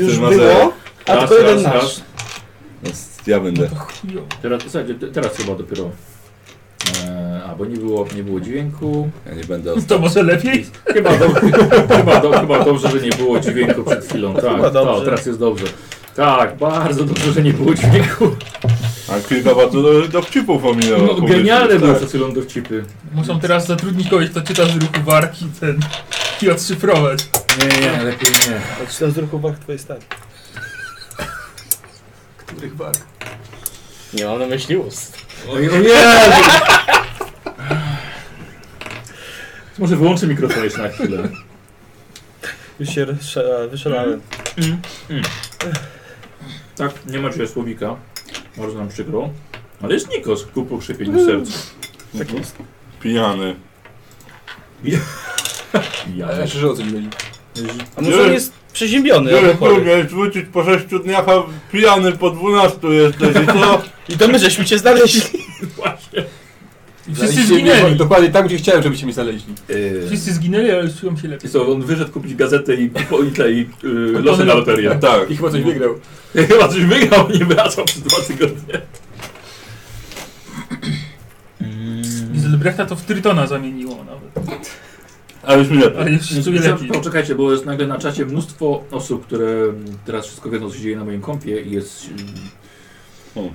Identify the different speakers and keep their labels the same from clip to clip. Speaker 1: na
Speaker 2: było,
Speaker 1: zero.
Speaker 2: a
Speaker 3: Raz,
Speaker 2: tylko jeden
Speaker 3: raz,
Speaker 2: nasz.
Speaker 3: raz.
Speaker 1: Więc ja będę.
Speaker 3: Teraz, słuchajcie, te- teraz chyba dopiero. E, a, bo nie było, nie było dźwięku.
Speaker 1: Ja nie będę
Speaker 4: To
Speaker 1: ostatni.
Speaker 4: może lepiej?
Speaker 3: Chyba, do, chyba, do, chyba dobrze, że nie było dźwięku przed chwilą. Tak,
Speaker 2: Chyba dobrze.
Speaker 3: To, teraz jest dobrze. Tak, bardzo dobrze, że nie było dźwięku.
Speaker 1: A kilka bardzo do, dowcipów ominęło.
Speaker 3: No,
Speaker 1: publicznych,
Speaker 3: genialne były
Speaker 1: tak.
Speaker 3: przed chwilą dowcipy.
Speaker 4: Muszą teraz zatrudnić kogoś, kto czyta z ruchu warki ten i odszyfrować.
Speaker 3: Nie, nie, lepiej nie.
Speaker 2: A czy to z ruchu bark twojej stary?
Speaker 5: Których bark?
Speaker 6: Nie mam na myśli ust.
Speaker 3: Oj, o Może wyłączę mikrofon jeszcze na chwilę.
Speaker 2: Już się rozsza- wyszalałem.
Speaker 3: Tak, nie ma dzisiaj słowika. Bardzo nam przykro. Ale jest Nikos, ku pokrzepieniu serca.
Speaker 2: Tak jest.
Speaker 1: Mhm. Pijany.
Speaker 3: Ja
Speaker 5: Ale szczerze o co nie byli.
Speaker 2: A może on jest przeziębiony.
Speaker 1: Tyle
Speaker 2: albo No chory.
Speaker 1: próbujesz wrócić po 6 dniach, a pijany po 12 jesteś i co?
Speaker 2: I to my żeśmy cię znaleźli.
Speaker 4: I wszyscy
Speaker 5: Znaleźliście mnie
Speaker 4: zginęli.
Speaker 5: Dokładnie tam, gdzie chciałem, żebyście mnie znaleźli.
Speaker 4: Wszyscy zginęli, ale już czują się lepiej.
Speaker 3: I co, on wyszedł kupić gazetę i, po- i, te- i yy, losy na loterię.
Speaker 1: Tak.
Speaker 5: I chyba coś wygrał.
Speaker 3: Chyba coś wygrał, nie wracał przez dwa tygodnie.
Speaker 4: I z Albrechta to w Trytona zamieniło nawet.
Speaker 1: Ale już mi lepiej.
Speaker 4: Ale już się czuje lepiej.
Speaker 3: Poczekajcie, bo jest nagle na czacie mnóstwo osób, które mm, teraz wszystko wiedzą, co się dzieje na moim kompie i jest... mm,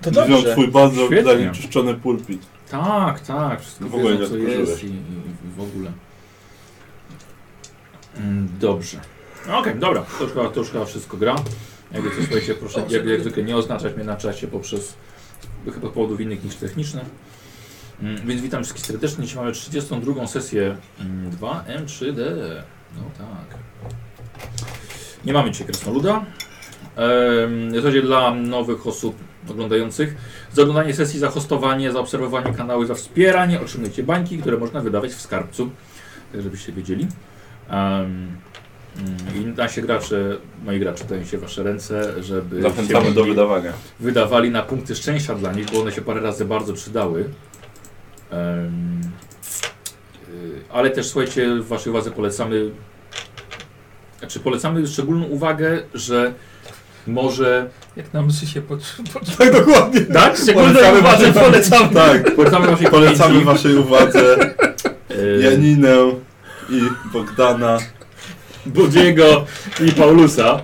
Speaker 2: To
Speaker 1: Wziął
Speaker 2: dobrze.
Speaker 1: twój bardzo
Speaker 3: Świetnie.
Speaker 1: zanieczyszczony pulpit.
Speaker 3: Tak, tak, wszystko
Speaker 1: No W ogóle
Speaker 3: wiedzą, co
Speaker 1: nie
Speaker 3: jest i,
Speaker 1: odkurzyłeś.
Speaker 3: i, i w ogóle. Mm, Dobrze. No Okej, dobra, to już, chyba- to już chyba wszystko gra. Jakby coś słuchajcie, proszę, jak, jak zwykle nie oznaczać mnie na czacie poprzez chyba powodów innych niż techniczne. Mm, Więc witam wszystkich serdecznie. Dzisiaj mamy 32. sesję mm, 2M3D. No tak. Nie mamy dzisiaj Kresnoluda. Em, W zasadzie dla nowych osób oglądających, za oglądanie sesji, za hostowanie, za obserwowanie kanału, za wspieranie otrzymujecie bańki, które można wydawać w skarbcu, tak żebyście wiedzieli. Em, mm, I nasi gracze, moi gracze dają się w wasze ręce, żeby się
Speaker 1: Zachęcamy do
Speaker 3: mogli-
Speaker 1: wydawania.
Speaker 3: wydawali na punkty szczęścia dla nich, bo one się parę razy bardzo przydały. Em, y, ale też słuchajcie, w Waszej uwadze polecamy, znaczy polecamy szczególną uwagę, że może.
Speaker 4: Jak na mszy się poczuje.
Speaker 5: Tak, dokładnie.
Speaker 3: Tak,
Speaker 1: Polecamy waszej-
Speaker 3: uwadze polecamy.
Speaker 1: Tak.
Speaker 3: Polecamy Waszej
Speaker 1: Polecamy
Speaker 3: pamięci.
Speaker 1: waszej uwadze
Speaker 3: Y,
Speaker 1: Janinę i Bogdana.
Speaker 3: Budiego i Paulusa.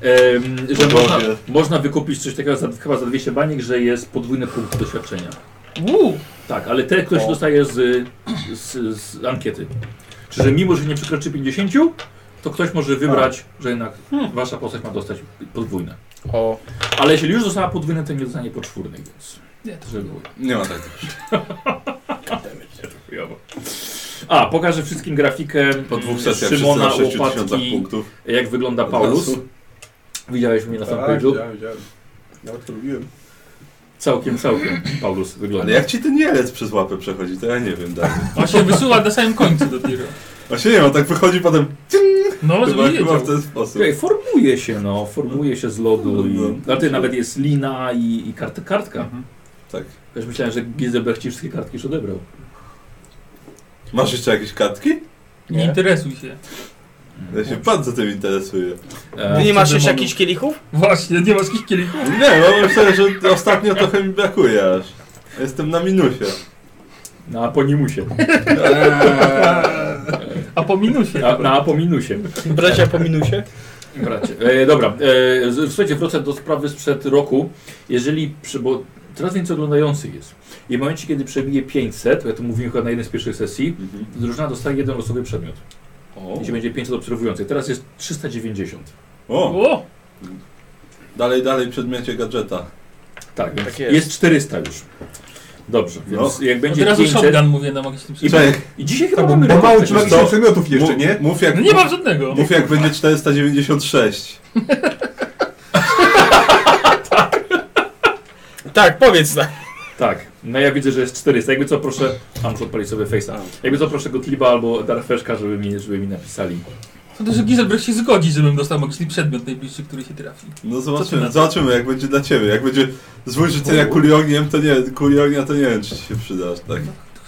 Speaker 3: em, że
Speaker 1: Boże.
Speaker 3: można, można wykupić coś takiego za, chyba za 200 baniek, że jest podwójny punkt doświadczenia.
Speaker 4: Uuu!
Speaker 3: Tak, ale te ktoś
Speaker 1: O.
Speaker 3: dostaje z, z, z ankiety. Czy że mimo, że nie przekroczy 50, to ktoś może wybrać,
Speaker 1: Tak.
Speaker 3: że jednak wasza postać ma dostać podwójne.
Speaker 6: O.
Speaker 3: Ale jeśli już dostała podwójne, to nie dostanie poczwórnej, więc
Speaker 4: Nie,
Speaker 3: to żeby było.
Speaker 1: Nie ma tak.
Speaker 3: chujowo. A, pokażę wszystkim grafikę
Speaker 1: Po dwóch sesjach wszyscy
Speaker 3: Szymona
Speaker 1: na 6 tysiącach
Speaker 3: Łopatki,
Speaker 1: punktów.
Speaker 3: jak wygląda
Speaker 1: Od
Speaker 3: Paulus.
Speaker 1: razu.
Speaker 3: Widziałeś mnie na
Speaker 5: Tak,
Speaker 3: fanpage'u?
Speaker 5: widziałem, widziałem. Nawet to lubiłem.
Speaker 3: Całkiem, całkiem Paulus wygląda.
Speaker 1: Ale jak ci ten jelec przez łapę przechodzi, to ja nie wiem dalej.
Speaker 4: On się wysuwa na samym końcu dopiero.
Speaker 1: Właśnie nie wiem, on tak wychodzi potem
Speaker 4: No, żeby
Speaker 1: chyba, chyba
Speaker 4: wiedział.
Speaker 1: w ten sposób.
Speaker 3: Słuchaj, formuje się, no, formuje się z lodu i...
Speaker 1: No.
Speaker 3: Ale ty nawet jest lina i, i kart, kartka.
Speaker 2: Mhm.
Speaker 1: Tak.
Speaker 3: Też myślałem, że Gizelbrecht ci wszystkie kartki już odebrał.
Speaker 1: Masz jeszcze jakieś kartki?
Speaker 4: Nie interesuj się.
Speaker 1: Ja się bardzo tym interesuję.
Speaker 2: Ty
Speaker 3: E,
Speaker 2: nie masz
Speaker 4: Co
Speaker 2: jeszcze
Speaker 4: demonu?
Speaker 2: jakichś kielichów?
Speaker 4: Właśnie, nie masz jakichś kielichów.
Speaker 1: Nie, no myślę, że ostatnio trochę mi brakuje aż. Jestem na minusie.
Speaker 3: na Aponimusie.
Speaker 4: A po minusie.
Speaker 3: Na, na Apominusie.
Speaker 2: Bracia po minusie.
Speaker 3: Bracie. E, dobra, e, z- słuchajcie, wrócę do sprawy sprzed roku. Jeżeli, przy, bo coraz więcej oglądających jest. I w momencie, kiedy przebije 500, bo ja to mówiłem chyba na jednej z pierwszych sesji,
Speaker 4: Mhm.
Speaker 3: drużyna dostaje jeden losowy przedmiot.
Speaker 1: O.
Speaker 3: Jeśli będzie 500 obserwujących. Teraz jest 390.
Speaker 1: o,
Speaker 4: O!
Speaker 1: dalej, dalej przedmiecie gadżeta.
Speaker 3: Tak, więc
Speaker 6: Tak
Speaker 3: jest.
Speaker 6: jest.
Speaker 3: 400 już. Dobrze,
Speaker 1: No.
Speaker 3: więc jak będzie
Speaker 4: Od razu
Speaker 3: 500...
Speaker 4: shotgun mówię na magicznym
Speaker 3: I,
Speaker 4: przedmiocie.
Speaker 1: Czekaj,
Speaker 3: I dzisiaj chyba
Speaker 5: Tak, bo
Speaker 3: mamy
Speaker 5: bo
Speaker 3: rekord
Speaker 5: mało
Speaker 3: taki.
Speaker 5: ci
Speaker 1: ma-
Speaker 5: magicznych
Speaker 1: to-
Speaker 5: przedmiotów jeszcze,
Speaker 1: mów-
Speaker 5: nie?
Speaker 1: Mów jak,
Speaker 4: No nie mam żadnego.
Speaker 1: mów jak będzie 496.
Speaker 2: Tak, powiedz tak.
Speaker 3: Tak, no ja widzę, że jest 400. Jakby co proszę. A muszę odpalić sobie face'a. Jakby co proszę Gottlieba albo Darfeszka, żeby mi, żeby mi napisali.
Speaker 4: To też Gizelbrecht się zgodzi, żebym dostał magiczny przedmiot najbliższy, który się trafi.
Speaker 1: No
Speaker 4: Co ty na
Speaker 1: zobaczymy,
Speaker 4: to?
Speaker 1: zobaczymy jak będzie dla ciebie. Jak będzie z wyżyczenia kuli ogniem, to nie, kuli ognia to nie wiem czy ci się przydasz, tak?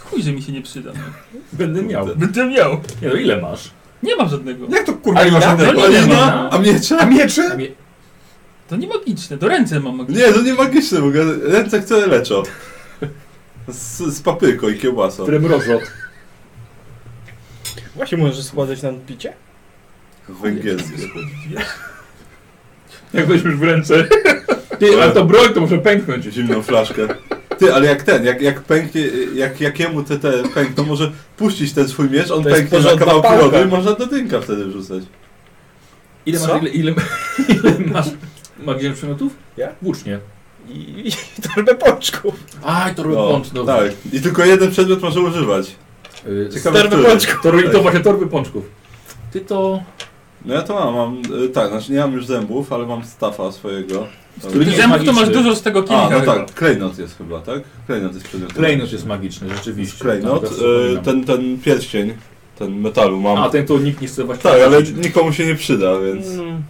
Speaker 4: Chuj, że mi się nie przyda. no.
Speaker 3: Będę miał.
Speaker 4: Będę miał.
Speaker 3: Nie no ile masz?
Speaker 4: Nie mam żadnego.
Speaker 5: Jak to kurwa
Speaker 2: A
Speaker 5: nie ma
Speaker 2: ja?
Speaker 5: żadnego?
Speaker 2: No nie ma.
Speaker 1: Alina? A miecze?
Speaker 5: A miecze?
Speaker 4: To nie magiczne, do ręce mam magiczne.
Speaker 1: Nie, to nie magiczne, bo ręce które leczą. Z, z papryką i kiełbasą.
Speaker 3: Tremrozot.
Speaker 2: Właśnie możesz składać na picie?
Speaker 1: Węgierskie.
Speaker 3: Jak weźmiesz w ręce. Ty, ale to broń to może pęknąć.
Speaker 1: Zimną flaszkę. Ty, ale jak ten, jak, jak pęknie, jak jakiemu te, te pękną, może puścić ten swój miecz, on
Speaker 2: To jest
Speaker 1: pęknie na
Speaker 2: porządna
Speaker 1: kawałki
Speaker 2: pałka.
Speaker 1: lodu i można do dynka wtedy wrzucać.
Speaker 3: Ile
Speaker 2: Co?
Speaker 3: masz, ile, ile, ile masz magicznych przymiotów?
Speaker 2: Ja?
Speaker 3: Włócznie.
Speaker 2: I, i, i torbę pączków.
Speaker 3: Aj, to
Speaker 1: No,
Speaker 3: pącz, dobra.
Speaker 1: tak. I tylko jeden przedmiot może używać.
Speaker 3: Y,
Speaker 1: Ciekawe,
Speaker 2: Torbę
Speaker 1: który.
Speaker 2: pączków.
Speaker 3: To, to właśnie torby pączków. Ty to...
Speaker 1: No ja to mam, mam, y, tak, znaczy nie mam już zębów, ale mam stafa swojego.
Speaker 3: którym
Speaker 4: Ty
Speaker 3: nie
Speaker 4: zębów to
Speaker 3: magiczny.
Speaker 4: masz dużo z tego
Speaker 1: A,
Speaker 4: kielicha.
Speaker 1: no
Speaker 4: chyba.
Speaker 1: tak, klejnot jest chyba, tak? Klejnot jest przedmiotem.
Speaker 3: Klejnot jest magiczny, rzeczywiście.
Speaker 1: Klejnot,
Speaker 3: Tam,
Speaker 1: y,
Speaker 3: teraz wspominam.
Speaker 1: ten, ten pierścień, ten metalu mam.
Speaker 3: A, ten to nikt nie chce właśnie... Znaczy,
Speaker 1: tak, ale
Speaker 3: magiczny.
Speaker 1: nikomu się nie przyda, więc...
Speaker 5: No.
Speaker 2: Mm.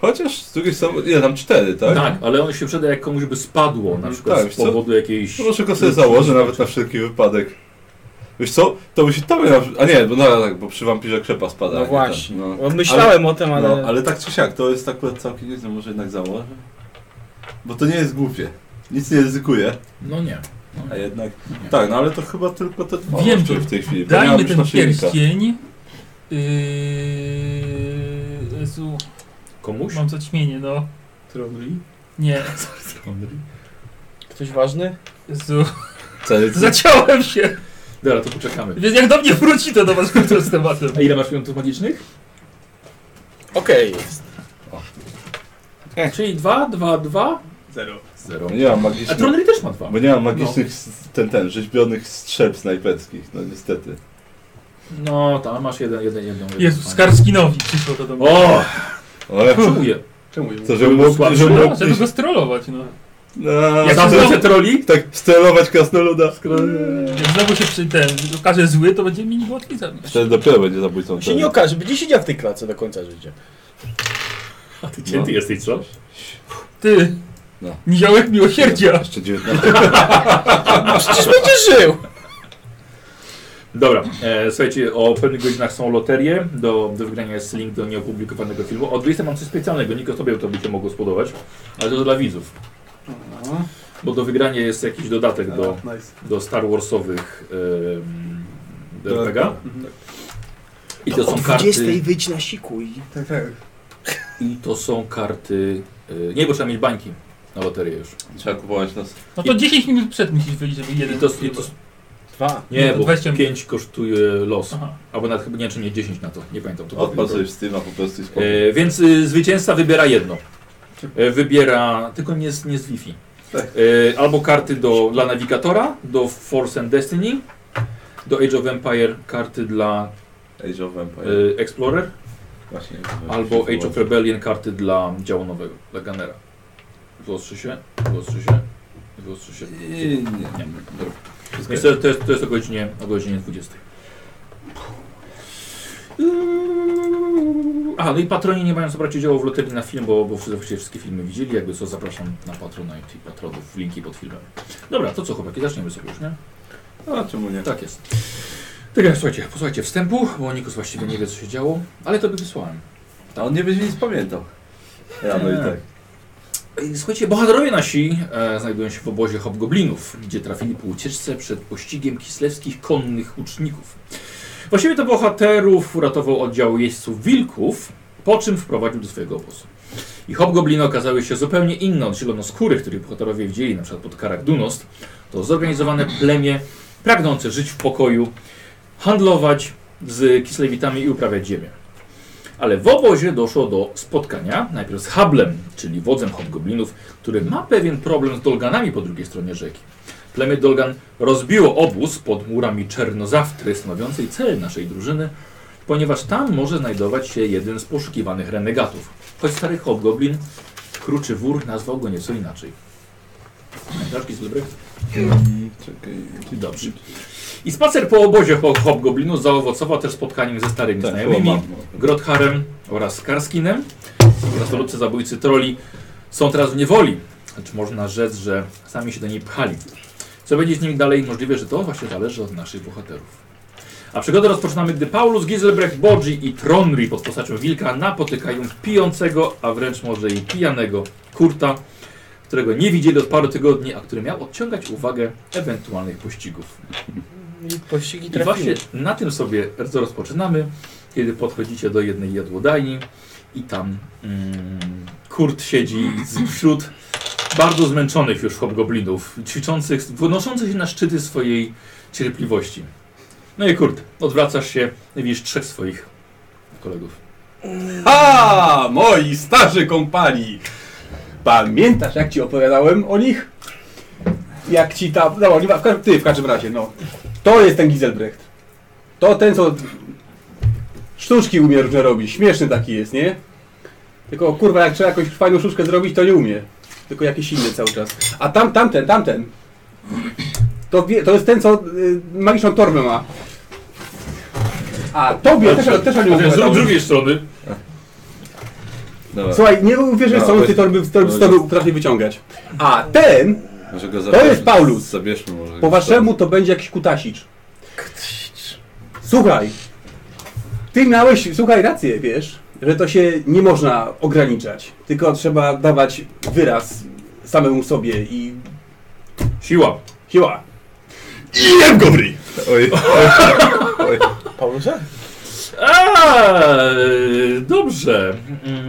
Speaker 1: Chociaż z drugiej strony, ile tam, cztery, tak?
Speaker 3: Tak, ale on się przyda jak komuś by spadło, na
Speaker 1: Mhm,
Speaker 3: przykład
Speaker 1: tak,
Speaker 3: z
Speaker 1: co?
Speaker 3: powodu jakiejś...
Speaker 1: No Może go sobie założę nawet na wszelki wypadek. Wiesz co, to by się tobie na... A nie, bo no, tak, bo przy wampirze krzepa spada.
Speaker 2: No
Speaker 1: nie
Speaker 2: właśnie.
Speaker 1: Tak,
Speaker 2: Bo Myślałem o tym,
Speaker 1: no.
Speaker 2: ale...
Speaker 1: No, ale tak czy siak, to jest akurat całkiem nieźle, może jednak założę. Bo to nie jest głupie. Nic nie ryzykuje,
Speaker 3: No nie.
Speaker 1: a
Speaker 3: No, nie.
Speaker 1: jednak...
Speaker 3: Nie.
Speaker 1: Tak, no ale to chyba tylko te dwa
Speaker 4: Wiem,
Speaker 1: oczy
Speaker 4: to-
Speaker 1: w tej chwili. bo nie mam
Speaker 4: Dajmy
Speaker 1: już
Speaker 4: ten
Speaker 1: naszyjnika.
Speaker 4: pierścień. Yy... Jezu,
Speaker 3: Komuś?
Speaker 4: mam zaćmienie, no.
Speaker 5: Trondri?
Speaker 4: Nie,
Speaker 2: Ktoś ważny?
Speaker 4: Jezu.
Speaker 1: Cel-
Speaker 4: Zaciąłem się!
Speaker 3: Dobra, to poczekamy.
Speaker 4: Więc jak do mnie wróci, to do was wrócę z tematem.
Speaker 3: A ile masz piątów magicznych?
Speaker 2: Okej. jest.
Speaker 3: Czyli dwa, dwa, dwa,
Speaker 5: Zero.
Speaker 3: zero.
Speaker 1: Bo nie mam
Speaker 3: A
Speaker 1: magicznych...
Speaker 3: Tronry też ma dwa.
Speaker 1: Bo nie mam magicznych, s- ten, ten, rzeźbionych strzep snajperskich, no niestety.
Speaker 3: No, tam masz jeden, jeden, jedną. jedną
Speaker 4: Jezu,
Speaker 3: fajną.
Speaker 4: Skarskinowi przyszło to do mnie.
Speaker 3: O!
Speaker 1: No, Ale...
Speaker 3: Czuję.
Speaker 5: Czemu ją?
Speaker 1: To, żeby mógł... Żeby
Speaker 4: No,
Speaker 1: mógł...
Speaker 4: żeby go strollować, no.
Speaker 1: No,
Speaker 4: Jak
Speaker 1: to-
Speaker 4: znowu-
Speaker 3: troli?
Speaker 1: Tak, sterować krasnoluda.
Speaker 4: Jak znowu się przy ten okaże zły, to będzie mi łatwiej zabić.
Speaker 1: Wtedy dopiero będzie zabójcą.
Speaker 2: Się nie okaże, będzie siedział w tej klatce do końca życia.
Speaker 3: A ty cięty
Speaker 1: No.
Speaker 3: jesteś, co?
Speaker 4: Ty!
Speaker 1: No.
Speaker 4: Niziołek miłosierdzia!
Speaker 1: Jeszcze 19.
Speaker 2: Przecież będzie żył!
Speaker 3: Dobra, e, słuchajcie, o pewnych godzinach są loterie. Do, do wygrania jest link do nieopublikowanego filmu. O 20 mam coś specjalnego, Niko, tobie to by się mogło spodobać, ale to dla widzów. Bo do wygrania jest jakiś dodatek do,
Speaker 5: Nice.
Speaker 3: do Star Warsowych em, do
Speaker 1: Tak.
Speaker 3: RPG.
Speaker 5: Mhm.
Speaker 3: I
Speaker 2: No,
Speaker 3: to są karty.
Speaker 2: wyjdź na siku i...
Speaker 5: Tak, tak.
Speaker 3: I to są karty. y, nie, bo trzeba mieć bańki na loterię już.
Speaker 1: Trzeba kupować nas.
Speaker 4: No to 10 minut przed musisz wyjść, żeby jeden
Speaker 3: I to, i to,
Speaker 2: Dwa.
Speaker 3: nie,
Speaker 4: to
Speaker 3: bo
Speaker 4: 20 minut.
Speaker 3: 5 kosztuje los.
Speaker 4: Aha.
Speaker 3: Albo nawet chyba nie, czy nie 10 na to, nie pamiętam. To
Speaker 1: Odpal sobie Steama po prostu i spokój.
Speaker 3: E, więc y, zwycięzca wybiera jedno. E, wybiera, tylko nie z, nie z Wi-Fi.
Speaker 5: Tak.
Speaker 3: E, albo karty do, dla nawigatora, do Force and Destiny, do Age of Empire karty dla
Speaker 1: Age of
Speaker 3: e,
Speaker 1: Empire.
Speaker 3: Explorer,
Speaker 1: Właśnie.
Speaker 3: albo Age of Rebellion karty dla działu nowego, dla Gunnera. Wyostrzy się, wyostrzy się, wyostrzy się.
Speaker 1: Nie, nie.
Speaker 3: Nie, dobra.
Speaker 1: Wszystko
Speaker 3: Więc to, to, jest, to jest o godzinie, o godzinie 20. A, no i patroni nie mają co brać udziału w loterii na film, bo, bo wszyscy wszystkie filmy widzieli. Jakby co, zapraszam na Patronite i patronów, linki pod filmem. Dobra, to co chłopaki, zaczniemy sobie już, nie?
Speaker 1: jest. A No, czemu nie?
Speaker 3: Tak jest. Tak, jak, słuchajcie, posłuchajcie wstępu, bo Nikus właściwie nie wie co się działo, ale to by wysłałem.
Speaker 1: A on nie będzie nic pamiętał. Ja no i
Speaker 3: Nie.
Speaker 1: tak.
Speaker 3: Ej, Słuchajcie, bohaterowie nasi e, znajdują się w obozie hobgoblinów, gdzie trafili po ucieczce przed pościgiem kislewskich konnych łuczników. Właściwie to bohaterów uratował oddział jeźdźców wilków, po czym wprowadził do swojego obozu. I hobgobliny okazały się zupełnie inne od zielonoskórych, których bohaterowie widzieli na przykład pod karach Dunost. To zorganizowane plemię pragnące żyć w pokoju, handlować z kislewitami i uprawiać ziemię. Ale w obozie doszło do spotkania najpierw z Hablem, czyli wodzem hobgoblinów, który ma pewien problem z Dolganami po drugiej stronie rzeki. Plemię Dolgan rozbiło obóz pod murami Czernozawtry, stanowiącej cel naszej drużyny, ponieważ tam może znajdować się jeden z poszukiwanych renegatów. Choć stary hobgoblin, kruczy wór, nazwał go nieco inaczej. Pamiętasz, dobry?
Speaker 1: Czekaj.
Speaker 3: Dobrze. I spacer po obozie ho- hobgoblinu zaowocował też spotkaniem ze starymi
Speaker 1: Tak, chyba
Speaker 3: znajomymi.
Speaker 1: mam.
Speaker 3: Grotharem oraz Karskinem. Krasnoludcy zabójcy troli są teraz w niewoli. Znaczy można rzec, że sami się do niej pchali. Co będzie z nimi dalej? Możliwe, że to właśnie zależy od naszych bohaterów. A przygodę rozpoczynamy, gdy Paulus, Giselbrecht, Bodzi i Tronri pod postacią wilka napotykają pijącego, a wręcz może i pijanego Kurta, którego nie widzieli od paru tygodni, a który miał odciągać uwagę ewentualnych pościgów.
Speaker 2: I pościgi
Speaker 3: I
Speaker 2: trafiły.
Speaker 3: właśnie na tym sobie rozpoczynamy, kiedy podchodzicie do jednej jadłodajni i tam mm, Kurt siedzi z- wśród bardzo zmęczonych już hobgoblinów, ćwiczących, wynoszących się na szczyty swojej cierpliwości. No i Kurt, odwracasz się, i widzisz trzech swoich kolegów.
Speaker 5: Ha! Moi starzy kompani! Pamiętasz, jak ci opowiadałem o nich? Jak ci ta... No, nie, ma- w każdym, ty w każdym razie, no. To jest ten Giselbrecht. To ten, co... Sztuczki umie różne robić. Śmieszny taki jest, nie? Tylko, kurwa, jak trzeba jakąś fajną sztuczkę zrobić, to nie umie. Tylko jakieś inne cały czas. A tam, tamten, tamten. To, wie, to jest ten, co y, magiczną torbę ma. A tobie też, też o nim
Speaker 3: Z
Speaker 5: opowiadałem.
Speaker 3: drugiej strony
Speaker 1: Dobra,
Speaker 5: Słuchaj, nie uwierzysz,
Speaker 1: No,
Speaker 5: co on
Speaker 1: bez-
Speaker 5: ty torby, torby z
Speaker 1: no,
Speaker 5: torby potrafi wyciągać. A ten,
Speaker 1: może go
Speaker 5: to jest Paulus.
Speaker 1: Zabierzmy może.
Speaker 5: po waszemu to będzie jakiś kutasicz. Słuchaj, ty miałeś, słuchaj, rację, wiesz, że to się nie można ograniczać, tylko trzeba dawać wyraz samemu sobie i
Speaker 3: siła.
Speaker 5: siła.
Speaker 1: Oj, oj,
Speaker 2: Paulusa?
Speaker 3: Eee, dobrze. Mm,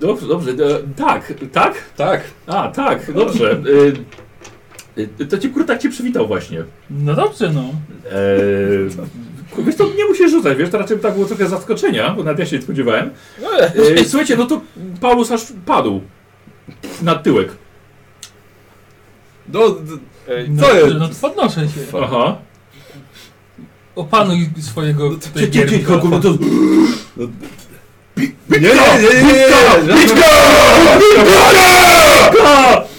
Speaker 3: Dobrze, dobrze. e, Tak, tak?
Speaker 5: Tak.
Speaker 3: A, tak, dobrze. Y, y, To cię kurde tak cię przywitał właśnie.
Speaker 4: No dobrze, no.
Speaker 3: Eee, wiesz, to nie musisz rzucać, wiesz, to raczej tak było trochę zaskoczenia, bo nawet ja się nie spodziewałem.
Speaker 2: No, ale-
Speaker 3: Eee, słuchajcie, no to Paulus aż padł na tyłek.
Speaker 1: no, d-
Speaker 4: no
Speaker 1: Co jest?
Speaker 4: dobrze, No to podnoszę się.
Speaker 3: Aha.
Speaker 4: Opanuj
Speaker 3: No
Speaker 4: swojego tutaj
Speaker 3: Cie- cie- cie-
Speaker 4: gierka.
Speaker 3: kurwa, to-
Speaker 1: nie, nie, nie, nie, nie, nie, nie, żadna-
Speaker 3: Witka!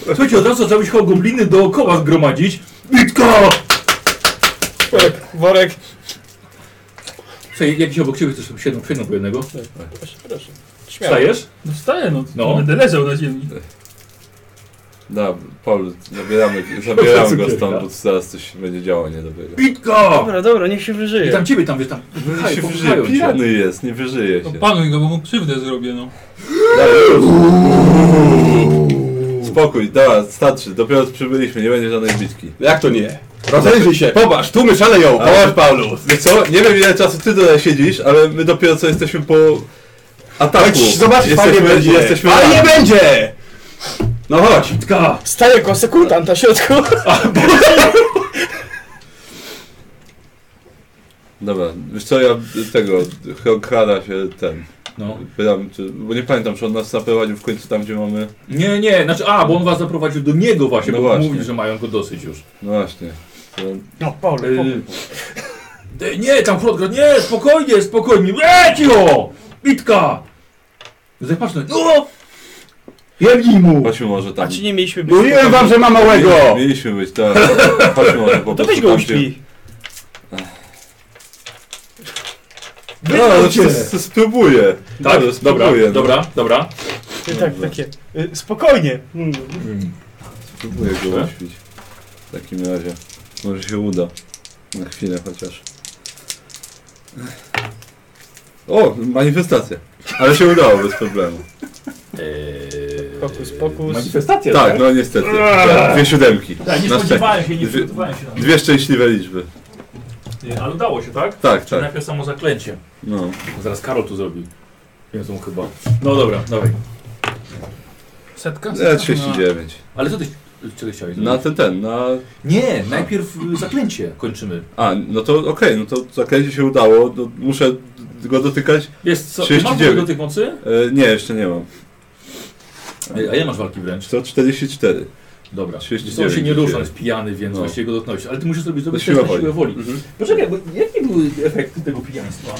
Speaker 3: Słuchajcie, od razu zacząłeś chyba gobliny dookoła zgromadzić. Witka!
Speaker 2: Worek, worek.
Speaker 3: Słuchaj, jakiś obok ciebie też tam siedzą, siedzą po jednego.
Speaker 2: Proszę, proszę. Śmiało.
Speaker 3: Wstajesz?
Speaker 4: No wstaję, no.
Speaker 3: No.
Speaker 4: no. Będę leżał na ziemi.
Speaker 1: Da, Paulus, zabieramy, zabieramy go
Speaker 3: Cukierka.
Speaker 1: stąd, bo zaraz coś będzie działo niedobrego.
Speaker 3: Witka!
Speaker 6: Dobra, dobra, niech się
Speaker 3: I
Speaker 6: wyżyje.
Speaker 3: tam ciebie tam, wiesz, tam
Speaker 1: No nie się
Speaker 3: Pchają,
Speaker 1: wyżyje,
Speaker 3: pchają cię.
Speaker 1: pijany jest, nie wyżyje się.
Speaker 4: Opanuj go, bo mu krzywdę zrobię, no.
Speaker 1: Spokój, da, starczy, dopiero przybyliśmy, nie będzie żadnej bitki.
Speaker 5: Jak to znaczy- nie? Rozejrzyj się, popatrz, tłumy szaleją,
Speaker 1: Ale-
Speaker 5: popatrz Paulus.
Speaker 1: Wiesz co, nie wiem ile czasu ty tutaj siedzisz, ale my dopiero co jesteśmy po ataku.
Speaker 5: Chodź, zobacz, fajnie
Speaker 1: jesteśmy,
Speaker 5: będzie.
Speaker 1: jesteśmy
Speaker 5: Fajnie będzie! No chodź.
Speaker 3: Witka!
Speaker 2: Staje jako sekuntant na środku.
Speaker 1: Dobra, wiesz co, ja tego, krada się ten,
Speaker 3: No.
Speaker 1: pytam, czy, bo nie pamiętam, czy on nas naprowadził w końcu tam, gdzie mamy,
Speaker 3: Nie, nie, znaczy, a, bo on was zaprowadził do niego właśnie,
Speaker 1: No
Speaker 3: bo
Speaker 1: właśnie.
Speaker 3: mówi, że mają go dosyć już.
Speaker 1: no właśnie. To,
Speaker 2: No, Paulek.
Speaker 3: Y, d- nie, tam Hrodgrad, nie, spokojnie, spokojnie, lecio! Bitka! Zapatrz na... O!
Speaker 5: Jebnij mu.
Speaker 1: chodźmy może
Speaker 6: A
Speaker 1: tam.
Speaker 6: czy nie mieliśmy być...
Speaker 5: Mówiłem wam, że ma małego.
Speaker 1: Mieliśmy być, tak. Chodźmy może po
Speaker 6: To
Speaker 1: prostu
Speaker 6: weź go
Speaker 1: tam, gdzie-
Speaker 6: uśpi.
Speaker 1: No, no,
Speaker 5: Cię.
Speaker 1: s- spróbuję.
Speaker 3: Tak,
Speaker 1: Dobra,
Speaker 3: dobra,
Speaker 1: spróbuję, no.
Speaker 3: dobra, dobra.
Speaker 6: I tak,
Speaker 3: No.
Speaker 6: takie... y, Spokojnie. Mm.
Speaker 3: Hmm.
Speaker 1: Spróbuję go
Speaker 3: Dobrze.
Speaker 1: uśpić. W takim razie. Może się uda. Na chwilę chociaż. O, manifestacja. Ale się udało bez problemu.
Speaker 3: Eee,
Speaker 6: Pokus, pokus.
Speaker 3: Manifestacja,
Speaker 1: Tak, no niestety. Tak, Dwie siódemki.
Speaker 3: Tak, nie
Speaker 1: Na
Speaker 3: spodziewałem się, nie
Speaker 1: Dwie-
Speaker 3: spodziewałem się na
Speaker 1: Dwie szczęśliwe liczby.
Speaker 3: to. Ale udało się, tak?
Speaker 1: Tak,
Speaker 3: Czyli
Speaker 1: tak.
Speaker 3: najpierw samo zaklęcie.
Speaker 1: No.
Speaker 3: Zaraz Karol tu zrobił. Więc on chyba. No dobra, dawaj.
Speaker 4: Setka?
Speaker 1: E,
Speaker 4: Setka?
Speaker 1: 39.
Speaker 3: Ale co ty... Czego chciałeś? No
Speaker 1: Na ten, ten, na...
Speaker 3: Nie, najpierw y, zaklęcie kończymy.
Speaker 1: A, no to okej, no to zaklęcie się udało. No, muszę go dotykać.
Speaker 3: Jest co? Ty masz
Speaker 1: 39.
Speaker 3: w ogóle do tych mocy?
Speaker 1: E, nie, jeszcze nie mam.
Speaker 3: Ej, A ja masz walki wręcz.
Speaker 1: To 44.
Speaker 3: Dobra. Wiesz
Speaker 1: 39
Speaker 3: co, On się nie
Speaker 1: dzisiaj.
Speaker 3: rusza, on jest pijany, więc
Speaker 1: No.
Speaker 3: właściwie go dotknąłeś. Ale ty musisz sobie zrobić
Speaker 1: siła
Speaker 3: test na
Speaker 1: woli.
Speaker 3: siłę woli.
Speaker 1: Mhm.
Speaker 3: Poczekaj, bo jakie były efekty tego pijaństwa?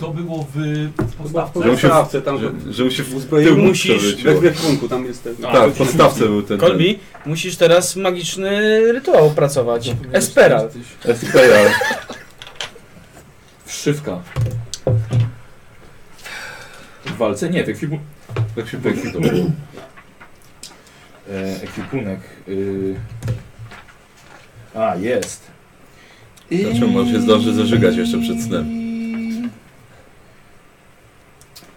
Speaker 3: To było w podstawce.
Speaker 1: Że mu się-
Speaker 5: Sprawcę tam, że...
Speaker 1: Że, że mu się w
Speaker 5: Uzbroił
Speaker 1: tył
Speaker 6: musisz-
Speaker 1: przewróciło.
Speaker 5: We krwunku tam jest ten...
Speaker 3: A,
Speaker 1: Tak, w podstawce był ten. ten.
Speaker 6: Kolbi, musisz teraz magiczny rytuał opracować. Espera.
Speaker 1: Espera.
Speaker 3: Wszywka. W walce? Nie, to ekwipu...
Speaker 1: Tak się
Speaker 3: Ekwipunek.
Speaker 1: pękło.
Speaker 3: E, ekwipunek. Y... A, jest.
Speaker 1: Znaczy on się zdąży zażygać jeszcze przed snem.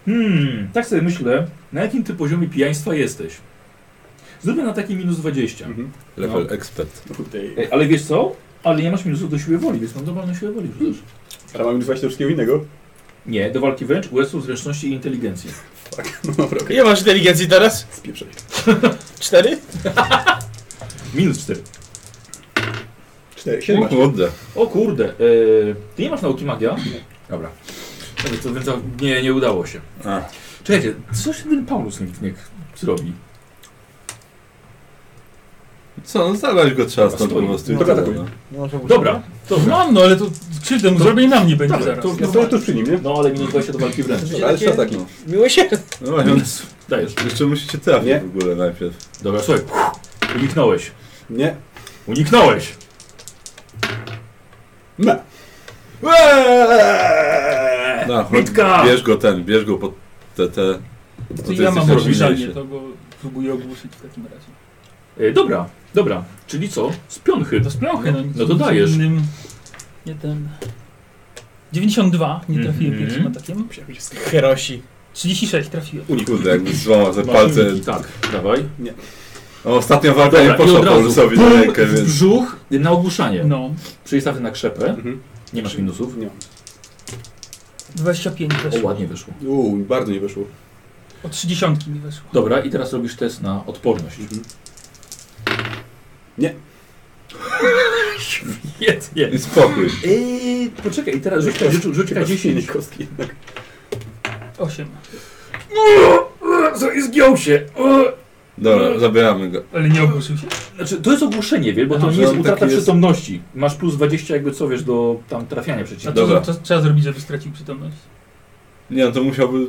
Speaker 3: Hmm, tak sobie myślę, na jakim ty poziomie pijaństwa jesteś? Zróbmy na taki minus 20.
Speaker 1: Mhm.
Speaker 5: Mhm.
Speaker 1: Level expert.
Speaker 3: Ej, ale wiesz co? Ale nie masz minusów do siły woli, więc mam dowolną siłę woli. Rzucasz.
Speaker 5: Ale mamy już właśnie do wszystkiego innego.
Speaker 3: Nie, do walki wręcz USów, zręczności i inteligencji.
Speaker 5: No dobra, okej.
Speaker 2: Ile masz inteligencji teraz?
Speaker 5: Spieprzaj.
Speaker 2: Cztery?
Speaker 3: Minus 4.
Speaker 5: Cztery, siedem. masz.
Speaker 1: Młode.
Speaker 3: O kurde, yy, ty nie masz nauki magia?
Speaker 5: Dobra.
Speaker 3: Dobra, to więc nie, nie udało się.
Speaker 5: A.
Speaker 3: Czekajcie, co się ten Paulus niech, niech zrobi?
Speaker 1: Co, no zabrać go trzeba stąd po
Speaker 3: Stoi.
Speaker 1: prostu. i
Speaker 5: No,
Speaker 1: tyle,
Speaker 5: tak, tak.
Speaker 1: no.
Speaker 3: Dobra, dobra.
Speaker 4: Mam, no ale to krzywdę mu zrobię i na mnie będzie
Speaker 3: Dobra,
Speaker 4: zaraz.
Speaker 3: to-
Speaker 5: Ja stoję tuż przy nim, nie?
Speaker 3: No ale minus 20 do walki wręcz.
Speaker 5: Dobra, ale
Speaker 3: tak.
Speaker 5: trzeba taki.
Speaker 6: Miło się.
Speaker 1: No właśnie, on-
Speaker 3: Dajesz.
Speaker 1: jeszcze musicie trafić
Speaker 5: Nie.
Speaker 1: w ogóle najpierw.
Speaker 3: Dobra, słuchaj. Uniknąłeś.
Speaker 5: Nie.
Speaker 3: Uniknąłeś!
Speaker 5: No.
Speaker 3: E, Eee!
Speaker 1: No, chodź,
Speaker 3: Bitka!
Speaker 1: bierz go ten, bierz go pod te, te... ty
Speaker 4: To ja
Speaker 1: jesteś
Speaker 4: mam
Speaker 1: najsilniejszy.
Speaker 4: rozliczanie to, bo próbuję ogłuszyć w takim razie.
Speaker 3: E, dobra, dobra. Czyli co? Z piąchy.
Speaker 4: To z piąchy, no, nic-
Speaker 3: No to
Speaker 4: nic
Speaker 3: dajesz.
Speaker 4: Innym, nie ten... 92, nie trafiłem
Speaker 3: Mhm.
Speaker 4: pierwszym atakiem.
Speaker 2: Herosi.
Speaker 4: 36 trafiłem.
Speaker 1: Kurde, jakby złamał te
Speaker 3: Masz
Speaker 1: palce.
Speaker 3: uniki, Tak, dawaj.
Speaker 1: O, ostatnia walka nie
Speaker 3: Dobra, i
Speaker 1: poszła
Speaker 3: od razu.
Speaker 1: Paulusowi na
Speaker 3: Bum!
Speaker 1: rękę,
Speaker 3: W
Speaker 1: więc...
Speaker 3: brzuch na ogłuszanie. No.
Speaker 4: No,
Speaker 3: Przejstawę na krzepę.
Speaker 5: Mhm.
Speaker 3: Nie masz minusów.
Speaker 5: Nie.
Speaker 4: 25
Speaker 3: O,
Speaker 4: weszło.
Speaker 3: ładnie wyszło.
Speaker 5: Uuu, bardzo nie wyszło.
Speaker 4: O 30 mi weszło.
Speaker 3: Dobra, i teraz robisz test na odporność.
Speaker 5: Mhm.
Speaker 3: Świetnie.
Speaker 1: I spokój.
Speaker 3: Eee, poczekaj, i teraz rzuć, rzuć, rzuć K10.
Speaker 5: kostki jednak.
Speaker 4: 8.
Speaker 3: Co, i zgiął się. O, Mm.
Speaker 1: Dobra, zabieramy go.
Speaker 4: Ale nie ogłuszył się?
Speaker 3: Znaczy, to jest ogłuszenie, wiesz, bo to
Speaker 4: Aha,
Speaker 3: nie
Speaker 1: że
Speaker 3: jest
Speaker 1: on
Speaker 3: utrata
Speaker 1: taki jest-
Speaker 3: przytomności. Masz plus 20 jakby co, wiesz, do tam trafiania przeciw.
Speaker 4: A
Speaker 1: Dobra.
Speaker 4: to, to trzeba zrobić, żeby stracił przytomność.
Speaker 1: Nie, no to musiałby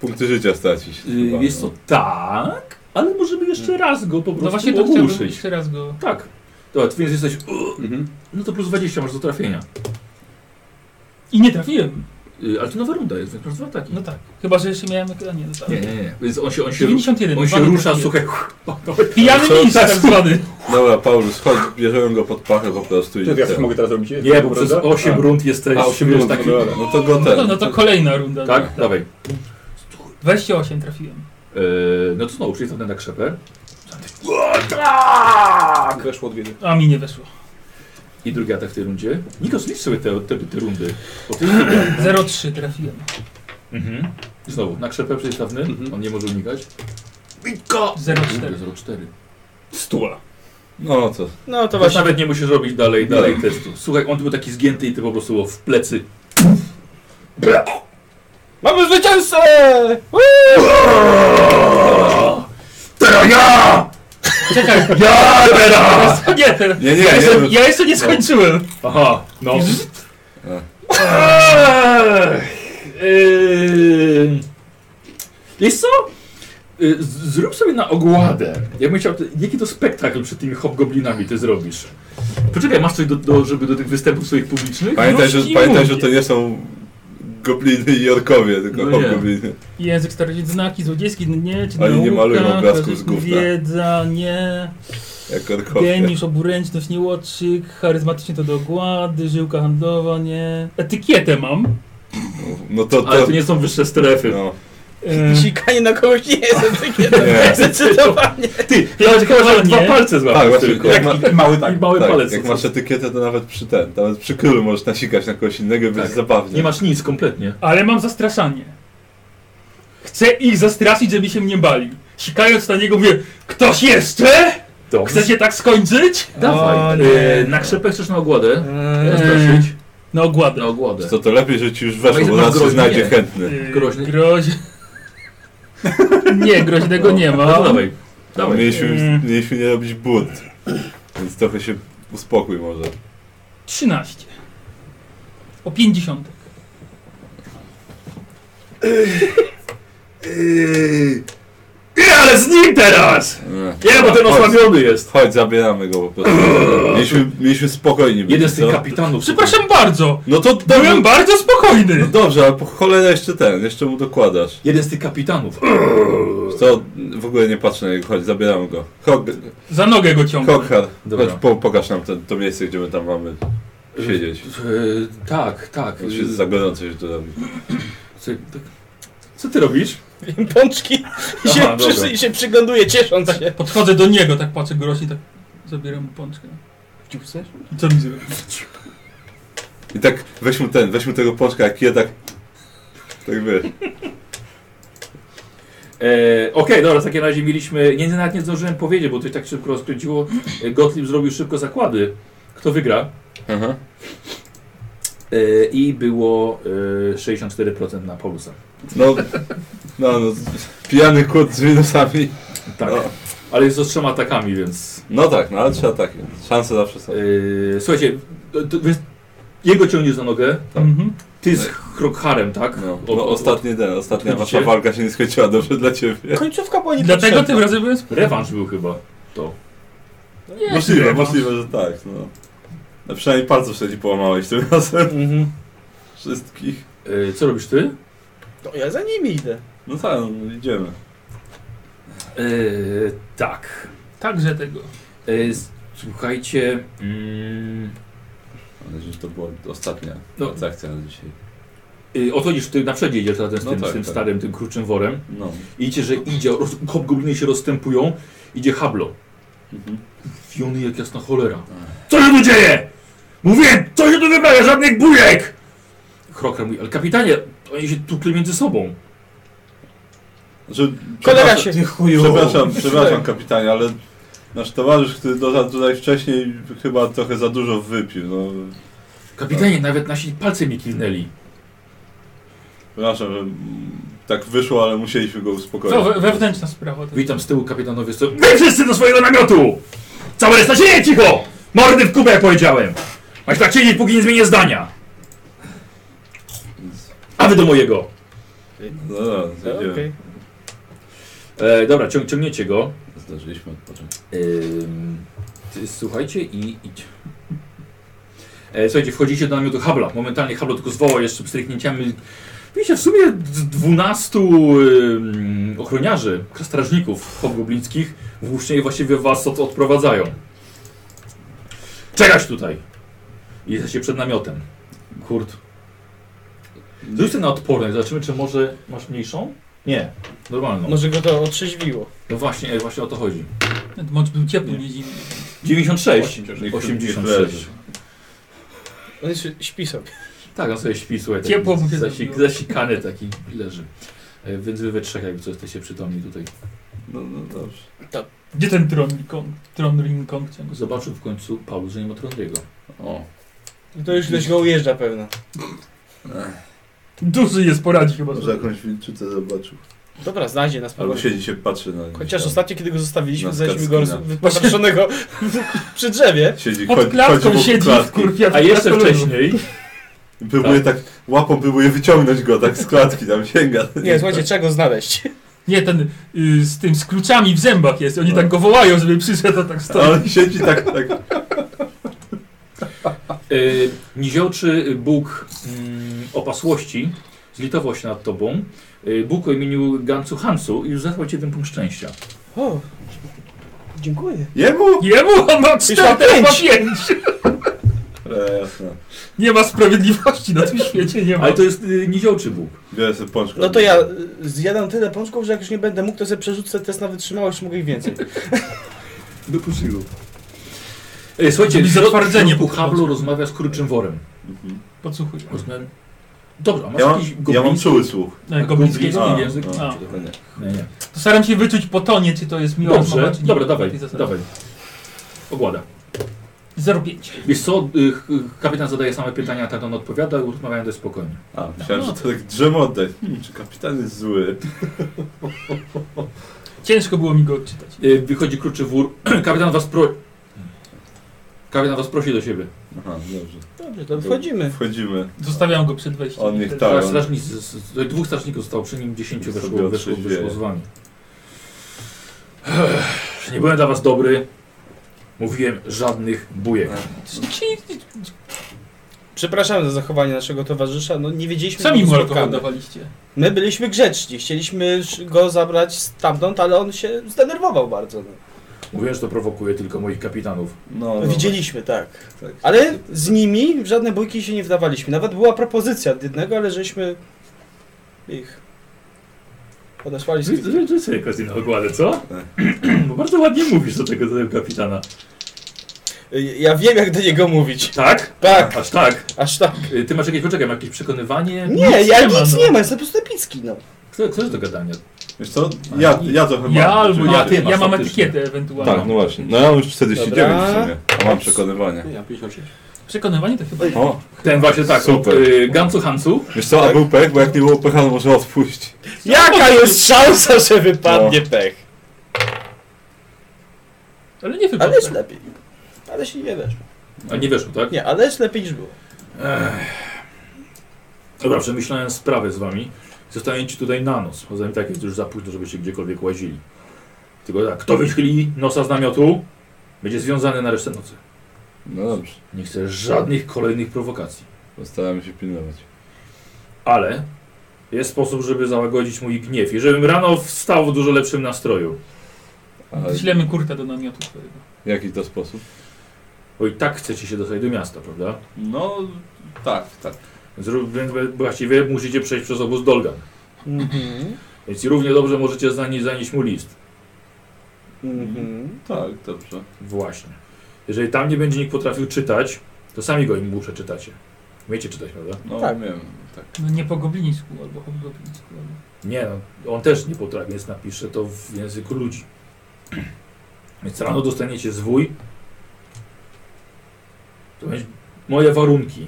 Speaker 1: punkty życia stracić.
Speaker 3: Yy,
Speaker 1: chyba,
Speaker 3: Wiesz
Speaker 1: no.
Speaker 3: co, tak, ale możemy jeszcze raz go po prostu
Speaker 4: No właśnie to chciałbym
Speaker 3: ogłuszyć.
Speaker 4: jeszcze raz go...
Speaker 3: Tak. Dobra, ty więc jesteś...
Speaker 5: Mhm.
Speaker 3: No to plus 20 masz do trafienia.
Speaker 4: I nie trafiłem.
Speaker 3: Yy, ale to nowa runda jest, więc masz dwa ataki.
Speaker 4: No tak. Chyba, że jeszcze miałem... A nie, no tak.
Speaker 3: Nie, nie, nie. Więc on się, on się,
Speaker 4: 91.
Speaker 3: on się
Speaker 4: dwa
Speaker 3: rusza,
Speaker 4: trafiłem.
Speaker 3: słuchaj.
Speaker 4: Pijany mistrz tak zwany.
Speaker 1: Dobra, Paulus, chodź, bierzemy go pod pachę po prostu i...
Speaker 5: Co ja coś
Speaker 1: ten.
Speaker 5: mogę teraz robić?
Speaker 3: Nie, bo przez
Speaker 5: Prawda? Tak.
Speaker 3: 8 rund jesteś.
Speaker 5: A, osiem
Speaker 3: wiesz,
Speaker 5: rund,
Speaker 3: taki-
Speaker 5: no dobra.
Speaker 1: No to go
Speaker 4: No to,
Speaker 1: ten.
Speaker 4: no to kolejna runda.
Speaker 3: Tak, dawaj.
Speaker 4: 28 trafiłem.
Speaker 3: Yy, no to znowu, czyli tam na krzepę.
Speaker 5: Tak. Weszło dwie.
Speaker 4: A mi nie weszło.
Speaker 3: I drugi atak w tej rundzie. Nikos, licz sobie te, te, te rundy. Bo to jest druga.
Speaker 4: 0,3 trafiłem.
Speaker 3: Mhm. I Znowu, na krzepę przeciwstawny,
Speaker 5: Mhm.
Speaker 3: on nie może unikać. Bitko!
Speaker 4: 0,4.
Speaker 3: 0,4.
Speaker 5: Stula.
Speaker 1: No to...
Speaker 2: No to
Speaker 3: To właśnie
Speaker 2: właśnie.
Speaker 3: nawet nie musisz robić dalej, dalej testu. Słuchaj, on tu był taki zgięty i ty po prostu było w plecy.
Speaker 2: Mamy zwycięzcę!
Speaker 3: Teraz ja!
Speaker 4: Czekaj,
Speaker 3: Ja teraz!
Speaker 4: nie, teraz.
Speaker 1: Nie, nie,
Speaker 4: Ja
Speaker 1: nie.
Speaker 4: jeszcze, ja
Speaker 1: no.
Speaker 4: jeszcze nie skończyłem.
Speaker 3: Aha, no.
Speaker 1: A.
Speaker 3: Eee, Wiesz co? Y, z- Zrób sobie na ogładę. Ja bym chciał, jaki to spektakl przed tymi hobgoblinami ty zrobisz? Poczekaj, masz coś do, do, żeby do tych występów swoich publicznych?
Speaker 1: Pamiętaj,
Speaker 4: Nóżki
Speaker 1: że,
Speaker 4: i
Speaker 1: pamiętaj,
Speaker 4: łokcie.
Speaker 1: że to nie są gobliny i orkowie, tylko
Speaker 3: No
Speaker 1: no
Speaker 3: nie.
Speaker 1: hobgobliny.
Speaker 4: Język starożytny, znaki złodziejskie, nie, czy
Speaker 1: Oni nie
Speaker 4: nauka,
Speaker 1: malują obrazków z
Speaker 4: klasyk,
Speaker 1: gówna.
Speaker 4: Wiedza, nie,
Speaker 1: Jak orkowie.
Speaker 4: geniusz, oburęczność, niełoczyk, charyzmatyczny to do ogłady, żyłka handlowa, nie. Etykietę mam.
Speaker 1: No to...
Speaker 3: Ale
Speaker 1: to
Speaker 3: to nie są wyższe strefy.
Speaker 1: no.
Speaker 2: Mm.
Speaker 4: E,
Speaker 6: Sikanie na kogoś nie jest etykietą.
Speaker 1: Nie.
Speaker 6: Zdecydowanie.
Speaker 3: Ty, ja chyba że dwa
Speaker 4: Nie.
Speaker 3: palce
Speaker 1: Tak,
Speaker 3: złapał
Speaker 1: właśnie,
Speaker 3: tylko.
Speaker 1: jak
Speaker 5: ma, mały tak.
Speaker 3: No, I mały
Speaker 1: Tak,
Speaker 3: palec.
Speaker 1: jak masz etykietę, to nawet przy ten, nawet przy królu możesz nasikać na kogoś innego i
Speaker 3: Tak.
Speaker 1: będzie zabawnie.
Speaker 3: Nie masz nic kompletnie.
Speaker 4: ale mam zastraszanie. Chcę ich zastraszyć, żeby się mnie bali. Sikając na niego mówię, ktoś jeszcze?
Speaker 3: Dobrze.
Speaker 4: Chcecie tak skończyć?
Speaker 3: Dawaj.
Speaker 2: O nie.
Speaker 3: E, na krzepę chcesz na ogładę?
Speaker 2: Mm.
Speaker 4: Eee,
Speaker 3: Rozproszyć?
Speaker 4: na ogładę.
Speaker 1: No,
Speaker 3: Na ogładę.
Speaker 1: Co to lepiej, że ci już weszło,
Speaker 3: Ale
Speaker 1: bo
Speaker 3: masz
Speaker 1: nas się
Speaker 3: groźnie.
Speaker 1: znajdzie chętny.
Speaker 4: Yy,
Speaker 3: Groźny?
Speaker 4: Groź... nie, groźnego nie ma.
Speaker 3: No to dawaj. Dawaj.
Speaker 1: Mieliśmy,
Speaker 4: Mm.
Speaker 1: mieliśmy nie robić bunt, więc trochę się uspokój może.
Speaker 4: 13. O 50.
Speaker 3: Nie, ale z nim teraz! Nie, bo ten
Speaker 1: Chodź,
Speaker 3: osłabiony jest.
Speaker 1: E. Chodź, zabieramy go po prostu. Mieliśmy, mieliśmy spokojni być,
Speaker 3: Jeden z tych
Speaker 1: co?
Speaker 3: kapitanów.
Speaker 4: Przepraszam bardzo!
Speaker 1: No to
Speaker 4: Byłem
Speaker 1: dobrze,
Speaker 4: bardzo
Speaker 1: no
Speaker 4: spokojny!
Speaker 1: dobrze, ale po cholerę jeszcze ten, jeszcze mu dokładasz.
Speaker 3: Jeden z tych kapitanów.
Speaker 1: Co, w ogóle nie patrzę na niego, chodź, zabieramy go. Hog,
Speaker 4: Za nogę go ciągnę.
Speaker 1: Hoghar,
Speaker 3: Dobra.
Speaker 1: chodź, po, pokaż nam ten, to miejsce, gdzie my tam mamy siedzieć.
Speaker 3: E, tak, tak.
Speaker 1: Już jest za gorąco się to robi.
Speaker 3: Co, co ty robisz?
Speaker 2: Pączki i się,
Speaker 3: Aha,
Speaker 2: przy,
Speaker 3: dobra.
Speaker 2: i się przygląduje, ciesząc się.
Speaker 4: Podchodzę do niego, tak patrzę go rośnie, tak zabieram mu pączkę.
Speaker 2: Ciu, chcesz?
Speaker 4: I co mi zrobi?
Speaker 1: I tak weź mu ten, weź mu tego pączka, jak ja tak... Tak wiesz.
Speaker 3: E, Okej, dobra, w takim razie mieliśmy. Nie, nawet nie zdążyłem powiedzieć, bo to się tak szybko rozkręciło. E, Gottlieb zrobił szybko zakłady. Kto wygra?
Speaker 1: Aha.
Speaker 3: E, I było e, 64% na Paulusa.
Speaker 1: No, no, no, pijany kłód z minusami.
Speaker 3: Tak.
Speaker 1: No,
Speaker 3: Ale jest to z trzema atakami, więc.
Speaker 1: no tak, no ale trzeba takie. Szanse zawsze są. No,
Speaker 3: E, słuchajcie, to, to, wy- jego ciągniesz za nogę.
Speaker 4: Mhm.
Speaker 3: Ty z Krokharem, tak?
Speaker 1: No,
Speaker 3: O-
Speaker 1: no
Speaker 3: o-
Speaker 1: ostatni ten, ostatnia
Speaker 3: Odchodzicie?
Speaker 1: wasza walka się nie skończyła dobrze dla ciebie.
Speaker 2: Końcówka była
Speaker 4: I
Speaker 2: nie
Speaker 4: dlatego tym razem byłem
Speaker 3: o- Rewanż był chyba. To.
Speaker 1: Możliwe, możliwe, że tak, no. No przynajmniej palców wtedy połamałeś tym razem.
Speaker 2: Mhm.
Speaker 1: Wszystkich.
Speaker 3: E, co robisz ty?
Speaker 2: To ja za nimi idę.
Speaker 1: No tak, no, idziemy.
Speaker 3: E, tak.
Speaker 4: Także tego.
Speaker 3: E, s- słuchajcie. Mm,
Speaker 1: Mam nadzieję, że to była ostatnia
Speaker 3: No.
Speaker 1: transakcja na dzisiaj.
Speaker 3: Y, Odchodzisz, ty na przodzie idziesz zatem z
Speaker 1: No
Speaker 3: tym,
Speaker 1: tak,
Speaker 3: z tym
Speaker 1: tak.
Speaker 3: starym, tym kruczym worem.
Speaker 1: No.
Speaker 3: I Widzicie, że idzie, roz, hobgobliny się rozstępują, idzie hablo.
Speaker 1: Mhm.
Speaker 3: Fiony jak jasna cholera. Co się tu dzieje? Mówię, co się tu wyprawia, żadnych bujek! Krokra mówi, ale kapitanie, oni się tukli między sobą.
Speaker 1: Znaczy,
Speaker 2: Cholera
Speaker 1: przepraszam-
Speaker 2: się.
Speaker 1: Przepraszam, przepraszam kapitanie, ale nasz towarzysz, który dotarł tutaj wcześniej, chyba trochę za dużo wypił. No,
Speaker 3: Kapitanie, nawet nasi palce mi kiwnęli.
Speaker 1: przepraszam, że mm, tak wyszło, ale musieliśmy go uspokoić.
Speaker 4: To we, wewnętrzna sprawa. To.
Speaker 3: Witam z tyłu kapitanowie, co... Wy wszyscy do swojego namiotu! Całe resta siedzie cicho! Mordy w kubę, jak powiedziałem! Masz tak siedzieć, póki nie zmienię zdania! A wy do mojego!
Speaker 1: No, no,
Speaker 2: No,
Speaker 1: idziemy.
Speaker 2: okej.
Speaker 3: E, dobra, ciąg, ciągniecie go.
Speaker 1: Zdążyliśmy odpocząć.
Speaker 3: Ym, ty- słuchajcie i idź. E, słuchajcie, wchodzicie do namiotu Habla. Momentalnie Habla tylko zwoła jeszcze pstryknięciami. Wiecie, w sumie d- 12 ym, ochroniarzy, strażników hobgoblińskich włócznie właściwie was od, odprowadzają. Czekać tutaj! I jesteście przed namiotem. Kurt. Zrób sobie na odporność, zobaczymy czy może masz mniejszą? Nie, normalną.
Speaker 2: Może go to otrzeźwiło.
Speaker 3: No właśnie, e, właśnie o to chodzi.
Speaker 4: Ten mocz był ciepły, nie zimny.
Speaker 3: 96. 86.
Speaker 2: On jest, śpi sobie.
Speaker 3: Tak, on sobie śpi, słuchaj. taki
Speaker 4: Ciepło mu się
Speaker 3: zasi,
Speaker 4: zrobiło.
Speaker 3: Zasikany taki leży. E, Więc wy we trzech jakby co jesteście przytomni tutaj.
Speaker 1: No, no dobrze.
Speaker 4: Gdzie ten tron, Kong, tron Ring Kong? Chciałem go
Speaker 3: Zobaczył w końcu Paulus, że nie ma Trondriego.
Speaker 1: O.
Speaker 2: To już leś go ujeżdża pewno.
Speaker 4: Duży jest, poradzi chyba.
Speaker 1: Może jakąś wilczycę zobaczył.
Speaker 2: Dobra, znajdzie nas
Speaker 1: Albo
Speaker 2: pewnie.
Speaker 1: siedzi się patrzy na nich.
Speaker 2: Chociaż
Speaker 1: Tam.
Speaker 2: ostatnio, kiedy go zostawiliśmy,
Speaker 1: Na
Speaker 2: znaleźliśmy go
Speaker 1: skarbskina.
Speaker 2: roz- wypatrzonego przy drzewie.
Speaker 1: Siedzi,
Speaker 4: Pod
Speaker 1: chodzi, chodzi
Speaker 4: klatką
Speaker 1: wokół
Speaker 4: siedzi,
Speaker 1: klatki.
Speaker 4: kurwa.
Speaker 3: A jeszcze wcześniej,
Speaker 1: Próbuje tak, łapą próbuje wyciągnąć go tak z klatki, tam sięga.
Speaker 2: Nie, słuchajcie, trzeba go znaleźć.
Speaker 4: Nie, ten y, z tym, z kluczami w zębach jest. Oni tak go wołają, żeby przyszedł, a tak
Speaker 1: A
Speaker 4: stoi.
Speaker 1: on siedzi tak, tak.
Speaker 3: y, niziołczy Bóg mm, opasłości zlitował się nad tobą. Y, Bóg o imieniu Gansu Hansu i już zachwał cię ten punkt szczęścia.
Speaker 2: O, dziękuję.
Speaker 1: Jemu?
Speaker 4: Jemu on ma
Speaker 2: Już ma
Speaker 4: cztery, teraz ma
Speaker 2: pięć.
Speaker 4: pięć.
Speaker 1: E, jasne.
Speaker 4: Nie ma sprawiedliwości na tym świecie, nie ma.
Speaker 3: Ale to jest y, niziołczy Bóg.
Speaker 1: Biorę sobie pączkę.
Speaker 2: No to ja y, zjadam tyle pączków, że jak już nie będę mógł, to sobie przerzucę test na wytrzymałość, mogę ich więcej.
Speaker 3: Do puszylu. Y, słuchajcie,
Speaker 4: Zrobi
Speaker 3: w środ- w
Speaker 4: zatwardzenie
Speaker 3: środku
Speaker 4: po-
Speaker 3: Hablu rozmawia z Kurczym Worem.
Speaker 1: Mhm.
Speaker 4: Podsłuchuj.
Speaker 3: Rozumiem. Dobra, a masz
Speaker 1: Ja mam,
Speaker 3: jakiś
Speaker 1: ja mam
Speaker 3: gobliński-
Speaker 1: czuły słuch.
Speaker 4: No,
Speaker 3: gobliński
Speaker 4: goblińskiego.
Speaker 1: A, no,
Speaker 3: język?
Speaker 1: a.
Speaker 3: A.
Speaker 1: To nie.
Speaker 3: Nie, nie.
Speaker 4: To staram się wyczuć po tonie, czy to jest miła
Speaker 3: Dobrze,
Speaker 4: rozmowa, czy nie.
Speaker 3: dobra, dawaj,
Speaker 4: Tej zasady.
Speaker 3: dawaj. Ogłada.
Speaker 4: 0,5.
Speaker 3: Wiesz co, y, ch- kapitan zadaje same pytania, ten on odpowiada, rozmawiają dość spokojnie.
Speaker 1: A, myślałem, że to tak drzemotę. Hmm, czy kapitan jest zły?
Speaker 4: Ciężko było mi go odczytać.
Speaker 3: Y, wychodzi kruczy wór, kapitan was pro... Kapitan was prosi do siebie.
Speaker 1: Aha, dobrze.
Speaker 2: Dobrze, to wchodzimy.
Speaker 1: Wchodzimy.
Speaker 4: Zostawiam go przed wejściem.
Speaker 1: On niech
Speaker 4: Ten-
Speaker 1: tak.
Speaker 3: Teraz strażnicy, z- z- dwóch strażników zostało, przy nim dziesięciu
Speaker 1: Sobie
Speaker 3: weszło, weszło, weszło
Speaker 1: otrzeźwieje.
Speaker 3: z wami. Ech, Nie byłem dla was dobry. Mówiłem żadnych bujek.
Speaker 2: Przepraszamy za zachowanie naszego towarzysza, no nie wiedzieliśmy, że
Speaker 4: Sami
Speaker 2: go
Speaker 4: mu alkohol
Speaker 2: spotkamy.
Speaker 4: dawaliście.
Speaker 2: My byliśmy grzeczni, chcieliśmy sz- go zabrać stamtąd, ale on się zdenerwował bardzo. No.
Speaker 3: Mówiłem, że to prowokuje tylko moich kapitanów.
Speaker 1: No, no.
Speaker 2: Widzieliśmy, tak.
Speaker 1: Tak.
Speaker 2: Ale z nimi w żadne bójki się nie wdawaliśmy. Nawet była propozycja od jednego, ale żeśmy ich odesłali z tych...
Speaker 3: Życzę sobie okazję na ogładę, co? Bo bardzo ładnie mówisz do tego, do tego kapitana.
Speaker 2: Ja wiem, jak do niego mówić.
Speaker 3: Tak?
Speaker 2: Tak,
Speaker 3: Aż tak.
Speaker 2: aż tak.
Speaker 3: Y, Ty masz jakieś, poczekaj, jakieś przekonywanie?
Speaker 2: Nie,
Speaker 3: Nic
Speaker 2: ja
Speaker 3: ma,
Speaker 2: nic
Speaker 3: no.
Speaker 2: nie ma, jestem po prostu epicki, no.
Speaker 3: Kto, kto jest do gadania?
Speaker 1: Wiesz co? Ja, ja
Speaker 3: No
Speaker 1: trochę mam.
Speaker 4: Ja albo
Speaker 1: Czyli-
Speaker 4: ja,
Speaker 3: A, ty masz
Speaker 4: ja mam
Speaker 3: faktycznie.
Speaker 4: etykietę ewentualnie.
Speaker 1: Tak, no właśnie. No ja mam już 49 w
Speaker 2: Dobra.
Speaker 1: sumie, a mam przekonywanie.
Speaker 5: Ja 58.
Speaker 3: Tak.
Speaker 4: Przekonywanie to chyba...
Speaker 3: No.
Speaker 1: O, tak?
Speaker 3: Ten właśnie tak,
Speaker 1: Super.
Speaker 3: Super. Y, Gamcu Hancu.
Speaker 1: wiesz co, a był pech, bo jak nie było pecha, to może odpuść.
Speaker 2: Jaka jest szansa, że wypadnie
Speaker 3: No.
Speaker 2: pech?
Speaker 4: Ale nie
Speaker 2: Ale
Speaker 4: wypadł.
Speaker 2: jest lepiej. Ale się nie wiesz.
Speaker 3: A nie weszło, tak?
Speaker 2: Nie, ale jest lepiej niż było.
Speaker 3: Dobra, przemyślałem No sprawę z wami. Zostaję ci tutaj na noc. Poza tym tak jest już za późno, żebyście gdziekolwiek łazili. Tylko tak, kto wychyli nosa z namiotu, będzie związany na resztę nocy.
Speaker 1: No dobrze,
Speaker 3: Nie chcę żadnych kolejnych prowokacji.
Speaker 1: postaramy się pilnować.
Speaker 3: Ale jest sposób, żeby załagodzić mój gniew i żebym rano wstał w dużo lepszym nastroju.
Speaker 1: Ale
Speaker 4: Źlemy kurtę do namiotu twojego.
Speaker 1: jaki to sposób?
Speaker 3: Bo i tak chcecie się dostać do miasta, prawda?
Speaker 1: No, tak, tak.
Speaker 3: Zrób, więc właściwie musicie przejść przez obóz Dolgan.
Speaker 2: Mhm.
Speaker 3: Więc i równie dobrze możecie zanieść, zanieść mu list.
Speaker 2: Mhm.
Speaker 1: Tak, dobrze.
Speaker 3: Właśnie. Jeżeli tam nie będzie nikt potrafił czytać, to sami go im przeczytacie. Umiecie czytać, prawda?
Speaker 1: No
Speaker 2: Tak.
Speaker 1: wiem, tak.
Speaker 4: No nie po goblińsku albo hobgoblińsku. Albo...
Speaker 3: Nie, no, on też nie potrafi, więc napisze to w języku ludzi. Więc rano dostaniecie zwój. To będzie moje warunki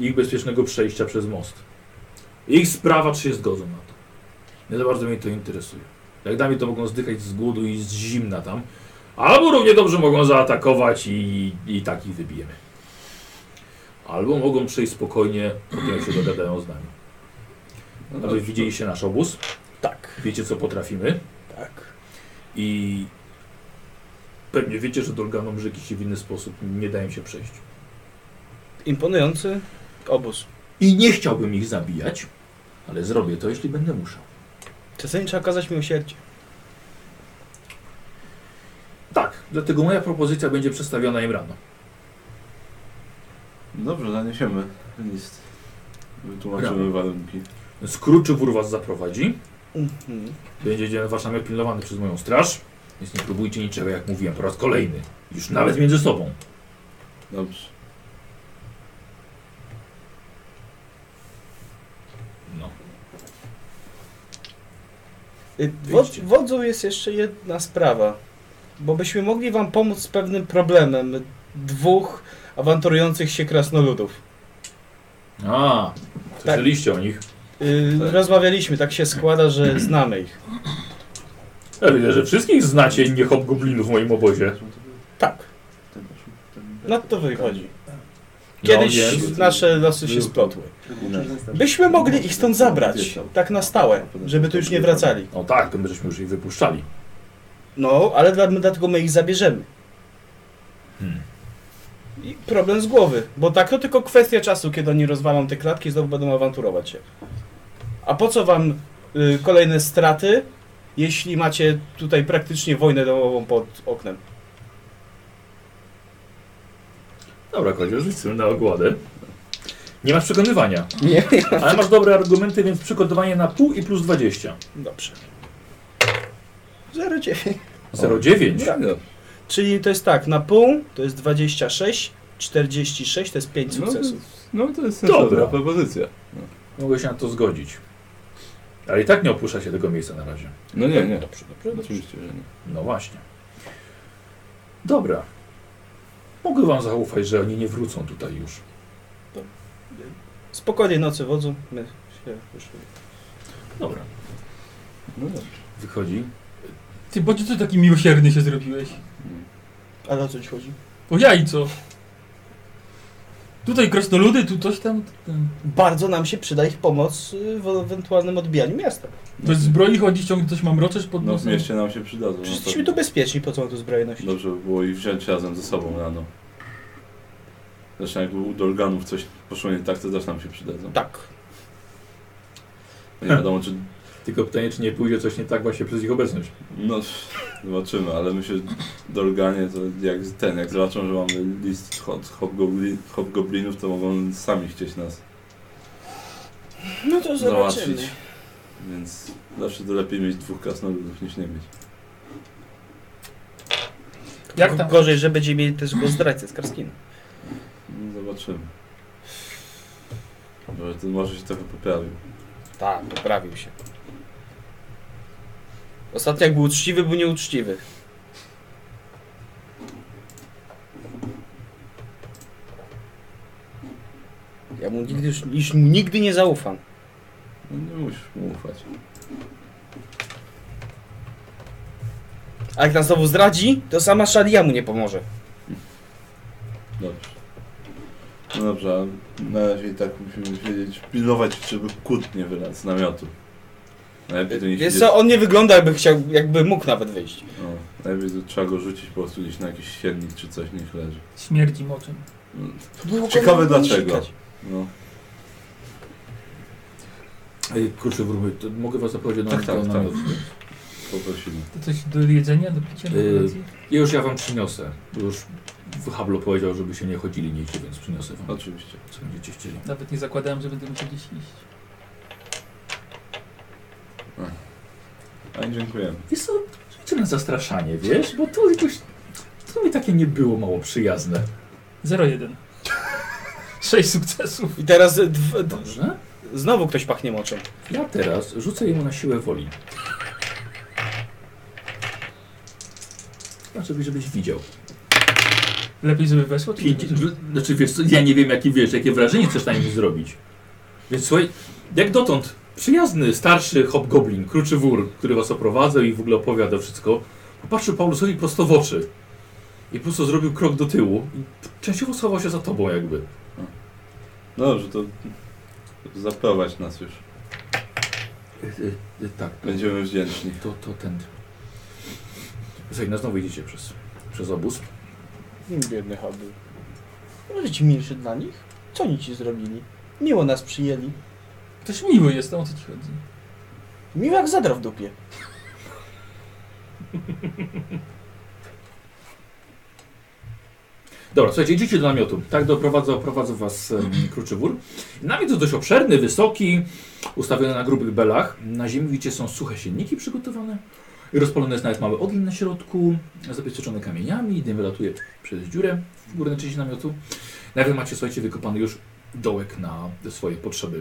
Speaker 3: ich bezpiecznego przejścia przez most. Ich sprawa, czy się zgodzą na to. Nie za bardzo mnie to interesuje. Jak dla mnie to mogą zdychać z głodu i z zimna tam. Albo równie dobrze mogą zaatakować i, i tak ich wybijemy. Albo mogą przejść spokojnie, po tym jak się dogadają z nami.
Speaker 1: No
Speaker 3: Aby widzieliście nasz obóz.
Speaker 2: Tak,
Speaker 3: Wiecie, co potrafimy
Speaker 2: tak.
Speaker 3: i pewnie wiecie, że Dolganom rzeki się w inny sposób nie dają się przejść.
Speaker 2: Imponujący obóz.
Speaker 3: I nie chciałbym ich zabijać, ale zrobię to, jeśli będę musiał.
Speaker 2: Czasami trzeba okazać miłosierdzie.
Speaker 3: Tak, dlatego moja propozycja będzie przedstawiona im rano.
Speaker 1: Dobrze, zaniesiemy list. Wytłumaczymy warunki.
Speaker 3: Skruczywór was zaprowadzi,
Speaker 2: Mhm.
Speaker 3: będziecie wasz namiot pilnowany przez moją straż, więc nie próbujcie niczego, jak mówiłem, po raz kolejny. Już nawet między sobą.
Speaker 1: Dobrze.
Speaker 3: No.
Speaker 2: Y, Wo
Speaker 3: Wyjdźcie.
Speaker 2: wodzu jest jeszcze jedna sprawa. Bo byśmy mogli wam pomóc z pewnym problemem dwóch awanturujących się krasnoludów.
Speaker 3: A, słyszeliście o nich.
Speaker 2: Y,
Speaker 1: Tak.
Speaker 2: Rozmawialiśmy, tak się składa, że znamy ich.
Speaker 3: Ja widzę, że wszystkich znacie nie hobgoblinów w moim obozie.
Speaker 2: Tak, na to wychodzi.
Speaker 3: No,
Speaker 2: Kiedyś
Speaker 3: jest.
Speaker 2: nasze losy się splotły. Byśmy mogli ich stąd zabrać, tak na stałe, żeby tu już nie wracali.
Speaker 3: No tak, to my żeśmy już ich wypuszczali.
Speaker 2: No, ale dla, dlatego my ich zabierzemy.
Speaker 3: Hmm.
Speaker 2: I problem z głowy, bo tak to tylko kwestia czasu, kiedy oni rozwalą te klatki i znowu będą awanturować się. A po co wam y, kolejne straty, jeśli macie tutaj praktycznie wojnę domową pod oknem?
Speaker 3: Dobra, Kozio, rzuć sobie na ogładę. Nie masz przekonywania,
Speaker 6: Nie,
Speaker 3: ale masz dobre argumenty, więc przygotowanie na pół i plus 20.
Speaker 2: Dobrze. 0,9.
Speaker 3: 0,9.
Speaker 1: Tak, dobrze.
Speaker 2: Czyli to jest tak, na pół to jest 26, 46 to jest 5
Speaker 1: No,
Speaker 2: sukcesów.
Speaker 1: No to jest sensowna
Speaker 3: Dobra.
Speaker 1: propozycja.
Speaker 3: Mogę się na to zgodzić. Ale i tak nie opuszcza się tego miejsca na razie.
Speaker 1: No nie, nie.
Speaker 3: Dobrze, dobrze, dobrze.
Speaker 1: Oczywiście, że nie.
Speaker 3: No właśnie. Dobra. Mogę wam zaufać, że oni nie wrócą tutaj już.
Speaker 2: Spokojnie nocy wodzu, my się już...
Speaker 3: Dobra.
Speaker 1: No dobrze.
Speaker 3: Wychodzi.
Speaker 4: Ty, bo ty taki miłosierny się zrobiłeś.
Speaker 2: Ale o co ci chodzi?
Speaker 4: O jajco. Tutaj krasnoludy, tu coś tam. tam.
Speaker 2: Bardzo nam się przyda ich pomoc y, w ewentualnym odbijaniu miasta.
Speaker 4: Bez zbroi chodzi, ciągle coś mam roczesz pod
Speaker 1: No w
Speaker 4: nosem.
Speaker 1: mieście nam się przydadzą.
Speaker 2: Przecież
Speaker 1: na
Speaker 2: jesteśmy tu
Speaker 1: pewno.
Speaker 2: bezpieczni, po co mam tu zbroję nosić?
Speaker 1: Dobrze by było i wziąć razem ze sobą rano. Zresztą jak u Dolganów coś poszło nie tak, to też nam się przydadzą.
Speaker 2: Tak.
Speaker 1: Nie wiadomo, czy
Speaker 3: Tylko pytanie, czy nie pójdzie coś nie tak właśnie przez ich obecność.
Speaker 1: No, zobaczymy, ale myślę, że Dolganie to jak ten, jak zobaczą, że mamy list hot, hobgobli, hobgoblinów, to mogą sami chcieć nas
Speaker 2: No to zobaczymy.
Speaker 1: załatwić. Więc zawsze to lepiej mieć dwóch krasnoludów niż nie mieć.
Speaker 2: Jak tam? Gorzej, że będziemy mieli też go zdrajcę z Karskina.
Speaker 1: No, Zobaczymy. Może, to, może się trochę poprawił.
Speaker 2: Tak, poprawił się. Ostatnio jak był uczciwy, był nieuczciwy. Ja mu nigdy, już, już mu nigdy nie zaufam.
Speaker 1: No, nie musisz mu ufać.
Speaker 2: A jak nas znowu zdradzi, to sama Shadia mu nie pomoże.
Speaker 1: Dobrze. No dobrze, a na razie i tak musimy wiedzieć, pilnować, żeby kłód nie wylazł z namiotu. Najlepiej to nie
Speaker 2: Wiesz
Speaker 1: siedzieć-
Speaker 2: co, on nie wygląda jakby chciał, jakby mógł nawet wyjść.
Speaker 1: No, najlepiej to trzeba go rzucić po prostu gdzieś na jakiś siennik czy coś, niech leży.
Speaker 4: Śmierdzi moczem.
Speaker 1: No, Ciekawe dlaczego. No,
Speaker 3: Ej, kurczę, wróbmy, to mogę was zaprosić do
Speaker 1: Tak, tak,
Speaker 3: do
Speaker 1: tak.
Speaker 3: namiotu.
Speaker 1: poprosimy.
Speaker 4: To coś do jedzenia, do picia? do
Speaker 3: Yy,
Speaker 4: kolacji?
Speaker 3: I już ja wam przyniosę. Bo Już Hablo powiedział, żeby się nie chodzili nici, więc przyniosę wam,
Speaker 1: Oczywiście.
Speaker 3: co będziecie chcieli.
Speaker 4: Nawet nie zakładałem, że będę musiał gdzieś iść.
Speaker 1: A dziękujemy.
Speaker 3: Wiesz co, idźcie na zastraszanie, wiesz? Bo to jakoś... To mi takie nie było mało przyjazne.
Speaker 4: 0-1. 6 sukcesów.
Speaker 2: I teraz y, dw, d,
Speaker 3: Dobrze?
Speaker 2: znowu ktoś pachnie moczem.
Speaker 3: Ja teraz rzucę jemu na siłę woli. Znaczy, żebyś widział.
Speaker 4: Lepiej, żeby weszło? czy
Speaker 3: Pięć,
Speaker 4: żeby-
Speaker 3: znaczy, wiesz co, ja nie wiem, jakie, wiesz, jakie wrażenie chcesz na nim zrobić. Więc słuchaj, jak dotąd, przyjazny, starszy hobgoblin, kruczy wór, który was oprowadzał i w ogóle opowiadał wszystko, popatrzył Paulusowi prosto w oczy. I po prostu zrobił krok do tyłu i częściowo schował się za tobą jakby.
Speaker 1: No dobrze, to zaprowadź nas już.
Speaker 3: tak,
Speaker 1: Będziemy wdzięczni.
Speaker 3: to, to ten... Słuchaj, no znowu idziecie przez, przez obóz.
Speaker 2: Biedny hobby. Może ci milszy dla nich? Co oni ci zrobili? Miło nas przyjęli.
Speaker 4: Ktoś miły jest, no o co ci chodzi?
Speaker 2: Miło jak zadra w dupie.
Speaker 3: Dobra, słuchajcie, idziecie do namiotu. Tak doprowadza prowadzą was em, kruczy wór. Namiot jest dość obszerny, wysoki, ustawiony na grubych belach. Na ziemi widzicie są suche sienniki przygotowane. Rozpalony jest nawet mały ogień na środku, zabezpieczony kamieniami, dym wylatuje przez dziurę w górnej części namiotu. Nawet macie, słuchajcie, wykopany już dołek na swoje potrzeby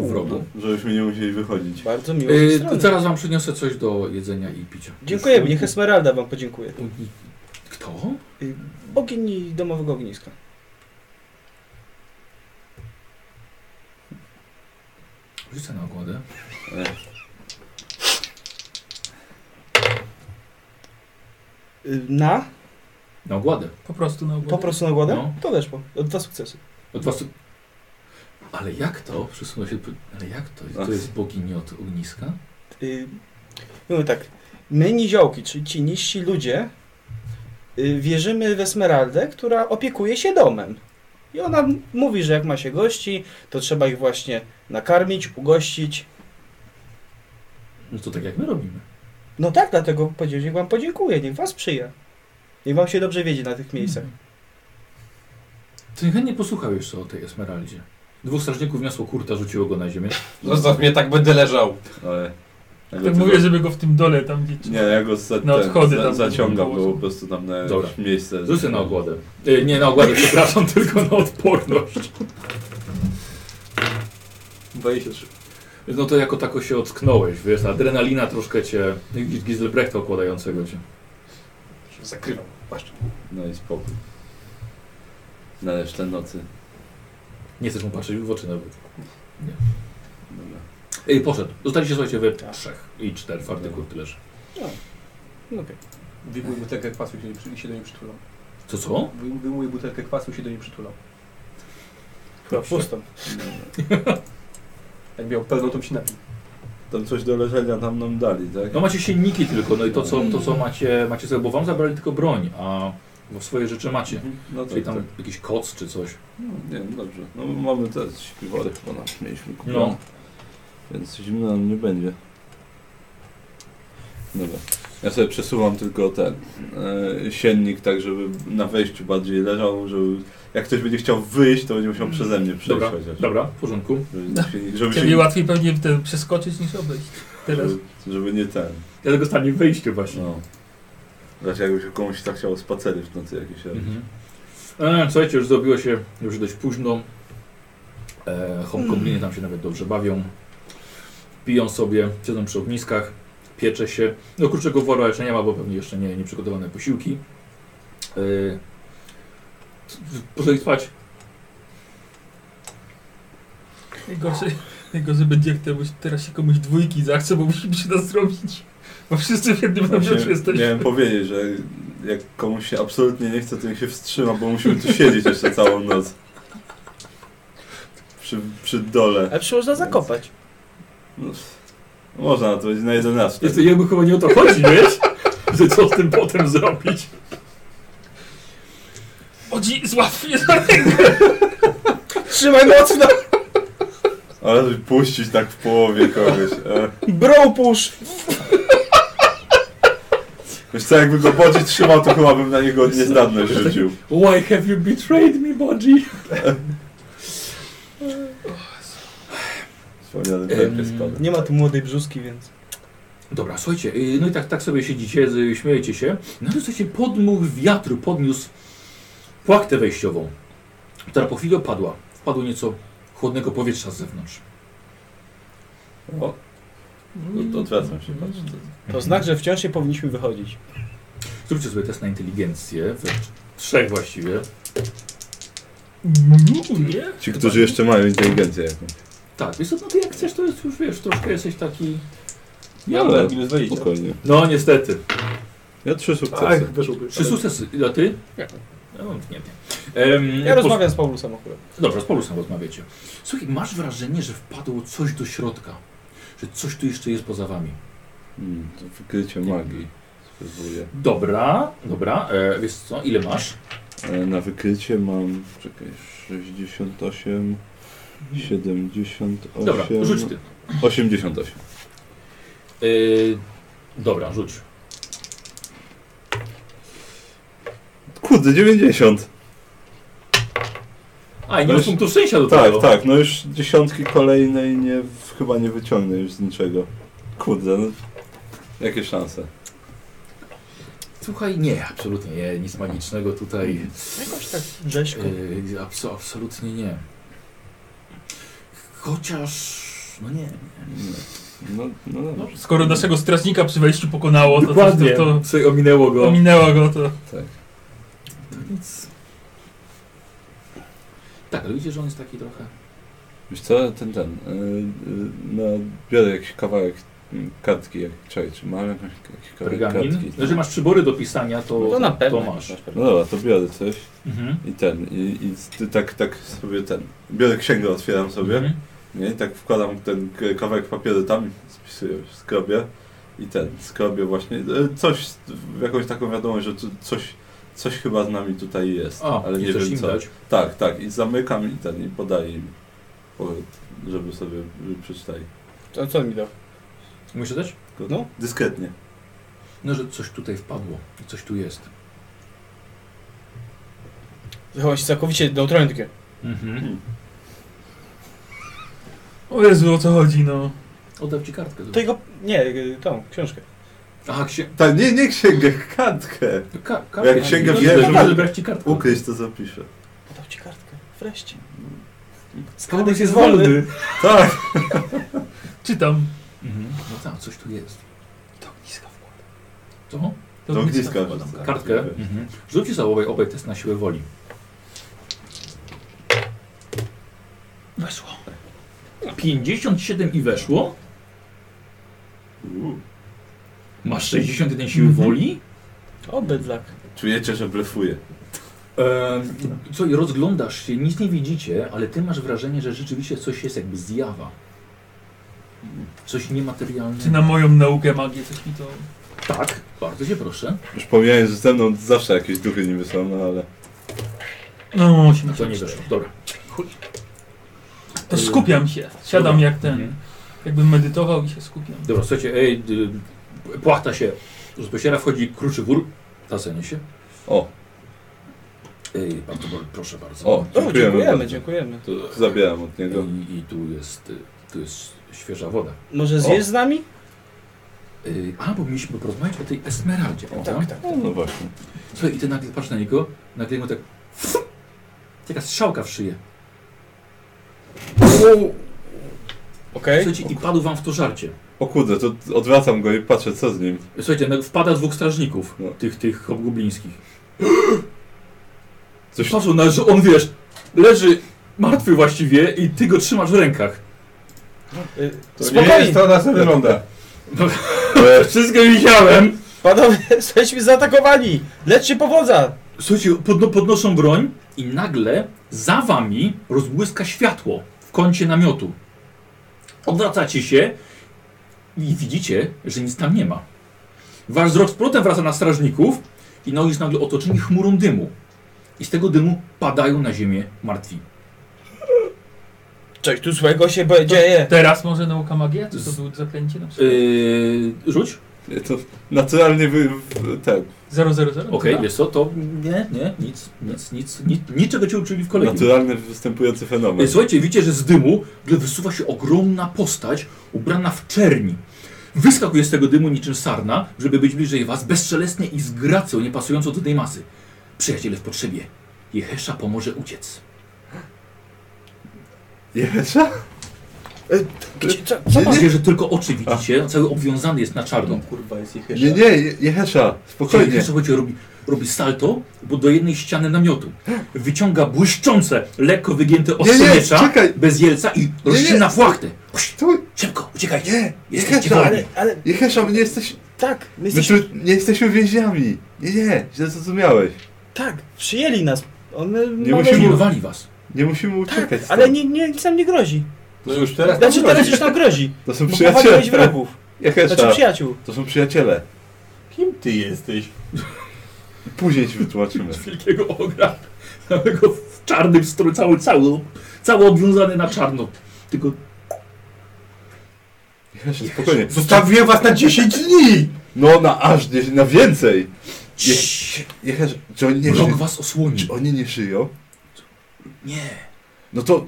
Speaker 3: w rogu.
Speaker 1: Żebyśmy nie musieli wychodzić.
Speaker 2: Bardzo miło.
Speaker 3: Yy,
Speaker 2: z strony.
Speaker 3: zaraz wam przyniosę coś do jedzenia i picia.
Speaker 2: Dziękujemy, niech Esmeralda wam podziękuje.
Speaker 3: Kto?
Speaker 2: Y, Bogini domowego ogniska.
Speaker 3: Rzucę na ogładę.
Speaker 2: Y, Na?
Speaker 3: Na ogładę.
Speaker 4: Po prostu na ogół.
Speaker 2: Po prostu na głodę?
Speaker 3: No.
Speaker 2: To weszło. Dwa sukcesy.
Speaker 3: Od was... No Ale jak to? Przesunął się... Ale jak to?
Speaker 1: Ach.
Speaker 3: To jest bogini od ogniska?
Speaker 2: Y, Mówię tak. My niziołki, czyli ci niżsi ludzie, y, wierzymy w Esmeraldę, która opiekuje się domem. I ona m- mówi, że jak ma się gości, to trzeba ich właśnie nakarmić, ugościć.
Speaker 3: No to tak jak my robimy.
Speaker 2: No tak, dlatego powiedział, niech wam podziękuję, niech was przyja. Niech wam się dobrze wiedzie na tych miejscach.
Speaker 3: Ty chętnie posłuchał jeszcze o tej Esmeraldzie. Dwóch strażników niosło kurta, rzuciło go na ziemię.
Speaker 5: Zostaw mnie, tak będę leżał.
Speaker 1: Ale... Ja go
Speaker 4: Tak
Speaker 1: tylko-
Speaker 4: mówię, żeby go w tym dole tam gdzieś...
Speaker 1: Nie, ja go za,
Speaker 4: Na
Speaker 1: ten,
Speaker 4: odchody
Speaker 1: za,
Speaker 4: tam
Speaker 1: zaciągam
Speaker 4: położę.
Speaker 1: go po prostu tam na
Speaker 3: Dobra.
Speaker 1: jakieś miejsce.
Speaker 3: Rzucę na ogładę. E, nie na ogładę, przepraszam, tylko na odporność.
Speaker 5: 23.
Speaker 3: No to jako tako się ocknąłeś, wiesz, adrenalina troszkę cię... Widzisz Gizelbrechta okładającego cię.
Speaker 5: Się Zakrywam. Płaszcz.
Speaker 1: No i spokój. Na resztę nocy.
Speaker 3: Nie chcesz mu patrzeć w oczy nawet.
Speaker 1: Dobra.
Speaker 3: Ej, poszedł. Zostaliście, słuchajcie, we trzech i czterech, artykuł tyleż.
Speaker 2: No Okej.
Speaker 5: Wyjmuj butelkę kwasu i się do niej przy- i się do niej przytulam.
Speaker 3: Co, co?
Speaker 5: Wyjm- Wyjmuję butelkę kwasu i się do niej przytulam.
Speaker 2: Chyba pustą.
Speaker 5: Jak miał pełną, to mi się napił.
Speaker 1: Tam coś do leżenia nam nam dali, tak?
Speaker 3: No macie sienniki tylko, no i to co, to, co macie, macie sobie, bo wam zabrali tylko broń, a bo swoje rzeczy macie.
Speaker 1: No
Speaker 3: Czyli
Speaker 1: tak,
Speaker 3: tam
Speaker 1: tak.
Speaker 3: jakiś koc czy coś.
Speaker 1: No, nie, dobrze. No mamy też śpiwory, bo nam mieliśmy kupioną.
Speaker 3: No.
Speaker 1: Więc zimno nam nie będzie. Dobra. Ja sobie przesuwam tylko ten e, siennik tak, żeby na wejściu bardziej leżał, żeby jak ktoś będzie chciał wyjść, to będzie musiał przeze mnie przejść
Speaker 3: Dobra,
Speaker 1: chociaż.
Speaker 3: dobra, w porządku.
Speaker 1: Żeby, się- żeby,
Speaker 4: Ciebie
Speaker 1: się,
Speaker 4: łatwiej pewnie te przeskoczyć niż obejść. Teraz.
Speaker 1: żeby, żeby nie ten.
Speaker 3: Ja tego stanie w wyjściu właśnie.
Speaker 1: No. Znaczy jakby się komuś tak chciało spacery w nocy jakieś. robić.
Speaker 3: Mhm. E, słuchajcie, już zrobiło się już dość późno. E, Homkoblinie tam się nawet dobrze bawią. Piją sobie, siedzą przy ogniskach, piecze się. No kurczego wora jeszcze nie ma, bo pewnie jeszcze nie, nie przygotowane posiłki. E, proszę ich spać.
Speaker 4: Najgorsze, najgorzej będzie jak temu, teraz się komuś dwójki zachce, bo musimy się nas zrobić. Bo wszyscy w jednym
Speaker 3: Znaczy,
Speaker 4: namiocie
Speaker 1: Właśnie
Speaker 4: jesteśmy.
Speaker 1: miałem powiedzieć, że jak komuś się absolutnie nie chce, to niech się wstrzyma, bo musimy tu siedzieć jeszcze całą noc. Przy, przy dole.
Speaker 2: Ale przecież można zakopać.
Speaker 1: No, można to będzie na 11.
Speaker 3: Jest to jakby chyba nie o to chodzi, wiesz? Że co z tym potem zrobić?
Speaker 4: Chodzi, złap mnie za rękę.
Speaker 2: Trzymaj mocno!
Speaker 1: Ale żeby puścić tak w połowie kogoś. E,
Speaker 2: Bro push!
Speaker 1: wiesz co, jakby go bodzić trzymał, to chyba bym na niego niezdatność rzucił.
Speaker 3: Why have you betrayed me, Bodzi?
Speaker 1: Wspomniany
Speaker 3: Em,
Speaker 1: pewnie spada.
Speaker 2: Nie ma tu młodej brzuski, więc...
Speaker 3: Dobra, słuchajcie, yy, no i tak, tak sobie siedzicie, z- śmiejecie się. No i słuchajcie, podmuch wiatru podniósł płachtę wejściową, która po chwili opadła. Wpadło nieco chłodnego powietrza z zewnątrz.
Speaker 1: O, No to- to odwracam się, patrz. To,
Speaker 2: To znak, że wciąż się powinniśmy wychodzić.
Speaker 3: Zróbcie sobie test na inteligencję, we trzech właściwie.
Speaker 4: Nie?
Speaker 1: ci, którzy jeszcze mają inteligencję jakąś.
Speaker 3: Tak, więc no ty jak chcesz, to jest już, wiesz, troszkę jesteś taki...
Speaker 5: No
Speaker 1: Ja ale
Speaker 5: minus 20.
Speaker 1: spokojnie.
Speaker 3: No niestety.
Speaker 1: Ja trzy
Speaker 5: Ach,
Speaker 1: sukcesy.
Speaker 5: weszłoby.
Speaker 3: Trzy sukcesy, a ty? Ja. No, nie wiem. Em,
Speaker 2: Ja
Speaker 3: po-
Speaker 2: rozmawiam z Paulusem akurat.
Speaker 3: Dobrze, z Polusem rozmawiacie. Słuchaj, masz wrażenie, że wpadło coś do środka. Że coś tu jeszcze jest poza wami.
Speaker 1: Hmm, to wykrycie magii. Spróbuję.
Speaker 3: Dobra, dobra. E, wiesz co, ile masz?
Speaker 1: E, Na wykrycie mam, czekaj, 68, 78,
Speaker 3: Dobra, rzuć ty.
Speaker 1: 88.
Speaker 3: E, dobra, rzuć.
Speaker 1: Kurde, 90.
Speaker 3: A, i nie
Speaker 1: No już-
Speaker 3: masz punktu szczęścia do
Speaker 1: Tak,
Speaker 3: tego.
Speaker 1: tak, no już dziesiątki kolejnej nie, chyba nie wyciągnę już z niczego. Kurde, no, jakie szanse.
Speaker 3: Słuchaj, nie, absolutnie nie. Nic magicznego tutaj.
Speaker 2: Jakoś tak rzeźko.
Speaker 3: E, abso, absolutnie nie. Chociaż... No nie.
Speaker 1: No, no, no, dobrze.
Speaker 4: Skoro naszego strażnika przy wejściu pokonało, to, to,
Speaker 3: Dokładnie,
Speaker 4: to,
Speaker 3: Słuchaj, ominęło
Speaker 4: to
Speaker 3: go.
Speaker 4: minęło go to.
Speaker 1: tak.
Speaker 3: To nic. Tak, ale widzisz, że on jest taki trochę...
Speaker 1: Wiesz co, ten, ten, yy, yy, no, biorę jakiś kawałek mm, kartki, jak, czekaj, czy mam jakąś, jakiś kawałek kartki?
Speaker 3: Pergamin. Znaczy Jeżeli masz przybory do pisania, to,
Speaker 2: No to na pewno.
Speaker 3: to masz.
Speaker 1: No dobra, to biorę coś.
Speaker 3: Mhm.
Speaker 1: I ten, i, i ty tak, tak sobie ten. Biorę księgę, otwieram sobie,
Speaker 3: Mhm.
Speaker 1: nie? I tak wkładam ten k- kawałek papieru tam, spisuję, skrobię i ten, skrobię właśnie. e, Coś, jakąś taką wiadomość, że tu coś, coś chyba z nami tutaj jest,
Speaker 3: A,
Speaker 1: ale nie
Speaker 3: chcesz
Speaker 1: wiem
Speaker 3: im
Speaker 1: co.
Speaker 3: dać.
Speaker 1: Tak, tak, i zamykam i ten, i podaję im, po- żeby sobie przeczytali.
Speaker 2: To co mi da?
Speaker 3: Musisz dać?
Speaker 1: Tylko
Speaker 2: No.
Speaker 1: Dyskretnie.
Speaker 3: No, że coś tutaj wpadło. i Coś tu jest.
Speaker 2: Zachować się całkowicie neutralnie takie.
Speaker 3: Mhm.
Speaker 4: O Jezu, o co chodzi, no.
Speaker 3: Oddam ci kartkę.
Speaker 2: To jego... nie, y, tą, książkę.
Speaker 3: Aha, księ...
Speaker 1: Tak, nie, nie księgę, kartkę.
Speaker 3: ka kartkę.
Speaker 1: Jak księga
Speaker 3: No,
Speaker 1: wie,
Speaker 3: to
Speaker 1: że-
Speaker 3: dobrze, brać ci kartkę.
Speaker 1: Ukryć to zapiszę.
Speaker 2: Podał ci kartkę. Wreszcie.
Speaker 3: Skarbek jest wolny.
Speaker 1: Tak!
Speaker 4: Czytam.
Speaker 3: Mhm. No tak, coś tu jest.
Speaker 4: Do ogniska wkładam.
Speaker 3: Co?
Speaker 1: Do ogniska.
Speaker 3: Wkładam
Speaker 1: wrzucę.
Speaker 3: Kartkę. Mhm. Rzućcie sobie obaj, obaj test na siłę woli. Weszło. 57 i weszło?
Speaker 1: Uuu.
Speaker 3: Masz 61 siły
Speaker 1: Mhm.
Speaker 3: woli?
Speaker 2: O, bydlak.
Speaker 1: Czujecie, że blefuję.
Speaker 3: Ehm, Co, i rozglądasz się, nic nie widzicie, ale ty masz wrażenie, że rzeczywiście coś jest jakby zjawa. Coś
Speaker 4: Czy
Speaker 3: niematerialnego.
Speaker 4: na moją naukę magię coś mi to...
Speaker 3: Tak, bardzo cię proszę.
Speaker 1: Już pomijając, że ze mną zawsze jakieś duchy niby są, no ale...
Speaker 4: No,
Speaker 3: No to nie
Speaker 4: 84.
Speaker 3: weszło, dobra.
Speaker 4: To skupiam się. Siadam
Speaker 3: Dobra.
Speaker 4: jak ten.
Speaker 3: Mhm.
Speaker 4: Jakbym medytował i się skupiam.
Speaker 3: Dobra, słuchajcie, ej, y, płachta się rozpościera, wchodzi kruczy wór, tasenie się.
Speaker 1: O,
Speaker 3: Ej, pan Tobor, proszę bardzo.
Speaker 1: o,
Speaker 2: O,
Speaker 1: dziękujemy.
Speaker 2: dziękujemy,
Speaker 1: bardzo.
Speaker 2: dziękujemy.
Speaker 1: To zabieram od niego.
Speaker 3: I, I tu jest, y, tu jest świeża woda.
Speaker 2: Może zjesz z nami?
Speaker 3: Yy, a, bo mieliśmy porozmawiać o tej Esmeraldzie, prawda?
Speaker 1: tak. No właśnie.
Speaker 3: Słuchaj, i ty nagle patrz na niego, nagle mu tak... Taka strzałka w szyję.
Speaker 2: Okej.
Speaker 3: Słuchajcie, i padł wam w to żarcie.
Speaker 1: O kurde, to odwracam go i patrzę, co z nim.
Speaker 3: Słuchajcie, no, wpada dwóch strażników,
Speaker 1: No.
Speaker 3: tych, tych hobgoblińskich.
Speaker 1: Coś...
Speaker 3: Patrzą na, no, że on, wiesz, leży martwy właściwie i ty go trzymasz w rękach.
Speaker 2: Y,
Speaker 5: To nie jest
Speaker 2: Spokojnie,
Speaker 5: to na sobie wygląda.
Speaker 1: E,
Speaker 4: Wszystko widziałem!
Speaker 2: panowie, jesteśmy zaatakowani! Leczcie powodza!
Speaker 3: Słuchajcie, podno, podnoszą broń i nagle za wami rozbłyska światło w kącie namiotu. Odwracacie się i widzicie, że nic tam nie ma. Wasz wzrok z powrotem wraca na strażników i no już nagle otoczeni chmurą dymu. I z tego dymu padają na ziemię martwi.
Speaker 2: Coś tu złego się be- dzieje.
Speaker 4: Teraz może nauka magia? Czy to było zaklęcie na przykład?
Speaker 3: Yy, rzuć?
Speaker 1: Nie, to naturalnie wy... w- ten.
Speaker 4: 000? Okej,
Speaker 3: Okej, wiesz co, to nie, nie, nic, nic, nic, nic niczego cię uczyli w kolejnym.
Speaker 1: Naturalny występujący fenomen.
Speaker 3: E, Słuchajcie, widzicie, że z dymu nagle wysuwa się ogromna postać ubrana w czerni. Wyskakuje z tego dymu niczym sarna, żeby być bliżej was, bezszelestnie i z gracją, nie pasującą do tej masy. Przyjaciele w potrzebie. Jehesza pomoże uciec.
Speaker 1: Jeszcze?
Speaker 2: Gdzie, co, co pan?
Speaker 3: Zobaczcie, że tylko oczy widzicie, cały obwiązany jest na czarno.
Speaker 5: No, kurwa jest ich
Speaker 1: Nie, nie, Je- Jehesza, spokojnie.
Speaker 3: Jehesza chodzi, robi, robi salto, bo do jednej ściany namiotu. Wyciąga błyszczące, lekko wygięte
Speaker 1: Nie, nie,
Speaker 3: ostrze miecza,
Speaker 1: czekaj.
Speaker 3: bez jelca i rozcina płachtę. Puść,
Speaker 1: Tu,
Speaker 3: Szybko, uciekajcie.
Speaker 1: nie,
Speaker 3: Jesteście
Speaker 1: Jehesza,
Speaker 3: wolni.
Speaker 2: Ale, ale
Speaker 1: Jehesza, my nie jesteśmy...
Speaker 2: tak, my
Speaker 1: My tu
Speaker 2: jesteśmy,
Speaker 1: nie jesteśmy więźniami. Nie, nie, źle zrozumiałeś.
Speaker 2: tak, przyjęli nas. One
Speaker 1: Nie
Speaker 2: mamy-
Speaker 1: musimy-
Speaker 3: Pilnowali was.
Speaker 1: Nie musimy uciekać
Speaker 2: Tak,
Speaker 1: stąd.
Speaker 2: ale nie, nie, nic nam nie grozi.
Speaker 5: No już teraz
Speaker 2: Znaczy teraz już nam grozi,
Speaker 1: To są
Speaker 2: bo powaliłeś
Speaker 1: przyjaciele. tak.
Speaker 2: wrogów. Znaczy
Speaker 1: Jehesza,
Speaker 2: przyjaciół.
Speaker 1: to są przyjaciele.
Speaker 5: Kim ty jesteś?
Speaker 1: Później ci wytłumaczymy.
Speaker 3: wielkiego ogra, całego w czarnym stroju, cały, cały, cały obwiązany na czarno. Tylko
Speaker 1: Jehesza, spokojnie.
Speaker 5: Zostawiłem was na 10 dni!
Speaker 1: No na aż, nie, na więcej. Je, Jehesza, czy oni nie
Speaker 3: mrok
Speaker 1: żyją?
Speaker 3: was osłoni.
Speaker 1: Czy oni nie żyją?
Speaker 3: Nie.
Speaker 1: No to...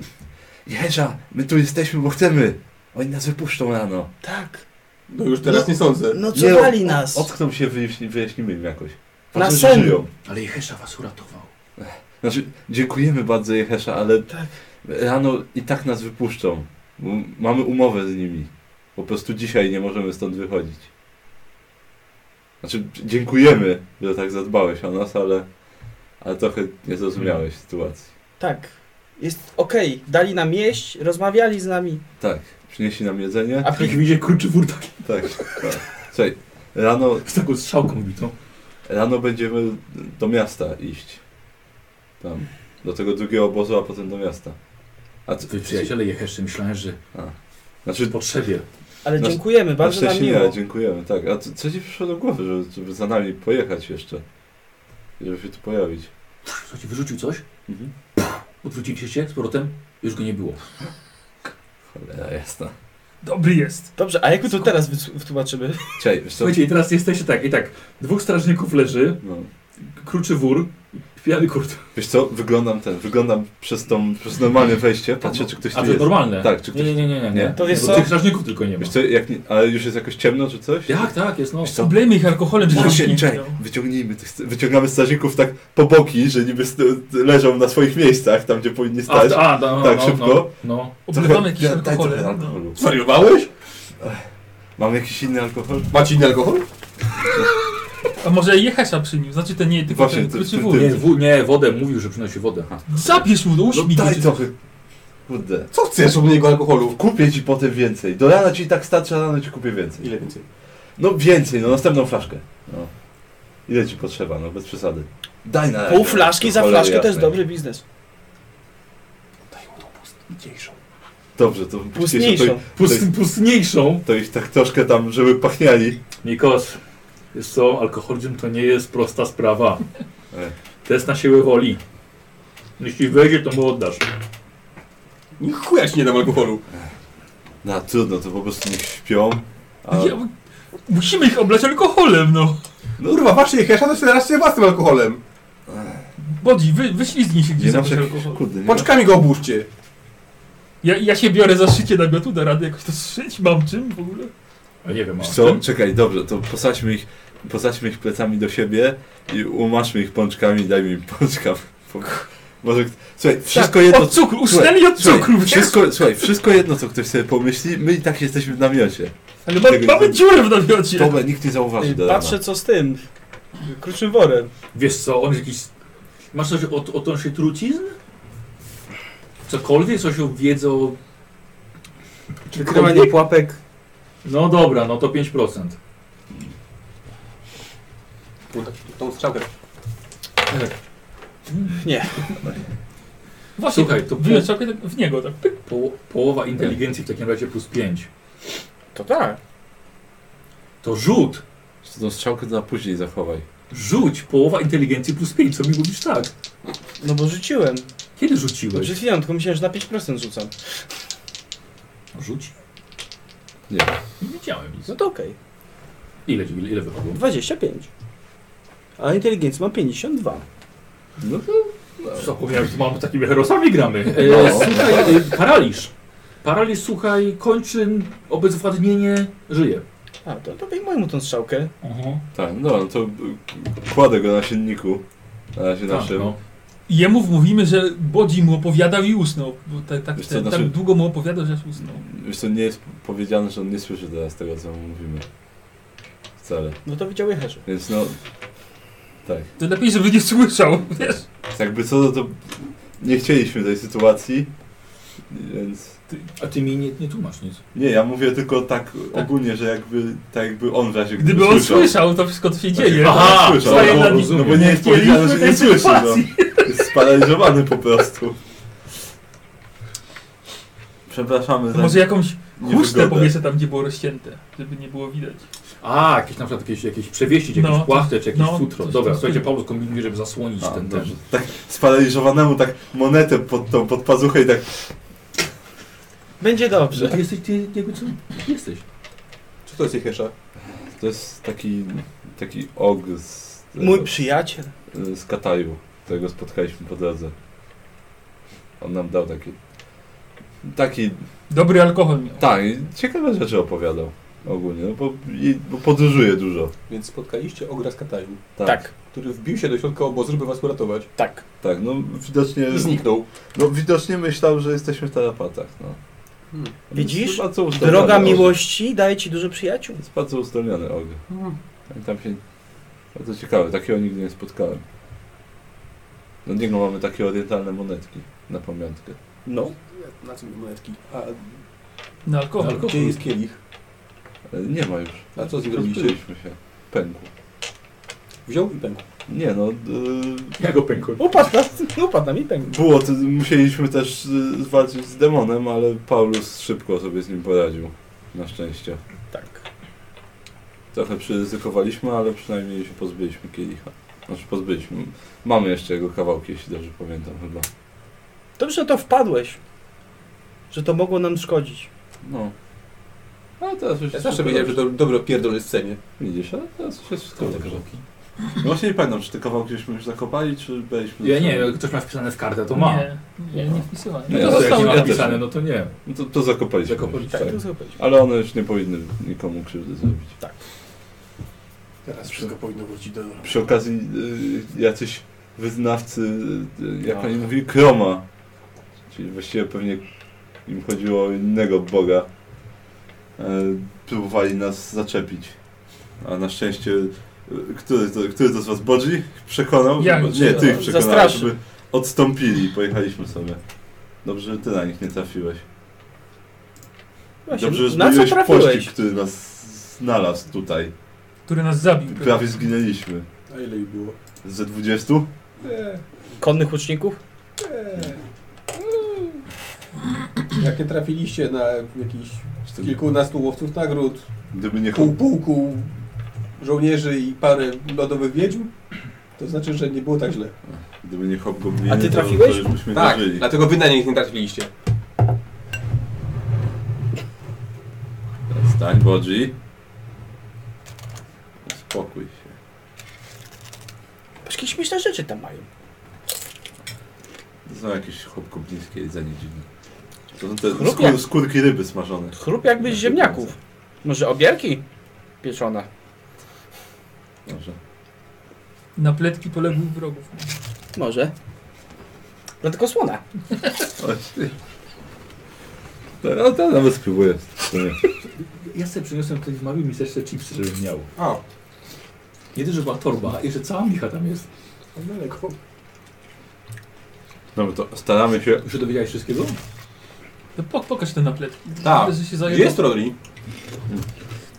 Speaker 1: Jehesza, my tu jesteśmy, bo chcemy. Oni nas wypuszczą rano.
Speaker 2: Tak,
Speaker 5: No już teraz nie sądzę.
Speaker 2: nocowali nas.
Speaker 1: Odkną się, wyjaśni- wyjaśnimy im jakoś.
Speaker 2: Na
Speaker 1: Ważne, że
Speaker 2: sen.
Speaker 1: żyją.
Speaker 3: Ale Jehesza was uratował.
Speaker 1: Znaczy, dziękujemy bardzo Jehesza, ale
Speaker 2: Tak.
Speaker 1: rano i tak nas wypuszczą. Bo mamy umowę z nimi. Po prostu dzisiaj nie możemy stąd wychodzić. Znaczy, dziękujemy, że tak zadbałeś o nas, ale, ale trochę nie zrozumiałeś sytuacji.
Speaker 2: Tak, jest okej, dali nam jeść, rozmawiali z nami.
Speaker 1: Tak, przynieśli nam jedzenie.
Speaker 2: A
Speaker 3: Jak
Speaker 2: pik...
Speaker 3: widzicie kurczy wór taki,
Speaker 1: Tak. Słuchaj, rano,
Speaker 3: z taką strzałką no. bitą.
Speaker 1: rano będziemy do miasta iść. Tam, do tego drugiego obozu, a potem do miasta. A co,
Speaker 3: Twoi przyjaciele Jeheszy, myślałem, że
Speaker 1: Znaczy,
Speaker 3: w potrzebie.
Speaker 2: Ale
Speaker 1: Na-
Speaker 2: dziękujemy, bardzo
Speaker 1: Na
Speaker 2: nam
Speaker 1: szczęście
Speaker 2: miło.
Speaker 1: nie, dziękujemy, tak. A co, co ci przyszło do głowy, żeby, żeby za nami pojechać jeszcze? Żeby się tu pojawić.
Speaker 3: Słuchajcie, wyrzucił coś, odwróciliście się z powrotem, już go nie było.
Speaker 1: Cholera jasna.
Speaker 4: Dobry jest.
Speaker 2: Dobrze, a jak my to teraz wytłu- wytłumaczymy?
Speaker 1: Cześć, wiesz co?
Speaker 3: Słuchajcie, i teraz jesteście tak, i tak, dwóch strażników leży,
Speaker 1: No.
Speaker 3: kruczy wór, pijany kurt.
Speaker 1: Wiesz co, wyglądam ten, wyglądam przez tą, przez normalne wejście, patrzę czy ktoś
Speaker 3: No, A
Speaker 1: tu
Speaker 3: to jest
Speaker 1: jest.
Speaker 3: normalne.
Speaker 1: Tak, czy ktoś-
Speaker 3: Nie, nie, nie, nie. nie.
Speaker 1: Nie?
Speaker 2: To wiesz
Speaker 3: Bo
Speaker 2: co?
Speaker 3: Tych strażników tylko nie ma.
Speaker 1: Wiesz co, jak nie, ale już jest jakoś ciemno czy coś?
Speaker 3: Jak, tak, jest no.
Speaker 1: Wiesz co? No
Speaker 4: Problemy ich alkoholem
Speaker 1: Właśnie,
Speaker 4: zamknięte.
Speaker 1: czekaj, wyciągnijmy tych, wyciągamy strażników tak po boki, że niby st- leżą na swoich miejscach, tam gdzie powinni
Speaker 3: A,
Speaker 1: stać.
Speaker 3: a, no, no,
Speaker 1: tak,
Speaker 3: no,
Speaker 1: szybko.
Speaker 3: No, no.
Speaker 4: Oblewamy jakieś
Speaker 1: Daj trochę
Speaker 4: alkoholem. No.
Speaker 1: alkoholu.
Speaker 5: Zwariowałeś?
Speaker 1: Mam jakiś inny alkohol?
Speaker 5: Macie inny alkohol?
Speaker 4: A może Jehesza przyniósł? Znaczy ten nie, tylko
Speaker 1: Właśnie,
Speaker 4: ten
Speaker 1: ty-
Speaker 4: kruczy
Speaker 1: ty-
Speaker 4: wór.
Speaker 1: ty-
Speaker 3: Nie, w, nie, wodę, mówił, że przynosi wodę.
Speaker 4: Zabierz mu, no uśmij
Speaker 1: Daj
Speaker 4: go.
Speaker 1: trochę. Kurde.
Speaker 5: Co chcesz od niego alkoholu?
Speaker 1: Kupię ci potem więcej. Do rana ci i tak starczy, a rano ci kupię więcej.
Speaker 5: Ile więcej?
Speaker 1: No więcej, no następną flaszkę. No. Ile ci potrzeba, no bez przesady. Daj na no,
Speaker 2: Pół flaszki za
Speaker 1: Tak, Cholera
Speaker 2: flaszkę to jest
Speaker 1: jasnej.
Speaker 2: dobry biznes.
Speaker 1: Dobrze, to puścisz, to,
Speaker 2: Pustniejszą.
Speaker 1: Pust-
Speaker 3: pustniejszą.
Speaker 1: to ich tak troszkę tam, żeby pachniali.
Speaker 3: Nikos, wiesz co, alkoholizm to nie jest prosta sprawa.
Speaker 1: E.
Speaker 3: Test na siłę woli. Jeśli wejdzie, to mu oddasz.
Speaker 5: Chuja ci nie dam alkoholu.
Speaker 1: No trudno, to po prostu niech śpią. A...
Speaker 4: Ja, musimy ich oblać alkoholem, no.
Speaker 5: Kurwa, waszej hesza to się teraz się własnym alkoholem.
Speaker 4: Bodzi, wy, wyśliznij się
Speaker 1: Nie
Speaker 4: gdzieś za
Speaker 1: zawsze
Speaker 4: alkohol.
Speaker 1: jakiś kurde, nie
Speaker 5: Pączkami go obuszcie.
Speaker 4: Ja, ja się biorę za szycie namiotu, da radę jakoś to szyć, mam czym w ogóle.
Speaker 3: Ale nie wiem,
Speaker 1: Wiesz
Speaker 3: a
Speaker 1: Co? Czekaj, dobrze, to posadźmy ich, posadźmy ich plecami do siebie i umaszmy ich pączkami i dajmy im pączka. Po- Może, k-
Speaker 3: Tak,
Speaker 1: słuchaj, wszystko jedno...
Speaker 4: Tak, Od cukru, usnęli od
Speaker 1: Słuchaj,
Speaker 4: cukru, wiesz?
Speaker 1: wszystko, słuchaj, wszystko jedno, co ktoś sobie pomyśli, my i tak jesteśmy w namiocie.
Speaker 4: Ale ma,
Speaker 1: tego
Speaker 4: mamy
Speaker 1: nie-
Speaker 4: dziurę w namiocie.
Speaker 1: Tobę nikt nie zauważy do rana.
Speaker 2: Patrzę co z tym. Kruczym worem.
Speaker 3: Wiesz co, on jest jakiś... Masz coś o, o tą się trucizn? Cokolwiek, coś o wiedzę o...
Speaker 2: Wykrywanie pułapek.
Speaker 3: No dobra, no to 5%.
Speaker 5: Tą strzałkę.
Speaker 4: Właśnie,
Speaker 3: Słuchaj,
Speaker 4: Słuchaj,
Speaker 3: to
Speaker 4: to
Speaker 3: po-
Speaker 4: wyjąć całkiem tak w niego, tak. pyk.
Speaker 3: Po, połowa inteligencji w takim razie plus 5.
Speaker 2: To tak.
Speaker 3: To rzut!
Speaker 1: Jeszcze tą strzałkę na później zachowaj.
Speaker 3: Rzuć! Połowa inteligencji plus 5, co mi mówisz tak?
Speaker 2: No bo rzuciłem.
Speaker 3: Kiedy
Speaker 2: No
Speaker 3: rzuciłeś?
Speaker 2: przed chwilą, tylko myślałem, że na 5% rzucam.
Speaker 3: Rzuć?
Speaker 1: Nie.
Speaker 3: Nie wiedziałem nic.
Speaker 2: No to okej.
Speaker 3: Ile, ile, ile wypadło?
Speaker 2: 25. A inteligencji mam 52.
Speaker 1: No to...
Speaker 3: Zapomniałem, że mamy takimi herosami gramy.
Speaker 1: No.
Speaker 3: słuchaj, e, paraliż. Paraliż, słuchaj, kończyn, obezwładnienie, żyje.
Speaker 2: A, to, to wyjmuj mu tą strzałkę.
Speaker 1: Tak, no to y, kładę go na silniku. Na razie
Speaker 3: Tak,
Speaker 1: naszym.
Speaker 3: no.
Speaker 4: I Jemu mówimy, że Bodzi mu opowiadał i usnął. Bo tak, tak,
Speaker 1: Wiesz co,
Speaker 4: tak,
Speaker 1: znaczy-
Speaker 4: tak długo mu opowiadał, że aż usnął.
Speaker 1: Wiesz co, nie jest powiedziane, że on nie słyszy teraz tego, co mu mówimy. Wcale.
Speaker 2: No to widział jecherze.
Speaker 1: Więc no... Tak.
Speaker 4: To lepiej, żeby nie słyszał, wiesz?
Speaker 1: Jakby co, no to nie chcieliśmy tej sytuacji, więc...
Speaker 3: A ty mi nie, nie tłumacz nic.
Speaker 1: Nie, ja mówię tylko tak ogólnie, że jakby, tak jakby on w razie Tak,
Speaker 4: Gdyby on słyszał to wszystko, co się
Speaker 1: Znaczy,
Speaker 4: dzieje.
Speaker 3: Aha,
Speaker 4: to
Speaker 1: słyszał,
Speaker 4: staje
Speaker 1: no,
Speaker 4: na
Speaker 1: bo-
Speaker 4: nim.
Speaker 1: no bo nie jest
Speaker 4: Mieliśmy
Speaker 1: powiedziane, że nie
Speaker 4: tej
Speaker 1: słyszy, no.
Speaker 4: sytuacji.
Speaker 1: Jest sparaliżowany po prostu. Przepraszamy za
Speaker 4: No Może jakąś
Speaker 1: niewygodę.
Speaker 4: chustę powieszę tam, gdzie było rozcięte, żeby nie było widać.
Speaker 3: A, jakieś na przykład jakieś, jakieś przewieścić, jakiś
Speaker 4: No,
Speaker 3: płachtę, czy jakieś
Speaker 4: no,
Speaker 3: futro.
Speaker 4: coś
Speaker 3: Dobra,
Speaker 4: tam
Speaker 3: słuchajcie,
Speaker 4: stylu.
Speaker 3: Paweł kombinuje, żeby zasłonić
Speaker 1: A,
Speaker 3: ten, ten.
Speaker 1: dobrze. Tak sparaliżowanemu tak monetę pod tą, pod pazuchę i tak...
Speaker 2: Będzie
Speaker 3: Że
Speaker 2: dobrze.
Speaker 3: ty jesteś, ty jakby co? Jesteś.
Speaker 5: Co to jest jej hesza?
Speaker 1: To jest taki, taki og z,
Speaker 2: Mój przyjaciel.
Speaker 1: y, z Kataju, którego spotkaliśmy po drodze. On nam dał taki... Taki
Speaker 4: Dobry alkohol miał.
Speaker 1: Tak, ciekawe rzeczy opowiadał ogólnie, no bo, i, bo podróżuje dużo.
Speaker 5: Więc spotkaliście ogra z Kataju,
Speaker 1: Tak, tak.
Speaker 2: Tak,
Speaker 5: który wbił się do środka obozu, żeby was uratować.
Speaker 2: tak.
Speaker 1: no widocznie.
Speaker 5: I zniknął.
Speaker 1: No widocznie myślał, że jesteśmy w tarapatach, no.
Speaker 5: Hmm.
Speaker 2: Widzisz?
Speaker 1: To jest bardzo uzdolniony
Speaker 2: Droga
Speaker 1: og.
Speaker 2: miłości daje ci dużo przyjaciół.
Speaker 1: To jest bardzo uzdolniony og.
Speaker 2: Hmm.
Speaker 1: I tam się. Bardzo ciekawe, takiego nigdy nie spotkałem. Do niego mamy takie orientalne monetki na pamiątkę.
Speaker 2: No.
Speaker 5: Na co mi monetki? A
Speaker 4: Na alkohol.
Speaker 3: Alkohol.
Speaker 5: gdzie jest kielich?
Speaker 1: Ale nie ma już.
Speaker 5: A co z nim robicie?
Speaker 1: Rozpyliśmy się. Pękł.
Speaker 5: Wziął i pękł.
Speaker 1: Nie no, d-
Speaker 3: Ja go pękłem.
Speaker 2: Upadł na, upadł na mi pęk.
Speaker 1: Było, to musieliśmy też y, walczyć z demonem, ale Paulus szybko sobie z nim poradził. Na szczęście.
Speaker 2: Tak.
Speaker 1: Trochę przyryzykowaliśmy, ale przynajmniej się pozbyliśmy kielicha. Znaczy pozbyliśmy. Mamy jeszcze jego kawałki, jeśli dobrze pamiętam chyba.
Speaker 2: Dobrze, że to wpadłeś. Że to mogło nam szkodzić.
Speaker 1: No. Ale teraz już
Speaker 5: Ja
Speaker 1: jest
Speaker 5: zawsze
Speaker 1: wszystko
Speaker 5: wiedziałem, że
Speaker 1: dobrze.
Speaker 5: to dobre pierdolę scenie.
Speaker 1: Widzisz, ale teraz już jest wszystko
Speaker 3: Kurde,
Speaker 1: dobrze.
Speaker 3: kawałki.
Speaker 1: No Właśnie nie pamiętam, czy te kawałki żeśmy już zakopali, czy byliśmy...
Speaker 3: Ja nie, jak ktoś ma wpisane w kartę, to ma.
Speaker 4: Nie, nie, nie wpisywałem.
Speaker 1: Nie,
Speaker 4: No
Speaker 1: to
Speaker 4: to
Speaker 3: to jak nie
Speaker 4: zostało
Speaker 1: ja
Speaker 3: ma
Speaker 1: też.
Speaker 3: wpisane, no to nie.
Speaker 1: No To, to zakopaliśmy.
Speaker 3: Zakopali-
Speaker 1: tak.
Speaker 2: Tak, to zrobić.
Speaker 1: Ale one już nie powinny nikomu krzywdy zrobić.
Speaker 2: Tak.
Speaker 5: Teraz
Speaker 1: wszystko
Speaker 5: powinno wrócić do...
Speaker 1: Przy okazji y, jacyś wyznawcy, y,
Speaker 2: No.
Speaker 1: jak oni mówili, Kroma. Czyli właściwie pewnie im chodziło o innego Boga. Y, próbowali nas zaczepić. A na szczęście, y, który to, który to z was bodzi? Przekonał?
Speaker 4: Ja,
Speaker 1: żeby, nie, ty ich przekonałeś,
Speaker 2: zastraszył.
Speaker 1: żeby odstąpili i pojechaliśmy sobie. Dobrze, że ty na nich nie trafiłeś.
Speaker 2: Właśnie,
Speaker 1: Dobrze, że
Speaker 2: na co
Speaker 1: zbiłeś pościg,
Speaker 2: trafiłeś?
Speaker 1: który nas znalazł tutaj.
Speaker 4: Który nas zabił.
Speaker 1: Prawie zginęliśmy.
Speaker 5: A ile ich było?
Speaker 1: Ze 20?
Speaker 2: Konnych łuczników?
Speaker 5: Jak nie trafiliście na jakichś kilkunastu łowców nagród,
Speaker 1: Gdyby nie
Speaker 5: pół pułku żołnierzy i parę lodowych wiedźm, to znaczy, że nie było tak źle.
Speaker 1: Gdyby nie hobgobliny,
Speaker 2: A ty
Speaker 1: to-
Speaker 2: trafiłeś?
Speaker 1: To już byśmy nie
Speaker 5: Tak,
Speaker 1: żyli.
Speaker 5: dlatego wy na nich nie trafiliście.
Speaker 1: Wstań, Bodzi. Spokój się.
Speaker 2: Patrz, jakieś śmieszne rzeczy tam mają.
Speaker 1: To są jakieś chłopkoblińskie jedzenie dziwne. To są te
Speaker 2: Chrupia.
Speaker 1: skór, skórki ryby smażone.
Speaker 2: Chrup jakby z ziemniaków. Może obierki pieczone.
Speaker 1: Dobrze.
Speaker 4: Na pletki poległych wrogów.
Speaker 2: Może. No tylko słone.
Speaker 1: To, no to nawet spróbuję. w sumie.
Speaker 3: Ja sobie przyniosłem ktoś mały miseczce chipsy, żebym miał.
Speaker 5: A,
Speaker 3: Nie tylko, że była torba, jeszcze cała micha tam jest.
Speaker 5: tam daleko.
Speaker 1: No bo to staramy się.
Speaker 3: Już się dowiedziałeś wszystkiego?
Speaker 4: No po, pokaż te napletki.
Speaker 5: Tak.
Speaker 4: Że się
Speaker 5: Gdzie
Speaker 4: zajebał.
Speaker 5: jest Rodri?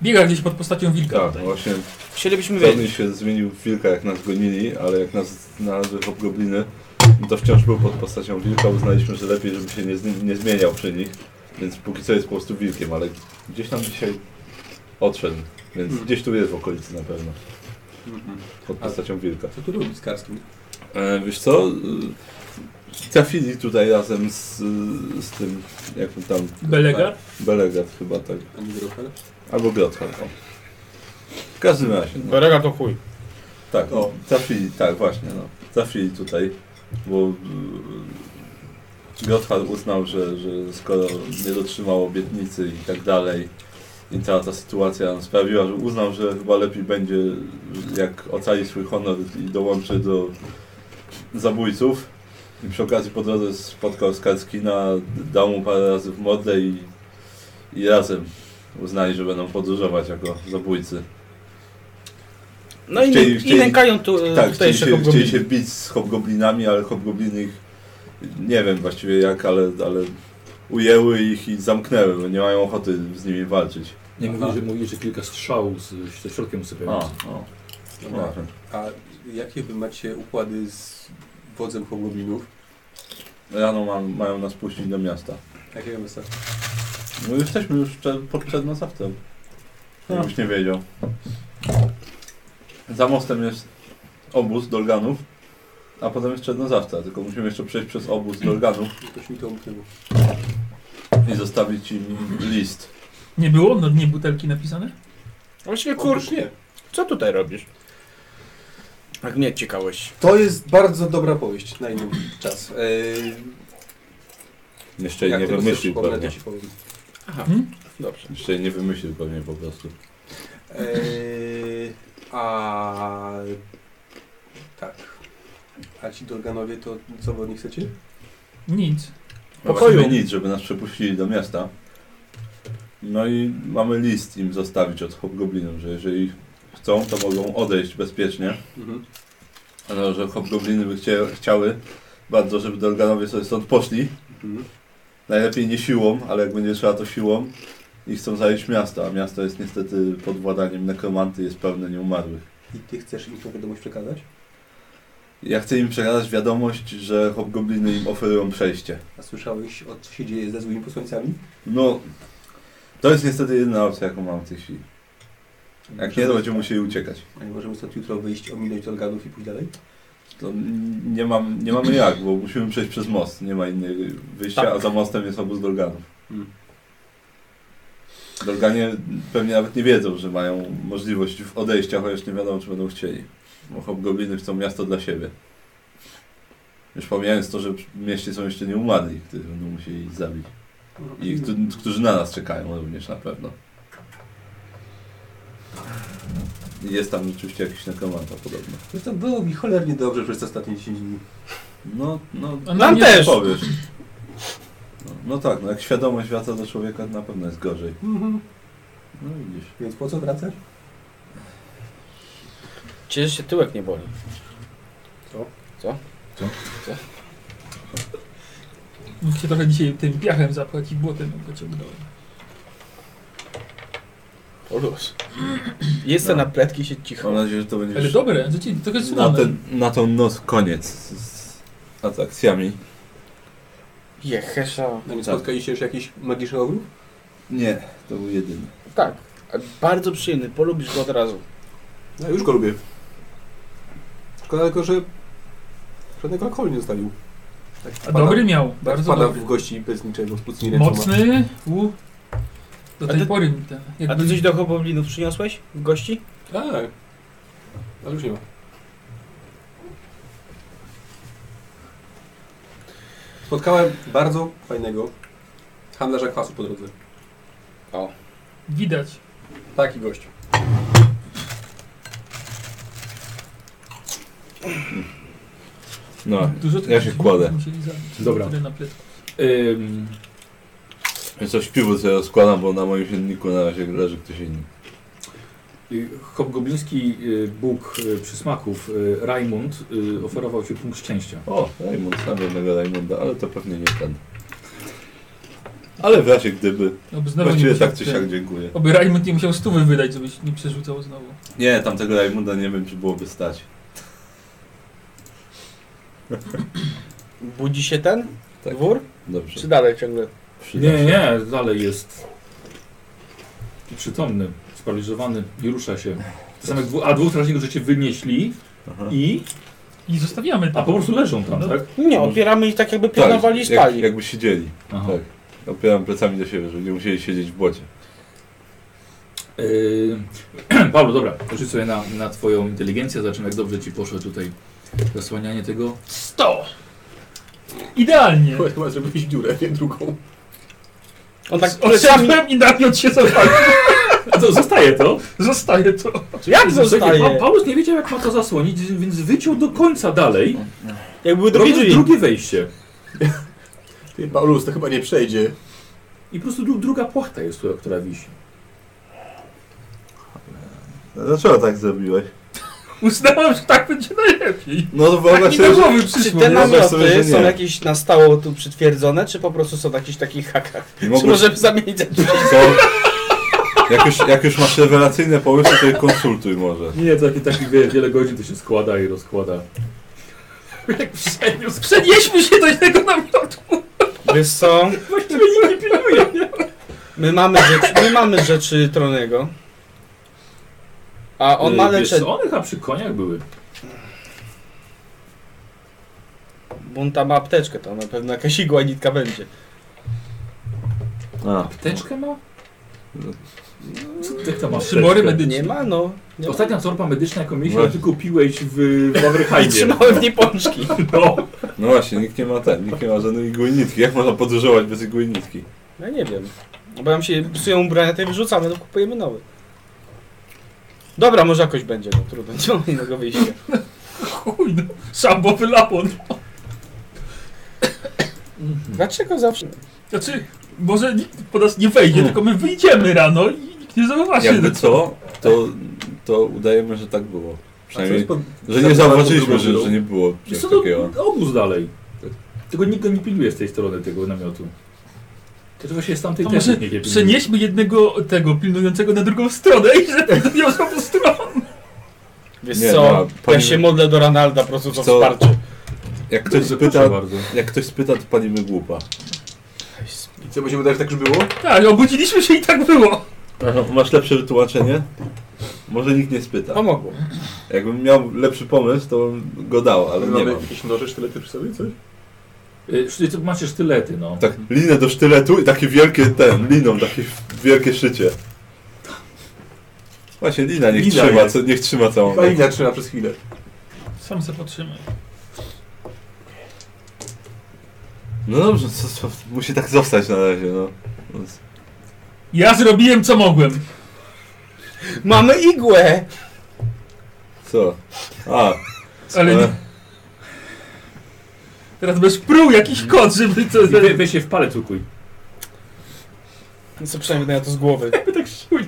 Speaker 4: Biega gdzieś pod postacią wilka
Speaker 1: Tak,
Speaker 4: tutaj.
Speaker 1: właśnie
Speaker 2: Chcielibyśmy
Speaker 1: Tony
Speaker 2: wiedzieć.
Speaker 1: się zmienił w wilka jak nas gonili, ale jak nas znalazły hobgobliny, no to wciąż był pod postacią wilka. Uznaliśmy, że lepiej, żeby się nie, zni- nie zmieniał przy nich. Więc póki co jest po prostu wilkiem, ale gdzieś nam dzisiaj odszedł. Więc
Speaker 5: Mhm.
Speaker 1: gdzieś tu jest w okolicy na pewno. Pod
Speaker 5: A-
Speaker 1: postacią wilka.
Speaker 5: Co tu robi z Karskim?
Speaker 1: E, wiesz co? e, Trafili tutaj razem z, z tym, jak on tam,
Speaker 4: Belegar?
Speaker 1: Belegat chyba tak.
Speaker 5: Ani Grochel?
Speaker 1: Albo Grotka. o. W każdym razie. No.
Speaker 2: Berega to chuj.
Speaker 1: Tak,
Speaker 5: O.
Speaker 1: o, trafili, tak właśnie, no. Trafili tutaj, bo y, Gotthard uznał, że, że skoro nie dotrzymał obietnicy i tak dalej i cała ta sytuacja sprawiła, że uznał, że chyba lepiej będzie, jak ocali swój honor i dołączy do zabójców. I przy okazji po drodze spotkał Skarskina, dał mu parę razy w mordę i, i razem uznali, że będą podróżować jako zabójcy.
Speaker 2: No i,
Speaker 1: Chcieli-
Speaker 2: i
Speaker 1: chcieli-
Speaker 2: nękają tu tak,
Speaker 1: Tak,
Speaker 2: tutaj
Speaker 1: chcieli
Speaker 2: jeszcze
Speaker 1: się, chcieli się
Speaker 2: hobgobliny.
Speaker 1: bić z hobgoblinami, ale hobgobliny ich, nie wiem właściwie jak, ale, ale ujęły ich i zamknęły, bo nie mają ochoty z nimi walczyć.
Speaker 3: Nie
Speaker 5: Aha.
Speaker 3: mówili, że mówili, że kilka strzał z, ze środkiem usypiającym.
Speaker 1: o. No.
Speaker 5: Dobra. A jakie wy macie układy z wodzem hobgoblinów?
Speaker 1: Rano mam, mają nas puścić do miasta.
Speaker 5: Jakiego miasta?
Speaker 1: No jesteśmy już prze- pod przednocawcem.
Speaker 5: No.
Speaker 1: Ja już nie wiedział. Za mostem jest obóz Dolganów, a potem jest Czernozawca, tylko musimy jeszcze przejść przez obóz Dolganów
Speaker 5: Ktoś mi to umknęło.
Speaker 1: i zostawić im list.
Speaker 4: Nie było na dnie butelki napisane?
Speaker 2: Właściwie kurcz,
Speaker 5: nie.
Speaker 2: co tutaj robisz? Tak mnie ciekałeś.
Speaker 5: To jest bardzo dobra powieść na inny czas. Eee,
Speaker 1: Jeszcze jej
Speaker 5: jak
Speaker 1: nie
Speaker 5: tego sobie
Speaker 1: wymyślił
Speaker 5: przypomnę,
Speaker 1: pewnie.
Speaker 5: to ci powiem.
Speaker 2: Tak.
Speaker 1: Hmm?
Speaker 4: Hmm?
Speaker 2: Dobrze.
Speaker 1: Jeszcze jej nie wymyślił pewnie po prostu.
Speaker 5: Eee, a tak. A ci Dorganowie to co wy od nich chcecie?
Speaker 4: Nic.
Speaker 2: Pokoju.
Speaker 1: Właściwie No nic, żeby nas przepuścili do miasta. No i mamy list im zostawić od hobgoblinów, że jeżeli chcą, to mogą odejść bezpiecznie.
Speaker 5: Mhm.
Speaker 1: Ale że hobgobliny by chcie, chciały bardzo, żeby Dorganowie sobie stąd poszli.
Speaker 5: Mhm.
Speaker 1: Najlepiej nie siłą, ale jak będzie trzeba, to siłą. I chcą zająć miasto, a miasto jest niestety pod władaniem nekromanty, jest pełne nieumarłych.
Speaker 5: I ty chcesz im tą wiadomość przekazać?
Speaker 1: Ja chcę im przekazać wiadomość, że hobgobliny im oferują przejście.
Speaker 5: A słyszałeś o co się dzieje ze złymi posłańcami?
Speaker 1: No, to jest niestety jedyna opcja, jaką mam w tej chwili. Jak nie, to będziemy musieli uciekać.
Speaker 5: A nie możemy stąd jutro wyjść, ominąć Dorganów i pójść dalej?
Speaker 1: To n- nie, mam, nie mamy jak, bo musimy przejść przez most. Nie ma innego wyjścia,
Speaker 2: Tak.
Speaker 1: a za mostem jest obóz Dolganów.
Speaker 5: Mm.
Speaker 1: Dolganie pewnie nawet nie wiedzą, że mają możliwość w- odejścia, chociaż nie wiadomo, czy będą chcieli. Bo hobgobliny chcą miasto dla siebie. Już pomijając to, że w mieście są jeszcze nieumarli, których będą musieli ich zabić. I któ- którzy na nas czekają również na pewno. I Jest tam rzeczywiście jakiś nekromanta podobno.
Speaker 5: Zresztą No było mi cholernie dobrze przez te ostatnie 10 dni.
Speaker 1: No, no,
Speaker 4: A
Speaker 2: Nam
Speaker 4: nie-
Speaker 1: nie
Speaker 2: też!
Speaker 1: powiesz. No, no tak, no jak świadomość wraca do człowieka, to na pewno jest gorzej.
Speaker 5: Mhm.
Speaker 1: No widzisz.
Speaker 5: Więc po co wracasz?
Speaker 2: Cieszę się tyłek nie boli.
Speaker 4: Mógł się trochę dzisiaj tym piachem zapłacić, błotem go ciągnąłem.
Speaker 2: O luz. Jestem
Speaker 1: No.
Speaker 2: na pletki się cicho.
Speaker 1: Mam nadzieję, że to będzie
Speaker 4: Ale
Speaker 1: już
Speaker 4: dobre, to ci trochę
Speaker 1: na,
Speaker 4: słone.
Speaker 1: ten, na tą noc koniec z, z atrakcjami.
Speaker 2: Jehesza.
Speaker 5: No nie
Speaker 1: Tak.
Speaker 5: spotkaliście już jakiś magiczny ogród?
Speaker 1: Nie, to był jedyny.
Speaker 2: Tak. Bardzo przyjemny, polubisz go od razu.
Speaker 5: No już go lubię. Szkoda tylko, że żadnego alkoholu nie zostawił. Tak
Speaker 4: A dobry miał, bardzo
Speaker 1: tak,
Speaker 5: Pada
Speaker 4: dobry.
Speaker 5: w gości bez niczego, z pustymi rękoma.
Speaker 4: Mocny, u, Do
Speaker 2: A
Speaker 4: tej
Speaker 2: ty-
Speaker 4: pory mi ten.
Speaker 2: A
Speaker 4: Jakby...
Speaker 2: ty coś do hoboblinów przyniosłeś? W gości?
Speaker 5: Tak. Ale już nie ma. Spotkałem bardzo fajnego handlarza kwasu po drodze.
Speaker 4: Widać.
Speaker 5: Taki gość.
Speaker 1: No,
Speaker 4: Dużo tych
Speaker 1: ja się
Speaker 4: ludzi
Speaker 1: kładę.
Speaker 4: musieli zabić.
Speaker 3: Dobra.
Speaker 4: Tyle na plecach.
Speaker 3: Ym,
Speaker 1: Więc coś piwo sobie rozkładam, bo na moim silniku na razie leży ktoś inny.
Speaker 3: y, hobgobliński y, bóg y, przysmaków y, Raimund y, oferował ci punkt szczęścia.
Speaker 1: O, Raymond, znam jednego Raymonda, ale to pewnie nie ten. Ale w razie gdyby,
Speaker 4: Oby znowu nie
Speaker 1: właściwie
Speaker 4: musiał
Speaker 1: tak czy
Speaker 4: ten-
Speaker 1: siak dziękuję.
Speaker 4: Oby Raymond nie musiał stówy wydać, żebyś nie przerzucał znowu.
Speaker 1: Nie, tamtego Raymonda nie wiem, czy byłoby stać.
Speaker 2: Budzi się ten
Speaker 1: Tak.
Speaker 2: dwór?
Speaker 1: Dobrze.
Speaker 2: Czy dalej ciągle?
Speaker 1: Przyda
Speaker 3: Nie,
Speaker 1: się.
Speaker 3: nie, dalej jest przytomny, sparaliżowany i rusza się. To samo jak dwu, a dwóch strażników, że cię wynieśli
Speaker 1: Aha.
Speaker 3: i...
Speaker 4: I zostawiamy
Speaker 3: A
Speaker 4: tam.
Speaker 3: po prostu leżą tam,
Speaker 4: No.
Speaker 3: tak?
Speaker 2: Nie,
Speaker 1: Może-
Speaker 2: opieramy ich tak jakby
Speaker 1: Tak,
Speaker 2: pianowali i
Speaker 1: jak,
Speaker 2: stali.
Speaker 1: jakby siedzieli.
Speaker 3: Aha.
Speaker 1: Tak. Opieram plecami do siebie, żeby nie musieli siedzieć w błocie.
Speaker 3: Yy, Paweł, dobra, rzuć sobie na, na twoją inteligencję, zobaczymy jak dobrze ci poszło tutaj zasłanianie tego.
Speaker 4: 100! Idealnie!
Speaker 5: Chyba zrobiłeś dziurę, nie drugą.
Speaker 2: On tak plecami...
Speaker 4: Odszedłem i Damian się zawalił.
Speaker 3: A to zostaje to?
Speaker 4: Zostaje to.
Speaker 3: Tak
Speaker 2: Jak
Speaker 3: Pa,
Speaker 2: zostaje?
Speaker 3: Paulus nie wiedział jak ma to zasłonić, więc wyciął do końca dalej,
Speaker 2: Jakby drugi
Speaker 3: robiąc
Speaker 2: drzwi.
Speaker 3: drugie wejście.
Speaker 5: Ty, Paulus, to chyba nie przejdzie.
Speaker 3: I po prostu dru, druga płachta jest, która, która wisi.
Speaker 1: Dlaczego tak zrobiłeś?
Speaker 4: Uznałem, że tak będzie najlepiej.
Speaker 1: No to
Speaker 4: Tak
Speaker 1: wyobraź
Speaker 4: mi
Speaker 1: sobie,
Speaker 4: do
Speaker 1: że...
Speaker 4: głowy
Speaker 2: Czy
Speaker 4: przyszło.
Speaker 2: te
Speaker 1: nie? Wyobraź
Speaker 2: namioty
Speaker 1: sobie, że
Speaker 2: są
Speaker 1: nie.
Speaker 2: jakieś na stało tu przytwierdzone, czy po prostu są w jakichś takich hakach?
Speaker 1: nie
Speaker 2: Czy
Speaker 1: mogłeś-
Speaker 2: możemy zamienić za drzwi?
Speaker 1: Co? Jak już, jak już masz rewelacyjne pomysły, to je konsultuj może.
Speaker 3: Nie, to taki, taki wie, wiele godzin to się składa i rozkłada.
Speaker 4: Jak Tak przeniósł. Przenieśmy się do innego namiotu.
Speaker 2: Wiesz co?
Speaker 4: Właściwie nikt nie pilnuje. nie?
Speaker 2: My mamy rzeczy, my mamy rzeczy Tronego. A on ma
Speaker 3: Yy, wiesz,
Speaker 2: leczenie.
Speaker 3: One chyba przy koniach były.
Speaker 2: Bo on tam ma apteczkę, to na pewno jakaś igła i nitka będzie.
Speaker 1: A,
Speaker 3: Teczkę ma? Co ty to masz?
Speaker 4: Przybory
Speaker 3: teczkę?
Speaker 4: medyczne.
Speaker 2: Nie ma, no. Nie ma.
Speaker 3: Ostatnia torba medyczna, jaką mieliśmy,
Speaker 1: Właśnie.
Speaker 3: ty kupiłeś w, w
Speaker 2: I
Speaker 3: Averheimie.
Speaker 2: trzymałem w niej pączki.
Speaker 3: No.
Speaker 1: no właśnie, nikt nie ma ten, nikt nie ma żadnej igły i nitki. Jak można podróżować bez igły i nitki?
Speaker 2: Ja No nie wiem. Bo nam się psują ubrania, to je wyrzucamy, to kupujemy nowy. Dobra, może jakoś będzie, no trudno, nie mam innego wyjścia.
Speaker 4: Chuj, no. Szambowy lapon.
Speaker 2: Dlaczego zawsze?
Speaker 4: Znaczy, może nikt po nas nie wejdzie, tylko my wyjdziemy rano i nikt nie zauważy.
Speaker 1: Jakby co, to, to udajemy, że tak było. Przynajmniej,
Speaker 5: pod...
Speaker 1: że nie zauważyliśmy, że, że nie było czegoś
Speaker 3: Wiesz co, no,
Speaker 1: takiego.
Speaker 3: to obóz dalej. Tego nikt go nie pilnuje z tej strony tego namiotu. To to właśnie z tamtej
Speaker 4: To
Speaker 3: też
Speaker 4: może
Speaker 3: nikt nie pilnuje.
Speaker 4: przenieśmy jednego tego pilnującego na drugą stronę i że ten nie osobą stronę.
Speaker 2: Wiesz
Speaker 1: Nie,
Speaker 2: co,
Speaker 1: no,
Speaker 2: ja
Speaker 1: pani-
Speaker 2: się modlę do Ronalda, po prostu to
Speaker 1: Co?
Speaker 2: wsparcie.
Speaker 1: Jak ktoś
Speaker 3: Dobrze, no, proszę
Speaker 1: spyta,
Speaker 3: bardzo.
Speaker 1: jak ktoś spyta, to palimy głupa.
Speaker 5: I co będziemy dać, tak już było?
Speaker 4: Tak, obudziliśmy się i tak było.
Speaker 1: Masz lepsze wytłumaczenie? Może nikt nie spyta.
Speaker 2: Pomogło.
Speaker 1: Jakbym miał lepszy pomysł, to bym go dał, ale
Speaker 5: Ale
Speaker 1: nie
Speaker 5: mamy
Speaker 1: mam.
Speaker 5: jakieś noże, sztylety przy sobie, coś?
Speaker 3: Y, szty- to Macie sztylety, no.
Speaker 1: Tak, linę do sztyletu i takie wielkie ten, liną, takie wielkie szycie. Właśnie, lina niech
Speaker 3: Lina
Speaker 1: trzyma,
Speaker 3: jest.
Speaker 1: co, niech trzyma całą
Speaker 5: Chyba linia trzyma No przez chwilę.
Speaker 4: Sam se potrzymaj.
Speaker 1: No dobrze, co, co, musi tak zostać na razie, no. Więc-
Speaker 4: Ja zrobiłem co mogłem.
Speaker 2: Mamy igłę!
Speaker 1: Co? A,
Speaker 4: Ale nie,
Speaker 1: e,
Speaker 4: teraz będziesz pruł jakiś kot, żeby to...
Speaker 3: I we, weź się w palec ukuj.
Speaker 2: No co przynajmniej na to z głowy.
Speaker 4: tak siłuje.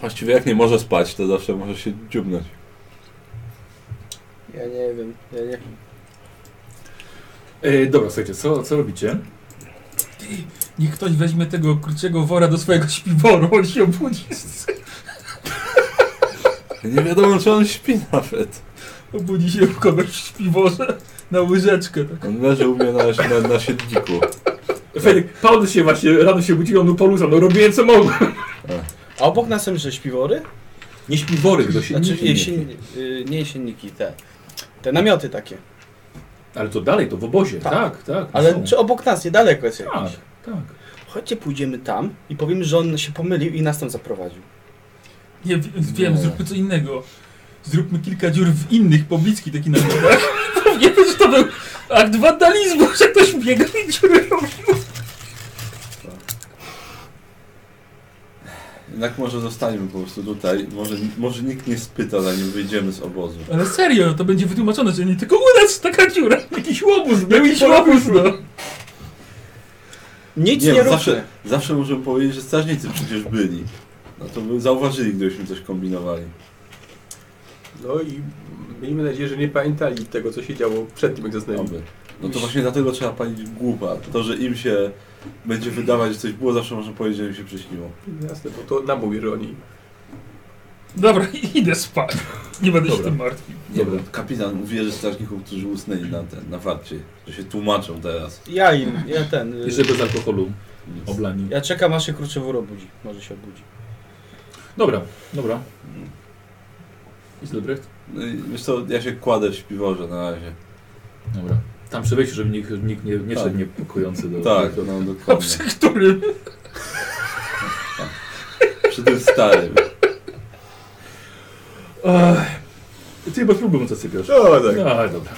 Speaker 1: właściwie jak nie może spać, to zawsze może się dziubnąć.
Speaker 2: Ja nie wiem, ja nie
Speaker 3: Y, dobra, słuchajcie, co, co robicie?
Speaker 4: Niech ktoś weźmie tego kurczego wora do swojego śpiworu, on się obudzi.
Speaker 1: Nie wiadomo, czy on śpi nawet.
Speaker 4: Obudzi się w kogoś w śpiworze na łyżeczkę. Tak.
Speaker 1: On leży u mnie na, na, na siedniku.
Speaker 3: Fedek, Paulus się właśnie, rano się budził, on u Paulusa, no robiłem co mogłem.
Speaker 2: A obok nas są jeszcze śpiwory?
Speaker 3: Nie śpiwory, do się
Speaker 2: Znaczy jesień, y, nie jesienniki, te. Te namioty takie.
Speaker 3: Ale to dalej, to w obozie, tak,
Speaker 2: Tak.
Speaker 3: tak. tak są.
Speaker 2: Ale czy obok nas, niedaleko jest
Speaker 3: Tak,
Speaker 2: jakiś.
Speaker 3: tak.
Speaker 2: Chodźcie, pójdziemy tam i powiemy, że on się pomylił i nas tam zaprowadził.
Speaker 4: Nie, wi- wiem,
Speaker 1: Nie.
Speaker 4: zróbmy co innego. Zróbmy kilka dziur w innych, pobliskich taki na nogach. Nie wiem, że to był akt wandalizmu, że ktoś biega i dziury robi.
Speaker 1: Jednak może zostaniemy po prostu tutaj. Może, może nikt nie spyta, zanim wyjdziemy z obozu.
Speaker 4: Ale serio, to będzie wytłumaczone, że nie tylko u nas taka dziura. Jakiś łobuz, był jakiś
Speaker 2: polubus
Speaker 4: łobuz, no.
Speaker 2: Nic nie,
Speaker 1: Nie, bo
Speaker 2: róbmy.
Speaker 1: zawsze, zawsze możemy powiedzieć, że strażnicy przecież byli. No to by zauważyli, gdybyśmy coś kombinowali.
Speaker 5: No i miejmy nadzieję, że nie pamiętali tego, co się działo przed tym, jak zasnęli.
Speaker 1: Oby. No to właśnie dlatego trzeba palić głupa. To, że im się będzie wydawać, że coś było, zawsze można powiedzieć, że im się przyśniło.
Speaker 5: Jasne, bo to nam mówię, że oni...
Speaker 4: Dobra, idę spać. Nie będę się
Speaker 3: Dobra.
Speaker 4: tym martwił.
Speaker 1: Nie wiem, kapitan uwierzy strażników, którzy usnęli na, ten, na warcie, że się tłumaczą teraz.
Speaker 2: Ja im, ja ten. y,
Speaker 3: Jeszcze bez alkoholu
Speaker 1: Więc
Speaker 3: oblani.
Speaker 2: Ja czekam aż się kurczewór obudzi. Może się obudzi.
Speaker 3: Dobra, dobra. Jest Lebrecht?
Speaker 1: No i wiesz co, ja się kładę w śpiworze na razie.
Speaker 3: Dobra. Tam przy wejściu, żeby nikt, nikt nie, nie
Speaker 1: Tak.
Speaker 3: szedł niepokojący do...
Speaker 1: Tak,
Speaker 3: do,
Speaker 1: no
Speaker 4: A
Speaker 1: dokładnie.
Speaker 4: przy którym?
Speaker 1: Przy tym starym.
Speaker 3: Ech, Ty chyba próbą co sypiasz.
Speaker 5: No tak.
Speaker 3: No, ale dobra.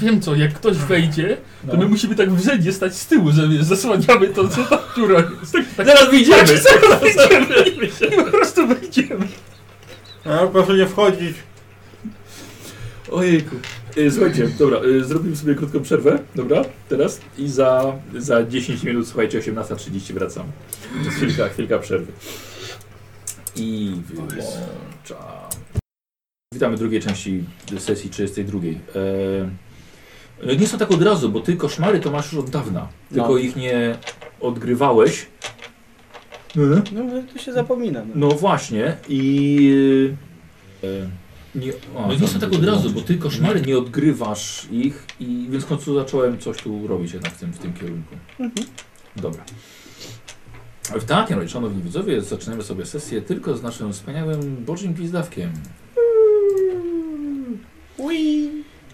Speaker 4: Wiem co, jak ktoś wejdzie, to
Speaker 3: No.
Speaker 4: my musimy tak w rzędzie stać z tyłu, że wiesz, zasłaniamy to, co ta dziura jest. Tak, tak,
Speaker 3: Zaraz wyjdziemy!
Speaker 4: zaraz wejdziemy i po prostu wejdziemy.
Speaker 5: A, proszę nie wchodzić.
Speaker 3: Ojejku. E, Słuchajcie, dobra, e, zrobimy sobie krótką przerwę, dobra, teraz i za, za 10 minut, słuchajcie, 18.30 wracam. To jest Chwilka, chwilka przerwy. I wyłączam. Witamy w drugiej części sesji 32. E, nie są tak od razu, bo ty koszmary to masz już od dawna, tylko
Speaker 2: No.
Speaker 3: ich nie odgrywałeś.
Speaker 2: No ale tu się zapomina. No.
Speaker 3: No właśnie i... e, Nie, o, no nie są tak od razu, bo ty koszmary nie odgrywasz ich i więc w końcu zacząłem coś tu robić jednak w tym, w tym kierunku. Dobra. W takim razie, szanowni widzowie, zaczynamy sobie sesję tylko z naszym wspaniałym Bożym Gwizdawkiem.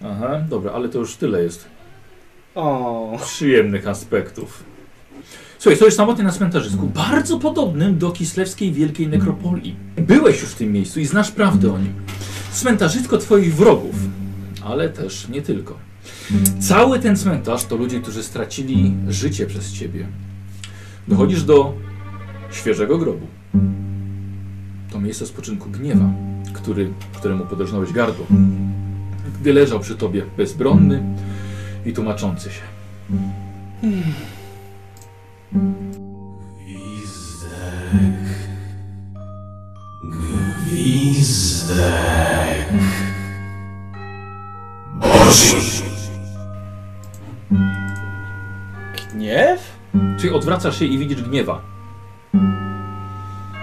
Speaker 3: Aha, dobra, ale to już tyle jest
Speaker 2: O.
Speaker 3: przyjemnych aspektów. Słuchaj, stoisz samotnie na cmentarzysku, bardzo podobnym do kislewskiej Wielkiej Nekropolii. Byłeś już w tym miejscu i znasz prawdę o nim. Cmentarzysko twoich wrogów, ale też nie tylko. Cały ten cmentarz to ludzie, którzy stracili życie przez ciebie. Dochodzisz do świeżego grobu. To miejsce spoczynku gniewa, który, któremu podrżnąłeś gardło, gdy leżał przy tobie bezbronny i tłumaczący się.
Speaker 2: Gniew?
Speaker 3: Czyli odwracasz się i widzisz gniewa.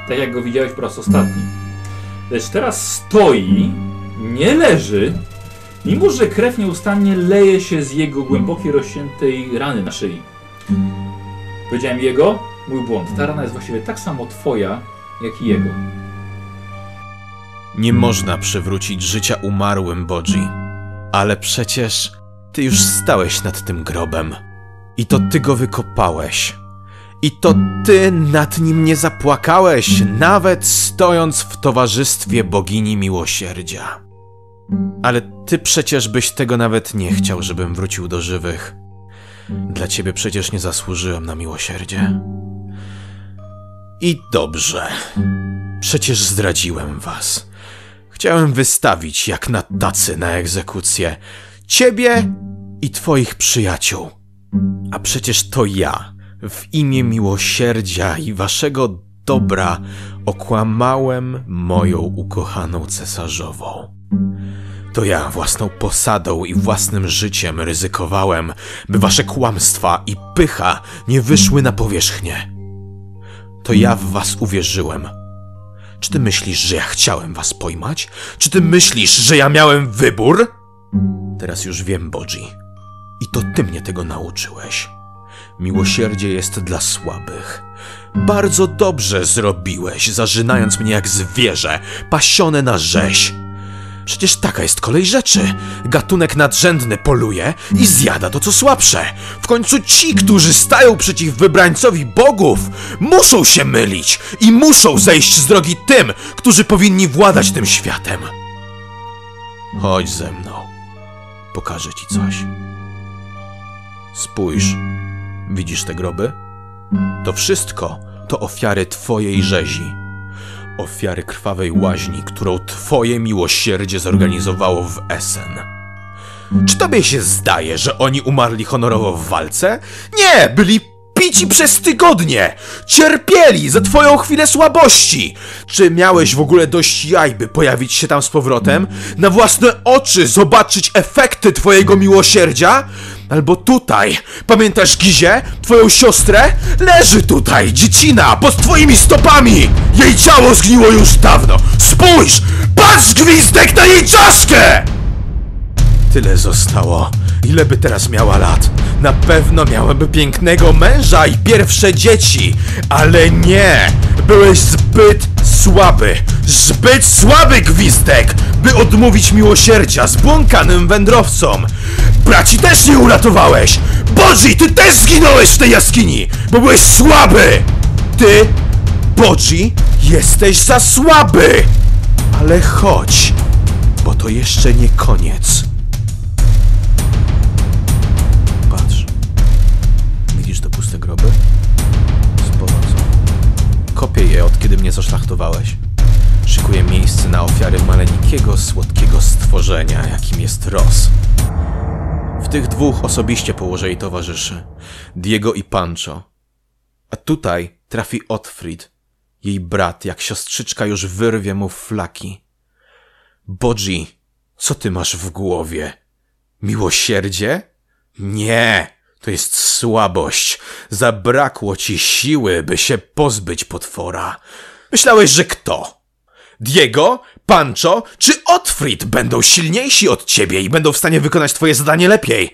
Speaker 3: Tak jak go widziałeś po raz ostatni. Lecz teraz stoi, nie leży, mimo że krew nieustannie leje się z jego głębokiej, rozciętej rany na szyi. Powiedziałem jego, mój błąd. Ta rana jest właściwie tak samo twoja, jak i jego.
Speaker 7: Nie można przywrócić życia umarłym, Bodzi. Ale przecież ty już stałeś nad tym grobem. I to ty go wykopałeś. I to ty nad nim nie zapłakałeś, nawet stojąc w towarzystwie bogini miłosierdzia. Ale ty przecież byś tego nawet nie chciał, żebym wrócił do żywych. Dla ciebie przecież nie zasłużyłem na miłosierdzie. I dobrze. Przecież zdradziłem was. Chciałem wystawić jak na tacy na egzekucję ciebie i twoich przyjaciół. A przecież to ja, w imię miłosierdzia i waszego dobra, okłamałem moją ukochaną cesarzową. To ja własną posadą i własnym życiem ryzykowałem, by wasze kłamstwa i pycha nie wyszły na powierzchnię. To ja w was uwierzyłem, czy ty myślisz, że ja chciałem was pojmać? Czy ty myślisz, że ja miałem wybór? Teraz już wiem, Bodzi. I to ty mnie tego nauczyłeś. Miłosierdzie jest dla słabych. Bardzo dobrze zrobiłeś, zarzynając mnie jak zwierzę, pasione na rzeź. Przecież taka jest kolej rzeczy. Gatunek nadrzędny poluje i zjada to, co słabsze. W końcu ci, którzy stają przeciw wybrańcowi bogów, muszą się mylić i muszą zejść z drogi tym, którzy powinni władać tym światem. Chodź ze mną. Pokażę ci coś. Spójrz. Widzisz te groby? To wszystko to ofiary twojej rzezi. Ofiary krwawej łaźni, którą twoje miłosierdzie zorganizowało w Essen. Czy tobie się zdaje, że oni umarli honorowo w walce? Nie, byli pici przez tygodnie! Cierpieli za twoją chwilę słabości! Czy miałeś w ogóle dość jaj, by pojawić się tam z powrotem? Na własne oczy zobaczyć efekty twojego miłosierdzia? Albo tutaj, pamiętasz Gizie, twoją siostrę? Leży tutaj, dziecina, pod twoimi stopami! Jej ciało zgniło już dawno! Spójrz! Patrz gwizdek na jej czaszkę! Tyle zostało. Ile by teraz miała lat? Na pewno miałaby pięknego męża i pierwsze dzieci. Ale nie! Byłeś zbyt słaby. Zbyt słaby gwizdek, by odmówić miłosierdzia zbłąkanym wędrowcom. Braci też nie uratowałeś! Bodzi, ty też zginąłeś w tej jaskini, bo byłeś słaby! Ty, Bodzi, jesteś za słaby! Ale chodź, bo to jeszcze nie koniec. Patrz. Widzisz te puste groby? Sporo są. Kopię je od kiedy mnie zaszlachtowałeś. Szykuję miejsce na ofiary maleńkiego, słodkiego stworzenia, jakim jest Ros. W tych dwóch osobiście położę jej towarzyszy. Diego i Pancho. A tutaj trafi Otfrid. Jej brat, jak siostrzyczka, już wyrwie mu flaki. Bodzi, co ty masz w głowie? Miłosierdzie? Nie, to jest słabość. Zabrakło ci siły, by się pozbyć potwora. Myślałeś, że kto? Diego, Pancho czy Otfrid będą silniejsi od ciebie i będą w stanie wykonać twoje zadanie lepiej.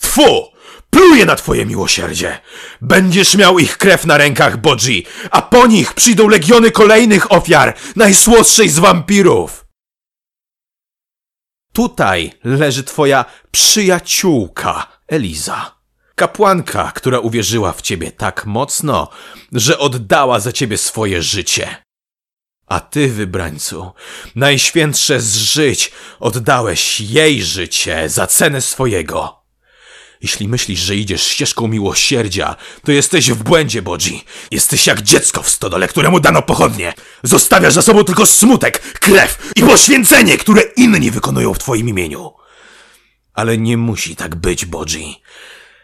Speaker 7: Tfu! Pluję na twoje miłosierdzie! Będziesz miał ich krew na rękach, Bodzi, a po nich przyjdą legiony kolejnych ofiar, najsłodszej z wampirów! Tutaj leży twoja przyjaciółka, Eliza. Kapłanka, która uwierzyła w ciebie tak mocno, że oddała za ciebie swoje życie. A ty, wybrańcu, najświętsze z żyć, oddałeś jej życie za cenę swojego. Jeśli myślisz, że idziesz ścieżką miłosierdzia, to jesteś w błędzie, Bodzi. Jesteś jak dziecko w stodole, któremu dano pochodnie. Zostawiasz za sobą tylko smutek, krew i poświęcenie, które inni wykonują w twoim imieniu. Ale nie musi tak być, Bodzi.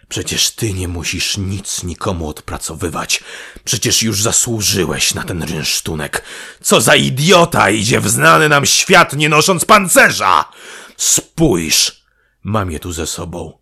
Speaker 7: Przecież ty nie musisz nic nikomu odpracowywać. Przecież już zasłużyłeś na ten rynsztunek. Co za idiota idzie w znany nam świat, nie nosząc pancerza! Spójrz! Mam je tu ze sobą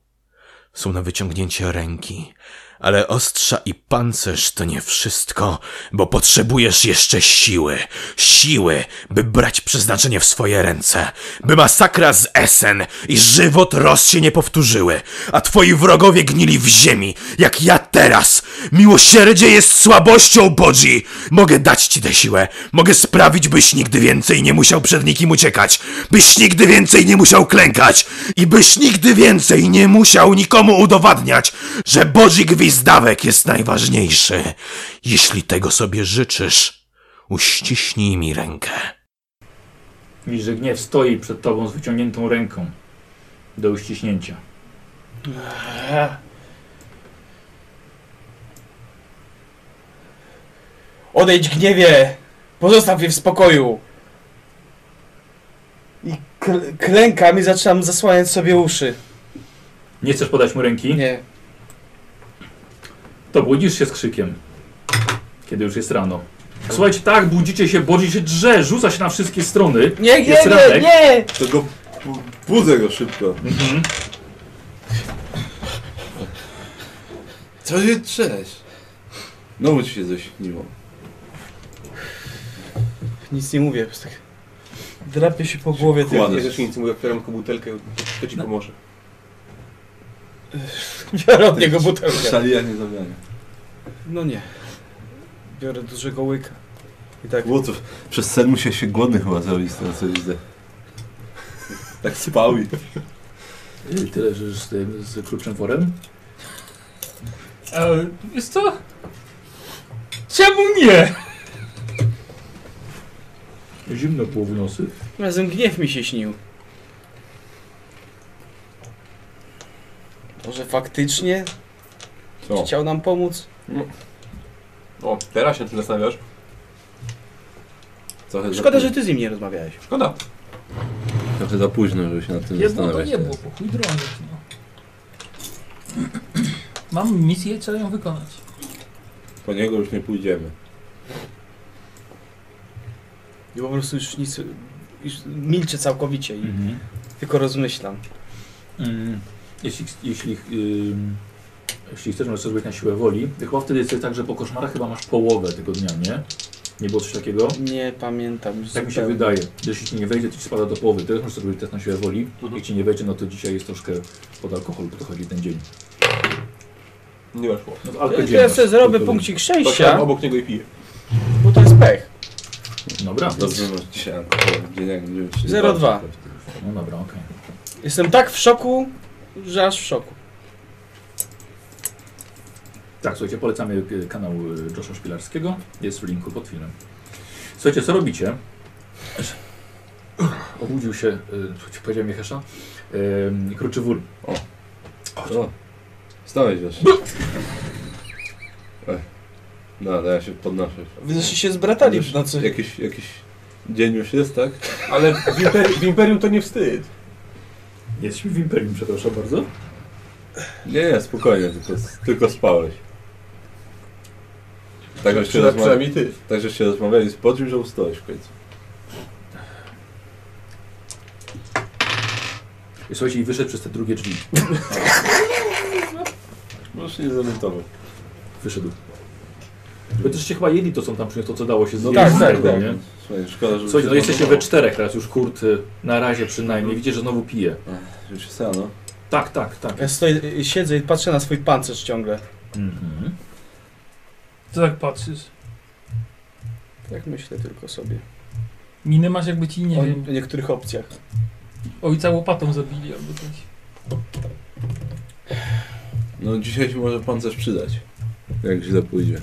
Speaker 7: są na wyciągnięcie ręki. Ale ostrza i pancerz to nie wszystko, bo potrzebujesz jeszcze siły. Siły, by brać przeznaczenie w swoje ręce. By masakra z Essen i żywot Ros się nie powtórzyły, a twoi wrogowie gnili w ziemi, jak ja teraz. Miłosierdzie jest słabością, Bodzi! Mogę dać ci tę siłę. Mogę sprawić, byś nigdy więcej nie musiał przed nikim uciekać. Byś nigdy więcej nie musiał klękać. I byś nigdy więcej nie musiał nikomu udowadniać, że Boży Gwizdawek jest najważniejszy. Jeśli tego sobie życzysz, uściśnij mi rękę.
Speaker 3: Widzisz, że gniew stoi przed tobą z wyciągniętą ręką do uściśnięcia.
Speaker 2: Odejdź gniewie! Pozostaw mnie w spokoju! I kl- klękam i zaczynam zasłaniać sobie uszy.
Speaker 3: Nie chcesz podać mu ręki?
Speaker 2: Nie.
Speaker 3: To budzisz się z krzykiem, kiedy już jest rano. Słuchajcie, tak, budzicie się, bodzi się drze, rzuca się na wszystkie strony.
Speaker 2: Nie, nie,
Speaker 3: Jest
Speaker 2: nie,
Speaker 3: ranek.
Speaker 2: nie!
Speaker 1: To go bu- budzę go szybko.
Speaker 3: Mhm.
Speaker 1: Co się trzesz? No bo ci się coś śniło.
Speaker 2: Nic nie mówię, po prostu tak... Drapię się po głowie
Speaker 1: Kładę.
Speaker 2: tylko.
Speaker 5: Ja też nic nie mówię, otwieram tylko butelkę, to ci pomoże.
Speaker 2: Biorę od niego butelkę.
Speaker 1: Szalija nie zabrania.
Speaker 2: No nie. Biorę dużego łyka. I tak...
Speaker 1: Łotów, przez sen musiał się głodny chyba zrobić teraz, co widzę. Tak spał i...
Speaker 3: I tyle, że z tym, z kluczem worem.
Speaker 4: E, wiesz co? Czemu nie?
Speaker 3: Zimno było w nosy.
Speaker 2: Razem gniew mi się śnił. Może faktycznie
Speaker 1: Co?
Speaker 2: chciał nam pomóc?
Speaker 5: O, teraz się tym zastanawiasz.
Speaker 1: Trochę
Speaker 2: Szkoda,
Speaker 1: za,
Speaker 2: że ty z nim nie rozmawiałeś.
Speaker 5: Szkoda.
Speaker 1: Trochę za późno, żeby się nad tym
Speaker 4: Jebło to
Speaker 1: zastanawiać.
Speaker 4: jebło, po chuj drążyć, no. Mam misję, trzeba ją wykonać.
Speaker 1: Po niego już nie pójdziemy.
Speaker 2: I po prostu już nic... Już milczę całkowicie i
Speaker 3: Mhm.
Speaker 2: tylko rozmyślam.
Speaker 3: Mm, Jeśli, jeśli, ym, jeśli chcesz, możesz zrobić na siłę woli. To Chyba wtedy jest tak, że po koszmarach chyba masz połowę tego dnia, nie? Nie było coś takiego?
Speaker 2: Nie pamiętam już
Speaker 3: Tak mi się
Speaker 2: zupełnie.
Speaker 3: wydaje. Jeśli ci nie wejdzie, to ci spada do połowy. Teraz możesz zrobić test na siłę woli.
Speaker 2: Mhm.
Speaker 3: Jeśli ci nie wejdzie, no to dzisiaj jest troszkę pod alkohol, bo to chodzi ten dzień.
Speaker 5: Nie weszło.
Speaker 3: No, alko
Speaker 2: Ja
Speaker 3: dzień
Speaker 2: teraz
Speaker 3: masz.
Speaker 2: sobie zrobię
Speaker 3: To-
Speaker 2: punkcik
Speaker 5: To siadam
Speaker 2: szczęścia,
Speaker 5: obok niego i piję.
Speaker 2: bo to jest pech.
Speaker 3: Dobra.
Speaker 1: Dobrze, masz dzisiaj alkohol, gdzie nie będziemy się...
Speaker 2: Zero dwa.
Speaker 3: No dobra, okej.
Speaker 2: Jestem tak w szoku, że aż w szoku.
Speaker 3: Tak, słuchajcie, polecamy e, kanał e, Josha Szpilarskiego. Jest w linku pod filmem. Słuchajcie, co robicie? Obudził się, e, powiedziałem Jechesza, e, kruczy wór.
Speaker 1: O, stałeś właśnie. Ej. No, ale ja się podnoszę.
Speaker 2: Wy żeście się zbratali
Speaker 1: Już
Speaker 2: w nocy.
Speaker 1: Jakiś, jakiś dzień już jest, tak?
Speaker 5: Ale w, imper- w Imperium No to nie wstyd.
Speaker 3: Jesteśmy w Imperium, przepraszam bardzo.
Speaker 1: Nie, nie, spokojnie, tylko, tylko spałeś. Tak, że się,
Speaker 5: Przyna-
Speaker 1: rozmawia...
Speaker 5: przynajmniej ty.
Speaker 1: tak, że się rozmawiali z podziw, że ustałeś w końcu.
Speaker 3: I słuchajcie, i wyszedł przez te drugie drzwi.
Speaker 1: Możesz nie zorientować.
Speaker 3: Wyszedł. Wy też się chyba jedli to, co tam przyniósł, to co dało się zjeść.
Speaker 2: tak,
Speaker 3: z
Speaker 2: tak,
Speaker 3: tego,
Speaker 1: tak.
Speaker 3: nie?
Speaker 1: Słuchaj, szkoda, że...
Speaker 3: Słuchajcie, no jesteście we czterech teraz już, kurt, y, na razie przynajmniej. Widzicie, że znowu pije.
Speaker 1: Już się no.
Speaker 3: Tak, tak, tak.
Speaker 2: Ja stoję, siedzę i patrzę na swój pancerz ciągle.
Speaker 3: Mhm.
Speaker 4: Co tak patrzysz?
Speaker 2: Tak myślę tylko sobie.
Speaker 4: Minę masz jakby ci, nie
Speaker 2: o
Speaker 4: wiem,
Speaker 2: niektórych opcjach.
Speaker 4: ojca łopatą zabili albo coś.
Speaker 1: No dzisiaj się może pancerz przydać. Jak źle pójdzie.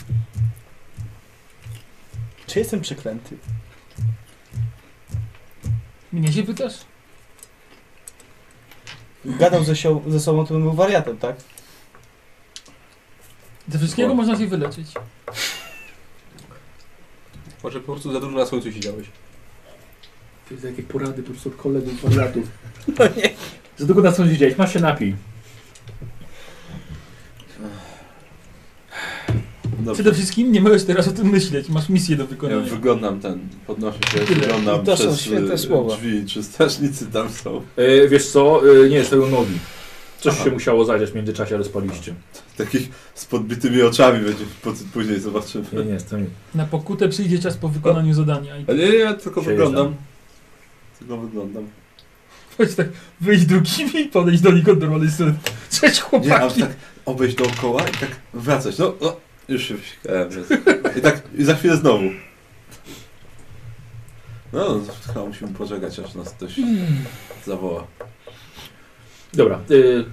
Speaker 2: Czy jestem przeklęty?
Speaker 4: Mnie się pytasz?
Speaker 2: Gadał ze, sią, ze sobą, to bym był wariatem, tak?
Speaker 4: Ze wszystkiego można się wyleczyć.
Speaker 5: Może po prostu za dużo na słońcu siedziałeś.
Speaker 3: To jest jakie porady po prostu od kolegów, wariatów. No nie. Za długo na co siedziałeś, masz się napij.
Speaker 4: Przede wszystkim nie możesz teraz o tym myśleć, masz misję do
Speaker 1: Ja
Speaker 4: wykonania.
Speaker 1: wyglądam ten, podnoszę się,
Speaker 4: Tyle.
Speaker 1: wyglądam
Speaker 2: I to są
Speaker 1: przez
Speaker 2: święte
Speaker 1: y,
Speaker 2: słowa.
Speaker 1: drzwi, czy strażnicy tam są.
Speaker 3: E, wiesz co, e, nie, stoją nogi. Coś się musiało zadziać w międzyczasie, ale spaliście.
Speaker 1: Takich z podbitymi oczami będzie, po- później zobaczymy.
Speaker 3: Nie, nie, to nie.
Speaker 4: Na pokutę przyjdzie czas po wykonaniu zadania. I
Speaker 1: A nie, ja tylko
Speaker 3: Się
Speaker 1: wyglądam. Tylko wyglądam.
Speaker 4: chodź tak, wyjdź drugimi i podejść do nich od normalnej strony. Cześć
Speaker 2: No
Speaker 1: Nie, aż
Speaker 4: chłopaki!
Speaker 1: tak obejść dookoła i tak wracać. No, no już się wysikałem. więc- I tak i za chwilę znowu. No, chyba musimy poczekać, aż nas ktoś
Speaker 4: Hmm.
Speaker 1: zawoła.
Speaker 3: Dobra, y,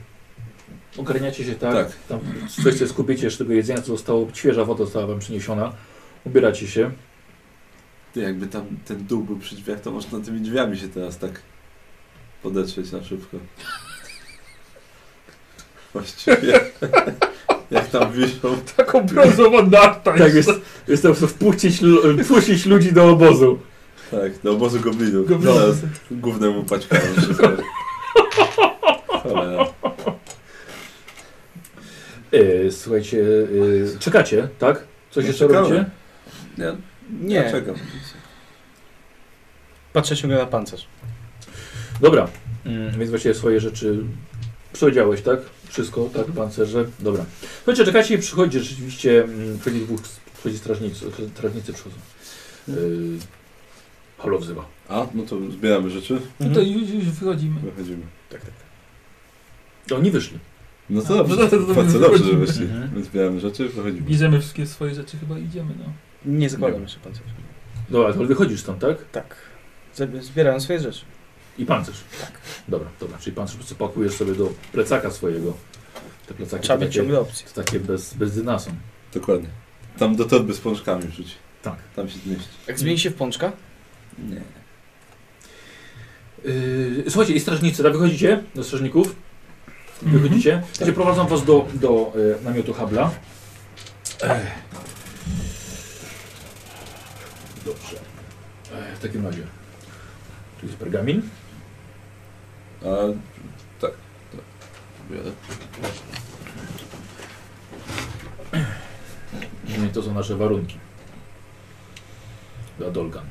Speaker 3: ogarniacie się tak,
Speaker 1: Tak.
Speaker 3: tam coś sobie skupicie jeszcze tego jedzenia, co zostało, świeża woda została wam przyniesiona, ubieracie się.
Speaker 1: Ty, jakby tam ten dół był przy drzwiach, to można tymi drzwiami się teraz tak podetrzeć na szybko. Właściwie, jak tam wiszą,
Speaker 4: Taką brązową narta
Speaker 3: Tak, jest, jestem wpuścić, lu- wpuścić ludzi do obozu.
Speaker 1: tak, do obozu goblinów.
Speaker 4: Goblinów.
Speaker 1: Zaraz gównemu paćkają wszystko. Cholera.
Speaker 3: Y, słuchajcie, y, czekacie, tak? Coś
Speaker 1: No,
Speaker 3: jeszcze
Speaker 1: czekamy.
Speaker 3: robicie?
Speaker 1: Nie,
Speaker 2: Nie.
Speaker 1: ja czekam.
Speaker 2: Patrzę ciągle na pancerz.
Speaker 3: Dobra, mm, więc właściwie swoje rzeczy przeodziałeś, tak? Wszystko, tak?
Speaker 2: Mhm.
Speaker 3: Pancerze, dobra. Słuchajcie, czekajcie i przychodzi rzeczywiście, mm, przychodzi dwóch, przychodzi strażnicy, strażnicy przychodzą. Yy, Halo wzywa.
Speaker 1: A, no to zbieramy rzeczy,
Speaker 4: No to już, już wychodzimy.
Speaker 1: wychodzimy.
Speaker 3: Oni wyszli.
Speaker 1: No to
Speaker 4: A,
Speaker 1: dobrze,
Speaker 4: no to- to- to
Speaker 1: bardzo dobrze, że
Speaker 4: wychodzimy.
Speaker 1: wyszli.
Speaker 3: Mhm.
Speaker 1: My Zbieramy rzeczy, wychodzimy.
Speaker 4: Bierzemy wszystkie swoje rzeczy, chyba idziemy, no.
Speaker 2: Nie zakładam jeszcze pancerza.
Speaker 3: Dobra, to wychodzisz tam, tak?
Speaker 2: Tak. Zab- Zbieram swoje rzeczy.
Speaker 3: I pancerz. Dobra, dobra, czyli pancerz po prostu pakujesz sobie do plecaka swojego. Te plecaki
Speaker 2: Trzeba
Speaker 3: to
Speaker 2: mieć
Speaker 3: takie,
Speaker 2: ciągle opcję.
Speaker 3: to takie bez, bez dyna są.
Speaker 1: Dokładnie. Tam do torby z pączkami rzuć.
Speaker 3: Tak.
Speaker 1: Tam się zmieści.
Speaker 2: Jak zmieni się w pączka?
Speaker 1: Nie.
Speaker 3: Yy, słuchajcie, i strażnicy, tak, wychodzicie do strażników. Wychodzicie.
Speaker 1: Mhm.
Speaker 3: Słuchajcie, prowadzą was do, do y, namiotu Habla. Ech. Dobrze. Ech, w takim razie. Tu jest pergamin.
Speaker 1: A, tak. tak. Biorę.
Speaker 3: Nie, No to są nasze warunki. Dla Dolgan.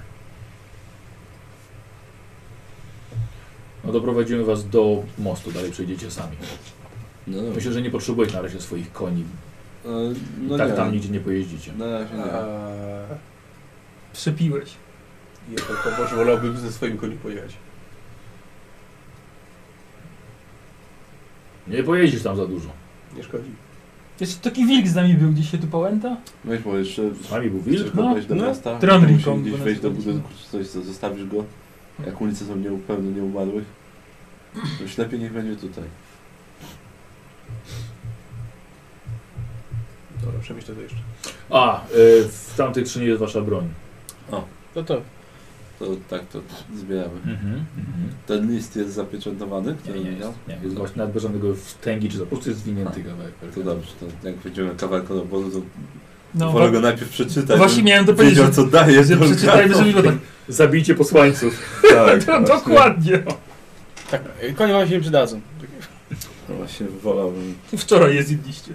Speaker 3: No doprowadzimy was do mostu, dalej przejdziecie sami.
Speaker 1: No, dobra.
Speaker 3: Myślę, że nie potrzebujecie na razie swoich koni.
Speaker 1: E, no
Speaker 3: tak
Speaker 1: nie.
Speaker 3: tam nigdzie nie pojeździcie.
Speaker 1: Na razie nie.
Speaker 5: Eee,
Speaker 4: Przepiłeś.
Speaker 5: Ja to może wolałbym ze swoim koniu pojechać.
Speaker 3: Nie pojeździsz tam za dużo.
Speaker 5: Nie szkodzi.
Speaker 4: Jeszcze taki wilk z nami był, gdzieś się tu pęta.
Speaker 1: Weź bo jeszcze...
Speaker 3: Z nami był
Speaker 1: Chcesz
Speaker 3: wilk,
Speaker 1: go
Speaker 3: no.
Speaker 1: wejść do
Speaker 4: no.
Speaker 1: miasta?
Speaker 4: Trądri
Speaker 1: Musisz
Speaker 4: kombo
Speaker 1: gdzieś
Speaker 4: na
Speaker 1: wejść do
Speaker 4: przykład.
Speaker 1: budynku czy coś, to zostawisz go. Jak ulice są nie, pełne nieumarłych. To już lepiej niech będzie tutaj.
Speaker 5: Dobra, przemyślę to jeszcze.
Speaker 3: A, y, w tamtych skrzyni jest wasza broń.
Speaker 2: No to
Speaker 1: To tak to zbieramy.
Speaker 3: Mhm, mhm.
Speaker 1: Ten list jest zapieczętowany,
Speaker 3: Nie,
Speaker 1: który
Speaker 3: nie,
Speaker 1: miał?
Speaker 3: jest, nie, Tak. jest właśnie nadbierzonego w tęgi, czy za po prostu jest zwinięty kawałek.
Speaker 1: To dobrze, to jak będziemy kawałek od obozu, to
Speaker 4: No,
Speaker 1: wolę
Speaker 4: wa-
Speaker 1: go najpierw przeczytać.
Speaker 4: właśnie
Speaker 1: żebym
Speaker 4: miałem to
Speaker 1: Wiedział
Speaker 4: powiedzieć,
Speaker 1: co daje.
Speaker 4: że
Speaker 1: tą
Speaker 4: przeczytajmy
Speaker 1: kartą.
Speaker 4: sobie go tak.
Speaker 3: Zabijcie posłańców.
Speaker 1: Tak,
Speaker 4: No,
Speaker 1: właśnie.
Speaker 4: dokładnie.
Speaker 2: tak, konie wam się nie przydadzą.
Speaker 1: No Właśnie wolałbym
Speaker 4: Wczoraj je zjedliście.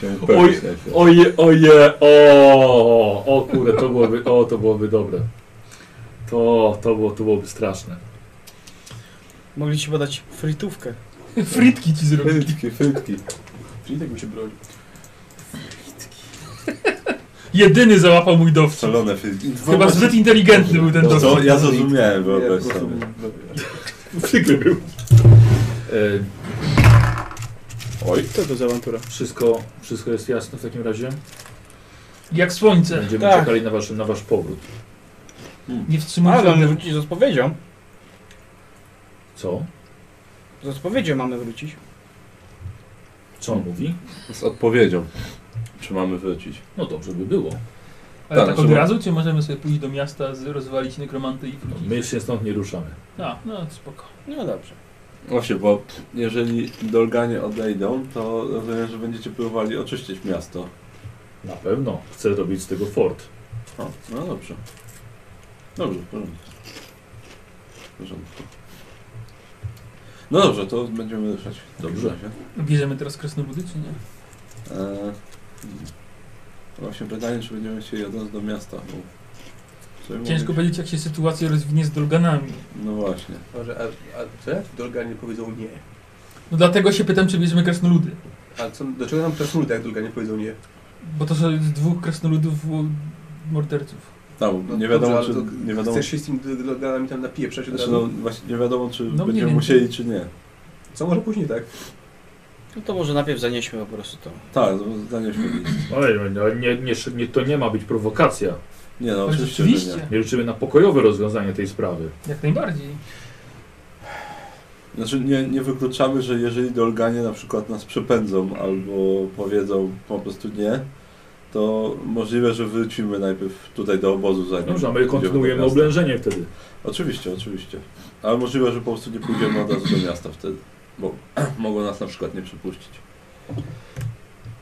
Speaker 1: się upewnić najpierw.
Speaker 3: Oje, oje, o, o kurde, to byłoby, o, to byłoby dobre. To, to, było, to byłoby straszne.
Speaker 2: Mogli ci podać frytówkę.
Speaker 4: Frytki ci zrobili.
Speaker 1: Frytki, frytki.
Speaker 5: Czyli tak mi się broni.
Speaker 4: Jedyny załapał mój dowcip.
Speaker 1: Szalone frytki.
Speaker 4: Chyba zbyt inteligentny był ten
Speaker 1: No To, to
Speaker 4: dowcip.
Speaker 1: ja zrozumiałem, wyobraź
Speaker 5: Ja po
Speaker 1: sobie.
Speaker 5: prostu-
Speaker 3: Przykry był. E,
Speaker 1: Oj.
Speaker 2: Co to za awantura?
Speaker 3: wszystko, wszystko jest jasne w takim razie.
Speaker 4: Jak słońce.
Speaker 3: Będziemy
Speaker 2: Tak.
Speaker 3: czekali na, wasz, na wasz powrót.
Speaker 4: Nie
Speaker 2: Ale mamy
Speaker 4: wstrzymuję.
Speaker 2: wrócić z odpowiedzią.
Speaker 3: Co?
Speaker 2: Z odpowiedzią mamy wrócić.
Speaker 3: Co on mówi?
Speaker 1: Z odpowiedzią. Czy mamy wrócić?
Speaker 3: No dobrze by było.
Speaker 4: Ale
Speaker 1: Tak,
Speaker 4: tak od
Speaker 1: żeby-
Speaker 4: razu, czy możemy sobie pójść do miasta, z- rozwalić nekromanty i
Speaker 3: No,
Speaker 4: wrócić?
Speaker 3: my się stąd nie ruszamy.
Speaker 4: A, no spoko.
Speaker 2: No dobrze.
Speaker 1: Właśnie, bo jeżeli Dolganie odejdą, to rozumiem, że będziecie próbowali oczyścić miasto.
Speaker 3: Na pewno. Chcę robić z tego fort.
Speaker 1: O, no dobrze. Dobrze, w porządku. W porządku. No dobrze, to będziemy ruszać. w takim
Speaker 3: Dobrze.
Speaker 1: razie.
Speaker 4: Bierzemy teraz kresnobudy, czy nie?
Speaker 1: E, właśnie pytanie, czy będziemy się jadąc do miasta. Bo co ja
Speaker 4: Ciężko
Speaker 1: mówię?
Speaker 4: powiedzieć, jak się sytuacja rozwinie z Dolganami.
Speaker 1: No właśnie.
Speaker 5: Może, a, a co jak Dolganie powiedzą nie?
Speaker 4: No dlatego się pytam, czy bierzemy kresnoludy.
Speaker 5: A co, dlaczego nam krasnoludy, jak Dolganie powiedzą nie?
Speaker 4: Bo to są z dwóch kresnoludów u- morderców.
Speaker 1: Tam,
Speaker 5: No
Speaker 1: nie
Speaker 5: dobrze,
Speaker 1: wiadomo,
Speaker 5: ale
Speaker 1: czy,
Speaker 5: to
Speaker 1: nie wiadomo,
Speaker 5: Chcesz się z tymi Dolganami tam napije przecież od
Speaker 1: znaczy,
Speaker 5: razu?
Speaker 1: no, właśnie nie wiadomo, czy
Speaker 4: No mniej
Speaker 1: będziemy
Speaker 4: więcej.
Speaker 1: musieli, czy nie.
Speaker 5: Co może później, tak?
Speaker 2: No to może najpierw zanieśmy po prostu to.
Speaker 1: Tak, no, zanieśmy list.
Speaker 3: Oj, no, nie, nie, nie, to nie ma być prowokacja.
Speaker 1: Nie no,
Speaker 4: Ale
Speaker 1: oczywiście, że nie.
Speaker 4: rzeczywiście,
Speaker 3: Nie liczymy na pokojowe rozwiązanie tej sprawy.
Speaker 4: jak najbardziej.
Speaker 1: Znaczy nie, nie wykluczamy, że jeżeli Dolganie na przykład nas przepędzą albo powiedzą po prostu nie, to możliwe, że wrócimy najpierw tutaj do obozu zanim.
Speaker 3: No Dobrze, a my
Speaker 1: pójdziemy do
Speaker 3: kontynuujemy
Speaker 1: miasta.
Speaker 3: oblężenie wtedy.
Speaker 1: Oczywiście, oczywiście. Ale możliwe, że po prostu nie pójdziemy od razu do miasta wtedy, bo mogą nas na przykład nie przepuścić.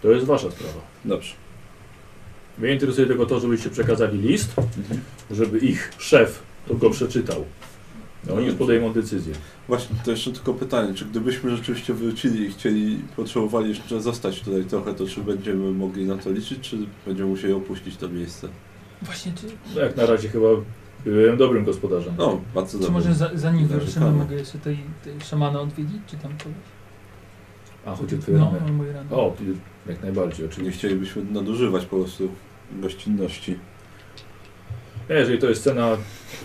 Speaker 3: To jest wasza sprawa.
Speaker 1: Dobrze.
Speaker 3: Mnie interesuje tylko to, żebyście przekazali list,
Speaker 1: Mhm.
Speaker 3: żeby ich szef to go przeczytał. No, oni już podejmą decyzję.
Speaker 1: Właśnie, to jeszcze tylko pytanie, czy gdybyśmy rzeczywiście wrócili i chcieli, potrzebowali jeszcze zostać tutaj trochę, to czy będziemy mogli na to liczyć, czy będziemy musieli opuścić to miejsce?
Speaker 4: Właśnie, czy,
Speaker 3: No, jak na razie chyba byłem dobrym gospodarzem.
Speaker 1: No, bardzo
Speaker 4: czy
Speaker 1: dobrze.
Speaker 4: może za, zanim
Speaker 1: Narzekamy.
Speaker 4: wyruszymy, mogę jeszcze tej, tej szamana odwiedzić, czy tam kogoś?
Speaker 3: A, chodzi o twoje
Speaker 4: No,
Speaker 3: ramy.
Speaker 4: o moje rany.
Speaker 3: O, i- jak najbardziej,
Speaker 1: Czy nie
Speaker 3: oczywiście.
Speaker 1: chcielibyśmy nadużywać po prostu gościnności?
Speaker 3: Nie, E, Jeżeli to jest cena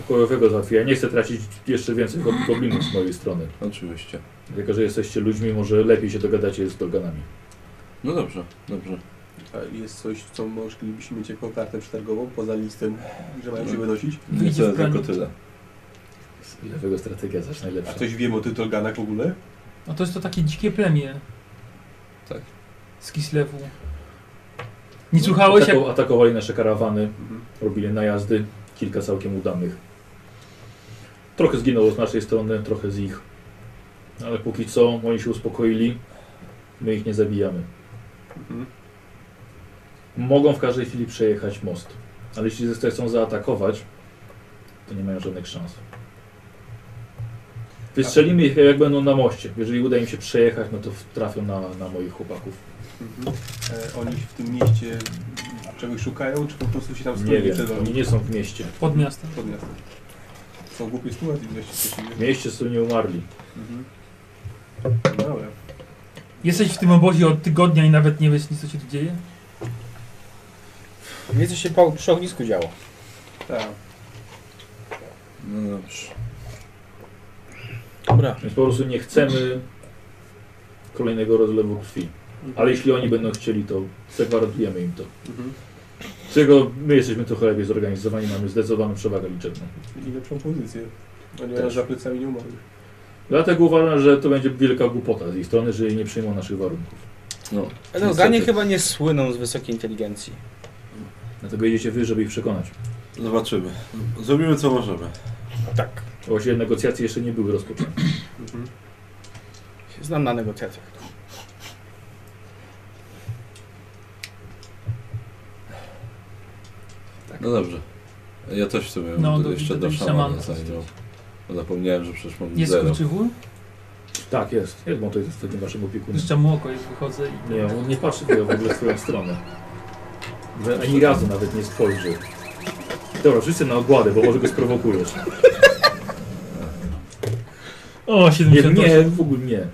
Speaker 3: pokojowego załatwienia, ja nie chcę tracić jeszcze więcej go- goblinów z mojej strony.
Speaker 1: Oczywiście.
Speaker 3: Tylko, że jesteście ludźmi, może lepiej się dogadacie z doganami.
Speaker 1: No dobrze, dobrze.
Speaker 5: A jest coś, co moglibyśmy mieć jako kartę przetargową, poza listem, że mają się wynosić?
Speaker 1: Nie
Speaker 4: Wyjdzie
Speaker 1: tyle,
Speaker 4: w praniu.
Speaker 1: tylko tyle.
Speaker 3: I dlatego strategia jest zawsze najlepsza.
Speaker 5: A coś wiem o Tytolganach w ogóle?
Speaker 4: No to jest to takie dzikie plemię.
Speaker 1: Tak.
Speaker 4: Z Kislewu. Nie słuchałeś jak...
Speaker 3: Ataku- Atakowali nasze karawany, robili najazdy, kilka całkiem udanych. Trochę zginęło z naszej strony, trochę z ich. Ale póki co oni się uspokoili, my ich nie zabijamy. Mogą w każdej chwili przejechać most, ale jeśli zechcą zaatakować, to nie mają żadnych szans. Wystrzelimy ich jak będą na moście. Jeżeli uda im się przejechać, no to trafią na, na moich chłopaków.
Speaker 5: E, oni w tym mieście czegoś szukają, czy po prostu się tam
Speaker 3: Nie
Speaker 5: stoją
Speaker 3: wiem,
Speaker 1: no?
Speaker 5: przed
Speaker 3: oni
Speaker 5: nami?
Speaker 3: nie są w mieście.
Speaker 4: Pod miastem.
Speaker 5: Pod miastem. Są głupie sytuacje, gdzieś się
Speaker 3: W mieście są nie umarli.
Speaker 5: Mhm. No Dobra.
Speaker 4: Jesteś w tym obozie od tygodnia i nawet nie wiesz nic co się tu dzieje?
Speaker 2: Wie co się po, przy ognisku działo.
Speaker 5: Tak.
Speaker 1: No dobrze.
Speaker 2: Dobra.
Speaker 3: Więc po prostu nie chcemy kolejnego rozlewu krwi. Ale jeśli oni będą chcieli, to zagwarantujemy im to.
Speaker 5: Mhm.
Speaker 3: Z tego my jesteśmy trochę lepiej zorganizowani, mamy zdecydowaną przewagę liczebną.
Speaker 5: I lepszą pozycję. Oni
Speaker 3: Też.
Speaker 5: za plecami nie umarli.
Speaker 3: Dlatego uważam, że to będzie wielka głupota z ich strony, że nie przyjmą naszych warunków.
Speaker 1: No.
Speaker 2: Eloganie
Speaker 1: niestety.
Speaker 2: chyba nie słyną z wysokiej inteligencji.
Speaker 3: Dlatego jedziecie wy, żeby ich przekonać.
Speaker 1: Zobaczymy. Zrobimy co możemy.
Speaker 2: Tak.
Speaker 3: Bo Właściwie negocjacje jeszcze nie były rozpoczęte.
Speaker 5: Mhm.
Speaker 2: się Znam na negocjacjach.
Speaker 1: No dobrze. Ja też w sumie
Speaker 4: No,
Speaker 1: no,
Speaker 4: do-
Speaker 1: jeszcze
Speaker 4: do
Speaker 1: do
Speaker 4: tych
Speaker 1: szamana
Speaker 4: szamanów
Speaker 1: zajrzał.
Speaker 4: zostać.
Speaker 1: Bo Zapomniałem, że przecież mam
Speaker 4: Jest
Speaker 1: zero.
Speaker 4: kurczywu?
Speaker 3: Tak, jest. Jest, bo to jest ostatnim waszym opiekunem.
Speaker 4: Jeszcze mu oko jest, wychodzę i...
Speaker 3: Nie, on nie patrzy w ogóle w twoją stronę. Ani razu nawet nie spojrzy. Dobra, wszyscy na ogładę, bo może go sprowokujesz.
Speaker 4: O,
Speaker 3: Nie,
Speaker 4: 78.
Speaker 3: nie, w ogóle nie.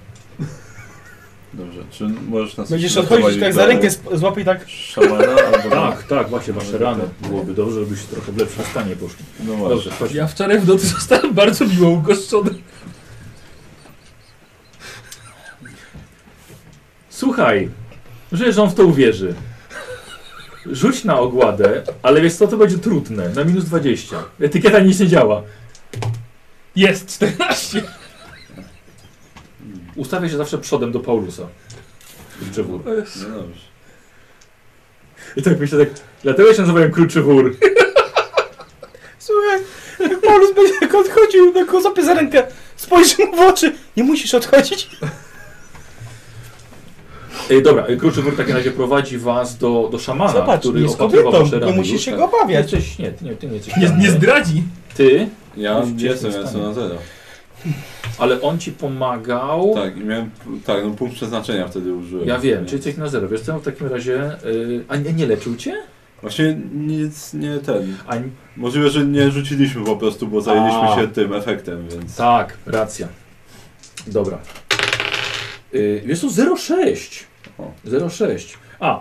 Speaker 1: Dobrze. Czy możesz nas
Speaker 2: Będziesz odchodzić tak za rękę, sp- złapie tak.
Speaker 1: Szamana albo...
Speaker 3: Tak, tak, właśnie wasze rany byłoby dobrze, żebyście trochę w lepszym stanie poszli.
Speaker 1: No
Speaker 3: Dobrze,
Speaker 1: właśnie.
Speaker 3: chodź.
Speaker 4: Ja wczoraj w nocy zostałem bardzo miło ugoszczony.
Speaker 3: Słuchaj, że on w to uwierzy. Rzuć na ogładę, ale wiesz co, to będzie trudne, na minus 20. Etykieta nic nie działa.
Speaker 4: Jest 14.
Speaker 3: Ustawia się zawsze przodem do Paulusa. Kurczę wór.
Speaker 1: No dobrze.
Speaker 3: I tak myślę tak, dlatego się nazywałem Kruczy Wór.
Speaker 2: Słuchaj, jak Paulus będzie tak odchodził, tak go złapie za rękę, spojrzy mu w oczy. Nie musisz odchodzić.
Speaker 3: Ej, dobra, e, Kruczy Wór w takim razie prowadzi was do, do szamana,
Speaker 2: Zobacz,
Speaker 3: który
Speaker 2: nie jest
Speaker 3: opatrywał
Speaker 2: kobietą,
Speaker 3: wasze
Speaker 2: nie
Speaker 3: rany.
Speaker 2: musisz
Speaker 3: już.
Speaker 2: się
Speaker 1: tak.
Speaker 2: go obawiać.
Speaker 3: Jesteś, nie, ty nie, ty nie jesteś.
Speaker 4: Nie,
Speaker 3: ranny.
Speaker 4: nie zdradzi.
Speaker 3: Ty,
Speaker 1: Ja
Speaker 3: Już w
Speaker 1: jestem,
Speaker 3: ciężkim
Speaker 1: ja jestem
Speaker 3: stanie.
Speaker 1: na zero.
Speaker 3: ale on ci pomagał.
Speaker 1: Tak, i miałem... Tak, no punkt przeznaczenia wtedy użyłem.
Speaker 3: Ja wiem,
Speaker 1: Nie.
Speaker 3: czyli jesteś na zero. Wiesz co, w takim razie... y, a nie, nie leczył cię?
Speaker 1: Właśnie nic nie ten...
Speaker 3: A, nie-
Speaker 1: Możliwe, że nie rzuciliśmy po prostu, bo zajęliśmy
Speaker 3: A.
Speaker 1: się tym efektem, więc...
Speaker 3: tak, racja. Dobra. Y, wiesz co, 0,6.
Speaker 1: O.
Speaker 3: 0,6. A,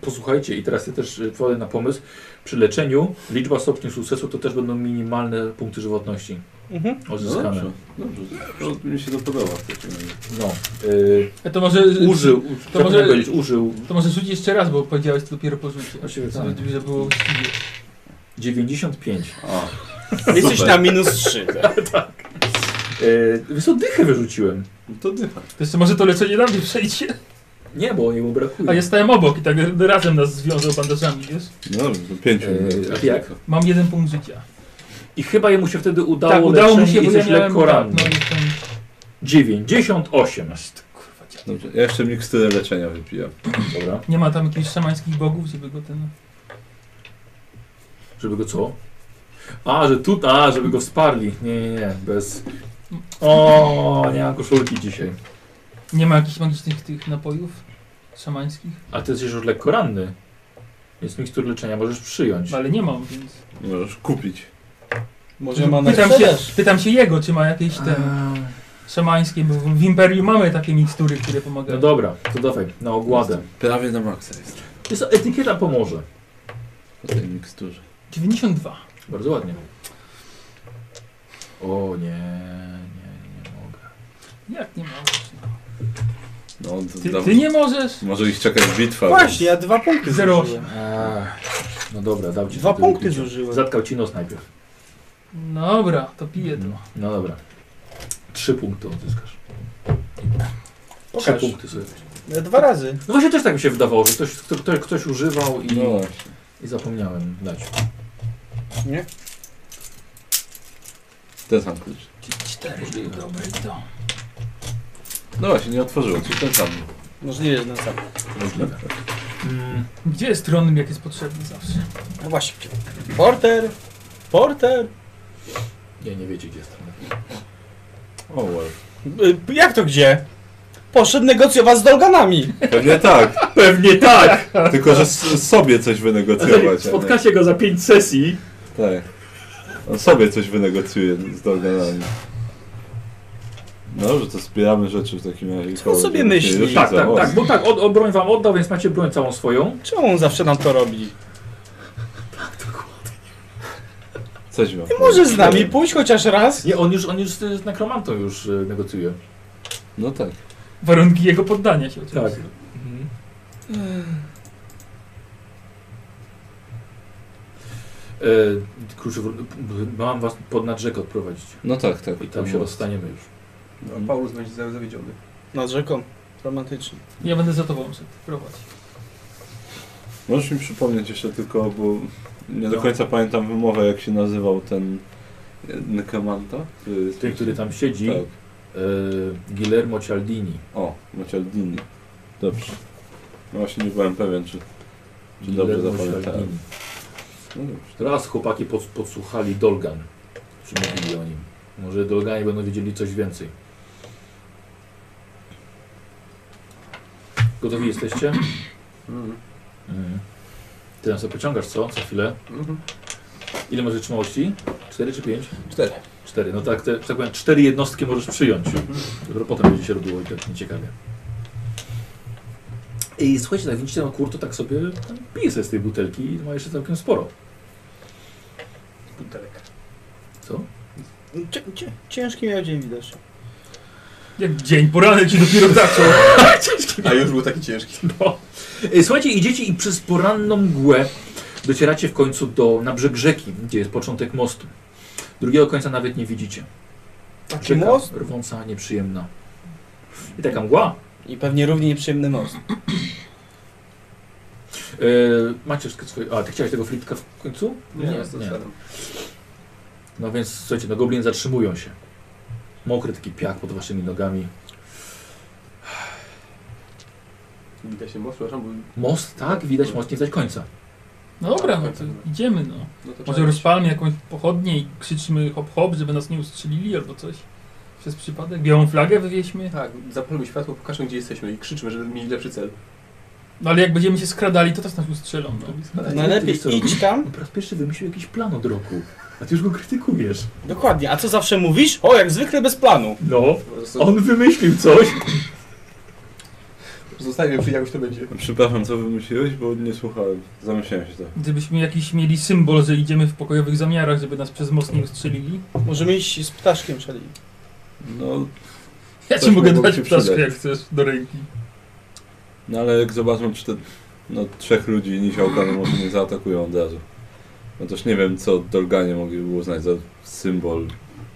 Speaker 3: posłuchajcie, i teraz ja też y, wchodzę na pomysł. Przy leczeniu liczba stopni sukcesu to też będą minimalne punkty żywotności
Speaker 2: Mhm.
Speaker 1: No
Speaker 3: odzyskane.
Speaker 1: dobrze, dobrze. To mi się to podoba. w takim razie.
Speaker 3: No, y,
Speaker 4: E, To może...
Speaker 3: użył, to
Speaker 4: może-
Speaker 3: może powiedzieć, użył
Speaker 4: To może rzuć jeszcze raz, bo powiedziałeś to dopiero po rzucie.
Speaker 3: Właściwie tak.
Speaker 4: Żeby- Żeby było uczciwie.
Speaker 3: 95.
Speaker 1: A,
Speaker 2: Jesteś
Speaker 1: Super.
Speaker 2: na minus 3.
Speaker 3: Yy, wiesz co, dychę wyrzuciłem.
Speaker 1: no to dycha.
Speaker 4: To jeszcze może to leczenie na mnie przejdzie.
Speaker 3: Nie, bo jemu brakuje.
Speaker 4: A ja stałem obok i tak razem nas związał bandażami, wiesz?
Speaker 1: No dobrze, to pięciu.
Speaker 3: Eee, a jak?
Speaker 4: Mam jeden punkt życia.
Speaker 3: I chyba jemu się wtedy udało,
Speaker 4: tak, udało mi
Speaker 3: leczenie
Speaker 4: się,
Speaker 3: i
Speaker 4: bo ja
Speaker 3: jesteś
Speaker 4: miałem...
Speaker 3: lekko ranny.
Speaker 4: Tak, no, jestem...
Speaker 3: 98.
Speaker 4: Kurwa, dziad.
Speaker 1: Dobrze, ja jeszcze miksturę leczenia wypiję.
Speaker 3: Dobra.
Speaker 4: Nie ma tam jakichś szamańskich bogów, żeby go ten...
Speaker 3: Żeby go co? A, że tu, a, żeby go wsparli. Nie, nie, nie, bez... O, nie mam koszulki dzisiaj.
Speaker 4: Nie ma jakichś magicznych tych napojów szamańskich?
Speaker 2: Znaczy-
Speaker 3: A ty jesteś już lekko ranny. Więc mikstur leczenia możesz przyjąć.
Speaker 4: Ale nie mam, więc...
Speaker 1: Możesz kupić.
Speaker 2: Może ma na
Speaker 4: Pytam się, pytam się jego, czy ma jakieś ten... Szamańskie, bo w w Imperium mamy takie mikstury, które
Speaker 3: No
Speaker 4: pomagają.
Speaker 3: dobra, to dawaj, na ogładę.
Speaker 1: Prawie na maksa jest.
Speaker 3: Jest etykieta pomoże.
Speaker 1: Po tej miksturze.
Speaker 4: 92.
Speaker 3: Bardzo ładnie. O nie, nie, nie mogę.
Speaker 4: Jak nie ma?
Speaker 1: No, to
Speaker 4: Ty,
Speaker 1: dam-
Speaker 4: ty nie możesz?
Speaker 1: Może ich czekać bitwa.
Speaker 2: Właśnie, ja dwa punkty
Speaker 4: Zero
Speaker 2: zużyłem.
Speaker 3: Ach, No dobra, dam ci
Speaker 2: Dwa
Speaker 3: tylko
Speaker 2: punkty
Speaker 3: ubicie.
Speaker 2: zużyłem.
Speaker 3: Zatkał ci nos najpierw.
Speaker 4: Dobra, to piję to.
Speaker 3: No dobra. Trzy punkty odzyskasz. Trzy
Speaker 2: Pokaż.
Speaker 3: punkty sobie.
Speaker 2: E, Dwa razy.
Speaker 3: No właśnie też tak mi się wydawało, że ktoś, kto, kto, ktoś używał i,
Speaker 1: No właśnie.
Speaker 3: i zapomniałem dać.
Speaker 1: Ten sam klucz.
Speaker 4: Cztery, dobra, to.
Speaker 1: No właśnie, nie otworzyło, czyli ten sam.
Speaker 2: Możliwe, że na sam.
Speaker 3: Możliwe. Mm,
Speaker 4: Gdzie jest tron, jak jest potrzebny zawsze?
Speaker 2: No właśnie. Porter! Porter!
Speaker 3: nie, nie wiecie gdzie jest ten.
Speaker 1: O wow.
Speaker 2: E, Jak to gdzie? Poszedł negocjować z Dolganami.
Speaker 1: Pewnie tak.
Speaker 8: Pewnie tak!
Speaker 1: Tylko, że s- sobie coś wynegocjować. a nie-
Speaker 8: Spotkacie go za pięć sesji.
Speaker 1: Tak. On sobie coś wynegocjuje z Dorganami. No, że to zbieramy rzeczy w takim razie.
Speaker 2: Co on sobie myśli?
Speaker 3: Tak, tak, tak, bo tak, od, od broń wam oddał, więc macie broń całą swoją.
Speaker 2: Czemu on zawsze nam to robi?
Speaker 1: Coś ma.
Speaker 2: Może z nami pójść chociaż raz?
Speaker 3: Nie, on już, on już z nekromantą już y, negocjuje.
Speaker 1: No tak.
Speaker 4: Warunki jego poddania się oczywiście.
Speaker 3: Tak.
Speaker 4: Mhm.
Speaker 3: E, kurczę, wr- mam was pod nadrzek odprowadzić.
Speaker 1: No tak, tak.
Speaker 3: I tam się rozstaniemy już.
Speaker 5: No, Paulus będzie za- zawiedziony.
Speaker 2: Nad rzeką. Romantycznie.
Speaker 3: Tak.
Speaker 4: Ja będę za tobą szedł, prowadź.
Speaker 1: Możesz mi przypomnieć jeszcze tylko, bo nie do końca pamiętam wymowę, jak się nazywał ten nekromanta. który-
Speaker 3: Ten, który tam siedzi,
Speaker 1: Tak.
Speaker 3: e, Guillermo Cialdini.
Speaker 1: O, Macialdini. Dobrze. No właśnie nie byłem pewien, czy... Czy dobrze
Speaker 3: Guillermo
Speaker 1: zapamiętałem?
Speaker 3: Cialdini.
Speaker 1: No dobrze.
Speaker 3: Raz chłopaki pod, podsłuchali Dolgan. Czy mówili o nim. Może Dolganie będą wiedzieli coś więcej. Gotowi jesteście?
Speaker 2: Mm.
Speaker 5: Mhm.
Speaker 3: Mhm. Ty nas pociągasz, co? Co chwilę.
Speaker 5: Mhm.
Speaker 3: Ile masz wytrzymałości? 4 czy 5?
Speaker 5: Cztery.
Speaker 3: 4. No tak, te, że tak powiem, 4 jednostki możesz przyjąć.
Speaker 5: Mhm.
Speaker 3: Dopiero potem będzie się robiło i tak nieciekawie. I słuchajcie, tak widzicie, no kurto tak sobie tam pije sobie z tej butelki i ma jeszcze całkiem sporo.
Speaker 2: Butelek.
Speaker 3: Co?
Speaker 2: Cię, cię, ciężki miał dzień widać.
Speaker 4: Jak dzień, poranek się dopiero zaczął.
Speaker 5: A już był taki ciężki.
Speaker 3: No. E, Słuchajcie, idziecie i przez poranną mgłę docieracie w końcu do, na brzeg rzeki, gdzie jest początek mostu. Drugiego końca nawet nie widzicie.
Speaker 2: Taki
Speaker 3: Rzeka
Speaker 2: most?
Speaker 3: rwąca, nieprzyjemna. I taka mgła.
Speaker 2: I pewnie równie nieprzyjemny most.
Speaker 3: E, macie wszystkie swoje... A, ty chciałeś tego fritka w końcu? No więc słuchajcie, no goblin zatrzymują się. Mokry taki piach pod waszymi nogami.
Speaker 5: Widać się most, przepraszam, bo...
Speaker 3: Most, tak? Widać most, nie widać końca.
Speaker 4: Dobra, no to idziemy no.
Speaker 5: No to
Speaker 4: Może rozpalmy jakąś pochodnię i krzyczmy hop hop, żeby nas nie ustrzelili albo coś. Przez przypadek. Białą flagę wywieźmy.
Speaker 5: Tak, zapalmy światło, pokażmy gdzie jesteśmy i krzyczmy, żeby mieli lepszy cel.
Speaker 4: No ale jak będziemy się skradali, to też nas ustrzelą. No.
Speaker 2: Najlepiej idź tam.
Speaker 3: No po raz pierwszy wymyślił jakiś plan od roku. A ty już go krytykujesz.
Speaker 2: Dokładnie. A co zawsze mówisz? O, jak zwykle bez planu.
Speaker 3: No,
Speaker 5: Zosta-
Speaker 3: on wymyślił coś.
Speaker 5: Zostawimy przy jakoś to będzie.
Speaker 1: Przepraszam, co wymyśliłeś, bo nie słuchałem. Zamyślałem się tak.
Speaker 4: Gdybyśmy jakiś mieli symbol, że idziemy w pokojowych zamiarach, żeby nas przez most nie ustrzelili.
Speaker 2: Możemy iść z ptaszkiem, szali.
Speaker 1: No,
Speaker 4: Ja
Speaker 1: Coś
Speaker 4: ci mogę
Speaker 1: mogłoby
Speaker 4: dać
Speaker 1: się
Speaker 4: ptaszkę,
Speaker 1: przydać.
Speaker 4: jak chcesz, do ręki.
Speaker 1: no ale jak zobaczą, czy te no, trzech ludzi nisiołka, no może nie zaatakują od razu. No też nie wiem, co Dolganie mogliby uznać za symbol.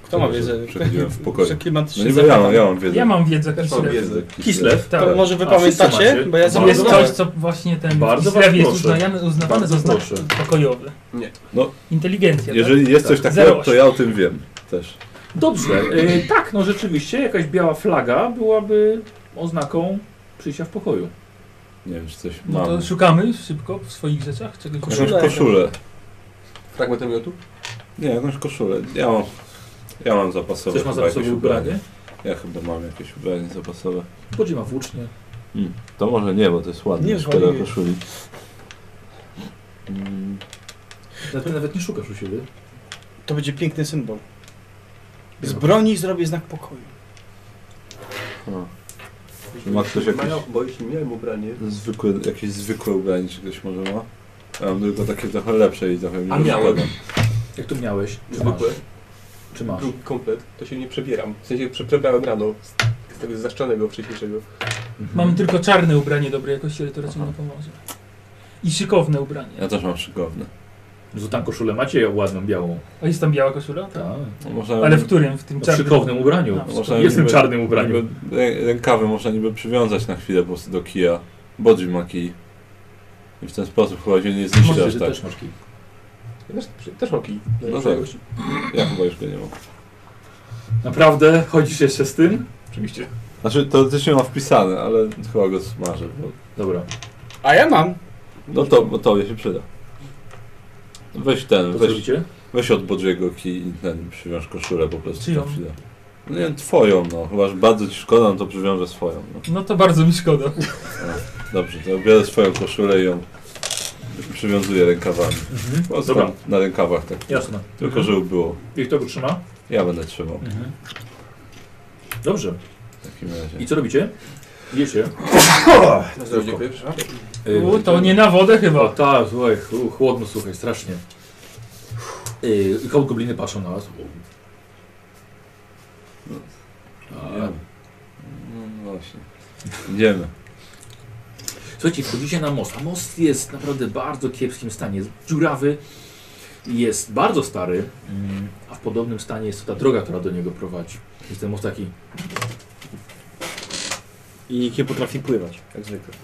Speaker 2: Kto ma
Speaker 1: że
Speaker 2: wiedzę?
Speaker 1: Przechodziłem w pokoju. No
Speaker 2: Klimatyczny
Speaker 1: niby ja mam, ja mam wiedzę.
Speaker 4: Ja mam wiedzę,
Speaker 5: Też mam
Speaker 4: Kislev.
Speaker 5: wiedzę.
Speaker 3: Kislew.
Speaker 4: Tak.
Speaker 2: To może wy
Speaker 3: A, wszyscy
Speaker 2: pamiętacie?
Speaker 3: macie?
Speaker 2: Bo ja
Speaker 3: Bardzo
Speaker 4: Jest
Speaker 2: zapomniałem.
Speaker 4: coś, co właśnie ten
Speaker 3: Bardzo
Speaker 4: Kislev
Speaker 3: was
Speaker 4: jest
Speaker 3: proszę.
Speaker 4: uznawany, uznawany
Speaker 3: Bardzo
Speaker 4: za znak
Speaker 3: proszę.
Speaker 4: pokojowy.
Speaker 5: Nie.
Speaker 1: No.
Speaker 4: Inteligencja,
Speaker 1: Jeżeli jest coś
Speaker 4: Tak.
Speaker 1: takiego,
Speaker 4: Zero
Speaker 1: to ja o tym wiem też.
Speaker 3: Dobrze, e, tak, no rzeczywiście, jakaś biała flaga byłaby oznaką przyjścia w pokoju.
Speaker 1: Nie wiem, czy coś
Speaker 4: tak? No
Speaker 1: mam.
Speaker 4: to szukamy szybko w swoich rzeczach czegoś.
Speaker 1: Jakąś koszulę.
Speaker 5: Fragment namiotu?
Speaker 1: Nie, jakąś koszulę. Ja mam, ja mam zapasowe.
Speaker 3: Coś ma
Speaker 1: chyba
Speaker 3: za sobą
Speaker 1: jakieś
Speaker 3: ubranie?
Speaker 1: Ja chyba mam jakieś ubranie zapasowe.
Speaker 3: Bodzi ma włócznie.
Speaker 1: To może nie, bo to jest ładne.
Speaker 2: Nie,
Speaker 1: Szkoda
Speaker 2: zwaliłeś.
Speaker 1: koszuli. Mm,
Speaker 3: Nawet- Ty nawet nie szukasz u siebie.
Speaker 2: To będzie piękny symbol. Z broni zrobię znak pokoju.
Speaker 1: o. Czy ma ktoś jakieś-
Speaker 5: Mają, bo jeśli miałem ubranie...
Speaker 1: Zwykłe, jakieś zwykłe ubranie czy ktoś może ma? Ja mam tylko takie trochę lepsze i trochę mi
Speaker 5: A
Speaker 1: już
Speaker 5: miałem.
Speaker 1: szkoda.
Speaker 3: Jak to miałeś? Czy masz?
Speaker 5: Zwykłe,
Speaker 3: Czy masz?
Speaker 5: drugi komplet, to się nie przebieram. W sensie prze- przebrałem rano z- z tego zaszczanego wcześniejszego.
Speaker 3: Mhm.
Speaker 4: Mam tylko czarne ubranie dobrej jakości, ale to raczej nie pomoże. I szykowne ubranie.
Speaker 1: Ja też mam szykowne.
Speaker 3: Złotą No koszulę macie ładną, białą.
Speaker 4: A jest tam biała koszula?
Speaker 3: Tak.
Speaker 1: No, Można,
Speaker 4: Ale w którym? W
Speaker 1: No,
Speaker 4: tym
Speaker 3: W
Speaker 4: czarnym?
Speaker 3: szykownym ubraniu.
Speaker 4: A,
Speaker 1: Można
Speaker 3: Jestem
Speaker 1: niby-
Speaker 3: czarnym ubraniu.
Speaker 1: niby rę- Rękawy można niby przywiązać na chwilę po prostu do kija. Bodzi ma kij. I w ten sposób chyba się nie zniszczy
Speaker 3: Może
Speaker 1: aż
Speaker 3: ty
Speaker 1: tak.
Speaker 3: też masz kij.
Speaker 5: Też, też mam kij.
Speaker 1: No tak. Ja chyba już go nie mam.
Speaker 3: Naprawdę? Chodzisz jeszcze z tym?
Speaker 5: Oczywiście.
Speaker 1: Znaczy teoretycznie ma wpisane, ale chyba go smażę. Bo...
Speaker 3: Dobra.
Speaker 2: A ja mam.
Speaker 1: No to, bo tobie się przyda. Weź ten,
Speaker 3: To co
Speaker 1: weź,
Speaker 3: robicie?
Speaker 1: weź od Bodziego kij i ten przywiąż koszulę po prostu.
Speaker 4: Czyją?
Speaker 1: na chwilę. No nie, twoją no. Chyba, że bardzo ci szkoda, no to przywiążę swoją. No.
Speaker 4: No to bardzo mi szkoda.
Speaker 1: Dobrze, to biorę swoją koszulę i ją przywiązuję rękawami. Po prostu
Speaker 3: Mhm. Dobra.
Speaker 1: na rękawach tak.
Speaker 3: Jasne. Mhm.
Speaker 1: Tylko, żeby było.
Speaker 3: I kto go trzyma?
Speaker 1: Ja będę trzymał
Speaker 3: Dobrze.
Speaker 1: w takim razie.
Speaker 3: I co robicie? Idziecie.
Speaker 5: Na zdrowie, dziękuję, przepraszam.
Speaker 4: U, Y, to nie na wodę
Speaker 3: O
Speaker 4: chyba.
Speaker 3: tak, słuchaj, chu- chłodno, słuchaj, strasznie. Yy, I gobliny patrzą na was.
Speaker 1: Ja.
Speaker 3: Tak.
Speaker 1: No właśnie. Idziemy.
Speaker 3: Słuchajcie, wchodzicie na most. A most jest naprawdę w bardzo kiepskim stanie. Jest dziurawy, jest bardzo stary, mm, a w podobnym stanie jest ta droga, która do niego prowadzi. Jest ten most taki
Speaker 2: I nikt nie potrafi pływać, jak zwykle.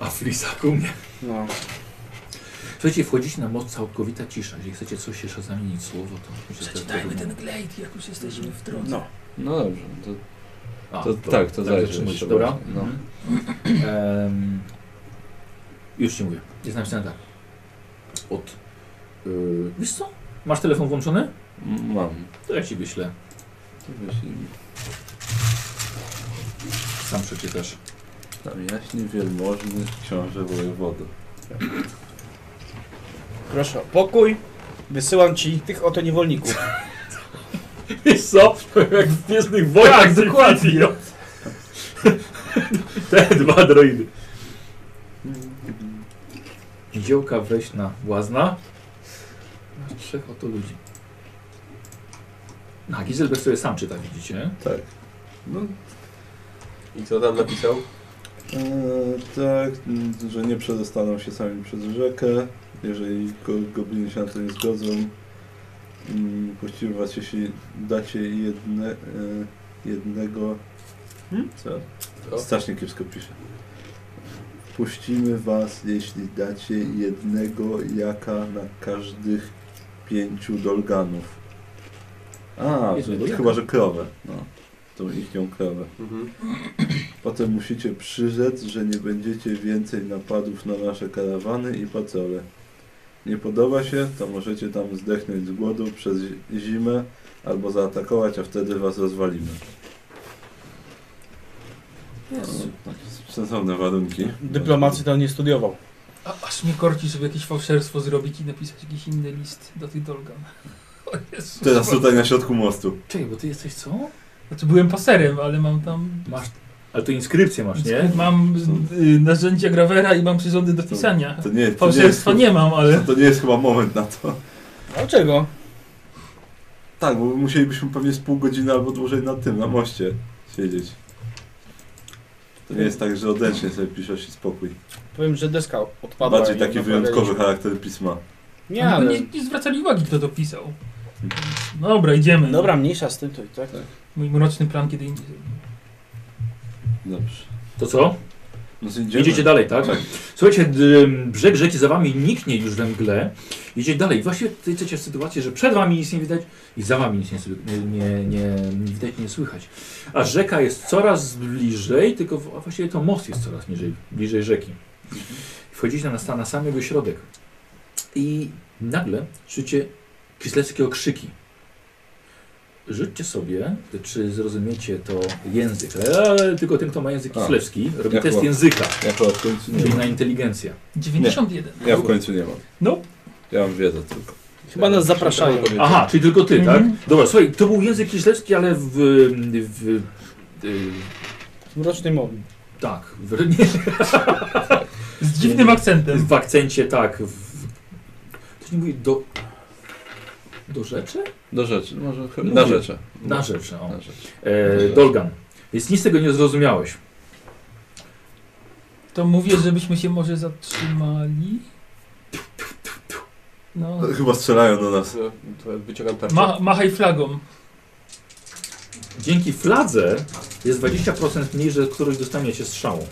Speaker 3: Afrisaku mnie.
Speaker 2: No.
Speaker 3: Słuchajcie, wchodzicie na most, całkowita cisza. Jeżeli chcecie coś jeszcze zamienić słowo, to myślę, że Przeczytajmy ten glejt, jak już jesteśmy w drodze.
Speaker 2: No.
Speaker 1: No dobrze, to,
Speaker 3: A,
Speaker 1: to tak, to zajrzyj.
Speaker 3: zatrzymujcie,
Speaker 1: jeszcze
Speaker 3: Dobra. Mhm.
Speaker 1: właśnie, No.
Speaker 3: Em, już ci mówię. Jest napisane tak. Od. Yy, wiesz co? Masz telefon włączony?
Speaker 1: M- Mam.
Speaker 3: To ja ci wyślę.
Speaker 1: To wyślij mi.
Speaker 3: Sam przeczytasz.
Speaker 1: Tam jaśnie wielmożny książę wojewodo.
Speaker 2: Proszę o pokój. Wysyłam ci tych oto niewolników.
Speaker 8: Wiesz co? Jak w Gwiezdnych Wojnach.
Speaker 4: Tak, dokładnie.
Speaker 8: Te dwa droidy.
Speaker 3: Dziełka weź na błazna. Masz trzech oto ludzi. Na Gizelbert sobie sam czyta, widzicie?
Speaker 1: No.
Speaker 5: I co tam napisał?
Speaker 1: Eee, tak, m, że nie przedostaną się sami przez rzekę, jeżeli go- gobliny się na to nie zgodzą. Mm, Puścimy was, jeśli dacie jedne, e, jednego... Co?
Speaker 5: Co?
Speaker 1: Strasznie kiepsko pisze. Puścimy was, jeśli dacie jednego jaka na każdych pięciu dolganów. A,
Speaker 3: Jednego
Speaker 1: że,
Speaker 3: jaka?
Speaker 1: chyba że krowę. No, tą ichnią krowę.
Speaker 5: Mhm.
Speaker 1: Potem musicie przyrzec, że nie będziecie więcej napadów na nasze karawany i pacole. Nie podoba się, to możecie tam zdechnąć z głodu przez zi- zimę albo zaatakować, a wtedy was rozwalimy. No, takie Sensowne warunki.
Speaker 2: Dyplomacji to on nie studiował.
Speaker 4: A, aż mnie korci, żeby jakieś fałszerstwo zrobić i napisać jakiś inny list do tych Dolgan. O Jezus.
Speaker 1: Teraz tutaj na środku mostu.
Speaker 3: Czekaj, bo ty jesteś co?
Speaker 4: Znaczy byłem paserem, ale mam tam...
Speaker 3: Masz. Ale to inskrypcję masz, nie?
Speaker 4: Mam y, narzędzia grawera i mam przyrządy do pisania.
Speaker 1: To nie, to nie, jest,
Speaker 4: Fałszerstwa nie mam, ale...
Speaker 1: to nie jest chyba moment na to.
Speaker 2: Dlaczego?
Speaker 1: Tak, bo musielibyśmy pewnie z pół godziny albo dłużej na tym, na moście siedzieć. To nie jest tak, że odręcznie sobie piszesz i spokój.
Speaker 2: Powiem, że deska odpadła.
Speaker 1: Bardziej
Speaker 2: i
Speaker 1: taki
Speaker 2: naprawialiśmy.
Speaker 1: wyjątkowy charakter pisma.
Speaker 2: Nie,
Speaker 4: Oni
Speaker 2: ale...
Speaker 4: nie, nie zwracali uwagi, kto to pisał. Dobra, idziemy.
Speaker 2: Dobra, mniejsza z tym to i tak.
Speaker 4: Mój mroczny plan kiedy indziej.
Speaker 1: Dobrze.
Speaker 3: To co?
Speaker 1: No to
Speaker 3: Idziecie dalej, tak?
Speaker 1: Tak.
Speaker 3: Słuchajcie, d- brzeg rzeki za wami niknie już we mgle. Idziecie dalej. Właściwie tutaj chcecie sytuację, że przed wami nic nie widać i za wami nic nie, sły- nie, nie, nie widać, nie słychać. A rzeka jest coraz bliżej, tylko w, a właściwie to most jest coraz niżej, bliżej rzeki. Wchodzicie na, na sam jego środek i nagle słyszycie kisleckie okrzyki. Rzućcie sobie, czy zrozumiecie to język. Ale tylko ten, kto ma język
Speaker 1: A,
Speaker 3: kislewski, robi
Speaker 1: ja
Speaker 3: test
Speaker 1: chyba-
Speaker 3: języka.
Speaker 1: Ja chyba w końcu nie
Speaker 3: Czyli
Speaker 1: mam.
Speaker 3: na inteligencję.
Speaker 4: 91.
Speaker 1: Ja w końcu nie mam.
Speaker 4: No.
Speaker 1: Ja mam wiedzę tylko.
Speaker 2: Chyba nas zapraszają.
Speaker 3: Aha, czyli tylko ty,
Speaker 4: Mhm.
Speaker 3: tak? Dobra, słuchaj, to był język kieślewski, ale w... w, w
Speaker 2: W mrocznej mowie.
Speaker 3: tak, w, nie,
Speaker 4: Z dziwnym akcentem.
Speaker 3: w akcencie, tak. W, to nie mówi do... Do rzeczy?
Speaker 1: Do rzeczy, może chyba.
Speaker 3: Mówię.
Speaker 1: Na rzeczy.
Speaker 3: Na rzeczy, o.
Speaker 1: Na rzeczy.
Speaker 3: E, Dolgan. Więc nic z tego nie zrozumiałeś.
Speaker 4: To mówię, żebyśmy się może zatrzymali. No.
Speaker 1: Chyba strzelają do nas.
Speaker 5: To Wyciągam tarczę.
Speaker 4: Ma, machaj flagą.
Speaker 3: Dzięki fladze jest 20% mniej, że któryś dostanie się strzałą.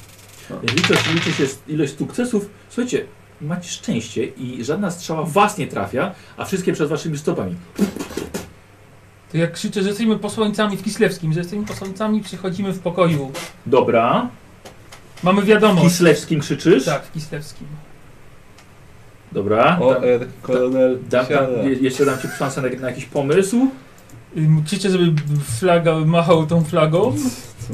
Speaker 3: Więc liczy, liczy się ilość sukcesów. Słuchajcie, macie szczęście i żadna strzała was nie trafia, a wszystkie przed waszymi stopami.
Speaker 4: To jak krzyczę, że jesteśmy posłańcami w Kislewskim, że jesteśmy posłańcami, przychodzimy w pokoju.
Speaker 3: Dobra.
Speaker 4: Mamy wiadomość.
Speaker 3: Kislewskim krzyczysz?
Speaker 4: Tak, w Kislewskim.
Speaker 3: Dobra.
Speaker 1: O, e, kolonel
Speaker 3: Dam,
Speaker 1: siada.
Speaker 3: dam, je- jeszcze dam ci szansę na, na jakiś pomysł.
Speaker 4: Ym, Krzyczę, żeby flaga machał tą flagą.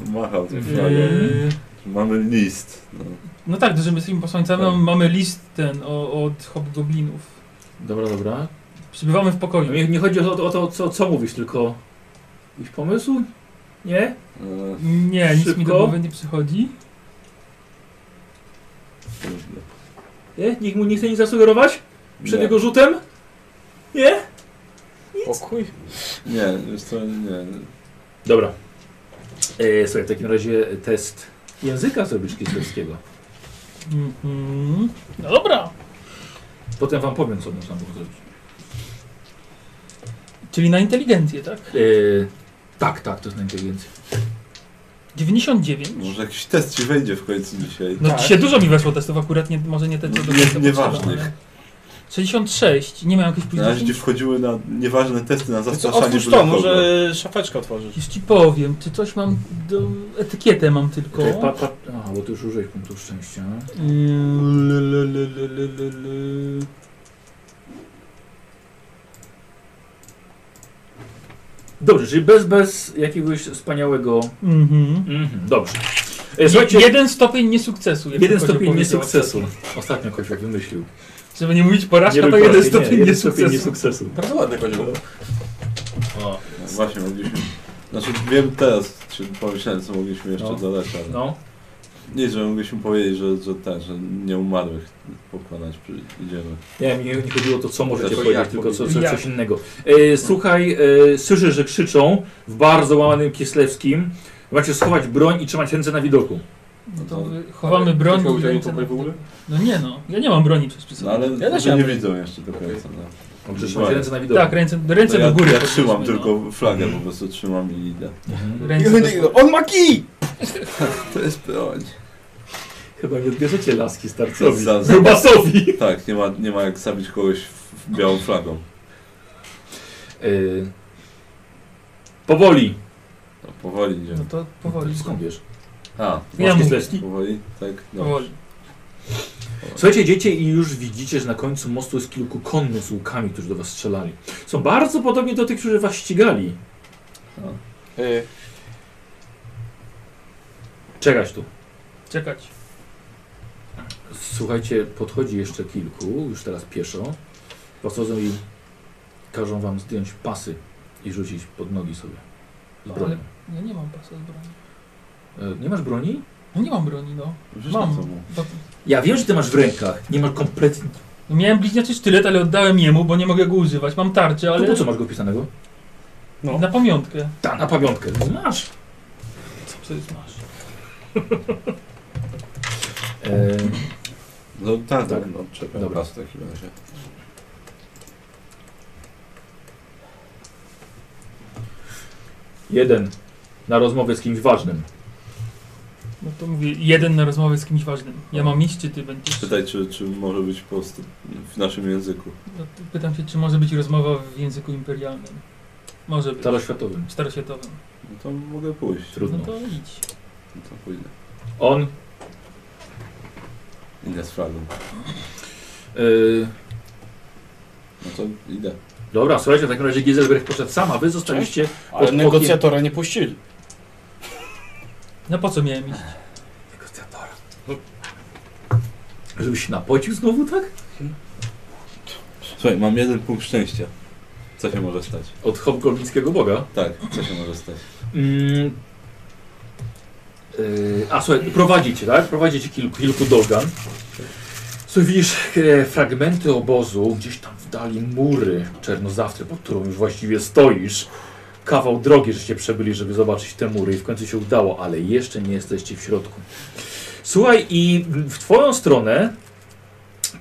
Speaker 1: Co Machał tym flagą.
Speaker 4: Yy,
Speaker 1: Mamy list. No.
Speaker 4: no tak, że my jesteśmy posłańcami,
Speaker 1: Tak.
Speaker 4: mamy list ten o, od hobgoblinów.
Speaker 3: Dobra, dobra.
Speaker 4: Przybywamy w pokoju.
Speaker 3: No Nie, nie chodzi o to, o to co, co mówisz, tylko jakiś pomysł? Nie?
Speaker 1: E,
Speaker 4: Nie, nic mi do
Speaker 3: Szybko.
Speaker 4: głowy nie przychodzi.
Speaker 1: kurde.
Speaker 3: Nie? Nikt mu nie chce nic zasugerować? Przed
Speaker 1: nie,
Speaker 3: jego rzutem? Nie?
Speaker 2: Pokój.
Speaker 1: nie, wiesz co, nie.
Speaker 3: Dobra. E, słuchaj, w takim razie test języka zrobisz kislewskiego.
Speaker 4: Mhm. No dobra.
Speaker 3: Potem wam powiem, co można było zrobić.
Speaker 4: Czyli na inteligencję, tak?
Speaker 3: E, tak, tak, to jest najinteligencja.
Speaker 4: 99.
Speaker 1: Może jakiś test ci wejdzie w końcu dzisiaj.
Speaker 4: No
Speaker 2: Tak.
Speaker 4: dzisiaj dużo mi weszło testów, akurat nie, może nie te, co do
Speaker 1: Nie-
Speaker 4: końca
Speaker 1: nieważnych.
Speaker 4: potrzeba, ale- 66. Nie miałem jakichś
Speaker 1: Na razie
Speaker 4: później.
Speaker 1: gdzie wchodziły na nieważne testy na
Speaker 2: To co,
Speaker 1: zastraszanie
Speaker 2: otwórz Znaczy, to,
Speaker 1: byle kogo.
Speaker 2: może szafeczkę otworzyć.
Speaker 4: Już ci powiem, czy coś mam do... Etykietę mam tylko.
Speaker 3: Czekaj, pa, pa, a, bo ty już użyłeś punktu szczęścia.
Speaker 4: Ym, le, le, le, le, le, le, le.
Speaker 3: Dobrze, czyli bez, bez jakiegoś wspaniałego...
Speaker 4: Mhm.
Speaker 3: Mhm, dobrze. E,
Speaker 4: Je-
Speaker 3: słuchajcie,
Speaker 4: Jeden stopień niesukcesu. jak
Speaker 3: jeden
Speaker 4: Kozio
Speaker 3: stopień
Speaker 4: powiedział.
Speaker 3: niesukcesu. Ostatnio Kościół wymyślił.
Speaker 4: Żeby nie mówić porażka,
Speaker 3: był
Speaker 4: to jeden
Speaker 3: porażki,
Speaker 4: stopień
Speaker 3: jeden stopień
Speaker 4: niesukcesu.
Speaker 3: niesukcesu.
Speaker 5: Bardzo ładne kozioł.
Speaker 3: O,
Speaker 1: No Właśnie, mogliśmy... Znaczy wiem teraz, czy pomyślałem co mogliśmy jeszcze
Speaker 3: No.
Speaker 1: dodać, ale...
Speaker 3: no.
Speaker 1: Nie, że mogliśmy powiedzieć, że, że ten, że nie umarłych pokonać przy, idziemy.
Speaker 3: Nie, mi nie chodziło o to, co możecie
Speaker 5: To
Speaker 3: powiedzieć,
Speaker 5: jak
Speaker 3: tylko co, co,
Speaker 4: powiedzieć? Jak?
Speaker 3: coś innego. E, słuchaj, e, słyszysz, że krzyczą w bardzo łamanym kieslewskim. Macie schować broń i trzymać ręce na widoku.
Speaker 4: No to wy- chowamy broń.
Speaker 5: Kościół
Speaker 4: i
Speaker 5: wziął
Speaker 4: ręce
Speaker 5: im
Speaker 4: na-
Speaker 5: w ogóle?
Speaker 4: No nie no, ja nie mam broni przecież przy sobie.
Speaker 1: No ale
Speaker 2: Ja też
Speaker 1: że
Speaker 2: mam.
Speaker 1: nie widzą jeszcze do końca. No.
Speaker 3: Trzymać ręce na widoku.
Speaker 4: Tak, ręce, ręce
Speaker 1: To ja,
Speaker 4: do góry.
Speaker 1: ja
Speaker 4: podnieśmy,
Speaker 1: trzymam
Speaker 4: no.
Speaker 1: tylko flagę, po prostu trzymam i idę.
Speaker 3: Mhm.
Speaker 4: Ręce do góry.
Speaker 2: On ma kij!
Speaker 1: To jest broń.
Speaker 3: Chyba nie odbierzecie laski starcowi.
Speaker 1: Za, za,
Speaker 3: Grubasowi.
Speaker 1: tak, nie ma, nie ma jak zabić kogoś w, w białą flagą.
Speaker 3: E, powoli.
Speaker 1: No, powoli idziemy.
Speaker 4: No to powoli.
Speaker 3: Skąd wiesz?
Speaker 1: A,
Speaker 4: Ja
Speaker 3: Masz
Speaker 4: mówię.
Speaker 3: kieslewski?
Speaker 1: powoli, tak? No.
Speaker 4: Powoli.
Speaker 3: Słuchajcie, idziecie i już widzicie, że na końcu mostu jest kilku konny z łukami, którzy do was strzelali. Są bardzo podobni do tych, którzy was ścigali.
Speaker 2: Y,
Speaker 3: Czekać tu.
Speaker 4: Czekać.
Speaker 3: Słuchajcie, podchodzi jeszcze kilku, już teraz pieszo. Podchodzą i każą wam zdjąć pasy i rzucić pod nogi sobie. Z
Speaker 4: No,
Speaker 3: bronią.
Speaker 4: Ja nie mam pasa z broni.
Speaker 3: E, Nie masz broni?
Speaker 4: No nie mam broni, no.
Speaker 1: Przecież
Speaker 4: Mam.
Speaker 1: to mu.
Speaker 4: To-
Speaker 3: Ja wiem, że ty masz w rękach. Nie masz kompletnie.
Speaker 4: No miałem bliźniaczy sztylet, ale oddałem jemu, bo nie mogę go używać. Mam tarczę,
Speaker 3: Ale
Speaker 4: ale...
Speaker 3: po co masz go pisanego?
Speaker 2: No.
Speaker 4: Na pamiątkę.
Speaker 3: Ta, na pamiątkę. Masz.
Speaker 4: Co ty znasz?
Speaker 3: E,
Speaker 1: No tak,
Speaker 3: Tak.
Speaker 1: tak, no czekam
Speaker 3: Dobra.
Speaker 1: was w takim razie.
Speaker 3: jeden. Na rozmowę z kimś ważnym.
Speaker 4: No to mówię, jeden na rozmowę z kimś ważnym. Ja mam iść, czy ty będziesz?
Speaker 1: Pytaj, czy, czy może być po prostu w naszym języku.
Speaker 4: No, to pytam się, czy może być rozmowa w języku imperialnym. Może być.
Speaker 3: Staroświatowym.
Speaker 4: Staroświatowym.
Speaker 1: No to mogę pójść.
Speaker 3: Tak. Trudno.
Speaker 4: No to idź.
Speaker 1: No to pójdę.
Speaker 3: On
Speaker 1: Idę z flagą.
Speaker 3: e,
Speaker 1: No to idę.
Speaker 3: Dobra, słuchajcie, w takim razie Giselbrecht poszedł sam, a wy zostaliście...
Speaker 2: Ale
Speaker 3: pod
Speaker 2: negocjatora nie puścili.
Speaker 4: No po co miałem iść?
Speaker 3: Negocjatora. Żebyś się napocił znowu, tak?
Speaker 1: Słuchaj, mam jeden punkt szczęścia. Co się może stać?
Speaker 3: Od hobgoblińskiego boga.
Speaker 1: Tak, co się może stać?
Speaker 3: Mm. Yy, a słuchaj, prowadzicie, tak? Prowadzicie kilku, kilku dogan. Słuchaj, widzisz e, fragmenty obozu, gdzieś tam w dali mury czernozawtry, pod którą już właściwie stoisz. Kawał drogi, żeście przebyli, żeby zobaczyć te mury i w końcu się udało, ale jeszcze nie jesteście w środku. Słuchaj, i w twoją stronę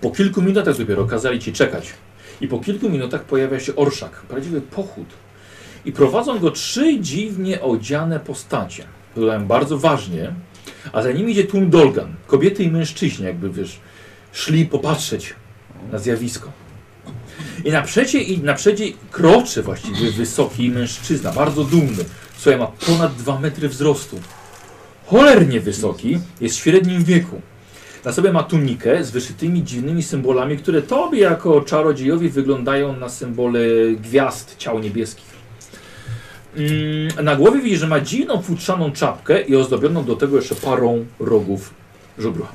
Speaker 3: po kilku minutach dopiero kazali ci czekać. I po kilku minutach pojawia się orszak, prawdziwy pochód. I prowadzą go trzy dziwnie odziane postacie. Wyglądają bardzo ważnie, a za nimi idzie tłum Dolgan. Kobiety i mężczyźni, jakby wiesz, szli popatrzeć na zjawisko. I naprzedzie, i naprzedzie kroczy właściwie wysoki mężczyzna, bardzo dumny. Słuchaj, ma ponad 2 metry wzrostu. Cholernie wysoki, jest w średnim wieku. Na sobie ma tunikę z wyszytymi dziwnymi symbolami, które tobie jako czarodziejowi wyglądają na symbole gwiazd, ciał niebieskich. Mm, Na głowie widzisz, że ma dziwną futrzaną czapkę i ozdobioną do tego jeszcze parą rogów żubra.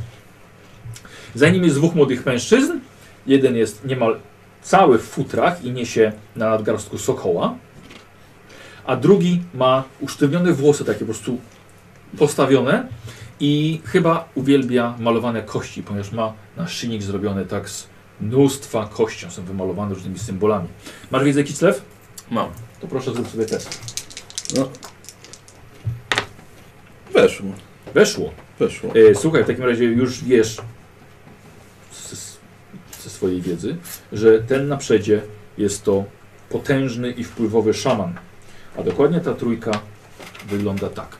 Speaker 3: Za nim jest dwóch młodych mężczyzn. Jeden jest niemal cały w futrach i niesie na nadgarstku sokoła, a drugi ma usztywnione włosy, takie po prostu postawione i chyba uwielbia malowane kości, ponieważ ma naszyjnik zrobiony tak z mnóstwa kością, są wymalowane różnymi symbolami. Masz wiedzę Kiclew?
Speaker 8: Mam.
Speaker 3: To proszę zrób sobie test.
Speaker 8: Weszło,
Speaker 3: Weszło.
Speaker 8: weszło.
Speaker 3: E, słuchaj, w takim razie już wiesz z- z- ze swojej wiedzy, że ten na przedzie jest to potężny i wpływowy szaman. A dokładnie ta trójka wygląda tak.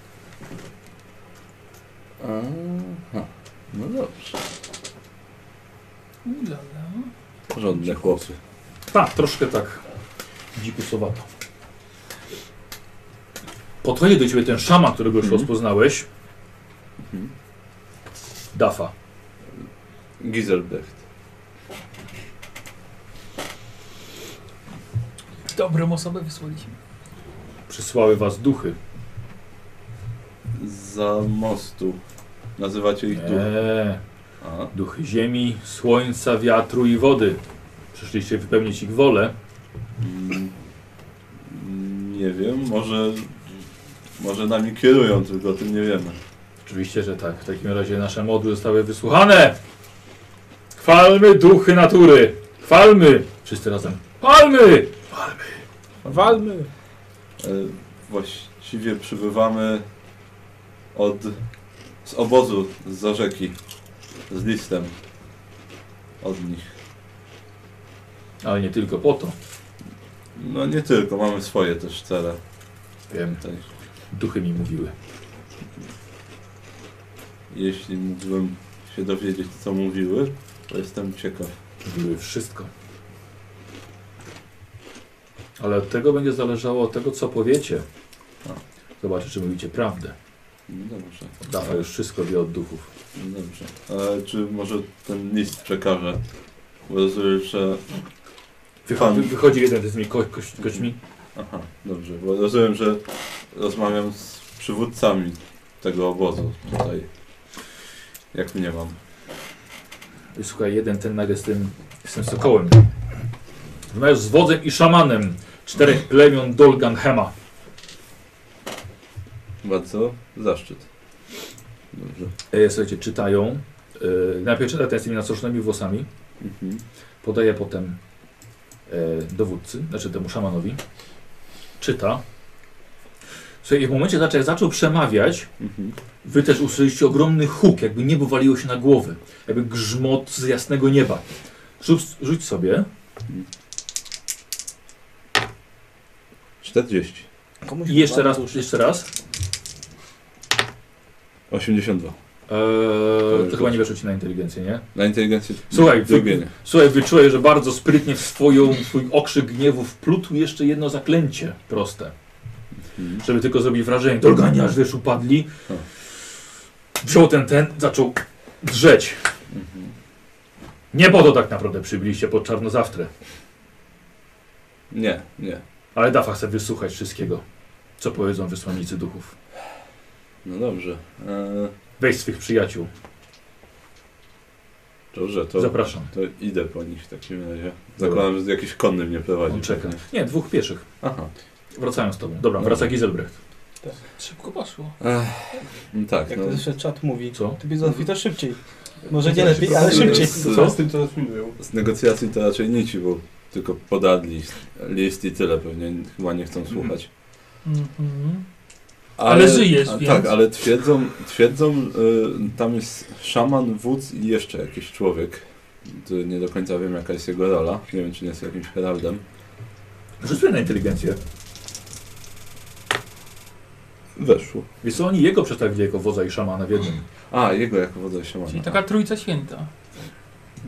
Speaker 8: Aha, no dobrze. Porządne chłopy.
Speaker 3: Tak, troszkę tak dzikusowato. Podchodzi do ciebie ten szaman, którego już
Speaker 1: Mhm.
Speaker 3: rozpoznałeś. Dafa.
Speaker 1: Giselbrecht.
Speaker 4: Dobrą osobę wysłaliśmy.
Speaker 3: Przysłały was duchy.
Speaker 1: Za mostu. Nazywacie ich duch.
Speaker 3: Eee,
Speaker 1: A,
Speaker 3: duchy ziemi, słońca, wiatru i wody. Przyszliście wypełnić ich wolę.
Speaker 1: mm, nie wiem, może... Może nami kierują, tylko o tym nie wiemy.
Speaker 3: Oczywiście, że tak. W takim razie nasze modły zostały wysłuchane. Chwalmy duchy natury. Chwalmy. Wszyscy razem. Chwalmy.
Speaker 2: Walmy.
Speaker 1: E, Właściwie przybywamy od... z obozu, z za rzeki. Z listem. Od nich.
Speaker 3: Ale nie tylko po to.
Speaker 1: No nie tylko, mamy swoje też cele. Tak,
Speaker 3: Wiem.
Speaker 1: Tutaj.
Speaker 3: Duchy mi mówiły.
Speaker 1: Jeśli mógłbym się dowiedzieć, co mówiły, to jestem ciekaw.
Speaker 3: Mówiły wszystko. Ale od tego będzie zależało od tego, co powiecie.
Speaker 1: A.
Speaker 3: Zobaczę, czy mówicie prawdę.
Speaker 1: No Dobrze,
Speaker 3: Dafa już wszystko wie od duchów.
Speaker 1: dobrze. E, czy może ten list przekażę? Bo rozumiem, że...
Speaker 3: Wycho
Speaker 1: Pan.
Speaker 3: wy- wychodzi jeden z tymi ko koś kośćmi.
Speaker 1: Aha, dobrze, bo rozumiem, że rozmawiam z przywódcami tego obozu tutaj. Jak mnie mam.
Speaker 3: I Słuchaj, jeden ten nagle z tym, z tym sokołem. Rozmawiasz z wodzem i szamanem czterech plemion Dolganhema.
Speaker 1: Bardzo zaszczyt. Dobrze.
Speaker 3: E, Słuchajcie, czytają. E, najpierw czyta ten z tymi nastroszonymi włosami.
Speaker 1: Mhm.
Speaker 3: Podaje potem e, dowódcy, znaczy temu szamanowi. Czyta. Słuchaj, i w momencie, znaczy, jak zaczął przemawiać,
Speaker 1: Mhm.
Speaker 3: wy też usłyszeliście ogromny huk, jakby niebo waliło się na głowę. Jakby grzmot z jasnego nieba. Rzuć, rzuć sobie.
Speaker 1: 40.
Speaker 2: Komuś
Speaker 3: I jeszcze raz, jeszcze raz.
Speaker 1: 82.
Speaker 3: Eee, to chyba nie weszło ci na inteligencję, nie?
Speaker 1: Na inteligencję
Speaker 3: Słuchaj,
Speaker 1: drugie
Speaker 3: wy, słuchaj, wyczułeś, że bardzo sprytnie w swoją, swój okrzyk gniewu wplótł jeszcze jedno zaklęcie proste,
Speaker 1: Mhm.
Speaker 3: żeby tylko zrobić wrażenie. Dolgani aż wiesz, upadli. Wziął ten, ten, zaczął drzeć.
Speaker 1: Mhm.
Speaker 3: Nie po to tak naprawdę przybyliście pod czarnozawtrę,
Speaker 1: Nie, nie.
Speaker 3: ale Dafa chce wysłuchać wszystkiego, co powiedzą wysłannicy duchów.
Speaker 1: No dobrze. E,
Speaker 3: Weź swych przyjaciół.
Speaker 1: dobrze, to...
Speaker 3: Zapraszam.
Speaker 1: To idę po nich w takim razie. Zakładam, że jakiś konny mnie prowadzi.
Speaker 3: On czeka. Nie, dwóch pieszych.
Speaker 1: Aha.
Speaker 3: Wracają z tobą.
Speaker 1: Dobra.
Speaker 3: Dobra, wraca Giselbrecht.
Speaker 4: Szybko poszło.
Speaker 1: No tak,
Speaker 2: Jak
Speaker 1: no.
Speaker 2: to jeszcze czat mówi.
Speaker 3: Co?
Speaker 2: Ty Bizonfi to szybciej. Może nie lepiej, ale szybciej.
Speaker 1: Z,
Speaker 5: Co z tym, co nas mówią?
Speaker 1: z negocjacji to raczej nic, bo tylko Mhm. podali list, list i tyle. Pewnie chyba nie chcą słuchać.
Speaker 4: Mhm. Ale żyjesz,
Speaker 1: a,
Speaker 4: więc-
Speaker 1: Tak, ale twierdzą, twierdzą y, tam jest szaman, wódz i jeszcze jakiś człowiek. To nie do końca wiem, jaka jest jego rola. Nie wiem, czy nie jest jakimś heraldem.
Speaker 3: Rzuć sobie na inteligencję.
Speaker 1: Weszło.
Speaker 3: Więc co, oni jego przedstawili jako wodza i szamana w jednym.
Speaker 1: A, jego jako wodza i szamana.
Speaker 4: Czyli tak. taka trójca święta.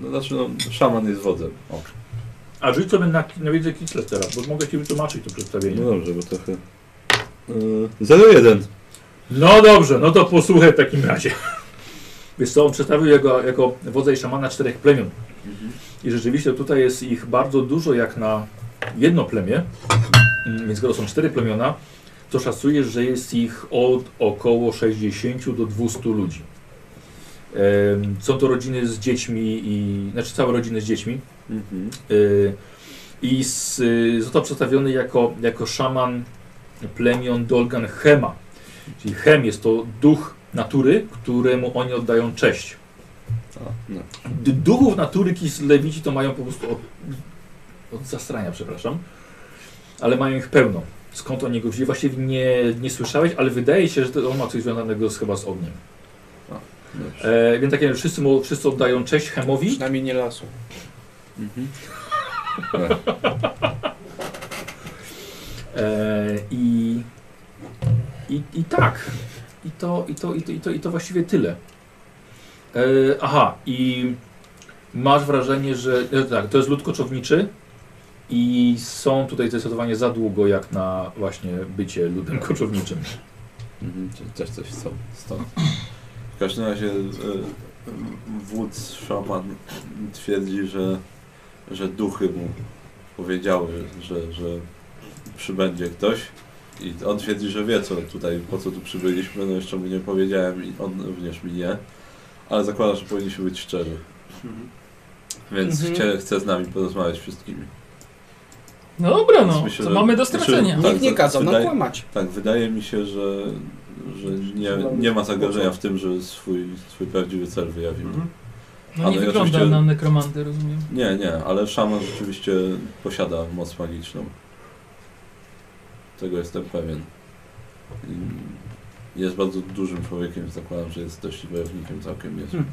Speaker 1: No znaczy, no, szaman jest wodzem. O,
Speaker 3: A rzuć sobie na, na wiedzę Kitzler teraz, bo mogę ci wytłumaczyć to przedstawienie.
Speaker 1: no dobrze, bo trochę... Y, 0-1.
Speaker 3: No dobrze, no to posłuchaj w takim razie. Wiesz co, on przedstawił jego jako wodza i szamana czterech plemion. I rzeczywiście tutaj jest ich bardzo dużo jak na jedno plemię. Mm, Więc skoro są cztery plemiona, to szacujesz, że jest ich od około 60 do 200 ludzi. Em, Są to rodziny z dziećmi i... Znaczy całe rodziny z dziećmi.
Speaker 1: Mhm.
Speaker 3: Y, i z, y, został przedstawiony jako, jako szaman plemion Dolgan Hema. Czyli Hem jest to duch natury, któremu oni oddają cześć.
Speaker 1: A, no.
Speaker 3: D- duchów natury kis lewici to mają po prostu od, od zastrania, przepraszam, ale mają ich pełno. Skąd oni go wzięli? Właściwie nie, nie słyszałeś, ale wydaje się, że to on ma coś związanego z, chyba z ogniem.
Speaker 1: Dobrze.
Speaker 3: E, więc tak jak wszyscy, mu, wszyscy oddają cześć Hemowi.
Speaker 2: Przynajmniej nie lasu.
Speaker 1: Mhm.
Speaker 3: E, i, i, I tak. I to, i, to, i, to, i, to, I to właściwie tyle. E, aha, i masz wrażenie, że. e, Tak, to jest lud koczowniczy i są tutaj zdecydowanie za długo jak na właśnie bycie ludem koczowniczym.
Speaker 1: Mhm, czy też coś są stąd. W każdym razie e, wódz szaman twierdzi, że, że duchy mu powiedziały, że, że przybędzie ktoś i on twierdzi, że wie co tutaj, po co tu przybyliśmy, no jeszcze mu nie powiedziałem i on również mi nie, ale zakłada, że powinniśmy być szczerzy. Więc
Speaker 2: Mhm.
Speaker 1: chcie, chce z nami porozmawiać wszystkimi.
Speaker 4: No dobra, no.
Speaker 1: Więc myślę,
Speaker 4: Co
Speaker 1: że-
Speaker 4: mamy do stracenia?
Speaker 1: myślę, że-
Speaker 2: Nikt nie
Speaker 1: za-
Speaker 2: kazał nam
Speaker 1: wydaje-
Speaker 2: kłamać.
Speaker 1: Tak, wydaje mi się, że, że nie, nie ma zagrożenia w tym, że swój, swój prawdziwy cel wyjawimy.
Speaker 4: No
Speaker 1: ale
Speaker 4: nie wygląda
Speaker 1: oczywiście-
Speaker 4: na nekromanty, rozumiem.
Speaker 1: Nie, nie, ale szaman rzeczywiście posiada moc magiczną. Tego jestem pewien. I Jest bardzo dużym człowiekiem, więc zakładam, że jest dość wojownikiem całkiem niezłym.
Speaker 2: Hmm.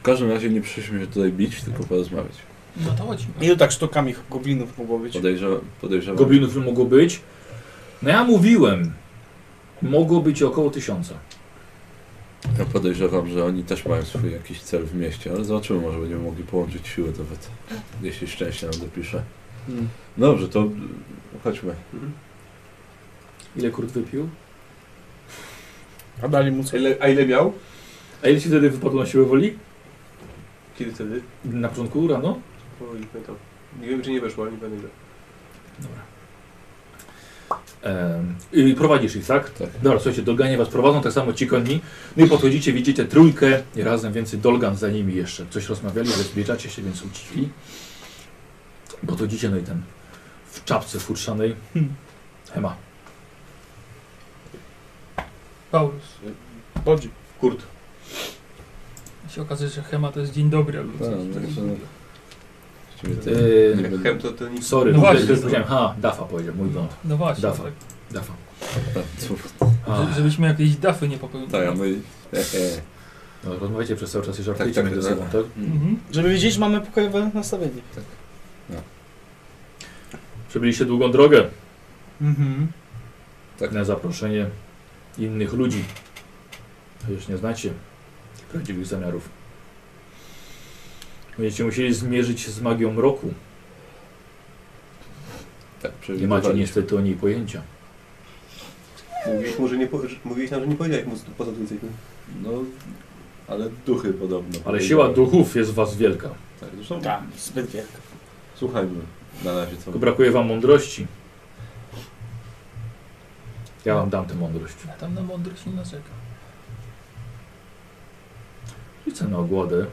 Speaker 1: W każdym razie nie przyszliśmy się tutaj bić, tylko porozmawiać.
Speaker 4: No to chodźmy.
Speaker 2: Ilu tak sztukami goblinów mogło być?
Speaker 1: Podejrzewam, podejrzewam
Speaker 3: Goblinów nie mogło być. No ja mówiłem, mogło być około tysiąca.
Speaker 1: Ja podejrzewam, że oni też mają swój jakiś cel w mieście, ale zobaczymy, może będziemy mogli połączyć siły nawet, jeśli szczęście nam dopisze.
Speaker 2: Hmm.
Speaker 1: Dobrze, to chodźmy.
Speaker 3: Ile kurt wypił?
Speaker 2: A dali mu co?
Speaker 5: Ile, a ile miał?
Speaker 3: A ile ci wtedy wypadło na siłę woli?
Speaker 8: Kiedy wtedy?
Speaker 3: Na początku rano?
Speaker 8: Bo nie pamiętam. Nie wiem, czy nie weszło, ale nie pamiętam.
Speaker 3: Em, I prowadzisz ich, tak?
Speaker 1: Tak.
Speaker 3: Dobra, słuchajcie, Dolganie was prowadzą, tak samo ci konni. No i podchodzicie, widzicie trójkę i razem więcej Dolgan za nimi jeszcze. Coś rozmawiali, rozbiegacie się, więc ucichli. Podchodzicie, no i ten w czapce futrzanej. Hmm. Hema.
Speaker 4: Paulus.
Speaker 2: Bodzi.
Speaker 8: Kurt.
Speaker 4: Się okazuje, że Hema to jest dzień dobry albo
Speaker 1: Tak,
Speaker 4: coś.
Speaker 1: także... Właściwie to-
Speaker 3: Yy,
Speaker 1: Nie
Speaker 8: Hem to ten...
Speaker 3: sorry,
Speaker 4: No
Speaker 3: no
Speaker 4: właśnie.
Speaker 3: właśnie, powiedziałem, ha, Dafa powiedział, mój błąd.
Speaker 4: No właśnie,
Speaker 3: Dawa.
Speaker 4: tak.
Speaker 3: Dafa.
Speaker 1: Cóż,
Speaker 3: A,
Speaker 4: Że- Żebyśmy jakieś dafy nie popełnili.
Speaker 1: Tak, a my... E, e.
Speaker 3: no, rozmawiacie przez cały czas i żartujecie
Speaker 1: tak,
Speaker 3: między
Speaker 1: tak.
Speaker 3: sobą, tak?
Speaker 4: Mhm.
Speaker 2: Żeby widzieć, mamy pokojowe nastawienie.
Speaker 3: Przebyliście długą drogę
Speaker 4: Mhm.
Speaker 1: Tak.
Speaker 3: na zaproszenie innych ludzi. Chociaż nie znacie prawdziwych zamiarów. Będziecie musieli zmierzyć się z magią mroku.
Speaker 1: Tak,
Speaker 3: Nie macie
Speaker 1: przewidywaliśmy.
Speaker 3: niestety o niej pojęcia.
Speaker 8: Mówiłeś, mu, że nie po... że- Mówiłeś nam, że nie powiedziałeś mu po co tu jesteśmy.
Speaker 1: No, ale duchy podobno.
Speaker 3: Ale siła duchów jest w was wielka.
Speaker 1: Tak, zresztą
Speaker 2: Tak, zbyt wielka.
Speaker 1: słuchajmy na razie co...
Speaker 3: Tylko brakuje wam mądrości. Ja wam dam tę mądrość.
Speaker 4: A tam na mądrość nie narzeka.
Speaker 3: Rzucę na ogłodę.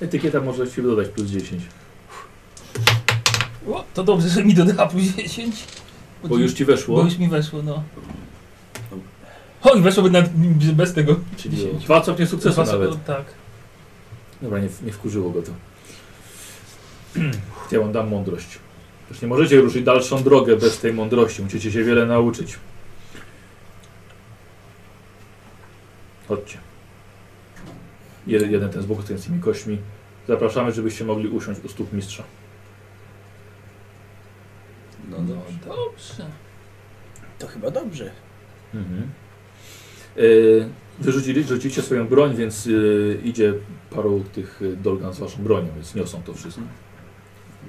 Speaker 3: Etykieta może ci dodać plus 10.
Speaker 4: O, to dobrze, że mi dodała plus 10.
Speaker 3: Bo już ci weszło.
Speaker 4: Bo już mi weszło, no. Oj, weszłoby nawet bez tego.
Speaker 3: Czyli o
Speaker 4: 10.
Speaker 3: dwa stopnie sukcesu
Speaker 4: Dwa-
Speaker 3: nawet.
Speaker 4: Tak.
Speaker 3: Dobra, nie, nie wkurzyło go to. Ja wam dam mądrość. Już nie możecie ruszyć dalszą drogę bez tej mądrości. Musicie się wiele nauczyć. Chodźcie. Jeden, jeden ten z bohaterskimi kośćmi. Zapraszamy, żebyście mogli usiąść u stóp mistrza.
Speaker 4: No dobrze.
Speaker 2: To chyba dobrze.
Speaker 3: Mhm. Yy, wyrzucili, rzuciliście swoją broń, więc y, idzie paru tych y, dolgan z waszą bronią, więc niosą to wszystko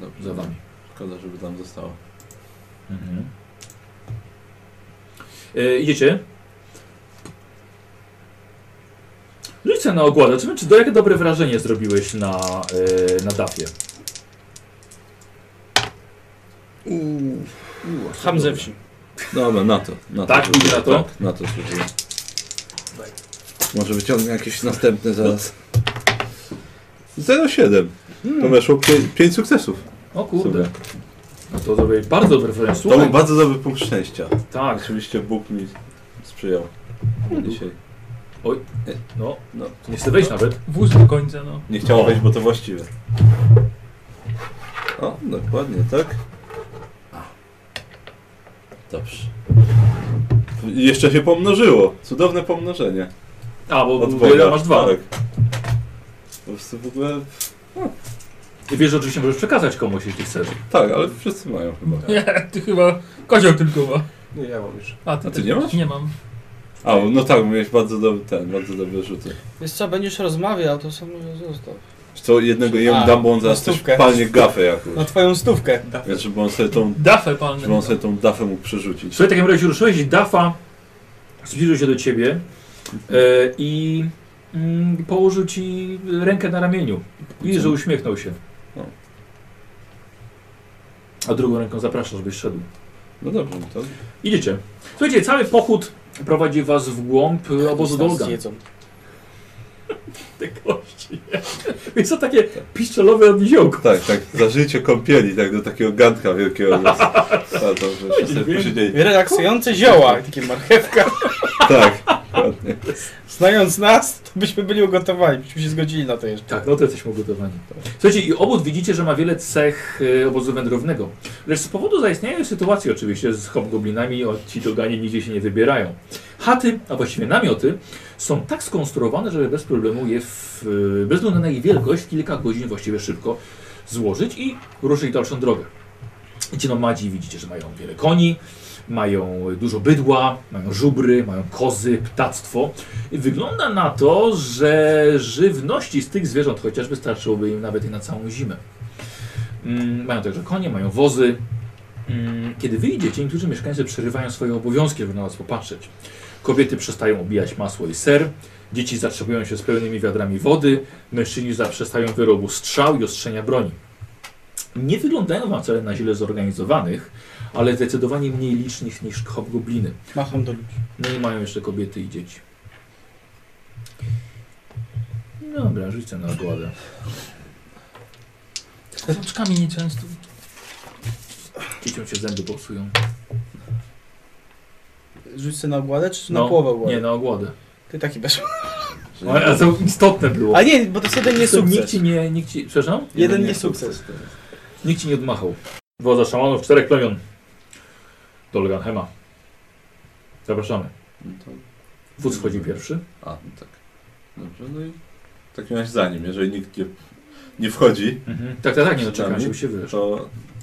Speaker 1: Dobrze,
Speaker 3: za wami.
Speaker 1: Szkoda, żeby tam zostało.
Speaker 3: Mhm. E, idziecie? Rzucę na ogładę. Czy, czy do jakie dobre wrażenie zrobiłeś na, e, na dafie?
Speaker 2: Ham ze wsi.
Speaker 1: Dobra, na to. Na
Speaker 3: Tak,
Speaker 1: to,
Speaker 3: idzie
Speaker 1: rzucę,
Speaker 3: na to?
Speaker 1: Tak, na to służyłem. Może wyciągnę jakieś następne zaraz. 0,7. To weszło 5 sukcesów.
Speaker 3: O
Speaker 1: Sobie.
Speaker 3: kurde. No to zrobiłeś bardzo dobre wrażenie.
Speaker 1: To był
Speaker 3: Słuchaj,
Speaker 1: bardzo dobry punkt szczęścia.
Speaker 3: tak.
Speaker 1: Oczywiście Bóg mi sprzyjał dzisiaj.
Speaker 3: No,
Speaker 1: No.
Speaker 3: nie chcę wejść nawet.
Speaker 4: Wóz do końca, no.
Speaker 1: Nie chciało wejść, bo to właściwe. O, dokładnie, tak? Dobrze. I Jeszcze się pomnożyło. Cudowne pomnożenie.
Speaker 3: A, bo
Speaker 1: Od
Speaker 3: bo
Speaker 1: Boga.
Speaker 3: masz dwa.
Speaker 1: Tak. Po prostu w ogóle...
Speaker 3: I wiesz, że oczywiście możesz przekazać komuś, jeśli chcesz.
Speaker 1: Tak, ale wszyscy mają chyba.
Speaker 4: Nie, ty chyba kozioł tylko ma.
Speaker 8: Nie, ja mam już.
Speaker 4: A ty,
Speaker 1: A ty
Speaker 4: też
Speaker 1: nie masz?
Speaker 4: Nie mam.
Speaker 1: A, no tak, miałeś bardzo dobry ten, bardzo dobre rzuty.
Speaker 2: Wiesz co, będziesz rozmawiał, to sam może zostaw.
Speaker 1: Wiesz Co jednego
Speaker 2: A,
Speaker 1: jem dam, bo on zaraz coś
Speaker 2: stówkę.
Speaker 1: palnie gafę jakąś.
Speaker 2: Na twoją stówkę.
Speaker 1: Więc żeby on sobie tą,
Speaker 4: Dafę palne.
Speaker 1: żeby on sobie tą dafę mógł przerzucić.
Speaker 3: Słuchaj, w takim razie ruszyłeś i Dafa zbliżył się do ciebie e, i mm, położył ci rękę na ramieniu. Widzisz, że uśmiechnął się.
Speaker 1: No.
Speaker 3: A drugą ręką zapraszasz, żebyś szedł.
Speaker 1: No dobrze, no to...
Speaker 3: Idziecie. Słuchajcie, cały pochód prowadzi was w głąb e, obozu
Speaker 2: Nas
Speaker 3: Dolga.
Speaker 2: Jedzą.
Speaker 3: Te kości. Więc to takie piszczelowe odniziołko.
Speaker 1: Tak, tak, zażyjcie kąpieli, tak do takiego ganka wielkiego. że- A, dobrze, jeszcze sobie posiedzieli.
Speaker 2: Relaksujące zioła, takie marchewka.
Speaker 1: Tak, dokładnie.
Speaker 2: Znając nas, to byśmy byli ugotowani, byśmy się zgodzili na to jeszcze.
Speaker 3: Tak, no to jesteśmy ugotowani. Słuchajcie, i obóz widzicie, że ma wiele cech y, obozu wędrownego. Lecz z powodu zaistniałej sytuacji oczywiście z hobgoblinami o, ci doganie nigdzie się nie wybierają. Chaty, a właściwie namioty, są tak skonstruowane, żeby bez problemu je w, y, bez względu na ich wielkość kilka godzin właściwie szybko złożyć i ruszyć dalszą drogę. I ci nomadzi widzicie, że mają wiele koni, mają dużo bydła, mają żubry, mają kozy, ptactwo. I Wygląda na to, że żywności z tych zwierząt chociażby starczyłoby im nawet i na całą zimę. Mm, Mają także konie, mają wozy. Mm, Kiedy wyjdziecie, niektórzy mieszkańcy przerywają swoje obowiązki, żeby na was popatrzeć. Kobiety przestają obijać masło i ser, dzieci zatrzymują się z pełnymi wiadrami wody, mężczyźni zaprzestają wyrobu strzał i ostrzenia broni. Nie wyglądają wam wcale na źle zorganizowanych, ale zdecydowanie mniej licznych niż hobgobliny.
Speaker 2: Macham do ludzi.
Speaker 3: No i mają jeszcze kobiety i dzieci. Dobra, rzucę na ogładę.
Speaker 4: Z oczkami nieczęsto.
Speaker 3: Dzieciom się zęby popsują.
Speaker 2: Rzuć sobie na ogładę, czy
Speaker 3: No,
Speaker 2: na połowę ogładę?
Speaker 3: Nie, na ogładę.
Speaker 2: Ty taki bez.
Speaker 3: Ale to istotne było.
Speaker 2: A nie, bo to jest jeden nie
Speaker 3: Nikt
Speaker 2: sukces.
Speaker 3: ci nie, nikt ci, przepraszam?
Speaker 2: Jeden nie sukces.
Speaker 3: Nikt ci nie odmachał. Władza szamanów, czterech plemion. Do Leganhema. Zapraszamy.
Speaker 1: No to...
Speaker 3: Wódz wchodzi pierwszy.
Speaker 1: A, no tak. Dobrze, no i w takim razie za nim, jeżeli nikt nie, nie wchodzi,
Speaker 3: Tak, tak, tak, nie
Speaker 1: Z
Speaker 3: doczekam,
Speaker 1: nami?
Speaker 3: żeby się wyszło.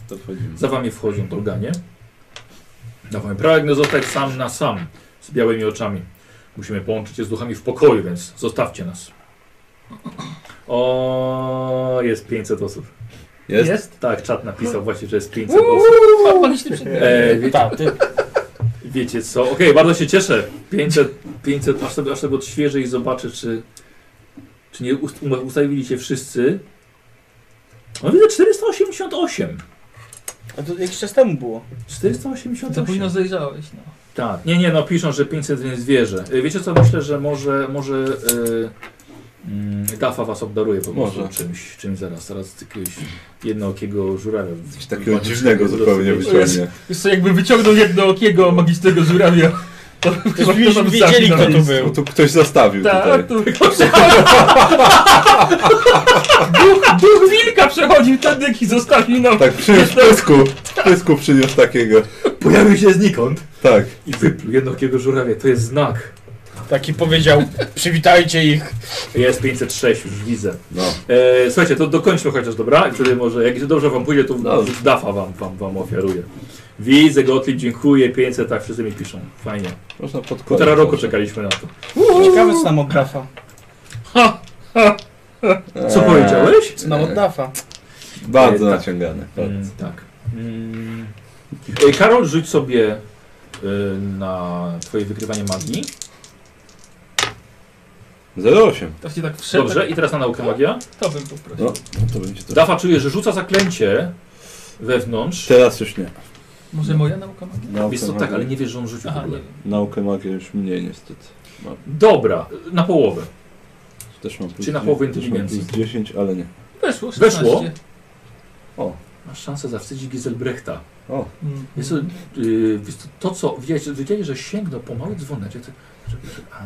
Speaker 1: to, to wchodzimy.
Speaker 3: Za wami wchodzą Dolganie. Na wami pragnę zostać sam na sam z białymi oczami. Musimy połączyć się z duchami w pokoju, więc zostawcie nas. O, jest 500 osób.
Speaker 1: Jest?
Speaker 3: Tak, czat napisał właśnie, że jest 500 osób.
Speaker 4: A pan się przed
Speaker 3: E, wie,
Speaker 2: No. Tak, ty.
Speaker 3: wiecie co? Okej, bardzo się cieszę. 500, 500 aż sobie, aż sobie odświeżę i zobaczę, czy, czy nie ust- um- ustawili się wszyscy. No widzę 488.
Speaker 2: A to jakiś czas temu było.
Speaker 3: 488.
Speaker 4: Za późno No zajrzałeś, no.
Speaker 3: Tak, nie, nie, no piszą, że 500 nie zwierzę. Y, Wiecie co, myślę, że może, może yy, mm, Dafa was obdaruje po prostu
Speaker 1: Może.
Speaker 3: czymś, czymś zaraz, zaraz jakiegoś jednookiego żurawia.
Speaker 1: Coś takiego dziwnego zupełnie wyciągnie.
Speaker 4: Wiesz co, jakby wyciągnął jednookiego magicznego żurawia, to chyba
Speaker 2: byśmy
Speaker 4: nam
Speaker 2: wiedzieli,
Speaker 4: zabił.
Speaker 2: kto to
Speaker 1: Bo
Speaker 2: był.
Speaker 1: tu ktoś zostawił
Speaker 4: Tak,
Speaker 1: tutaj.
Speaker 4: to wygląda. duch, duch wilka przechodził tędy i zostawił nam.
Speaker 1: Tak, przy w pysku, w pysku przyniósł takiego.
Speaker 3: Pojawił się znikąd
Speaker 1: Tak,
Speaker 3: i wypluł jednookiego żurawia, to jest znak.
Speaker 2: Taki powiedział, przywitajcie ich.
Speaker 3: Jest 506, już widzę.
Speaker 1: No.
Speaker 3: E, słuchajcie, to dokończmy chociaż, dobra? I wtedy może, jak dobrze wam pójdzie, to dafa wam, wam, wam ofiaruję. Widzę, Gottlieb, dziękuję, 500, tak, wszyscy mi piszą. Fajnie.
Speaker 1: Można pod
Speaker 3: Półtora
Speaker 1: koniec
Speaker 3: roku
Speaker 1: zawsze.
Speaker 3: czekaliśmy na to.
Speaker 2: Ciekawe co nam od Dafa.
Speaker 3: Co
Speaker 1: Eee,
Speaker 3: powiedziałeś?
Speaker 2: Co nam od Dafa.
Speaker 1: Bardzo
Speaker 3: Eee, tak.
Speaker 1: naciągane.
Speaker 3: Mm, tak. Mm. Ej, Karol, rzuć sobie y, na twoje wykrywanie magii.
Speaker 1: 08.
Speaker 4: To się tak wszedł.
Speaker 3: Dobrze, i teraz na naukę magia.
Speaker 4: To bym poprosił.
Speaker 1: No, no to będzie to.
Speaker 3: Dafa czuje, że rzuca zaklęcie wewnątrz.
Speaker 1: Teraz już nie.
Speaker 4: Może moja nauka magii?
Speaker 1: Naukę,
Speaker 3: Jest to tak,
Speaker 1: magii-
Speaker 3: ale nie wiesz, że on rzucił w
Speaker 4: Aha, nie
Speaker 3: ogóle.
Speaker 4: wiem.
Speaker 1: naukę magii już mniej niestety. Mam.
Speaker 3: Dobra, na połowę.
Speaker 1: Też mam plus
Speaker 3: Czyli na
Speaker 1: dzie-
Speaker 3: połowę
Speaker 1: też mam
Speaker 3: inteligencji.
Speaker 1: Plus 10, ale nie.
Speaker 4: Weszło,
Speaker 3: Weszło?
Speaker 4: 16.
Speaker 1: O,
Speaker 3: Masz szansę zawstydzić Giselbrechta.
Speaker 1: o.
Speaker 4: Mm.
Speaker 3: Jest to, yy, wiesz co, to co, widziałeś, widziałeś, że sięgnął po mały dzwoneczek, to- że, że, a,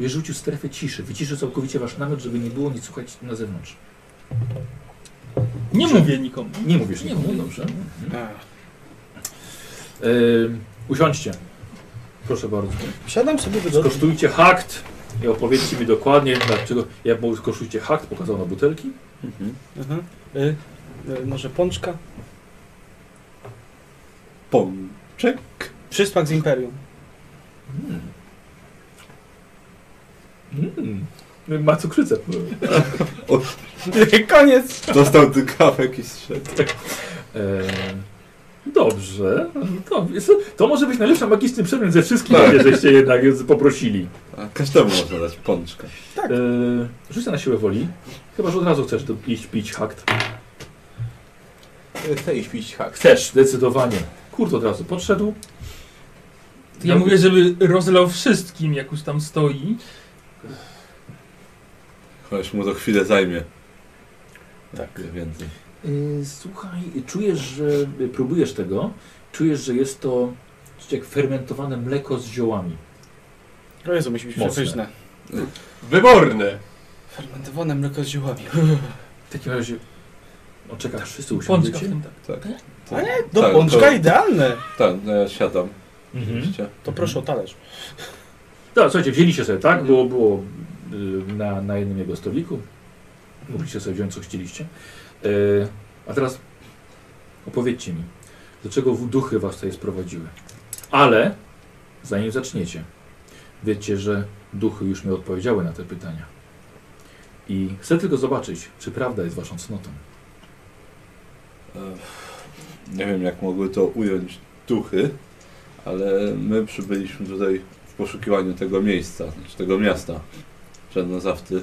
Speaker 3: wiesz, rzucił strefę ciszy, wyciszył całkowicie wasz namiot, żeby nie było nic słychać na zewnątrz.
Speaker 4: Nie mówię nikomu.
Speaker 3: Nie mówisz
Speaker 4: Nie
Speaker 3: nikomu,
Speaker 4: mówię.
Speaker 3: dobrze? Yy, usiądźcie. Proszę bardzo.
Speaker 2: Siadam sobie wygodnie.
Speaker 3: Skosztujcie hakt i opowiedzcie mi dokładnie, dlaczego, jak mu skosztujcie hakt, pokazał na butelki.
Speaker 1: Mhm.
Speaker 2: Mhm. Y, y, może pączka?
Speaker 1: Pączek?
Speaker 2: Przysmak z Imperium.
Speaker 4: Hmm.
Speaker 3: Mm. Ma cukrzycę.
Speaker 2: Koniec.
Speaker 1: Dostał ty kawek i zszedł.
Speaker 3: Eee, Dobrze. To, jest- to może być najlepsza magiczny przedmiot ze wszystkich,
Speaker 1: Tak.
Speaker 3: żeście jednak poprosili.
Speaker 1: A każdemu można dać pączka.
Speaker 3: Tak. Rzucę na siłę woli. Chyba, że od razu chcesz do- iść pić hakt.
Speaker 5: Chcę iść pić hak.
Speaker 3: Chcesz, zdecydowanie. Kurt od razu podszedł.
Speaker 4: To ja
Speaker 3: No.
Speaker 4: mówię, żeby rozlał wszystkim, jak już tam stoi.
Speaker 1: Chociaż mu to chwilę zajmie. Tak. Więcej.
Speaker 3: Eee, Słuchaj, czujesz, że e, próbujesz tego. Czujesz, że jest to coś jak fermentowane mleko z ziołami.
Speaker 2: O Jezu, musi być
Speaker 3: Mocne.
Speaker 2: przepyszne.
Speaker 5: Wyborne!
Speaker 2: Fermentowane mleko z ziołami.
Speaker 3: W takim razie. No czekaj, aż wszyscy
Speaker 4: Pączka w
Speaker 3: usiądziecie.
Speaker 4: tym tak.
Speaker 2: Do
Speaker 1: Tak,
Speaker 2: pączka
Speaker 1: to-
Speaker 2: idealne.
Speaker 1: Tak, no ja siadam.
Speaker 3: Mhm.
Speaker 1: Oczywiście.
Speaker 2: To proszę o talerz.
Speaker 3: Dobra, słuchajcie, wzięliście sobie, tak? Było, było y, na, na jednym jego stoliku. Mogliście sobie wziąć, co chcieliście. Y, A teraz opowiedzcie mi, dlaczego w- duchy was tutaj sprowadziły. Ale, zanim zaczniecie, wiecie, że duchy już mi odpowiedziały na te pytania. I chcę tylko zobaczyć, czy prawda jest waszą cnotą.
Speaker 1: E, Nie wiem, jak mogły to ująć duchy, ale my przybyliśmy tutaj w poszukiwaniu tego miejsca, znaczy tego miasta Czarnozawty,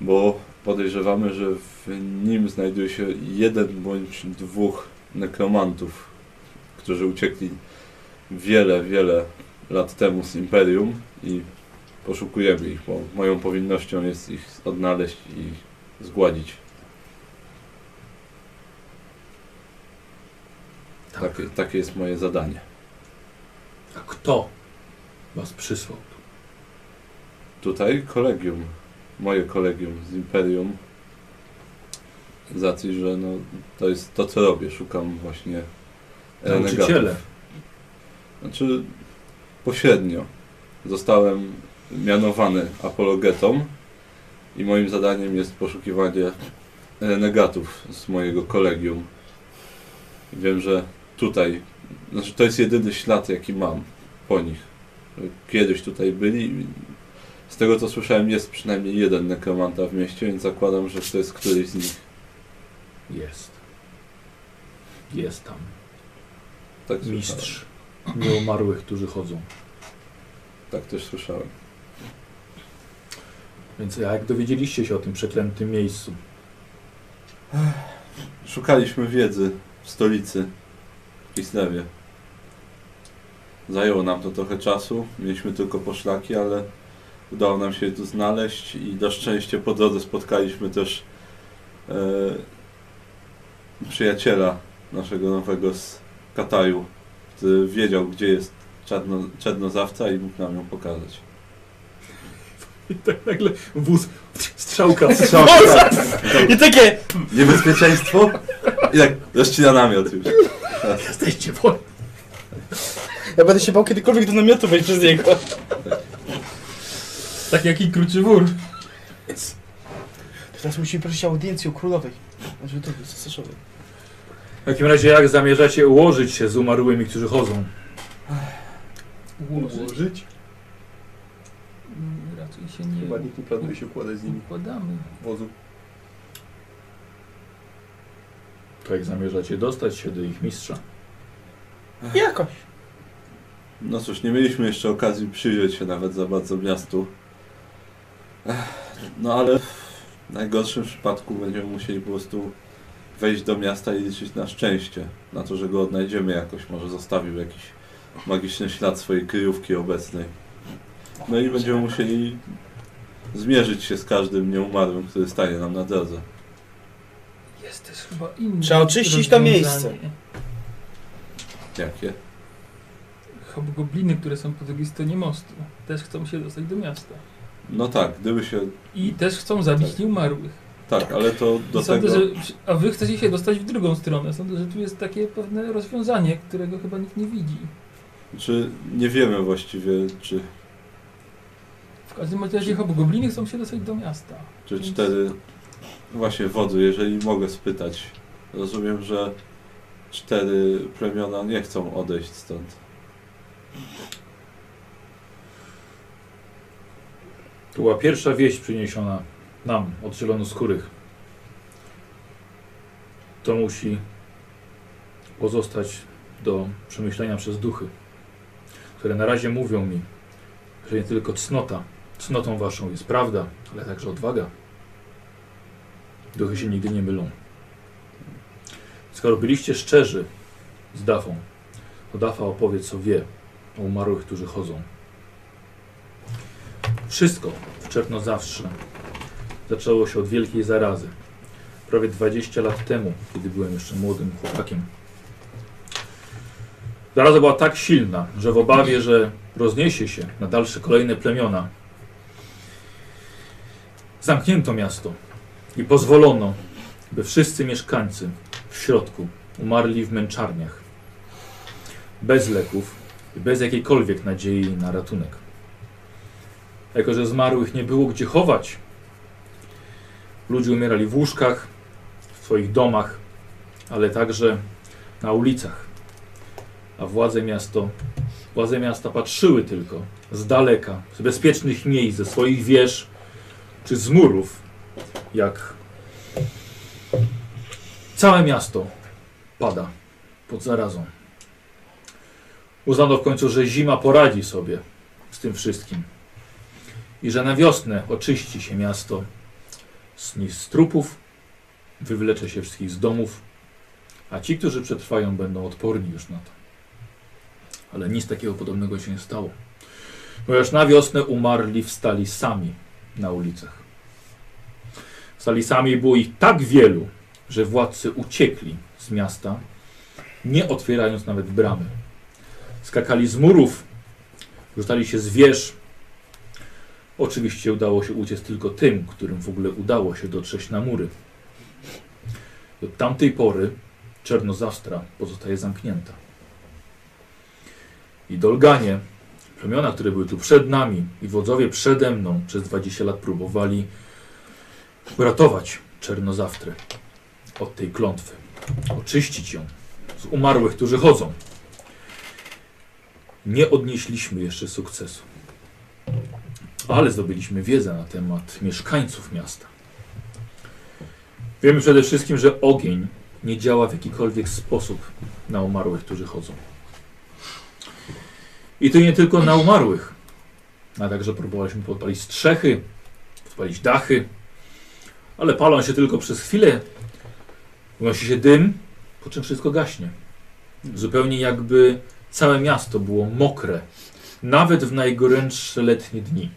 Speaker 1: bo podejrzewamy, że w nim znajduje się jeden bądź dwóch nekromantów, którzy uciekli wiele, wiele lat temu z Imperium i poszukujemy ich, bo moją powinnością jest ich odnaleźć i zgładzić. Tak. Takie, takie jest moje zadanie.
Speaker 3: A kto was przysłał? tu?
Speaker 1: Tutaj kolegium, moje kolegium z Imperium. Z racji, że no, to jest to, co robię. Szukam właśnie renegatów.
Speaker 3: Nauczyciele.
Speaker 1: Znaczy, pośrednio. Zostałem mianowany apologetą i moim zadaniem jest poszukiwanie renegatów z mojego kolegium. Wiem, że tutaj, znaczy to jest jedyny ślad, jaki mam po nich. Kiedyś tutaj byli. Z tego co słyszałem, jest przynajmniej jeden nekromanta w mieście, więc zakładam, że to jest któryś z nich.
Speaker 3: Jest. Jest tam.
Speaker 1: Tak słyszałem.
Speaker 3: Mistrz nieumarłych, którzy chodzą.
Speaker 1: Tak też słyszałem.
Speaker 3: Więc jak dowiedzieliście się o tym przeklętym miejscu?
Speaker 1: Szukaliśmy wiedzy w stolicy, w Kislewie. Zajęło nam to trochę czasu, mieliśmy tylko poszlaki, ale udało nam się tu znaleźć i na szczęście po drodze spotkaliśmy też e, przyjaciela naszego nowego z Kataju, który wiedział, gdzie jest czarno, czarnozawca i mógł nam ją pokazać.
Speaker 3: I tak nagle wóz, strzałka,
Speaker 2: I takie...
Speaker 1: Niebezpieczeństwo? I tak rozcina namiot już.
Speaker 3: jesteście wolni.
Speaker 2: Ja będę się bał kiedykolwiek do namiotu wejść przez niego.
Speaker 4: Tak jak i kruczy wór.
Speaker 2: Teraz musimy prosić o audiencję u królowej. Znaczy, to jest cesarzowej.
Speaker 3: W takim razie jak zamierzacie ułożyć się z umarłymi, którzy chodzą?
Speaker 5: Ułożyć?
Speaker 4: Mm, Raczej się nie
Speaker 8: Chyba nikt nie planuje się układać z nimi
Speaker 4: układamy.
Speaker 8: w wozu.
Speaker 3: To jak Tak, zamierzacie dostać się do ich mistrza?
Speaker 2: Jakoś.
Speaker 1: No cóż, nie mieliśmy jeszcze okazji przyjrzeć się nawet za bardzo miastu. Ech, No ale w najgorszym przypadku będziemy musieli po prostu wejść do miasta i liczyć na szczęście. Na to, że go odnajdziemy jakoś. Może zostawił jakiś magiczny ślad swojej kryjówki obecnej. No i będziemy musieli zmierzyć się z każdym nieumarłym, który stanie nam na drodze.
Speaker 4: Jest też chyba inny.
Speaker 2: Trzeba oczyścić to
Speaker 4: rozwiązanie.
Speaker 1: Jakie?
Speaker 4: Hobgobliny, które są po drugiej stronie mostu, też chcą się dostać do miasta.
Speaker 1: No tak, gdyby się...
Speaker 4: I też chcą zabić
Speaker 1: Tak.
Speaker 4: nieumarłych.
Speaker 1: Tak, ale to do
Speaker 4: I sądzę,
Speaker 1: tego...
Speaker 4: że, a wy chcecie się dostać w drugą stronę. Sądzę, że tu jest takie pewne rozwiązanie, którego chyba nikt nie widzi.
Speaker 1: Czy nie wiemy właściwie, czy,
Speaker 4: W każdym razie hobgobliny chcą się dostać do miasta.
Speaker 1: czy cztery... Właśnie wodzu, jeżeli mogę spytać. Rozumiem, że cztery plemiona nie chcą odejść stąd.
Speaker 3: To była pierwsza wieść przyniesiona nam od zielonoskórych. To musi pozostać do przemyślenia przez duchy, które na razie mówią mi, że nie tylko cnota, cnotą waszą jest prawda, ale także odwaga. Duchy się nigdy nie mylą. Skoro byliście szczerzy z Dafą, to Dafa opowie, co wie o umarłych, którzy chodzą. Wszystko w Czernozawsze zaczęło się od wielkiej zarazy. Prawie 20 lat temu, kiedy byłem jeszcze młodym chłopakiem. Zaraza była tak silna, że w obawie, że rozniesie się na dalsze kolejne plemiona, zamknięto miasto i pozwolono, by wszyscy mieszkańcy w środku umarli w męczarniach. Bez leków i bez jakiejkolwiek nadziei na ratunek. Jako, że zmarłych nie było gdzie chować, ludzie umierali w łóżkach, w swoich domach, ale także na ulicach. A władze, miasto, władze miasta patrzyły tylko z daleka, z bezpiecznych miejsc, ze swoich wież czy z murów, jak całe miasto pada pod zarazą. Uznano w końcu, że zima poradzi sobie z tym wszystkim i że na wiosnę oczyści się miasto z, nich- z trupów, wywlecze się wszystkich z domów, a ci, którzy przetrwają, będą odporni już na to. Ale nic takiego podobnego się nie stało, ponieważ na wiosnę umarli wstali sami na ulicach. Wstali sami było ich tak wielu, że władcy uciekli z miasta, nie otwierając nawet bramy. Skakali z murów, rzucali się z wież, Oczywiście udało się uciec tylko tym, którym w ogóle udało się dotrzeć na mury. Od tamtej pory Czernozastra pozostaje zamknięta. I Dolganie, plemiona, które były tu przed nami i wodzowie przede mną przez 20 lat próbowali uratować Czernozawtrę od tej klątwy, oczyścić ją z umarłych, którzy chodzą. Nie odnieśliśmy jeszcze sukcesu ale zdobyliśmy wiedzę na temat mieszkańców miasta. Wiemy przede wszystkim, że ogień nie działa w jakikolwiek sposób na umarłych, którzy chodzą. I to nie tylko na umarłych, a także próbowaliśmy podpalić strzechy, podpalić dachy, ale palą się tylko przez chwilę. Unosi się dym, po czym wszystko gaśnie. Zupełnie jakby całe miasto było mokre, nawet w najgorętsze letnie dni.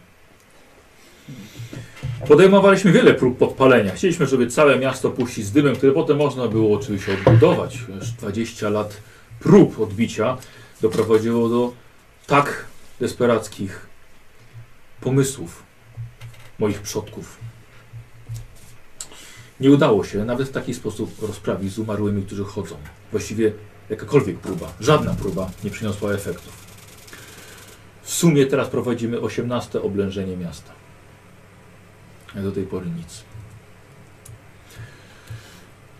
Speaker 3: Podejmowaliśmy wiele prób podpalenia. Chcieliśmy, żeby całe miasto puścić z dymem, które potem można było oczywiście odbudować. Już 20 lat prób odbicia doprowadziło do tak desperackich pomysłów moich przodków. Nie udało się nawet w taki sposób rozprawić z umarłymi, którzy chodzą. Właściwie jakakolwiek próba, żadna próba nie przyniosła efektów. W sumie teraz prowadzimy 18 oblężenie miasta. Jak do tej pory nic.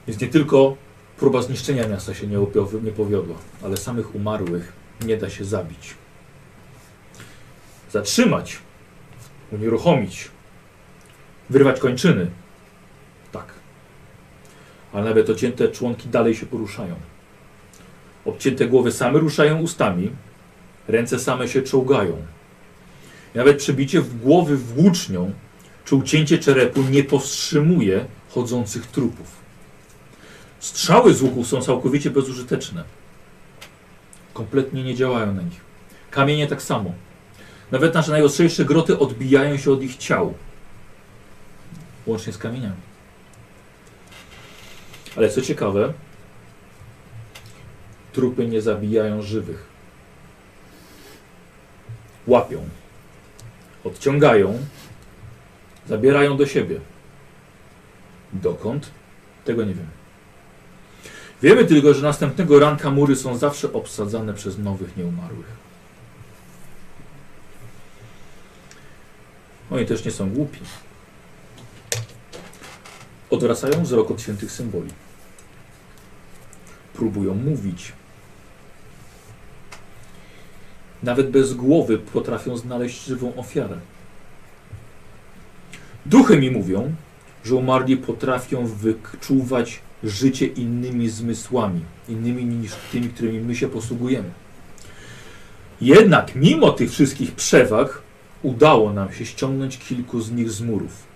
Speaker 3: Więc nie tylko próba zniszczenia miasta się nie, opio- nie powiodła, ale samych umarłych nie da się zabić. Zatrzymać, unieruchomić, wyrwać kończyny. Tak. Ale nawet ocięte członki dalej się poruszają. Obcięte głowy same ruszają ustami, ręce same się czołgają. I nawet przebicie w głowy włócznią czy ucięcie czerepu nie powstrzymuje chodzących trupów. Strzały z łuków są całkowicie bezużyteczne. Kompletnie nie działają na nich. Kamienie tak samo. Nawet nasze najostrzejsze groty odbijają się od ich ciał. Łącznie z kamieniami. Ale co ciekawe, trupy nie zabijają żywych. Łapią, odciągają, zabierają do siebie. Dokąd? Tego nie wiemy. Wiemy tylko, że następnego ranka mury są zawsze obsadzane przez nowych nieumarłych. Oni też nie są głupi. Odwracają wzrok od świętych symboli. Próbują mówić. Nawet bez głowy potrafią znaleźć żywą ofiarę. Duchy mi mówią, że umarli potrafią wyczuwać życie innymi zmysłami, innymi niż tymi, którymi my się posługujemy. Jednak mimo tych wszystkich przewag udało nam się ściągnąć kilku z nich z murów.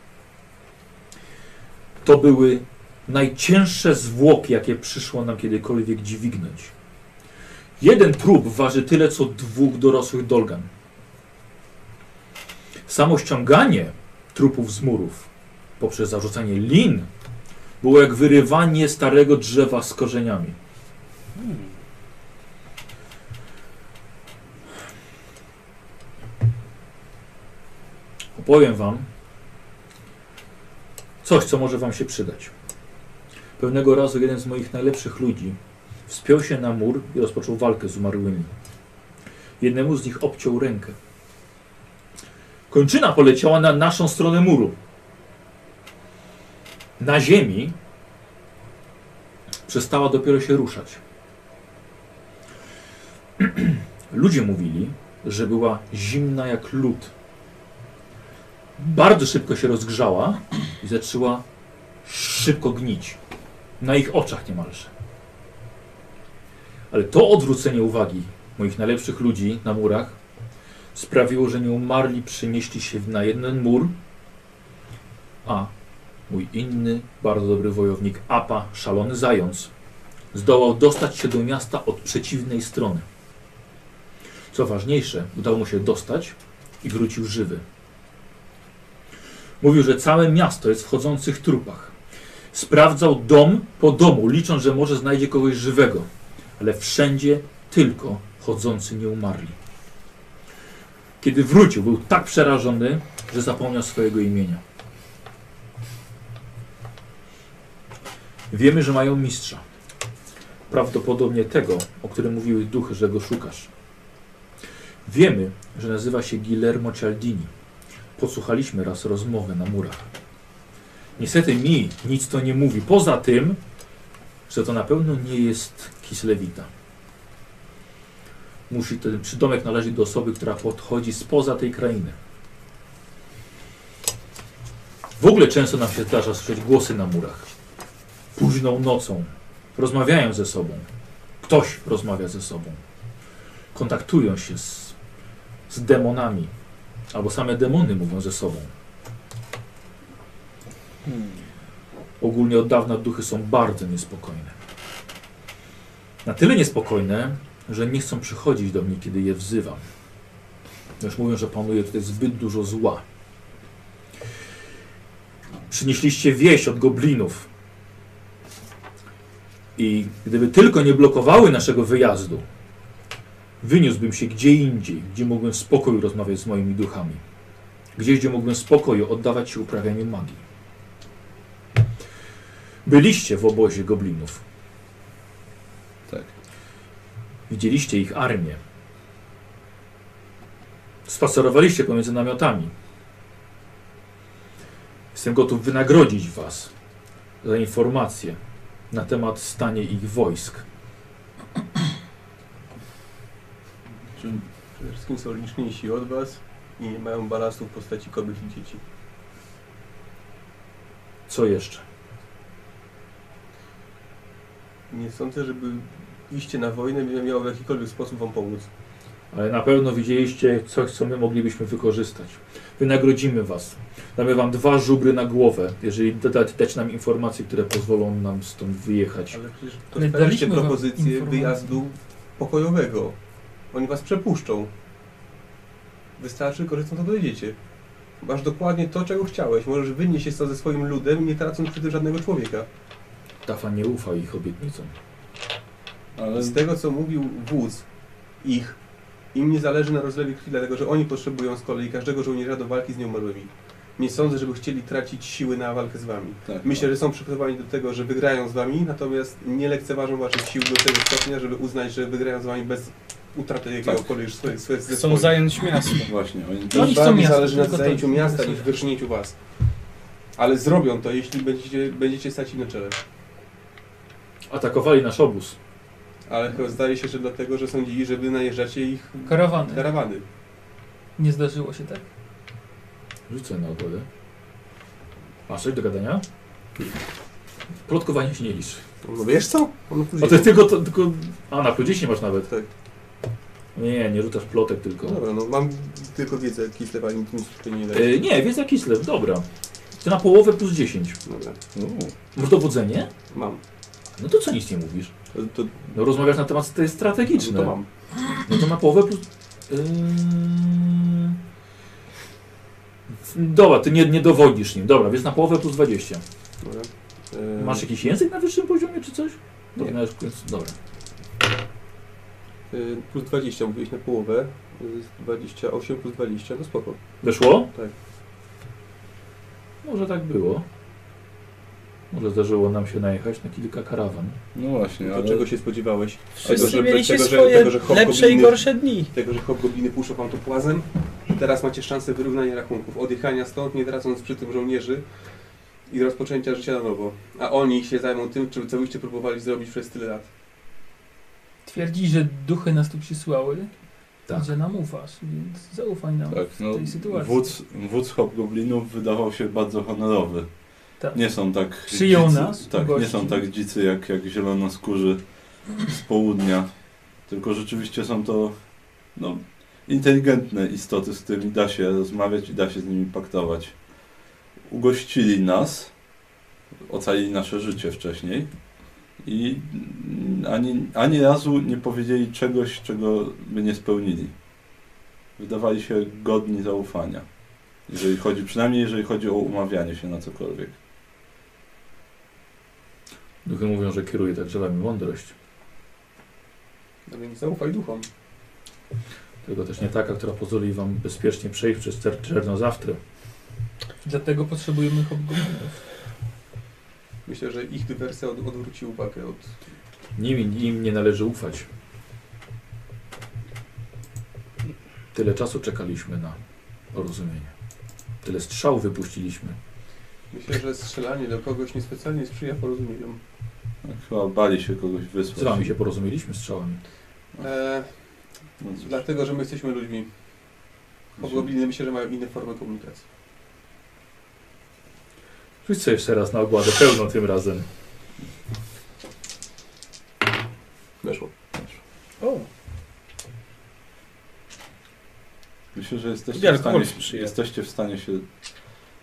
Speaker 3: To były najcięższe zwłoki, jakie przyszło nam kiedykolwiek dźwignąć. Jeden trup waży tyle, co dwóch dorosłych dolgan. Samo ściąganie trupów z murów poprzez zarzucanie lin było jak wyrywanie starego drzewa z korzeniami. Opowiem Wam coś, co może Wam się przydać. Pewnego razu jeden z moich najlepszych ludzi wspiął się na mur i rozpoczął walkę z umarłymi. Jednemu z nich obciął rękę. Kończyna poleciała na naszą stronę muru. Na ziemi przestała dopiero się ruszać. Ludzie mówili, że była zimna jak lód. Bardzo szybko się rozgrzała i zaczęła szybko gnić. Na ich oczach niemalże. Ale to odwrócenie uwagi moich najlepszych ludzi na murach sprawiło, że nie umarli, przynieśli się na jeden mur, a mój inny, bardzo dobry wojownik Apa, szalony zając, zdołał dostać się do miasta od przeciwnej strony. Co ważniejsze, udało mu się dostać i wrócił żywy. Mówił, że całe miasto jest w chodzących trupach. Sprawdzał dom po domu, licząc, że może znajdzie kogoś żywego, ale wszędzie tylko chodzący nie umarli. Kiedy wrócił, był tak przerażony, że zapomniał swojego imienia. Wiemy, że mają mistrza. Prawdopodobnie tego, o którym mówiły duchy, że go szukasz. Wiemy, że nazywa się Guillermo Cialdini. Podsłuchaliśmy raz rozmowę na murach. Niestety mi nic to nie mówi, poza tym, że to na pewno nie jest Kislewita musi ten przydomek należeć do osoby, która podchodzi spoza tej krainy. W ogóle często nam się zdarza słyszeć głosy na murach. Późną nocą rozmawiają ze sobą. Ktoś rozmawia ze sobą. Kontaktują się z, z demonami. Albo same demony mówią ze sobą. Ogólnie od dawna duchy są bardzo niespokojne. Na tyle niespokojne, że nie chcą przychodzić do mnie, kiedy je wzywam. Już mówią, że panuje tutaj zbyt dużo zła. Przynieśliście wieść od goblinów. I gdyby tylko nie blokowały naszego wyjazdu, wyniósłbym się gdzie indziej, gdzie mógłbym w spokoju rozmawiać z moimi duchami. Gdzieś, gdzie mógłbym w spokoju oddawać się uprawianiu magii. Byliście w obozie goblinów. Widzieliście ich armię. Spacerowaliście pomiędzy namiotami. Jestem gotów wynagrodzić was za informacje na temat stanie ich wojsk.
Speaker 5: Czy przede wszystkim są liczniejsi od was i nie mają balastu w postaci kobiet i dzieci.
Speaker 3: Co jeszcze?
Speaker 5: Nie sądzę, żeby iście na wojnę miało w jakikolwiek sposób wam pomóc.
Speaker 3: Ale na pewno widzieliście coś, co my moglibyśmy wykorzystać. Wynagrodzimy was. Damy wam dwa żubry na głowę, jeżeli doda- dać nam informacje, które pozwolą nam stąd wyjechać.
Speaker 5: Ale przecież
Speaker 4: Nie
Speaker 5: dostaliście
Speaker 4: daliśmy wam
Speaker 5: propozycję
Speaker 4: informacji.
Speaker 5: wyjazdu pokojowego. Oni was przepuszczą. Wystarczy korzystać, to dojedziecie. Masz dokładnie to, czego chciałeś. Możesz wynieść się stąd ze swoim ludem, nie tracąc przy tym żadnego człowieka.
Speaker 3: Tafa nie ufa ich obietnicom.
Speaker 2: Ale
Speaker 5: Z tego, co mówił wódz ich, im nie zależy na rozlewie krwi, dlatego że oni potrzebują z kolei każdego żołnierza do walki z nieumarłymi. Nie sądzę, żeby chcieli tracić siły na walkę z wami.
Speaker 4: no.
Speaker 1: Tak,
Speaker 5: Myślę, że są przygotowani do tego, że wygrają z wami, natomiast nie lekceważą waszych sił do tego stopnia, żeby uznać, że wygrają z wami bez utraty jakiegokolwiek
Speaker 3: Tak.
Speaker 5: swoich swoich
Speaker 2: chcą zająć miasto.
Speaker 1: Właśnie, oni
Speaker 4: No
Speaker 5: Im
Speaker 4: Oni chcą
Speaker 5: bardziej
Speaker 4: miasta,
Speaker 5: zależy na
Speaker 4: tylko to
Speaker 5: zajęciu miasta
Speaker 4: interesuje.
Speaker 5: niż wyrżnięciu was. Ale zrobią to, jeśli będziecie, będziecie stać im na czele.
Speaker 3: Atakowali nasz obóz.
Speaker 5: Ale chyba zdaje się, że dlatego, że sądzili, że wy najeżdżacie ich
Speaker 4: Karawany.
Speaker 5: karawany.
Speaker 4: Nie zdarzyło się tak.
Speaker 3: Rzucę na ogodę. Masz coś do gadania? Plotkowanie się nie liczy.
Speaker 5: No wiesz co? On
Speaker 3: A to jest tylko, to, tylko... A, na plus 10 masz nawet.
Speaker 5: Tak.
Speaker 3: Nie, nie rzucasz plotek tylko.
Speaker 5: Dobra, no mam tylko wiedzę kislewa, nic mi tutaj nie da.
Speaker 3: E, nie, wiedza Kislev, dobra. To na połowę plus 10.
Speaker 5: Dobra,
Speaker 3: Masz dowodzenie?
Speaker 5: mam.
Speaker 3: No to co nic nie mówisz?
Speaker 5: To, to,
Speaker 3: No rozmawiasz na temat te strategiczne.
Speaker 5: to mam.
Speaker 3: No to na połowę plus... Yy... Dobra, ty nie, nie dowodzisz nim. Dobra, więc na połowę plus 20.
Speaker 5: Dobra. E,
Speaker 3: Masz jakiś język na wyższym poziomie czy coś?
Speaker 5: Nie.
Speaker 3: Powinnaś- Dobra.
Speaker 5: Y, Plus 20, mówiłeś na połowę. y, 28 plus 20, no spoko.
Speaker 3: Weszło?
Speaker 5: Tak.
Speaker 3: Może tak było. Może zdarzyło nam się najechać na kilka karawan.
Speaker 1: No właśnie,
Speaker 5: To
Speaker 1: ale...
Speaker 5: czego się spodziewałeś?
Speaker 2: Wszyscy
Speaker 5: że-
Speaker 2: mieliście
Speaker 5: tego, że-
Speaker 2: swoje
Speaker 5: tego, że hobgobliny-
Speaker 2: lepsze i gorsze dni.
Speaker 5: Tego, że hobgobliny puszczą wam to płazem? Teraz macie szansę wyrównania rachunków, odjechania stąd, nie tracąc przy tym żołnierzy i rozpoczęcia życia na nowo. A oni się zajmą tym, czym- co byście próbowali zrobić przez tyle lat.
Speaker 4: Twierdzi, że duchy nas tu przysłały,
Speaker 3: Tak.
Speaker 4: że nam ufasz, więc zaufaj nam.
Speaker 1: Tak, no,
Speaker 4: tej sytuacji.
Speaker 1: wódz, wódz Hobgoblinów wydawał się bardzo honorowy.
Speaker 4: Tak.
Speaker 1: Nie są tak
Speaker 4: Przyjął
Speaker 1: dzicy,
Speaker 4: nas,
Speaker 1: tak,
Speaker 4: gości.
Speaker 1: nie są tak dzicy jak, jak zielonoskórzy z południa. Tylko rzeczywiście są to no, inteligentne istoty, z którymi da się rozmawiać i da się z nimi paktować. Ugościli nas, ocalili nasze życie wcześniej i mm, ani, ani razu nie powiedzieli czegoś, czego by nie spełnili. Wydawali się godni zaufania. Jeżeli chodzi, przynajmniej jeżeli chodzi o umawianie się na cokolwiek.
Speaker 3: Duchy mówią, że kieruje tak drzewami mądrość.
Speaker 5: No więc zaufaj duchom.
Speaker 3: Tylko też nie taka, która pozwoli wam bezpiecznie przejść przez Czer- Czernozawtrę.
Speaker 4: Dlatego potrzebujemy hobgoblinów.
Speaker 5: Myślę, że ich dywersja od, odwróci uwagę od...
Speaker 3: Nim, im nie należy ufać. Tyle czasu czekaliśmy na porozumienie. Tyle strzał wypuściliśmy.
Speaker 5: Myślę, że strzelanie do kogoś niespecjalnie sprzyja porozumieniom.
Speaker 1: Chyba bali się kogoś wysłać.
Speaker 3: Z wami się porozumieliśmy strzałami.
Speaker 5: E,
Speaker 1: No cóż,
Speaker 5: dlatego, że my jesteśmy ludźmi. Hobgobliny myślę, że mają inne formy komunikacji.
Speaker 3: Rzuć sobie jeszcze raz na ogładę pełną tym razem.
Speaker 5: Weszło.
Speaker 2: O,
Speaker 1: Myślę, że jesteście w,
Speaker 2: Wielko
Speaker 1: stanie,
Speaker 2: Polski przyjechał.
Speaker 1: jesteście w stanie się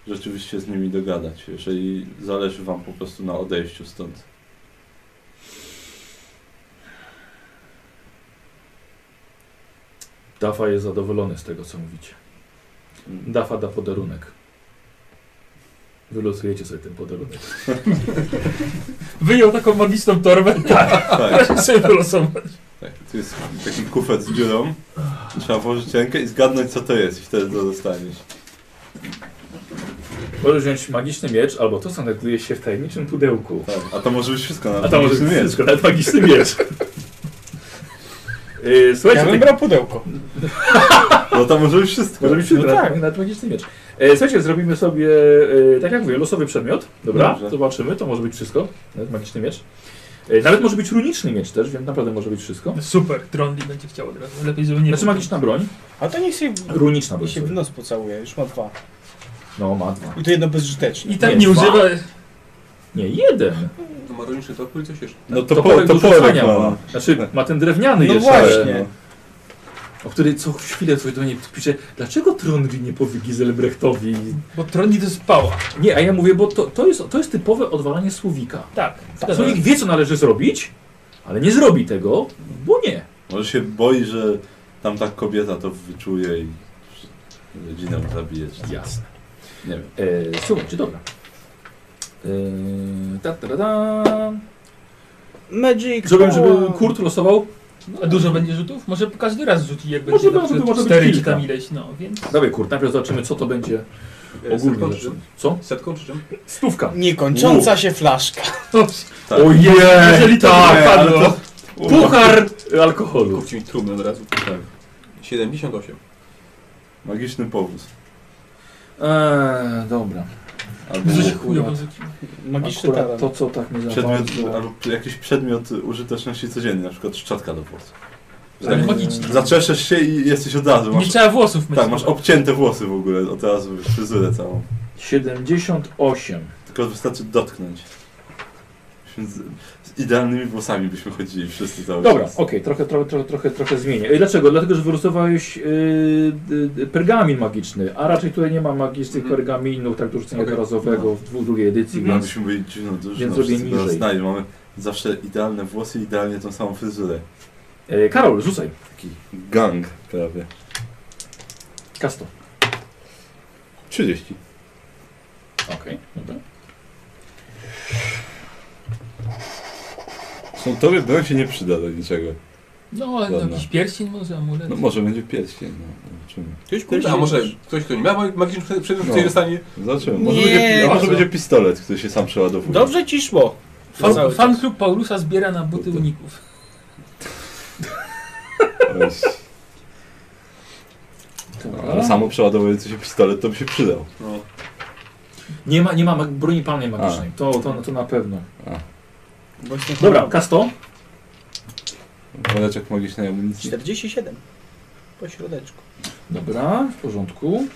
Speaker 1: rzeczywiście z nimi dogadać, jeżeli zależy wam po prostu na odejściu stąd.
Speaker 3: Dafa jest zadowolony z tego, co mówicie. Dafa da podarunek. Wylosujecie sobie ten podarunek.
Speaker 4: Wyjął taką magiczną torbę,
Speaker 1: Tak,
Speaker 4: sobie wylosował.
Speaker 1: tak. Tu jest taki kufet z dziurą. Trzeba włożyć rękę i zgadnąć co to jest i wtedy to dostaniesz.
Speaker 3: Możesz wziąć magiczny miecz, albo to, co znajduje się w tajemniczym pudełku.
Speaker 1: Tak. A to może być wszystko na
Speaker 3: A tam może
Speaker 1: nie
Speaker 3: być wszystko, nawet magiczny miecz. Yy,
Speaker 2: ja
Speaker 3: Słuchajcie,
Speaker 2: bym
Speaker 3: tak-
Speaker 2: brał pudełko.
Speaker 1: No to może być wszystko.
Speaker 3: Może być
Speaker 2: No
Speaker 3: przykra,
Speaker 2: tak.
Speaker 3: na tragiczny miecz. E, słuchajcie, zrobimy sobie, e, tak jak mówię, losowy przedmiot. Dobra,
Speaker 1: Dobrze.
Speaker 3: zobaczymy, to może być wszystko. Nawet magiczny miecz. E, nawet może być runiczny miecz też, więc naprawdę może być wszystko.
Speaker 4: Super, Trondli będzie chciał od razu. Lepiej, żeby nie
Speaker 3: Znaczy magiczna broń,
Speaker 2: A to niech się,
Speaker 3: runiczna broń.
Speaker 2: niech się w
Speaker 3: sorry.
Speaker 2: nos pocałuje, już ma dwa.
Speaker 3: No ma dwa.
Speaker 2: I to jedno bezużyteczne.
Speaker 4: I tak
Speaker 3: Nie,
Speaker 4: nie,
Speaker 3: dwa.
Speaker 4: używa...
Speaker 3: Nie, jeden.
Speaker 8: To ma rolniczy topór i coś jeszcze.
Speaker 1: No to,
Speaker 3: Toporek
Speaker 1: po, to
Speaker 3: do
Speaker 1: porek
Speaker 3: rzucania
Speaker 1: ma.
Speaker 3: Znaczy ma ten drewniany
Speaker 2: No
Speaker 3: jeszcze.
Speaker 2: właśnie.
Speaker 3: ale- O który co chwilę coś do mnie pisze, dlaczego Trondli nie powie Giselbrechtowi?
Speaker 4: Bo Trondli to spała.
Speaker 3: Nie, a ja mówię, bo to, to, jest, to jest typowe odwalanie słowika.
Speaker 4: Tak.
Speaker 3: Tak, Słowik wie, co należy zrobić, ale nie zrobi tego, bo nie.
Speaker 1: Może się boi, że tam ta kobieta to wyczuje i rodzinę mu zabije. czy-
Speaker 3: Jasne.
Speaker 1: Nie wiem.
Speaker 3: E, słuchajcie, dobra. E, ta, ta, ta, ta.
Speaker 2: Magic.
Speaker 3: Zrobiłem, żeby
Speaker 2: power.
Speaker 3: Kurt losował.
Speaker 4: No, A dużo będzie rzutów? Może każdy raz rzuci, jak
Speaker 3: Może
Speaker 4: będzie na
Speaker 3: będzie,
Speaker 4: przykład
Speaker 3: może być
Speaker 4: cztery czy
Speaker 3: kilka.
Speaker 4: tam ileś, no, więc...
Speaker 3: Dawaj Kurt, najpierw zobaczymy, co to będzie
Speaker 8: E,
Speaker 3: ogólnie.
Speaker 8: setką czy
Speaker 3: Zobaczymy.
Speaker 8: czym?
Speaker 3: Co?
Speaker 8: Setką czy czym?
Speaker 3: Stówka.
Speaker 2: Niekończąca się flaszka.
Speaker 1: Tak.
Speaker 3: Ojej,
Speaker 4: Jeżeli to
Speaker 3: tak,
Speaker 4: padło.
Speaker 3: ale to- Puchar alkoholu.
Speaker 8: Kupcie mi trumnę od razu.
Speaker 1: Tak.
Speaker 8: 78.
Speaker 1: Magiczny powóz.
Speaker 3: Eee, dobra.
Speaker 1: Albo
Speaker 4: Rzuć
Speaker 3: Akurat-
Speaker 4: chujowo rzucił.
Speaker 2: Magiczny
Speaker 3: Akurat
Speaker 2: talent.
Speaker 3: to, co tak mnie
Speaker 1: przedmiot,
Speaker 3: zapadło.
Speaker 1: albo jakiś przedmiot użyteczności codziennej, na przykład szczotka do włosów. Że
Speaker 4: Ale
Speaker 1: tak
Speaker 4: magiczny.
Speaker 1: Zaczeszesz się i jesteś od razu.
Speaker 4: Nie
Speaker 1: Masz,
Speaker 4: trzeba włosów myć.
Speaker 1: tak, masz obcięte włosy w ogóle, od razu wiesz, fryzurę całą.
Speaker 3: 78.
Speaker 1: Tylko wystarczy dotknąć. Byśmy Z, z idealnymi włosami byśmy chodzili wszyscy cały
Speaker 3: Dobra, okej,
Speaker 1: czas.
Speaker 3: trochę, trochę, trochę, trochę, trochę zmienię. Ej, Dlaczego? Dlatego, że wyrysowałeś yy, y, y, pergamin magiczny, a raczej tutaj nie ma magicznych
Speaker 8: Mhm.
Speaker 3: pergaminów, tak do rzucenia
Speaker 8: Okej.
Speaker 3: jednorazowego w dwu, drugiej edycji,
Speaker 1: No,
Speaker 3: więc...
Speaker 1: byśmy byli dziwno dużo,
Speaker 3: Więc
Speaker 1: no,
Speaker 3: zrobię
Speaker 1: wszyscy go
Speaker 3: niżej.
Speaker 1: znali. Mamy zawsze idealne włosy i idealnie tą samą fryzurę.
Speaker 3: E, Karol, rzucaj.
Speaker 1: Taki gang prawie.
Speaker 3: Kasto.
Speaker 1: 30.
Speaker 3: Okej, dobra.
Speaker 1: Są tobie broń się nie przyda do niczego.
Speaker 4: No, ale
Speaker 1: Ładna.
Speaker 4: jakiś pierścień może, amulet.
Speaker 1: No może będzie pierścień, no. Zobaczymy.
Speaker 8: Ktoś kurde, a może ktoś, kto nie ma magicznych przedmiotów w tej
Speaker 1: No.
Speaker 8: dostanie?
Speaker 1: Zobaczymy. Może,
Speaker 2: Nie,
Speaker 1: będzie, a może
Speaker 4: bardzo.
Speaker 1: będzie pistolet, który się sam przeładowuje.
Speaker 2: Dobrze ci szło.
Speaker 4: Fan,
Speaker 2: Cały
Speaker 4: fan
Speaker 2: czas.
Speaker 4: klub Paulusa zbiera na buty
Speaker 1: Buty.
Speaker 4: uników.
Speaker 1: Weź. Ale samo przeładowujący się pistolet to by się przydał.
Speaker 8: No.
Speaker 3: Nie ma, nie ma mag- broni palnej magicznej, to, to, to na pewno.
Speaker 2: Bo jestem
Speaker 3: Dobra,
Speaker 2: choroba.
Speaker 3: Kasto.
Speaker 1: Woreczek magicznej amunicji.
Speaker 2: 47. Po środeczku.
Speaker 3: Dobra, w porządku.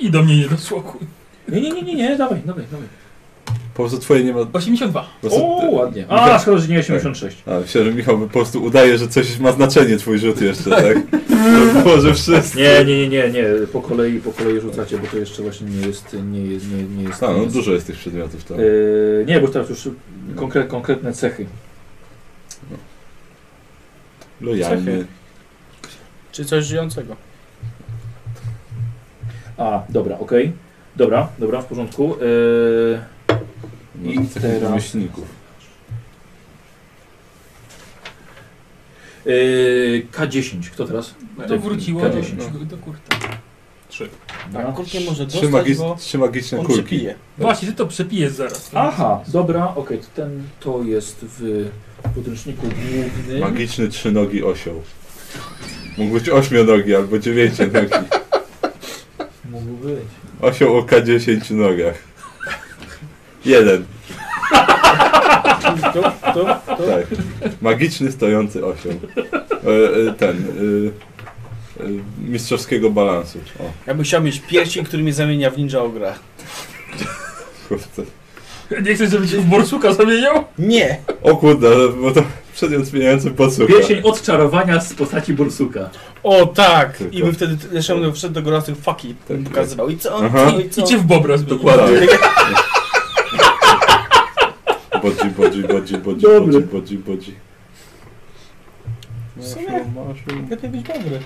Speaker 4: I do mnie nie doszło, chuj.
Speaker 3: Nie, nie, nie, nie, nie, dawaj, dawaj, dawaj.
Speaker 1: Po prostu twoje nie ma...
Speaker 4: 82.
Speaker 1: Po prostu...
Speaker 3: O, ładnie. Tak. A,
Speaker 1: Michał-
Speaker 3: szkoda, że nie 86.
Speaker 1: A, myślę, że Michał po prostu udaje, że coś ma znaczenie twój rzut jeszcze, tak? Boże, wszyscy.
Speaker 3: Nie, nie, nie, nie, nie, po kolei, po kolei rzucacie, bo to jeszcze właśnie nie jest, nie jest, nie, nie jest.
Speaker 1: A,
Speaker 3: nie
Speaker 1: no
Speaker 3: jest.
Speaker 1: dużo jest tych przedmiotów tam.
Speaker 3: Yy, nie, bo teraz już konkre konkretne cechy.
Speaker 1: Lojalny.
Speaker 2: cechy. Czy coś żyjącego.
Speaker 3: A, dobra, okej. Dobra, dobra, w porządku. Yy,
Speaker 1: No,
Speaker 3: I
Speaker 1: cechy
Speaker 3: teraz-
Speaker 1: Myślników.
Speaker 3: yy, K10, kto teraz?
Speaker 4: To wróciło do,
Speaker 3: K10.
Speaker 4: do kurta.
Speaker 3: Dobra.
Speaker 2: Tak, kurczę może
Speaker 1: Trzy,
Speaker 2: dostać,
Speaker 1: magi...
Speaker 2: bo
Speaker 1: Trzy magiczne
Speaker 2: on
Speaker 1: kulki.
Speaker 2: przepije.
Speaker 4: Właśnie, ty to przepijesz zaraz.
Speaker 3: Aha, dobra, okej, to ten to jest w podręczniku głównym.
Speaker 1: Magiczny trzynogi osioł. Mógł być ośmionogi albo dziewięcionogi.
Speaker 3: Mógł być.
Speaker 1: Osioł o K10 nogach. Jeden.
Speaker 2: Tu, tu, tu.
Speaker 1: Tak. Magiczny stojący osioł. E, e, Ten. e, e, Mistrzowskiego balansu. O,
Speaker 2: Ja bym chciał mieć pierścień, który mnie zamienia w ninja ogra.
Speaker 1: kurczę.
Speaker 4: Nie chcesz, żeby cię w borsuka zamieniał?
Speaker 2: Nie!
Speaker 1: O kurde, ale- bo to przedmiot zmieniający podsłucha.
Speaker 3: Pierścień odczarowania z postaci Bursuka.
Speaker 2: O tak! I
Speaker 1: Tylko.
Speaker 2: bym wtedy Leszemu wszedł do gorących fuck it, bym
Speaker 1: Tak,
Speaker 2: pokazywał. I co?
Speaker 1: Aha.
Speaker 2: I co?
Speaker 4: I cię w bobra zmienił.
Speaker 1: Dokładnie. Bodzi, bodzi, bodzi, bodzi, bodzi,
Speaker 3: Dobry.
Speaker 1: bodzi, bodzi.
Speaker 2: W sumie lepiej być dobry.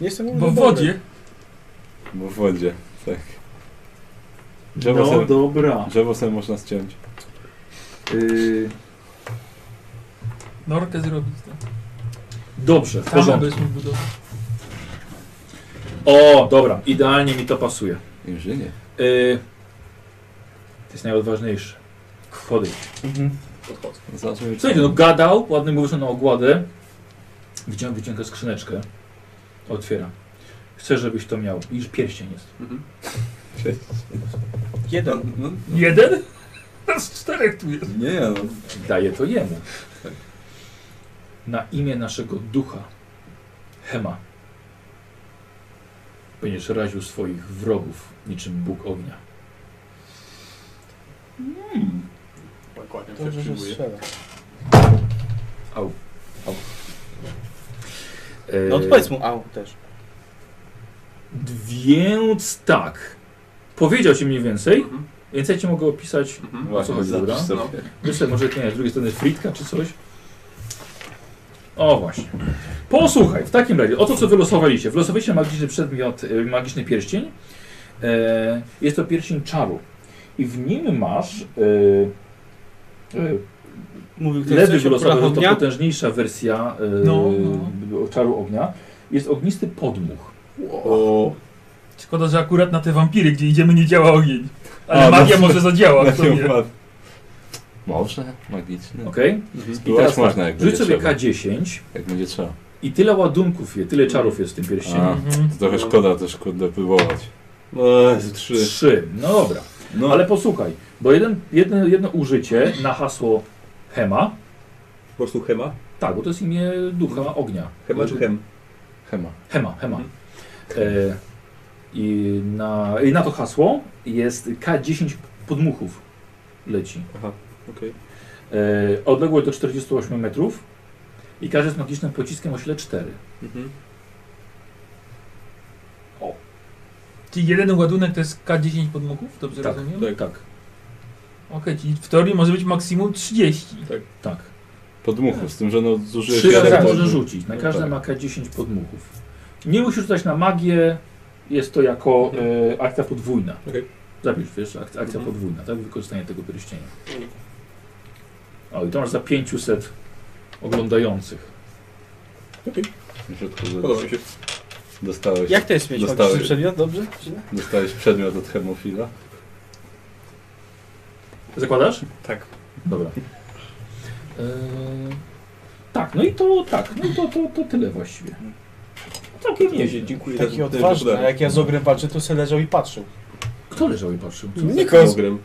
Speaker 2: Nie jestem
Speaker 4: Bo w wodzie.
Speaker 1: Bo w wodzie, tak. Drzewo,
Speaker 3: No
Speaker 1: sobie,
Speaker 3: dobra.
Speaker 1: drzewo sobie można ściąć.
Speaker 3: Yy,
Speaker 4: Norkę zrobić. No.
Speaker 3: dobrze, w
Speaker 4: Tam
Speaker 3: porządku.
Speaker 4: byśmy budowali.
Speaker 3: O, dobra, idealnie mi to pasuje.
Speaker 1: Inżynier.
Speaker 3: Yy, to jest najodważniejsze. Wchody. no
Speaker 2: Mhm.
Speaker 8: Podchodzę.
Speaker 1: Zobaczmy,
Speaker 3: Słuchajcie, no gadał, ładny mówisz na ogładę. Wycią, wyciąga skrzyneczkę. Otwiera. Chcę, żebyś to miał. Już pierścień jest.
Speaker 2: Jeden.
Speaker 1: No,
Speaker 4: Jeden? Z czterech tu jest.
Speaker 1: nie, no.
Speaker 3: Daję to jemu. Na imię naszego ducha, Hema, będziesz raził swoich wrogów niczym Bóg ognia.
Speaker 5: Dokładnie,
Speaker 2: Dobrze, że strzela.
Speaker 3: Au. Au. E,
Speaker 2: No odpowiedz mu au też.
Speaker 3: Więc tak. Powiedział ci mniej więcej,
Speaker 8: Mhm.
Speaker 3: więc ja ci mogę opisać.
Speaker 8: Mhm.
Speaker 3: O co
Speaker 1: Właśnie,
Speaker 3: chodzi, dobra?
Speaker 1: zapisz
Speaker 8: No.
Speaker 1: sobie.
Speaker 3: Myślę, może nie, z drugiej strony fritka czy coś. O właśnie. Posłuchaj, w takim razie, oto co wylosowaliście. Wylosowaliście magiczny przedmiot, e, magiczny pierścień. E, jest to pierścień czaru. I w nim masz e, e,
Speaker 2: Mówił ktoś
Speaker 3: Lewy
Speaker 2: coś o
Speaker 3: wylosował,
Speaker 2: prochu
Speaker 3: że to
Speaker 2: ognia?
Speaker 3: potężniejsza wersja e,
Speaker 4: No,
Speaker 3: b- czaru ognia. Jest ognisty podmuch.
Speaker 1: O,
Speaker 4: Szkoda, że akurat na te wampiry, gdzie idziemy, nie działa ogień. Ale
Speaker 1: A, no.
Speaker 4: magia może zadziała,
Speaker 1: na
Speaker 4: kto wie.
Speaker 1: się upadł. Może?
Speaker 5: No,
Speaker 1: Magiczny.
Speaker 3: Okej?
Speaker 2: Mhm.
Speaker 3: I
Speaker 1: Spróbować
Speaker 3: teraz tak,
Speaker 1: można, jak
Speaker 3: rzuć
Speaker 1: będzie
Speaker 3: sobie
Speaker 1: trzeba.
Speaker 3: K10
Speaker 1: Jak będzie trzeba.
Speaker 3: i tyle ładunków, je, tyle czarów jest w tym pierścieniu.
Speaker 1: A.
Speaker 4: Mhm.
Speaker 1: To trochę szkoda też, kurde, próbować. trzy.
Speaker 3: Trzy. No dobra.
Speaker 1: No,
Speaker 3: Ale posłuchaj, bo jeden, jedno, jedno użycie na hasło Hema,
Speaker 5: Po prostu Hema?
Speaker 3: tak, bo to jest imię ducha ognia.
Speaker 5: Hema czy Hem?
Speaker 1: Hema.
Speaker 3: Hema, Hema.
Speaker 1: Mhm.
Speaker 3: E, i, na, I na to hasło jest K10 podmuchów leci.
Speaker 5: Okej.
Speaker 3: E, odległość do 48 metrów i każdy z magicznym pociskiem o sile 4.
Speaker 5: Mhm.
Speaker 4: Czyli jeden ładunek to jest K10 podmuchów, dobrze
Speaker 3: Tak,
Speaker 4: rozumiem?
Speaker 5: tak.
Speaker 3: Tak,
Speaker 4: Okej, czyli w teorii może być maksimum 30.
Speaker 3: tak.
Speaker 1: Podmuchu, z tym, że no zużyjesz
Speaker 3: Trzy razy
Speaker 1: jeden
Speaker 3: może
Speaker 1: podmuch.
Speaker 3: rzucić. Na
Speaker 1: No
Speaker 3: każde
Speaker 1: tak.
Speaker 3: ma K10 podmuchów. Nie musisz rzucać na magię, jest to jako e, akcja podwójna.
Speaker 5: Okej.
Speaker 3: Zapisz, wiesz, akcja, akcja
Speaker 5: Mhm.
Speaker 3: podwójna, tak? Wykorzystanie tego pierścienia. O, i to masz za 500 oglądających.
Speaker 1: W środku do-
Speaker 5: Podoba mi się.
Speaker 1: Dostałeś,
Speaker 2: Jak to jest mieć
Speaker 1: Dostałeś.
Speaker 2: magiczny przedmiot, dobrze? Czy nie?
Speaker 1: dostałeś przedmiot od hemofila.
Speaker 3: Zakładasz?
Speaker 5: Tak.
Speaker 3: Dobra. E, tak, no i to tak, no i to, to, to tyle właściwie. Całkiem nieźle.
Speaker 5: Dziękuję
Speaker 2: Taki odważny, a jak ja z ogrem walczę, to se leżał i patrzył.
Speaker 3: Kto leżał i patrzył?
Speaker 2: Mhm. Nikos,
Speaker 5: Ogrem.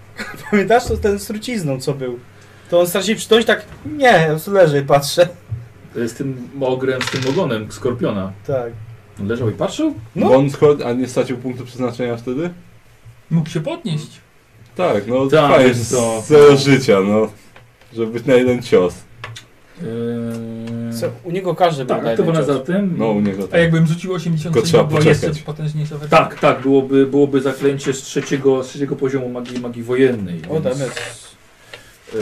Speaker 2: pamiętasz to ten z trucizną, co był? To on stracił przytomność tak, nie, ja sobie leżę i patrzę.
Speaker 3: E, Z tym ogrem, z tym ogonem skorpiona.
Speaker 2: Tak.
Speaker 3: On Leżał i patrzył?
Speaker 2: No.
Speaker 1: Bo on skor- a nie stracił punktu przeznaczenia wtedy?
Speaker 4: Mógł się podnieść.
Speaker 1: Tak, no
Speaker 3: Tak,
Speaker 1: fajnie,
Speaker 3: więc to-
Speaker 1: z celu życia, no. Żeby być na jeden cios.
Speaker 3: E, Eee...
Speaker 2: Co, u niego każdy był
Speaker 3: Tak,
Speaker 2: na
Speaker 3: a to
Speaker 2: jeden
Speaker 3: było
Speaker 2: cios.
Speaker 3: za tym.
Speaker 1: No u niego
Speaker 4: A
Speaker 1: tak.
Speaker 4: jakbym rzucił 80,
Speaker 1: Tylko trzeba
Speaker 4: to była jeszcze
Speaker 1: poczekać.
Speaker 4: potężniejsza wersja.
Speaker 3: Tak, tak, byłoby, byłoby zaklęcie z trzeciego, z trzeciego poziomu magii, magii wojennej.
Speaker 2: O,
Speaker 3: więc,
Speaker 2: damet.
Speaker 3: eee,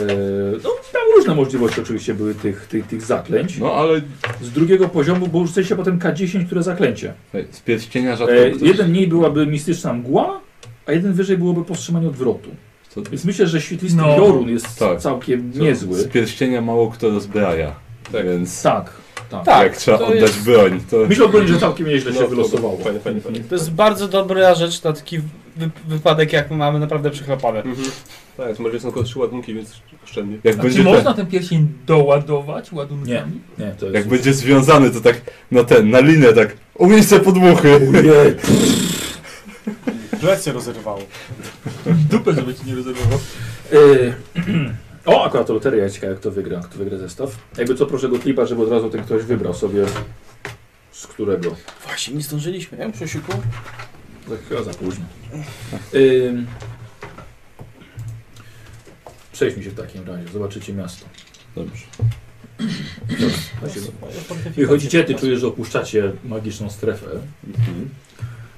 Speaker 3: no, tam różne możliwości oczywiście były tych, tych, tych zaklęć.
Speaker 1: No ale
Speaker 3: Z drugiego poziomu, bo rzucaliście potem K10, które zaklęcie.
Speaker 1: ej, z pierścienia rzadko
Speaker 3: Eee,
Speaker 1: ktoś...
Speaker 3: jeden mniej byłaby mistyczna mgła, a jeden wyżej byłoby powstrzymanie odwrotu.
Speaker 1: Co,
Speaker 3: Więc myślę, że świetlisty
Speaker 4: No.
Speaker 3: Jorun jest
Speaker 1: Tak.
Speaker 3: całkiem
Speaker 1: co,
Speaker 3: niezły.
Speaker 1: Z pierścienia mało kto rozbraja. Tak. Więc
Speaker 3: Tak, tak.
Speaker 2: Tak,
Speaker 1: jak trzeba
Speaker 2: to
Speaker 1: oddać
Speaker 2: jest-
Speaker 1: broń, to...
Speaker 3: Myślę ogólnie, że całkiem nieźle się
Speaker 5: No, to-
Speaker 3: wylosowało.
Speaker 5: Fajnie, fajnie, fajnie.
Speaker 2: To jest bardzo dobra rzecz na taki wy wypadek, jak mamy naprawdę przechlapane.
Speaker 5: Mhm. Tak, to może są tylko trzy ładunki, więc oszczędnie.
Speaker 1: Jak
Speaker 4: A
Speaker 1: będzie,
Speaker 4: czy
Speaker 1: ten-
Speaker 4: Znaczy, można ten pierścień doładować ładunkami?
Speaker 3: Nie, to jest
Speaker 1: jak będzie związany, to tak na ten, na linę tak... Umiej se podmuchy!
Speaker 2: Plec się rozerwało.
Speaker 4: Dupę, żeby ci nie rezerwował.
Speaker 3: Y, O, akurat loteria ciekawe, jak to wygra, kto wygra zestaw. Jakby co, proszę go klipa, żeby od razu ten ktoś wybrał sobie z którego.
Speaker 2: Właśnie, nie zdążyliśmy, nie? Przesiku?
Speaker 3: Za- Chyba za późno. Yy, Ym. Przejdźmy się w takim razie, zobaczycie miasto.
Speaker 1: Dobrze.
Speaker 3: Właśnie- Tak Wychodzicie, ty czujesz, że opuszczacie magiczną strefę.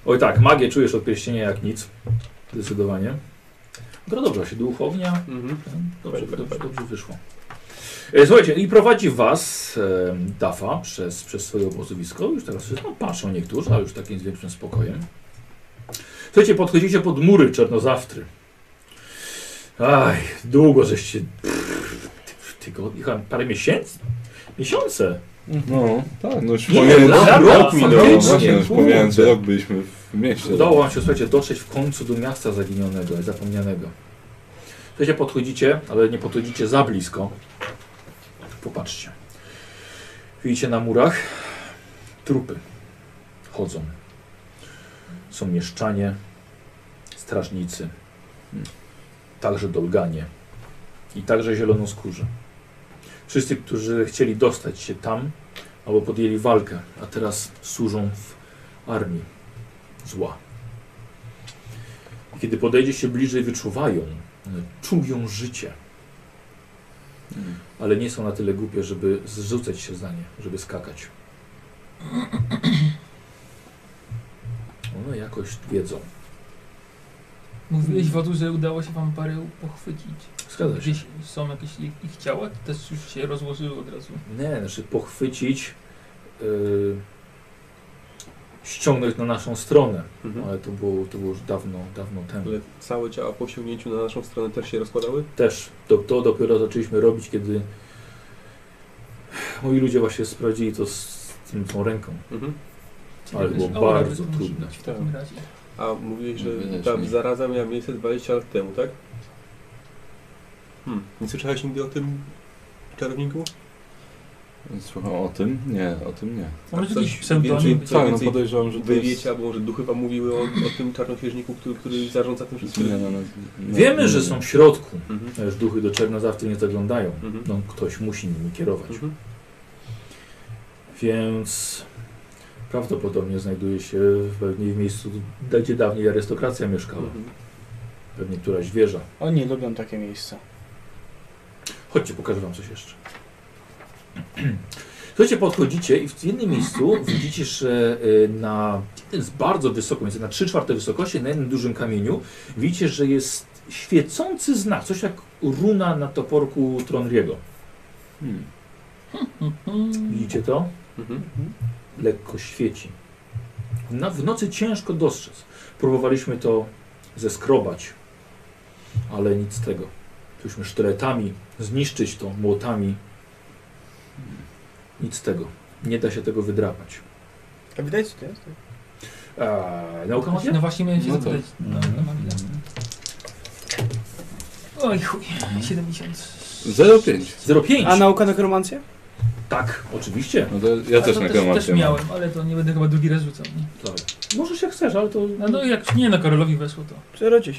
Speaker 3: Oj tak, magię czujesz od pierścienia jak nic. Zdecydowanie. No dobrze, się duch ognia,
Speaker 5: Mhm.
Speaker 3: Dobrze, dobrze, dobrze wyszło. E, Słuchajcie, i prowadzi was e, Dafa przez, przez swoje obozowisko. Już teraz wszyscy no, patrzą niektórzy, ale już takim z większym spokojem. Słuchajcie, podchodzicie pod mury Czernozawtry. Aj, długo żeście... Pff, ty- tygodni, chyba parę miesięcy? Miesiące.
Speaker 1: No, tak, no już
Speaker 3: Nie,
Speaker 1: pomijając
Speaker 3: dobra,
Speaker 1: rok minął, no
Speaker 3: faktycznie,
Speaker 1: właśnie, już
Speaker 3: kurde.
Speaker 1: pomijając rok byliśmy w mieście.
Speaker 3: Udało wam się, słuchajcie, dotrzeć w końcu do miasta zaginionego i zapomnianego. Słuchajcie, podchodzicie, ale nie podchodzicie za blisko. Popatrzcie. Widzicie na murach trupy. chodzą. Są mieszczanie, strażnicy, hmm, także dolganie i także zielonoskórzy. Wszyscy, którzy chcieli dostać się tam albo podjęli walkę, a teraz służą w armii zła. I Kiedy podejdzie się bliżej, wyczuwają, e, czują życie, ale nie są na tyle głupie, żeby zrzucać się za nie, żeby skakać. One jakoś wiedzą.
Speaker 4: Mówiłeś Wadu, że udało się wam parę pochwycić.
Speaker 3: Zgadza się.
Speaker 4: Gdzieś są jakieś ich, ich ciała, czy też już się rozłożyły od razu?
Speaker 3: Nie, znaczy pochwycić, yy, ściągnąć na naszą stronę,
Speaker 5: No.
Speaker 8: Mhm.
Speaker 3: ale to było, to było już dawno, dawno temu.
Speaker 8: Ale całe ciała po osiągnięciu na naszą stronę też się rozkładały?
Speaker 3: Też to, to dopiero zaczęliśmy robić, kiedy moi ludzie właśnie sprawdzili to z tym tą ręką.
Speaker 8: Mhm.
Speaker 3: Ale
Speaker 4: Jakaś
Speaker 3: było
Speaker 4: aura
Speaker 3: bardzo
Speaker 4: musi
Speaker 3: trudne.
Speaker 4: być W takim razie.
Speaker 1: Tak,
Speaker 8: A mówiłeś, że
Speaker 9: Wynieś
Speaker 8: ta
Speaker 9: mi.
Speaker 8: zaraza miała miejsce 20 lat temu, tak? Hmm. Nie słyszałeś nigdy o tym czarowniku?
Speaker 1: Słucham o tym? Nie, o tym nie.
Speaker 4: A może
Speaker 8: coś
Speaker 4: jakiś
Speaker 8: więcej-
Speaker 4: pseudonim?
Speaker 8: co
Speaker 1: Tak, no
Speaker 8: więcej
Speaker 1: podejrzewam, że to
Speaker 8: Wy
Speaker 1: jest
Speaker 8: wiecie, albo może duchy wam mówiły o, o tym czarnoksiężniku, który, który zarządza tym wszystkim?
Speaker 1: zmiana naz- na-
Speaker 3: Wiemy, że są w środku,
Speaker 8: Mhm.
Speaker 3: że duchy do czernozawcy nie zaglądają.
Speaker 8: Mhm.
Speaker 3: No, ktoś musi nimi kierować.
Speaker 8: Mhm.
Speaker 3: Więc prawdopodobnie znajduje się pewnie w miejscu, gdzie dawniej arystokracja mieszkała.
Speaker 8: Mhm.
Speaker 3: Pewnie któraś wieża.
Speaker 2: Oni lubią takie miejsca.
Speaker 3: Chodźcie, pokażę wam coś jeszcze. Słuchajcie, podchodzicie i w jednym miejscu widzicie, że y, na jeden z bardzo wysoko, więc na 3 czwarte wysokości, na jednym dużym kamieniu, widzicie, że jest świecący znak, coś jak runa na toporku Tronriego.
Speaker 1: Hmm. tak, no.
Speaker 4: Mm,
Speaker 3: Widzicie to?
Speaker 8: Mhm.
Speaker 3: lekko świeci. Na, w nocy ciężko dostrzec. Próbowaliśmy to zeskrobać, ale nic z tego. Chcieliśmy sztyletami zniszczyć to, młotami. Nic z tego. Nie da się tego wydrapać.
Speaker 2: A widać, co to jest?
Speaker 3: Eee, nauka magia?
Speaker 4: No właśnie miałem się
Speaker 1: No to-
Speaker 4: zapytać. No, no mam ile? Oj chuj,
Speaker 1: Mhm.
Speaker 4: 70.
Speaker 1: 0,5.
Speaker 3: 05.
Speaker 2: A nauka nekromancja?
Speaker 3: Tak, oczywiście.
Speaker 1: No to ja
Speaker 4: A
Speaker 1: też
Speaker 4: to
Speaker 1: na
Speaker 4: też,
Speaker 1: gromadzie
Speaker 4: też
Speaker 1: mam.
Speaker 4: miałem, ale to nie będę chyba drugi raz rzucał. Nie?
Speaker 3: Tak. Może się chcesz, ale to...
Speaker 4: No, no jak nie, no Karolowi weszło to.
Speaker 2: 0,10.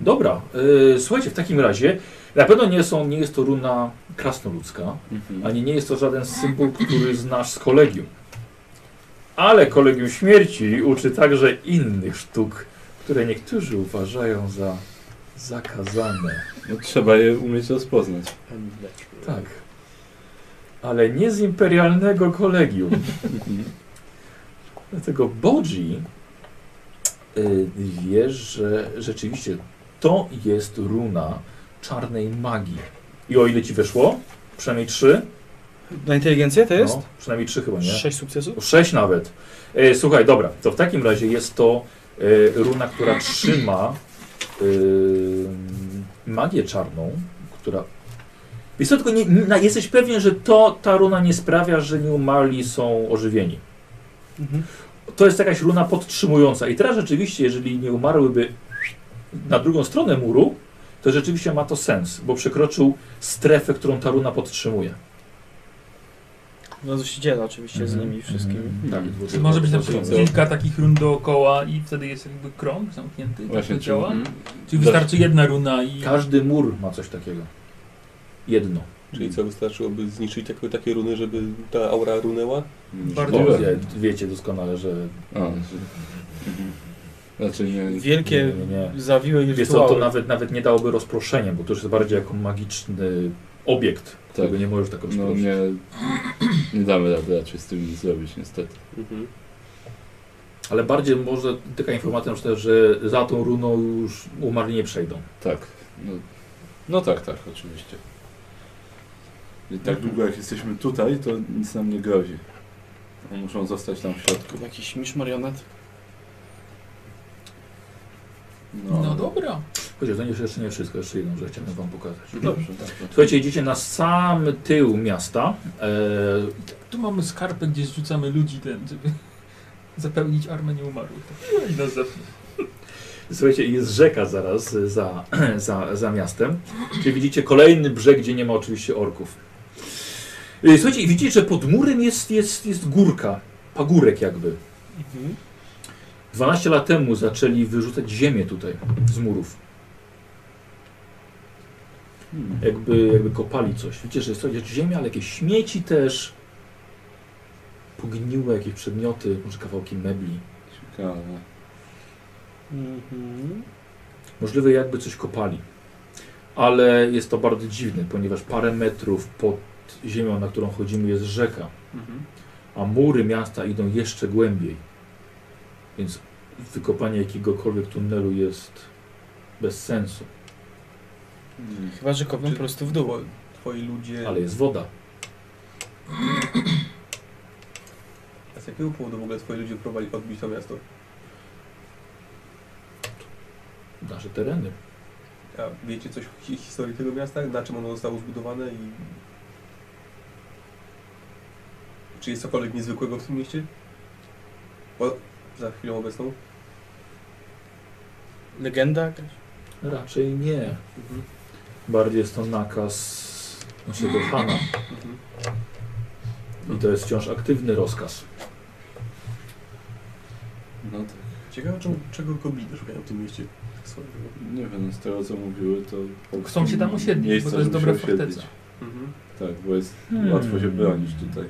Speaker 3: Dobra, eee, słuchajcie, w takim razie na pewno nie, są, nie jest to runa krasnoludzka.
Speaker 1: Mhm.
Speaker 3: ani nie jest to żaden symbol, który znasz z kolegium. Ale kolegium śmierci uczy także innych sztuk, które niektórzy uważają za zakazane.
Speaker 1: No, trzeba je umieć rozpoznać.
Speaker 3: Tak. Ale nie z imperialnego kolegium. Dlatego Bodzi y, wie, że rzeczywiście to jest runa czarnej magii. I o ile ci weszło? Przynajmniej trzy?
Speaker 2: Na inteligencję to jest?
Speaker 3: No, przynajmniej trzy chyba, nie?
Speaker 2: 6 sukcesów?
Speaker 3: Sześć nawet. E, słuchaj, dobra, to w takim razie jest to e, runa, która trzyma e, magię czarną, która... Wiesz co, tylko nie, nie, na- jesteś pewien, że to, ta runa nie sprawia, że nieumarli są ożywieni.
Speaker 2: Mhm.
Speaker 3: To jest jakaś runa podtrzymująca. I teraz rzeczywiście, jeżeli nie umarłyby na drugą stronę muru, to rzeczywiście ma to sens, bo przekroczył strefę, którą ta runa podtrzymuje.
Speaker 2: No co się dzieje oczywiście
Speaker 3: Mhm.
Speaker 2: z nimi wszystkimi.
Speaker 3: Tak,
Speaker 4: Mhm. Czy może być na przykład
Speaker 1: co?
Speaker 4: kilka takich run dookoła i wtedy jest jakby krąg zamknięty?
Speaker 1: Właśnie,
Speaker 4: tak to
Speaker 1: czy-
Speaker 4: działa?
Speaker 8: Mhm.
Speaker 4: Czy wystarczy jedna runa i...
Speaker 3: Każdy mur ma coś takiego. Jedno.
Speaker 8: Czyli co, wystarczyłoby zniszczyć takie, takie runy, żeby ta aura runęła?
Speaker 4: Bardzo
Speaker 3: Bo
Speaker 1: Możliwe.
Speaker 3: wie, wiecie doskonale, że
Speaker 1: A, że... mhm. Znaczy nie...
Speaker 3: nie,
Speaker 2: Wielkie,
Speaker 3: nie, Mhm. nie.
Speaker 2: zawiłe i
Speaker 3: Wiesz co, to
Speaker 2: rytuały.
Speaker 3: nawet, nawet nie dałoby rozproszenia, bo to już jest bardziej jako magiczny obiekt, którego nie możesz tak
Speaker 1: No
Speaker 3: rozproszyć.
Speaker 1: nie... Nie damy rady raczej z tym nic zrobić niestety.
Speaker 8: Mhm.
Speaker 3: Ale bardziej może taka informacja, na przykład, że za tą runą już umarli nie przejdą.
Speaker 1: Tak. No, no tak, tak, oczywiście. I tak długo jak jesteśmy tutaj, to nic nam nie grozi. Muszą zostać tam w środku.
Speaker 2: Jakiś misz marionet?
Speaker 1: No,
Speaker 4: No dobra.
Speaker 3: Chociaż to nie- jeszcze nie wszystko, jeszcze jedną rzecz chciałem wam pokazać.
Speaker 1: Dobrze, tak.
Speaker 3: Słuchajcie, idziecie na sam tył miasta. E,
Speaker 4: Tu mamy skarpę, gdzie zrzucamy ludzi ten, żeby zapełnić armę nieumarłych. Tak. I nas zepną.
Speaker 3: Słuchajcie, jest rzeka zaraz za, za, za miastem. Czyli widzicie kolejny brzeg, gdzie nie ma oczywiście orków. Y, Słuchajcie, i widzicie, że pod murem jest, jest, jest górka, pagórek jakby.
Speaker 2: Mhm.
Speaker 3: 12 lat temu zaczęli wyrzucać ziemię tutaj z murów. Jakby, jakby kopali coś. Wiecie, że jest to jest ziemia, ale jakieś śmieci też. Pogniłe jakieś przedmioty, może kawałki mebli.
Speaker 1: Ciekawe.
Speaker 2: Mhm.
Speaker 3: Możliwe jakby coś kopali. Ale jest to bardzo dziwne, ponieważ parę metrów pod ziemią, na którą chodzimy, jest rzeka.
Speaker 8: Mhm.
Speaker 3: a mury miasta idą jeszcze głębiej. Więc wykopanie jakiegokolwiek tunelu jest bez sensu,
Speaker 1: Mhm.
Speaker 2: Chyba, że kopią po prostu w dół.
Speaker 8: Two- Twoi ludzie...
Speaker 3: ale jest woda.
Speaker 8: A z jakiego powodu w ogóle twoi ludzie próbowali odbić to miasto?
Speaker 3: Nasze tereny.
Speaker 8: A wiecie coś o hi- historii tego miasta? Na czym ono zostało zbudowane i... Czy jest cokolwiek niezwykłego w tym mieście? Bo za chwilę obecną.
Speaker 2: Legenda jakaś?
Speaker 3: Raczej nie.
Speaker 8: Mhm.
Speaker 3: Bardziej jest to nakaz naszego Hana
Speaker 8: Mhm.
Speaker 3: i to jest wciąż aktywny rozkaz.
Speaker 1: No tak.
Speaker 8: Ciekawe, czemu, czego gobliny szukają w tym mieście? Tak swoją drogą.
Speaker 1: Nie wiem, no z tego co mówiły, to...
Speaker 4: Chcą się tam osiedlić,
Speaker 1: Miejsca,
Speaker 4: bo to jest
Speaker 1: żeby
Speaker 4: dobra
Speaker 1: się osiedlić.
Speaker 4: forteca.
Speaker 8: Mhm.
Speaker 1: Tak, bo jest
Speaker 3: Hmm.
Speaker 1: łatwo się bronić tutaj.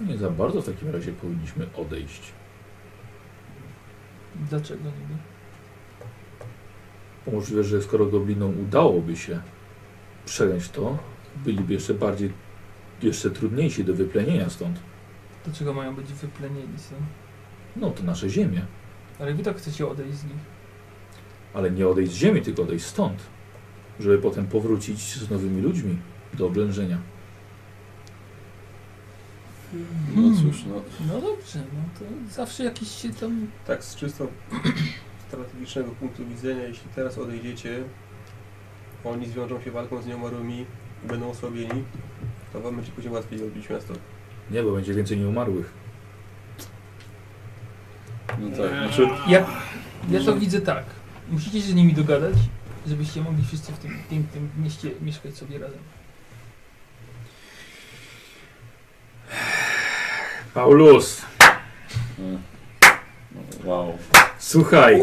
Speaker 3: Nie za bardzo w takim razie powinniśmy odejść.
Speaker 4: Dlaczego niby?
Speaker 3: Bo Możliwe, że skoro goblinom udałoby się przejąć to, byliby jeszcze bardziej, jeszcze trudniejsi do wyplenienia stąd.
Speaker 4: Dlaczego mają być wyplenieni są?
Speaker 3: No to nasze ziemie.
Speaker 4: Ale wy tak chcecie odejść z nich.
Speaker 3: Ale nie odejść z ziemi, tylko odejść stąd, żeby potem powrócić z nowymi ludźmi do oblężenia.
Speaker 1: No cóż, no...
Speaker 4: No dobrze, no to zawsze jakiś się tam...
Speaker 8: Tak, z czysto strategicznego punktu widzenia, jeśli teraz odejdziecie, oni zwiążą się walką z nieumarłymi, będą osłabieni, to wam będzie później łatwiej odbić miasto.
Speaker 3: Nie, bo będzie więcej nieumarłych.
Speaker 1: No tak, znaczy...
Speaker 4: Ja, ja to widzę tak. Musicie się z nimi dogadać, żebyście mogli wszyscy w tym, tym, tym mieście mieszkać sobie razem.
Speaker 3: Paulus,
Speaker 1: e, No, wow.
Speaker 3: słuchaj,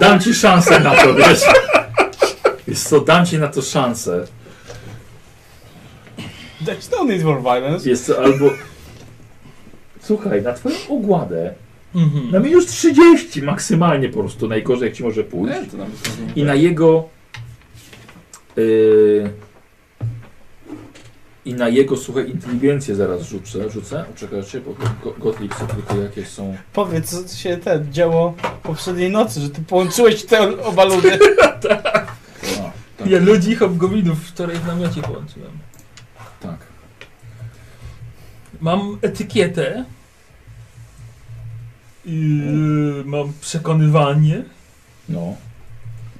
Speaker 3: dam ci szansę na to, wiesz? Jest co, dam ci na to szansę.
Speaker 2: There's no need for violence.
Speaker 3: Jest co, albo... Słuchaj, na twoją ogładę, na
Speaker 4: Mhm.
Speaker 3: minus 30 maksymalnie po prostu, najgorzej jak ci może pójść.
Speaker 1: Nie, to nawet nie
Speaker 3: i na jego y, i na jego słuchaj inteligencję zaraz rzucę, rzucę. Czekajcie, bo go- Gottlieb sobie tylko jakieś są.
Speaker 2: Powiedz, co się te działo poprzedniej nocy, że ty połączyłeś te oba ludy.
Speaker 3: A, tak,
Speaker 4: Ja ludzi i hobgoblinów wczoraj w namiocie połączyłem.
Speaker 3: tak.
Speaker 4: Mam etykietę. Yy, mam przekonywanie.
Speaker 3: No.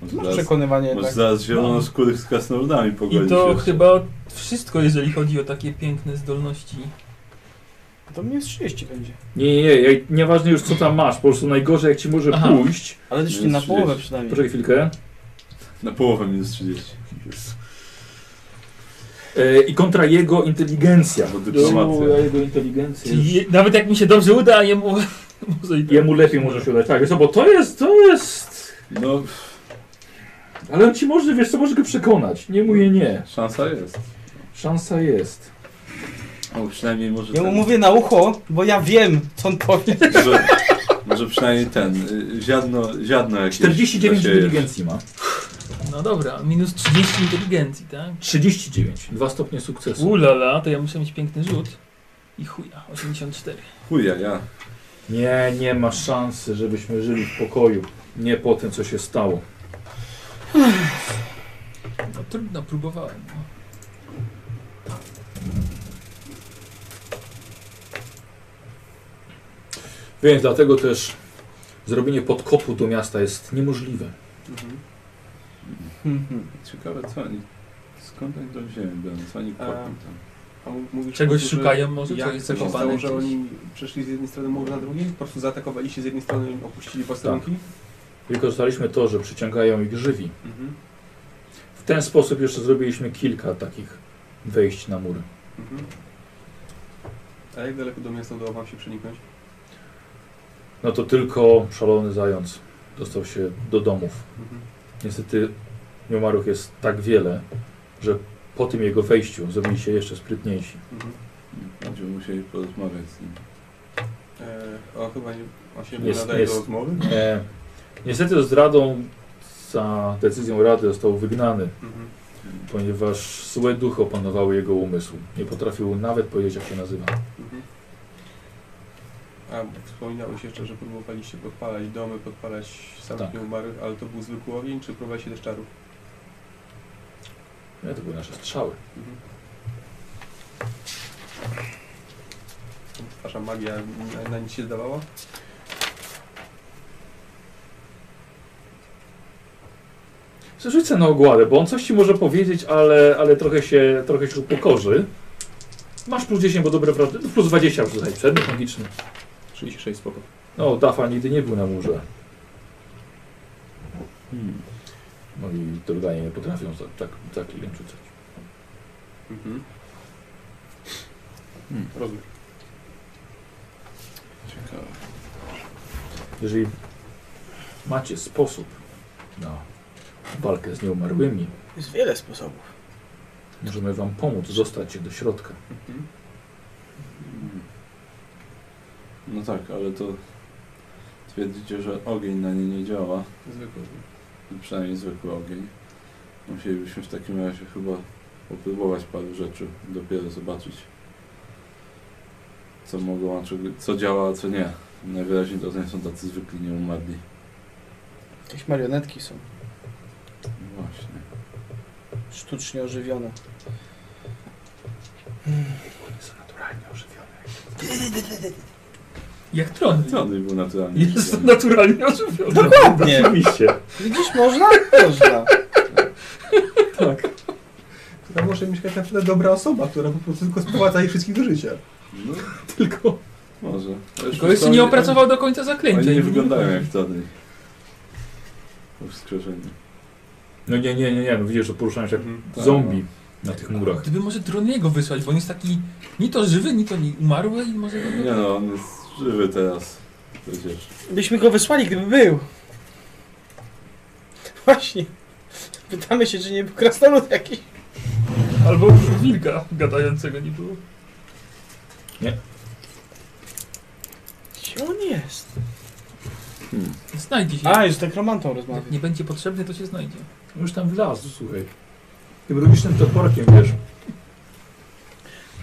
Speaker 2: Masz
Speaker 1: Może zaraz,
Speaker 2: przekonywanie
Speaker 1: może
Speaker 2: tak.
Speaker 1: zaraz zielonoskórych z krasnoludami pogodzić
Speaker 4: no I to
Speaker 1: się.
Speaker 4: chyba wszystko, jeżeli chodzi o takie piękne zdolności.
Speaker 2: To mnie z 30 będzie.
Speaker 3: Nie, nie, nie, ja- nieważne już co tam masz, po prostu najgorzej jak ci może
Speaker 4: Aha.
Speaker 3: pójść.
Speaker 2: Ale
Speaker 1: już
Speaker 2: już
Speaker 1: nie
Speaker 2: nie
Speaker 1: na
Speaker 2: na
Speaker 1: 30. połowę
Speaker 2: połowę przynajmniej.
Speaker 3: Poczekaj chwilkę.
Speaker 1: Na połowę minus 30.
Speaker 3: Y, I kontra jego inteligencja.
Speaker 1: Bo dyplomacja.
Speaker 3: Jego, jego inteligencja.
Speaker 4: Czyli je, nawet jak mi się dobrze uda, a jemu... może i tak.
Speaker 3: Jemu lepiej może się udać. Tak, wiesz co, bo to jest, to jest.
Speaker 1: No,
Speaker 3: Ale on ci może, wiesz co, może go przekonać. Nie mówię nie.
Speaker 1: szansa jest.
Speaker 3: Szansa jest.
Speaker 1: No, przynajmniej może...
Speaker 2: Ja mu
Speaker 1: ten-
Speaker 2: mówię na ucho, bo ja wiem, co on powie.
Speaker 1: Może, może przynajmniej ten, y, ziadno, ziadno jakieś.
Speaker 3: 49
Speaker 1: zasieje.
Speaker 3: inteligencji ma.
Speaker 4: No dobra, minus 30 inteligencji, tak?
Speaker 3: 39. Dwa stopnie sukcesu.
Speaker 4: Ulala, to ja muszę mieć piękny rzut. I chuja, 84.
Speaker 1: Chuja, ja.
Speaker 3: Nie, nie ma szansy, żebyśmy żyli w pokoju. Nie po tym, co się stało.
Speaker 4: No trudno, próbowałem. No.
Speaker 3: Więc dlatego też zrobienie podkopu do miasta jest niemożliwe.
Speaker 8: Mhm.
Speaker 1: Mhm. Ciekawe co oni, skąd oni tą ziemię biorą, co oni kopią tam.
Speaker 8: A m- mówisz
Speaker 4: Czegoś
Speaker 8: o tym, że
Speaker 4: szukają może, co
Speaker 8: Jak
Speaker 4: jest
Speaker 8: to się stało,
Speaker 4: zakopane
Speaker 8: że
Speaker 4: gdzieś.
Speaker 8: oni przeszli z jednej strony mur na drugi? Po prostu zaatakowali się z jednej strony i opuścili posterunki?
Speaker 3: Wykorzystaliśmy to, że przyciągają ich żywi.
Speaker 8: Mhm.
Speaker 3: W ten sposób jeszcze zrobiliśmy kilka takich wejść na mury.
Speaker 8: Mhm. A jak daleko do miasta udało wam się przeniknąć?
Speaker 3: No to tylko szalony zając dostał się do domów.
Speaker 8: Mhm.
Speaker 3: Niestety nieumarłych jest tak wiele, że po tym jego wejściu zrobili się jeszcze sprytniejsi.
Speaker 8: Mhm.
Speaker 1: Będziemy musieli porozmawiać z nim.
Speaker 8: E, o, chyba nie, on się nie
Speaker 3: Jest-
Speaker 8: nadaje
Speaker 3: jest.
Speaker 8: do rozmowy?
Speaker 3: E, niestety zdradą za decyzją Rady został wygnany,
Speaker 8: Mhm.
Speaker 3: ponieważ złe duchy opanowały jego umysł. Nie potrafił nawet powiedzieć, jak się nazywa.
Speaker 8: Mhm. A bo wspominałeś jeszcze, że próbowaliście podpalać domy, podpalać samych
Speaker 3: Tak.
Speaker 8: nieumarłych, ale to był zwykły ogień, czy próbowaliście też czarów?
Speaker 3: Nie, E, to były nasze strzały.
Speaker 8: Mhm. Wasza magia na, na nic się zdawała?
Speaker 3: Rzucę na ogładę, bo on coś ci może powiedzieć, ale, ale trochę, się, trochę się upokorzy. Masz plus 10, bo dobre wrażenie. No, Plus 20 już tutaj, przedmiot magiczny.
Speaker 8: 36 spoko.
Speaker 3: No, Dafa nigdy nie był na murze.
Speaker 1: Hmm.
Speaker 3: Moi droganie nie potrafią za, tak, tak rzucać.
Speaker 8: Mhm.
Speaker 1: Hmm.
Speaker 8: Rozumiem.
Speaker 1: Ciekawe.
Speaker 3: Jeżeli macie sposób na walkę z nieumarłymi,
Speaker 2: Jest wiele sposobów.
Speaker 3: możemy wam pomóc zostać do środka.
Speaker 8: Mhm.
Speaker 1: Hmm. No tak, ale to twierdzicie, że ogień na nie nie działa.
Speaker 8: Zwykły ogień.
Speaker 1: Przynajmniej zwykły ogień. Musielibyśmy w takim razie chyba popróbować paru rzeczy. Dopiero zobaczyć, co mogą, a czego, co działa, a co nie. Najwyraźniej to nie są tacy zwykli nieumarli.
Speaker 2: Jakieś marionetki są.
Speaker 1: Właśnie.
Speaker 2: Sztucznie ożywione.
Speaker 3: Są naturalnie ożywione.
Speaker 4: Jak tron.
Speaker 1: Co on był naturalny?
Speaker 4: Jest naturalnie ożywiony.
Speaker 2: Dokładnie.
Speaker 3: Oczywiście.
Speaker 2: Widzisz, można? Można.
Speaker 8: Tam może mieszkać na tyle dobra osoba, która po prostu tylko sprowadza ich wszystkich do życia.
Speaker 1: No,
Speaker 4: Tylko,
Speaker 1: może.
Speaker 4: no. tylko jeszcze
Speaker 1: Oni-
Speaker 4: nie opracował do końca zaklęcia.
Speaker 1: Oni nie wyglądają jak wtedy. Po wskrzeszeniu.
Speaker 3: No nie, nie, nie, nie. No widzisz, że poruszają się
Speaker 8: Mhm.
Speaker 3: jak zombie na tych murach.
Speaker 4: Gdyby może Troniego wysłać, bo on jest taki ni to żywy, ni to nie umarły i może...
Speaker 1: Nie no, on jest żywy teraz. Przecież.
Speaker 2: Byśmy go wysłali, gdyby był. Właśnie. Pytamy się, czy nie był krasnolud jakiś.
Speaker 4: Albo już wilka gadającego nie było.
Speaker 2: Gdzie on jest?
Speaker 4: Znajdzie się.
Speaker 2: A, jest tak romantą
Speaker 4: Jak
Speaker 2: rozmawiam.
Speaker 4: nie będzie potrzebny, to się znajdzie.
Speaker 3: No Już tam wlazł, słuchaj. Tym rubicznym toporkiem, wiesz.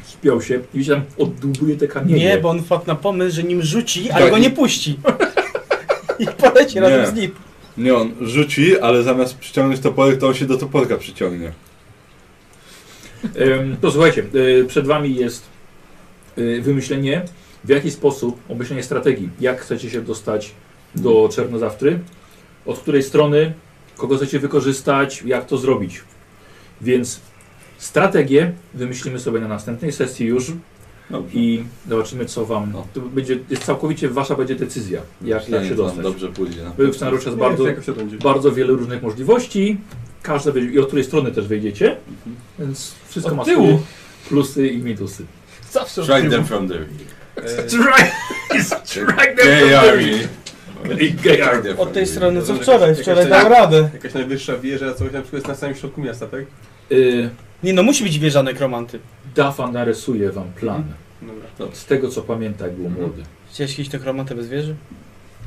Speaker 3: Spiął się i widzisz, tam oddłubuje te
Speaker 2: Nie,
Speaker 3: kamienie.
Speaker 2: bo on wpadł na pomysł, że nim rzuci, ale
Speaker 1: Tak,
Speaker 2: go
Speaker 1: i-
Speaker 2: nie puści. I poleci
Speaker 1: Nie.
Speaker 2: razem z nim.
Speaker 1: Nie, on rzuci, ale zamiast przyciągnąć toporek, to on się do toporka przyciągnie.
Speaker 3: Em, To słuchajcie, y, przed wami jest y, wymyślenie, w jaki sposób, obmyślenie strategii, jak chcecie się dostać do Czernozawtry, od której strony, kogo chcecie wykorzystać, jak to zrobić. Więc strategię wymyślimy sobie na następnej sesji już
Speaker 1: Dobrze.
Speaker 3: i zobaczymy, co wam.
Speaker 1: No.
Speaker 3: To będzie, jest całkowicie wasza będzie decyzja, jak, jak się
Speaker 1: Przynajmniej nam
Speaker 3: dostać.
Speaker 1: dobrze pójdzie. na
Speaker 3: Wy
Speaker 1: pewno.
Speaker 3: w scenariuszu jest bardzo,
Speaker 8: Jakoś to będzie.
Speaker 3: bardzo wiele różnych możliwości, każda będzie- i od której strony też wyjdziecie,
Speaker 1: Mhm.
Speaker 3: więc wszystko ma
Speaker 4: Od
Speaker 3: swoje
Speaker 4: tyłu.
Speaker 3: plusy i minusy.
Speaker 4: Zawsze od
Speaker 1: Strike
Speaker 4: tyłu.
Speaker 1: them from the
Speaker 8: E,
Speaker 4: Strike!
Speaker 1: Strike them from the
Speaker 3: Gay army.
Speaker 2: Od tej strony co
Speaker 8: Rozumiem,
Speaker 2: wczoraj.
Speaker 8: jakaś-
Speaker 2: Wczoraj
Speaker 8: jakaś-
Speaker 2: dał radę.
Speaker 8: jakaś najwyższa wieża, coś na przykład jest na samym środku miasta, tak?
Speaker 3: Y,
Speaker 2: Nie no, musi być wieża nekromanty.
Speaker 3: Dafa narysuje wam plan.
Speaker 8: Dobra.
Speaker 3: Z tego co pamięta, jak był
Speaker 8: Mhm.
Speaker 3: młody.
Speaker 2: Chciałeś kiedyś nekromantę bez wieży?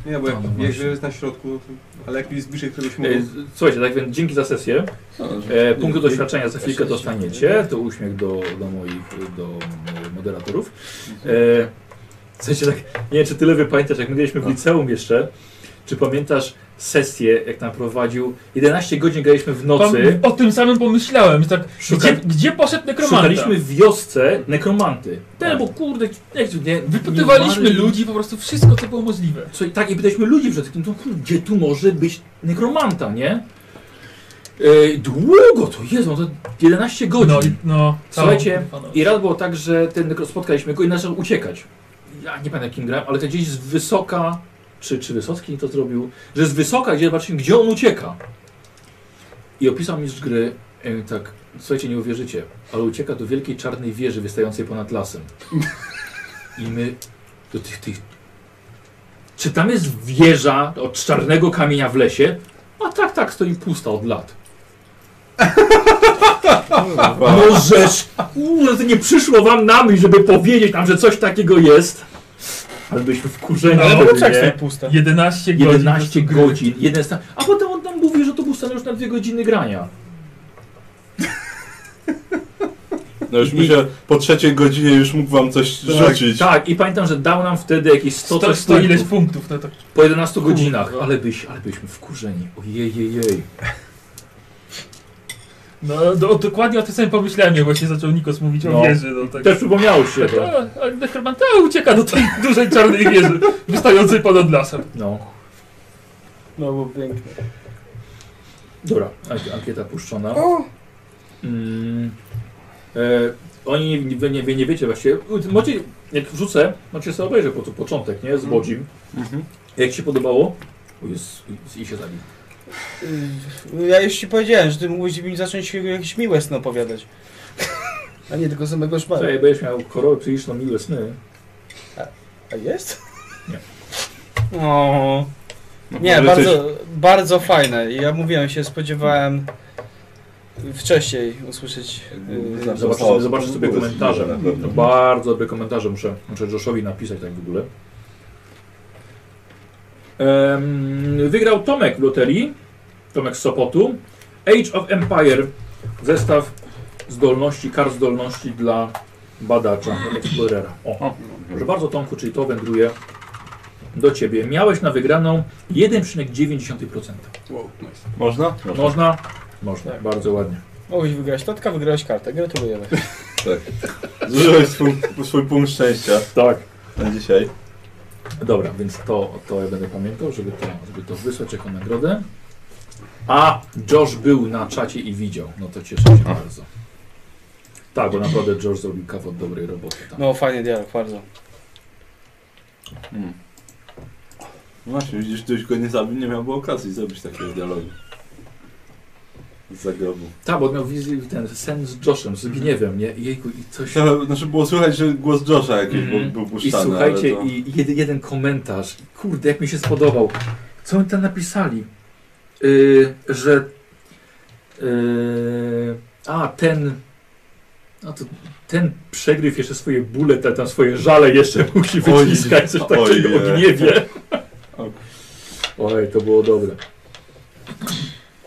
Speaker 8: Nie, bo
Speaker 3: No,
Speaker 8: jak
Speaker 3: no
Speaker 8: wieża
Speaker 3: właśnie.
Speaker 8: jest na środku, to, ale jak jest bliżej któregoś muru,
Speaker 3: E, z- Słuchajcie, tak więc dzięki za sesję. E, punkty doświadczenia za chwilkę dostaniecie. To uśmiech do, do moich e, do e, moderatorów. E, słuchajcie, tak, nie wiem, czy tyle wy pamiętasz, jak my graliśmy w liceum jeszcze. Czy pamiętasz sesję, jak nam prowadził? 11 godzin graliśmy w nocy.
Speaker 4: Pan, o tym samym pomyślałem. Jest tak,
Speaker 3: Szuka-
Speaker 4: gdzie, gdzie poszedł nekromanta?
Speaker 3: Szukaliśmy w wiosce nekromanty. Ten,
Speaker 1: Tak.
Speaker 3: bo kurde, nie, nie,
Speaker 4: Wypytywaliśmy
Speaker 3: nie-
Speaker 4: ludzi po prostu wszystko, co było możliwe.
Speaker 3: Co, i tak, i pytaliśmy ludzi przed tym, to, kurde, gdzie tu może być nekromanta, nie? E, długo to jest, no to 11 godzin.
Speaker 4: No, i- no
Speaker 3: Słuchajcie,
Speaker 4: całą-
Speaker 3: I raz było tak, że ten nekro, spotkaliśmy go i zaczął uciekać. Ja nie pamiętam kim grałem, ale to gdzieś z wysoka, czy, czy Wysocki to zrobił, że z wysoka gdzie zobaczymy, gdzie on ucieka. I opisał mistrz gry, e, tak, słuchajcie, nie uwierzycie, ale ucieka do wielkiej czarnej wieży wystającej ponad lasem. I my do tych, tych... Czy tam jest wieża od czarnego kamienia w lesie? A tak, tak, stoi pusta od lat. No rzecz, kurde, to nie przyszło wam na myśl, żeby powiedzieć nam, że coś takiego jest. Ale byśmy wkurzeni.
Speaker 4: Ale
Speaker 3: byli,
Speaker 2: Dlaczego
Speaker 3: nie?
Speaker 2: stoi pusta?
Speaker 4: 11 godzin.
Speaker 3: 11 godzin, 11, a potem on nam mówi, że to był scenariusz na 2 godziny grania.
Speaker 1: No już myślę, po trzeciej godzinie już mógł wam coś rzucić.
Speaker 3: Tak, i pamiętam, że dał nam wtedy jakieś 100
Speaker 4: 100,
Speaker 3: coś
Speaker 4: 100 ileś
Speaker 3: punktów
Speaker 4: punktów. No to...
Speaker 3: po 11 godzinach, ale, byś, ale byśmy wkurzeni. Ojej, jej, jej.
Speaker 4: No, do, dokładnie o tym samym pomyślałem, jak właśnie zaczął Nikos mówić
Speaker 3: No.
Speaker 4: o wieży. No, tak.
Speaker 3: Też przypomniało się to.
Speaker 4: A, a Necromanta ucieka do tej dużej czarnej wieży, wystającej ponad lasem.
Speaker 3: No,
Speaker 2: No bo pięknie.
Speaker 3: dobra, ank- ankieta puszczona.
Speaker 9: O,
Speaker 3: Mm, e, oni nie, wy nie, wy nie wiecie właściwie. Macie, jak wrzucę, macie sobie obejrzeć po, początek, nie? Z Bodzim. Jak ci się podobało? O, jest, I się zabił.
Speaker 2: Y, Ja już ci powiedziałem, że ty mógłbyś mi zacząć jakieś miłe sny opowiadać. A nie tylko samego szmara.
Speaker 3: Słuchaj, będziesz miał chorobę psychiczną, miłe sny.
Speaker 2: A jest?
Speaker 3: Nie.
Speaker 2: O, nie,
Speaker 1: może
Speaker 2: bardzo,
Speaker 1: coś-
Speaker 2: bardzo fajne. Ja mówiłem, się spodziewałem wcześniej usłyszeć. y,
Speaker 1: Zawsze
Speaker 3: Zobaczę
Speaker 1: O,
Speaker 3: sobie, zobaczę sobie
Speaker 1: było
Speaker 3: komentarze.
Speaker 1: na pewno.
Speaker 3: To bardzo dobre komentarze muszę, muszę Joshowi napisać tak w ogóle. Em, wygrał Tomek w loterii. Tomek z Sopotu. Age of Empire. Zestaw zdolności, kart zdolności dla badacza, eksplorera. O, proszę bardzo Tomku, czyli to wędruje do Ciebie. Miałeś na wygraną 1,9%.
Speaker 5: Wow, nice.
Speaker 1: Można?
Speaker 3: Można? Można, bardzo ładnie.
Speaker 2: Mogłeś wygrać lotka, wygrałeś kartę. Gratulujemy.
Speaker 1: Zużyłeś swój, swój punkt szczęścia
Speaker 3: Tak.
Speaker 1: na dzisiaj.
Speaker 3: Dobra, więc to, to ja będę pamiętał, żeby to, żeby to wysłać jako nagrodę. A, Josh był na czacie i widział. No to cieszę się bardzo. Tak, bo naprawdę Josh zrobił kawał dobrej roboty. Tam.
Speaker 2: No fajny dialog, bardzo.
Speaker 1: Hmm. No Właśnie, widzisz, gdybyś go nie zabił, nie miałby okazji zrobić takiego dialogu. Z zagrobu.
Speaker 3: Tak, bo miał wizję, ten sen z Joshem, z gniewem, nie? Jejku, i coś...
Speaker 1: Chciałem- Znaczy było słychać, że głos Josha jakiś był,
Speaker 3: Mhm.
Speaker 1: był
Speaker 3: I
Speaker 1: puszczany,
Speaker 3: słuchajcie,
Speaker 1: ale to...
Speaker 3: i jed, jeden komentarz. Kurde, jak mi się spodobał. Co oni tam napisali? Yy, że. Yy, a, ten. No to ten przegryw jeszcze swoje bóle, te, tam swoje żale jeszcze musi
Speaker 1: Oj,
Speaker 3: wyciskać, coś takiego
Speaker 1: ojej.
Speaker 3: o gniewie. Oj, to było dobre.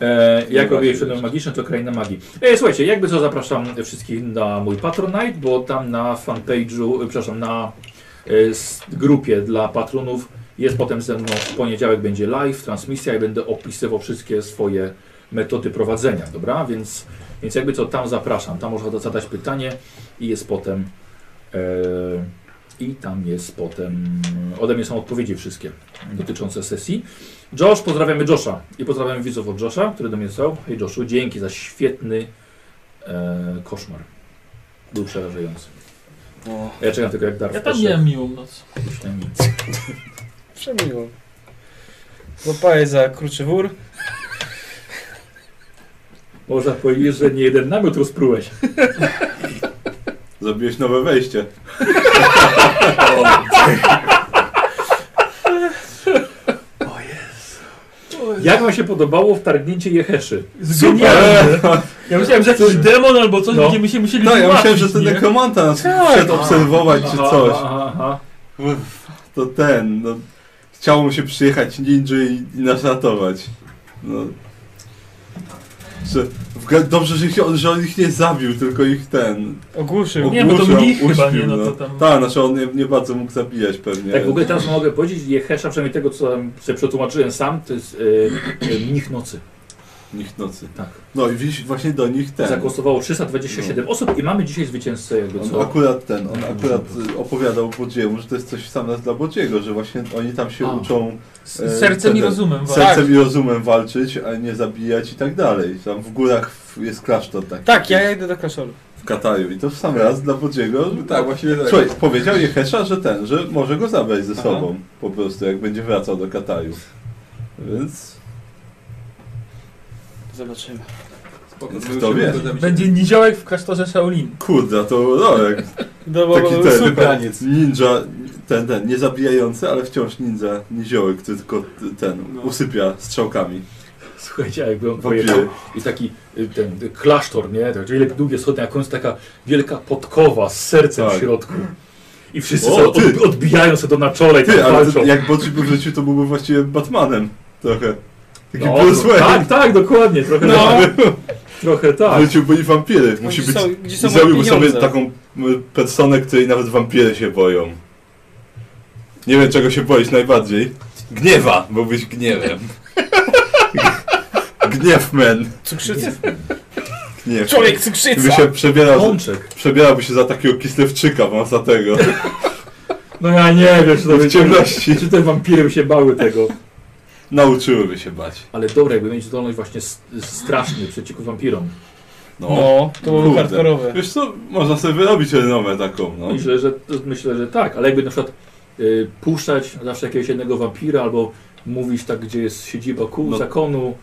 Speaker 3: E,
Speaker 1: No
Speaker 3: jak
Speaker 1: właśnie,
Speaker 3: robię przedmiot magiczny, to kraina magii. E, słuchajcie, jakby co zapraszam wszystkich na mój Patronite, bo tam na fanpage'u, e, przepraszam, na e, s- grupie dla patronów jest potem ze mną w poniedziałek będzie live, transmisja i będę opisywał wszystkie swoje metody prowadzenia, dobra? Więc, więc jakby co tam zapraszam, tam można zadać pytanie i jest potem e, i tam jest potem ode mnie są odpowiedzi wszystkie dotyczące sesji. Josh, pozdrawiamy Josha i pozdrawiamy widzów od Josha, który do mnie pisał. Hej Joshu, dzięki za świetny e, koszmar. Był przerażający.
Speaker 2: O.
Speaker 3: Ja czekam tylko jak Darth
Speaker 4: Ja tam
Speaker 3: Vader
Speaker 4: miałem miłą noc.
Speaker 3: jakiś tam nic.
Speaker 2: Przemiło. Złapałeś za kruczy wór.
Speaker 3: Można powiedzieć, że nie jeden namiot rozprułeś.
Speaker 1: Zrobiłeś nowe wejście.
Speaker 3: Jak wam się podobało wtargnięcie Jeheszy?
Speaker 4: Zginialne.
Speaker 3: Tak,
Speaker 4: Ja myślałem, że jakiś demon albo coś
Speaker 3: No.
Speaker 4: będziemy się musieli
Speaker 1: No, ja myślałem,
Speaker 4: wyłapać,
Speaker 1: że ten
Speaker 4: nie?
Speaker 1: nekromanta nas wszedł obserwować czy coś.
Speaker 3: Tak. Aha, aha.
Speaker 1: Uff, To ten, no... Chciało mu się przyjechać ninja i, i nas ratować. No... Że, w, ga- dobrze, że, ich, że on ich nie zabił, tylko ich ten...
Speaker 2: Ogłuszył.
Speaker 4: Nie, bo to
Speaker 1: ogłuszył,
Speaker 4: mnich chyba,
Speaker 1: uśpił,
Speaker 4: nie? No to tam-
Speaker 1: Tak, znaczy on nie, nie bardzo mógł zabijać pewnie.
Speaker 3: Tak w ogóle teraz mogę powiedzieć, Jehesza, przynajmniej tego co tam sobie przetłumaczyłem sam, to jest e, e, mnich nocy.
Speaker 1: Nich nocy.
Speaker 3: Tak.
Speaker 1: No i widzisz, właśnie do nich ten...
Speaker 3: Zagłosowało 327 osób i mamy dzisiaj zwycięzcę jakby
Speaker 1: On
Speaker 3: co.
Speaker 1: akurat ten, on akurat y, opowiadał Bodziemu, że to jest coś same dla Bodziego, że właśnie oni tam się
Speaker 3: A. Tak.
Speaker 1: uczą
Speaker 4: Z
Speaker 1: e,
Speaker 4: sercem i
Speaker 1: wtedy-
Speaker 4: rozumem. wa-
Speaker 1: sercem i rozumem walczyć, a nie zabijać i tak dalej. Tam w górach w- jest klasztor taki
Speaker 2: Tak, ja idę do kaszoru.
Speaker 1: w Kataju i to w sam raz dla Bodziego.
Speaker 5: No tak, właściwie tak.
Speaker 1: Słuchaj, powiedział Jehesza, że ten, że może go zabrać ze
Speaker 5: Aha.
Speaker 1: sobą po prostu, jak będzie wracał do Kataju. Więc
Speaker 2: Zobaczymy.
Speaker 5: Spoko,
Speaker 1: Kto
Speaker 5: musimy
Speaker 1: wie?
Speaker 5: go zabić.
Speaker 4: Będzie niziołek w klasztorze Shaolin.
Speaker 1: kurde, to rolek.
Speaker 2: No, bo,
Speaker 1: Taki
Speaker 2: bo,
Speaker 1: ten,
Speaker 2: super.
Speaker 1: ninja, ten, ten, nie zabijający, ale wciąż ninja, niziołek, który tylko t- ten,
Speaker 2: No.
Speaker 1: usypia strzałkami.
Speaker 3: Słuchajcie, a jakby on
Speaker 1: Wampir.
Speaker 3: pojechał i taki y, ten y, klasztor, nie? Tak, wiele- długie schody, na końcu taka wielka podkowa z sercem
Speaker 1: Tak.
Speaker 3: w środku. I wszyscy
Speaker 1: O,
Speaker 3: sobie
Speaker 1: ty!
Speaker 3: od, odbijają sobie to na czole i
Speaker 1: Ty,
Speaker 3: tak
Speaker 1: ale
Speaker 3: walczą.
Speaker 1: to, jak Boczy był w życiu, to byłby właściwie Batmanem trochę. Taki
Speaker 3: No,
Speaker 1: Bruce
Speaker 3: no,
Speaker 1: Wayne.
Speaker 3: tak, tak, dokładnie, trochę
Speaker 2: No.
Speaker 3: tak. Trochę
Speaker 1: W
Speaker 3: tak.
Speaker 1: życiu byli wampiry, musi
Speaker 2: gdzie
Speaker 1: być...
Speaker 2: są, gdzie są
Speaker 1: I
Speaker 2: moje
Speaker 1: zrobił sobie
Speaker 2: pieniądze?
Speaker 1: taką y, personę, której nawet wampiry się boją. Nie wiem, czego się boisz najbardziej. Gniewa, bo byś gniewem. Gniewman.
Speaker 2: Cukrzycy.
Speaker 1: Gniew.
Speaker 2: Człowiek
Speaker 1: Gdyby
Speaker 2: cukrzyca!
Speaker 1: się przebierał,
Speaker 3: Pączek.
Speaker 1: przebierałby się za takiego kislewczyka wąsatego.
Speaker 3: No ja nie wiem, czy to
Speaker 1: W
Speaker 3: będzie...
Speaker 1: ciemności.
Speaker 3: Czy te wampiry by się bały tego?
Speaker 1: Nauczyłyby się bać.
Speaker 3: Ale dobre, jakby mieć zdolność właśnie s- strasznie przeciwko wampirom.
Speaker 1: No.
Speaker 2: No, to był
Speaker 1: Kurde.
Speaker 2: hardkorowe.
Speaker 1: Wiesz co, można sobie wyrobić renomę taką, no.
Speaker 3: Myślę, że, to- myślę, że tak, ale jakby na przykład y, puszczać zawsze jakiegoś jednego wampira albo mówić tak, gdzie jest siedziba kół
Speaker 1: No.
Speaker 3: zakonu,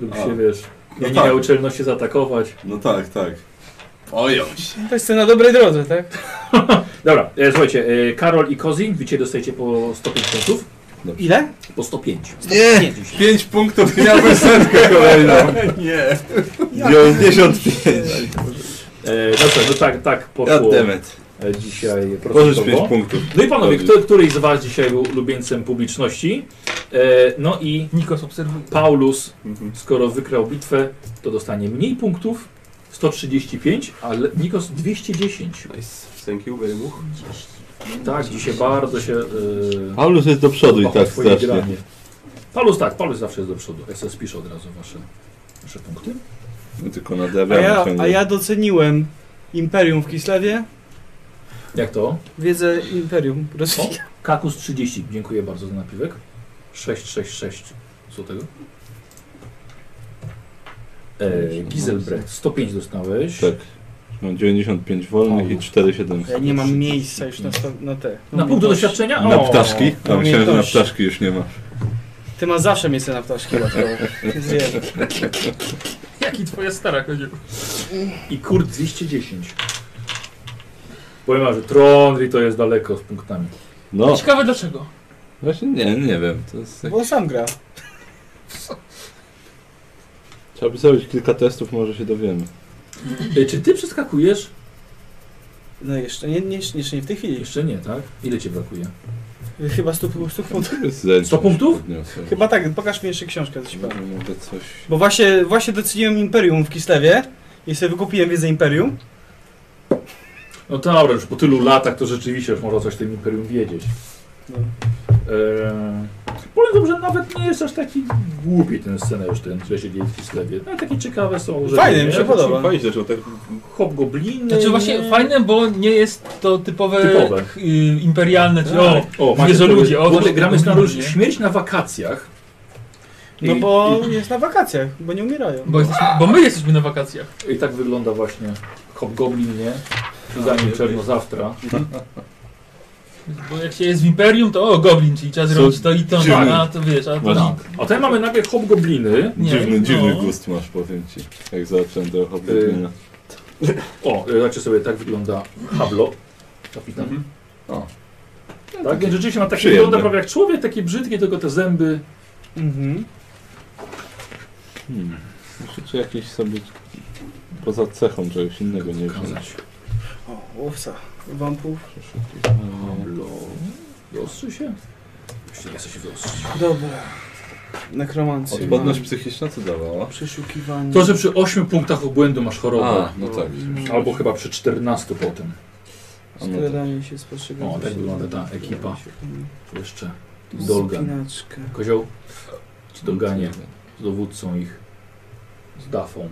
Speaker 3: lub
Speaker 1: A.
Speaker 3: się wiesz,
Speaker 1: No
Speaker 3: no nie
Speaker 1: tak.
Speaker 3: miały czelności zaatakować.
Speaker 1: No tak, tak. Boją się.
Speaker 2: To jest na dobrej drodze, tak?
Speaker 3: Dobra, e, słuchajcie, e, Karol i Kozin, wiecie, dostajecie po 105 punktów.
Speaker 2: Ile?
Speaker 3: Po 105. 105
Speaker 1: Nie!
Speaker 3: dzisiaj.
Speaker 1: 5 punktów miałbym setkę kolejną.
Speaker 5: Nie.
Speaker 1: 95.
Speaker 3: E, no co, no tak, tak poszło
Speaker 1: Goddammit.
Speaker 3: e, dzisiaj
Speaker 1: Możesz
Speaker 3: procentowo.
Speaker 1: 5 punktów.
Speaker 3: No i panowie, kto, któryś z was dzisiaj był ulubieńcem publiczności? E, no i
Speaker 4: Nikos obserwuje.
Speaker 3: Paulus,
Speaker 1: Mhm.
Speaker 3: skoro wygrał bitwę, to dostanie mniej punktów. 135, a Le- Nikos 210.
Speaker 8: Nice. Thank you very much.
Speaker 3: Tak, dzisiaj bardzo się. Yy,
Speaker 1: Paulus jest do przodu i tak strasznie.
Speaker 3: Paulus tak, Paulus zawsze jest do przodu. Ja sobie spiszę od razu wasze, wasze punkty.
Speaker 1: My tylko
Speaker 2: A
Speaker 1: nadrabiamy
Speaker 2: ja,
Speaker 1: ciągle.
Speaker 2: a ja doceniłem Imperium w Kislewie.
Speaker 3: Jak to?
Speaker 2: Wiedzę Imperium
Speaker 3: O,
Speaker 2: Rosji.
Speaker 3: Kakus 30, dziękuję bardzo za napiwek. 666 złotego. E, Giselbrecht 105 dostałeś.
Speaker 1: Tak. Mam 95 wolnych i 4,7.
Speaker 2: Ja nie mam miejsca już na, sto- na te. no
Speaker 3: Na punkt do doświadczenia?
Speaker 1: Na
Speaker 3: O,
Speaker 1: ptaszki? A myślałem, że na
Speaker 2: umiejętności.
Speaker 1: ptaszki już nie ma.
Speaker 2: Ty masz zawsze miejsce na ptaszki. Rafał. Więc wiem.
Speaker 4: Jaki twoja stara chodzi?
Speaker 3: I Kurt 210. Powiem wam, że Trondri to jest daleko z punktami.
Speaker 1: No,
Speaker 4: Ciekawe dlaczego.
Speaker 1: właśnie nie, nie wiem. To jest tak...
Speaker 2: Bo on sam gra.
Speaker 1: Trzeba by zrobić kilka testów, może się dowiemy.
Speaker 3: E, Czy ty przeskakujesz?
Speaker 2: No jeszcze nie, nie, jeszcze nie w tej chwili.
Speaker 3: Jeszcze nie, tak? Ile cię brakuje?
Speaker 2: Chyba 100 punktów.
Speaker 1: To jest zręczne.
Speaker 3: 100 punktów?
Speaker 1: Podniosę.
Speaker 2: Chyba tak, pokaż mi jeszcze książkę, coś powiem.
Speaker 1: Może Mogę coś...
Speaker 2: Bo właśnie, właśnie doceniłem Imperium w Kislewie i sobie wykupiłem wiedzę Imperium.
Speaker 3: No dobra, już po tylu latach to rzeczywiście już można coś o tym imperium wiedzieć.
Speaker 2: No.
Speaker 3: Eee, powiem wam, że nawet nie jest aż taki głupi ten scenariusz, ten, że się dzieje w Kislewie. No takie ciekawe są rzeczy.
Speaker 2: Fajny, mi
Speaker 3: nie?
Speaker 2: się podoba.
Speaker 5: Fajnie zresztą, tak
Speaker 3: Hobgobliny.
Speaker 4: Znaczy właśnie fajne, bo nie jest to typowe,
Speaker 3: Typowe.
Speaker 4: y, imperialne, czy o,
Speaker 3: Tak. O,
Speaker 4: Macie
Speaker 3: Jezu,
Speaker 4: ludzie, o,
Speaker 3: w ogóle
Speaker 4: to-
Speaker 3: gramy
Speaker 4: to-
Speaker 3: scenariusz
Speaker 4: nie?
Speaker 3: śmierć na wakacjach.
Speaker 2: No
Speaker 3: I-
Speaker 2: bo jest na wakacjach, bo nie umierają.
Speaker 4: bo, jesteśmy, bo my jesteśmy na wakacjach.
Speaker 3: I tak wygląda właśnie Hobgoblin, nie? Zanim
Speaker 4: Tak,
Speaker 3: Czernozawtra.
Speaker 4: Bo jak się jest w Imperium, to o, Goblin, czyli trzeba
Speaker 1: Co?
Speaker 4: zrobić to i to,
Speaker 1: Dziwny.
Speaker 4: a to wiesz, a to...
Speaker 1: Właśnie.
Speaker 3: A tutaj mamy najpierw Hobgobliny.
Speaker 4: Nie,
Speaker 1: dziwny,
Speaker 4: no.
Speaker 1: dziwny gust masz, powiem ci. Jak zobaczyłem do Hobbitina.
Speaker 3: O, znaczy sobie tak wygląda Hablo. Kapitan.
Speaker 1: O.
Speaker 3: Mhm. Tak, więc rzeczywiście ma takie
Speaker 1: Przyjemne.
Speaker 3: wygląda prawie jak człowiek, takie brzydkie, tylko te zęby.
Speaker 2: Mhm.
Speaker 1: Hmm. Muszę czy jakieś sobie poza cechą czegoś innego nie wiem.
Speaker 3: Pokazać.
Speaker 2: O, łowca. Wampów.
Speaker 3: Hablo. Wyostrzy się? Właściwie nie chce się wyostrzyć.
Speaker 2: Dobra. Nekromancja.
Speaker 1: Odporność psychiczna co dawała?
Speaker 2: Przeszukiwanie. Mm.
Speaker 3: To, że przy 8 punktach obłędu masz chorobę.
Speaker 1: A, no tak.
Speaker 3: Albo chyba przy 14 potem.
Speaker 1: A no tak.
Speaker 2: Skradanie się spostrzegam.
Speaker 3: O, tak wygląda ta ekipa. Jeszcze Dolgan.
Speaker 2: Spinaczkę.
Speaker 3: Kozioł ci doganie z dowódcą ich. Z Dafą.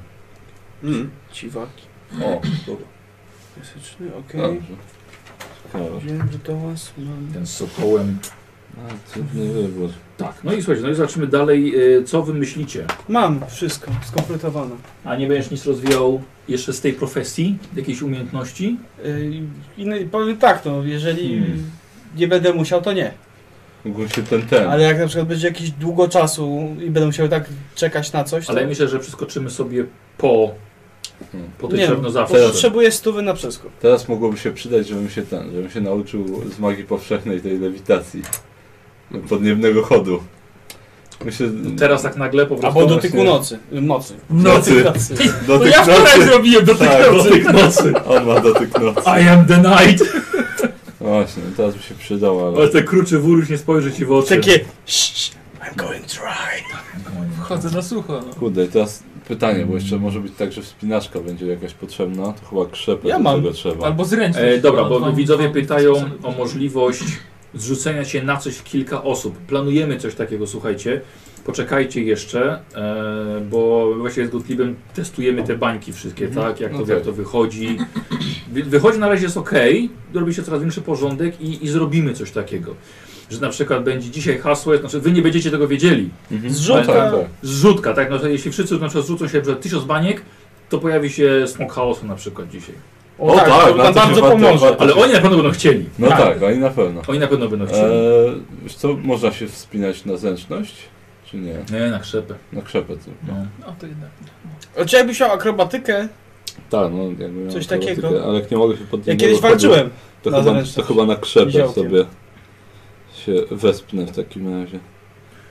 Speaker 8: Mm.
Speaker 2: Ciwaki.
Speaker 1: O, dobra.
Speaker 2: Klasyczny, okej.
Speaker 3: Tak.
Speaker 2: Okay.
Speaker 1: Dobrze. Ciekawe.
Speaker 2: Wiem, że to was mam.
Speaker 3: Ten z sokołem.
Speaker 1: A, cudny wybór.
Speaker 3: Tak, no i słuchajcie, no i zobaczymy dalej, e, co wy myślicie.
Speaker 2: Mam wszystko skompletowane.
Speaker 3: A nie będziesz nic rozwijał jeszcze z tej profesji, jakiejś umiejętności?
Speaker 2: Yy, inny- powiem tak, no, jeżeli
Speaker 1: Hmm. Tak.
Speaker 2: nie będę musiał, to nie.
Speaker 1: Mógł się ten ten.
Speaker 2: Ale jak na przykład będzie jakiś długo czasu i będę musiał tak czekać na coś, to...
Speaker 3: Ale myślę, że przeskoczymy sobie po Potrzebno zawsze.
Speaker 2: Potrzebuję stówy na wszystko.
Speaker 1: Teraz mogłoby się przydać, żebym się ten, żebym się nauczył z magii powszechnej tej lewitacji. Podniebnego chodu. Myślę,
Speaker 4: No
Speaker 3: Teraz tak nagle po prostu...
Speaker 2: Albo
Speaker 1: do
Speaker 2: dotyku nocy. y, Mocy.
Speaker 1: No,
Speaker 3: Znaczy,
Speaker 1: Nocy.
Speaker 2: Nocy.
Speaker 1: do
Speaker 3: no,
Speaker 4: To
Speaker 1: tych
Speaker 4: No, ja wczoraj
Speaker 1: nocy.
Speaker 4: zrobiłem do tych
Speaker 1: Tak, do
Speaker 4: nocy.
Speaker 1: tych nocy. On ma do tych nocy.
Speaker 4: I am the night.
Speaker 1: Właśnie, teraz by się przydał, ale...
Speaker 3: Ale te kruczy wór już nie spojrzy ci w oczy.
Speaker 2: Takie. "Shh, I'm going dry.
Speaker 4: Chodzę na sucho. No.
Speaker 1: Kurde, i teraz pytanie, bo jeszcze może być tak, że wspinaczka będzie jakaś potrzebna. To chyba krzepę
Speaker 2: Ja
Speaker 1: do
Speaker 2: mam.
Speaker 1: tego trzeba.
Speaker 4: Albo zręczność.
Speaker 3: E, dobra,
Speaker 4: No,
Speaker 3: bo
Speaker 4: dwa-
Speaker 3: widzowie
Speaker 4: dwa-
Speaker 3: pytają
Speaker 4: dwa-
Speaker 3: o możliwość zrzucenia się na coś w kilka osób. Planujemy coś takiego, słuchajcie. Poczekajcie jeszcze, e, bo właśnie z Gotlibem testujemy te bańki wszystkie, tak? Jak to,
Speaker 1: Okej.
Speaker 3: jak to wychodzi. Wy- Wychodzi na razie jest ok, robi się coraz większy porządek i, i zrobimy coś takiego. Że na przykład będzie dzisiaj hasło, jest- znaczy wy nie będziecie tego wiedzieli.
Speaker 1: Mhm.
Speaker 2: Zrzutka.
Speaker 1: Tak, tak.
Speaker 3: Zrzutka, tak? No, że jeśli wszyscy na przykład zrzucą się, że tysiąc baniek, to pojawi się smok chaosu na przykład dzisiaj.
Speaker 1: O tak,
Speaker 2: to
Speaker 1: na
Speaker 2: nam
Speaker 1: to
Speaker 2: bardzo
Speaker 1: się warto-
Speaker 2: pomoże.
Speaker 1: warto
Speaker 3: Ale
Speaker 1: się-
Speaker 3: oni na pewno będą chcieli.
Speaker 1: No
Speaker 2: Tak.
Speaker 1: tak, oni na pewno.
Speaker 3: Oni na pewno będą chcieli.
Speaker 2: E,
Speaker 1: Eee, wiesz co, można się wspinać na zręczność? Czy nie?
Speaker 3: Nie, na krzepę.
Speaker 1: Na krzepę tylko.
Speaker 3: No.
Speaker 4: No to jednak.
Speaker 2: Czy jakbyś miał akrobatykę?
Speaker 1: Tak, no jakby miałem
Speaker 2: Coś
Speaker 1: akrobatykę,
Speaker 2: takiego.
Speaker 1: Ale jak nie mogę się pod
Speaker 2: Ja
Speaker 1: niego
Speaker 2: kiedyś
Speaker 1: chodzić,
Speaker 2: walczyłem.
Speaker 1: To,
Speaker 2: na
Speaker 1: chyba, to
Speaker 2: zręczność.
Speaker 1: chyba na krzepę
Speaker 2: Niziołkiem.
Speaker 1: sobie się wespnę w takim razie.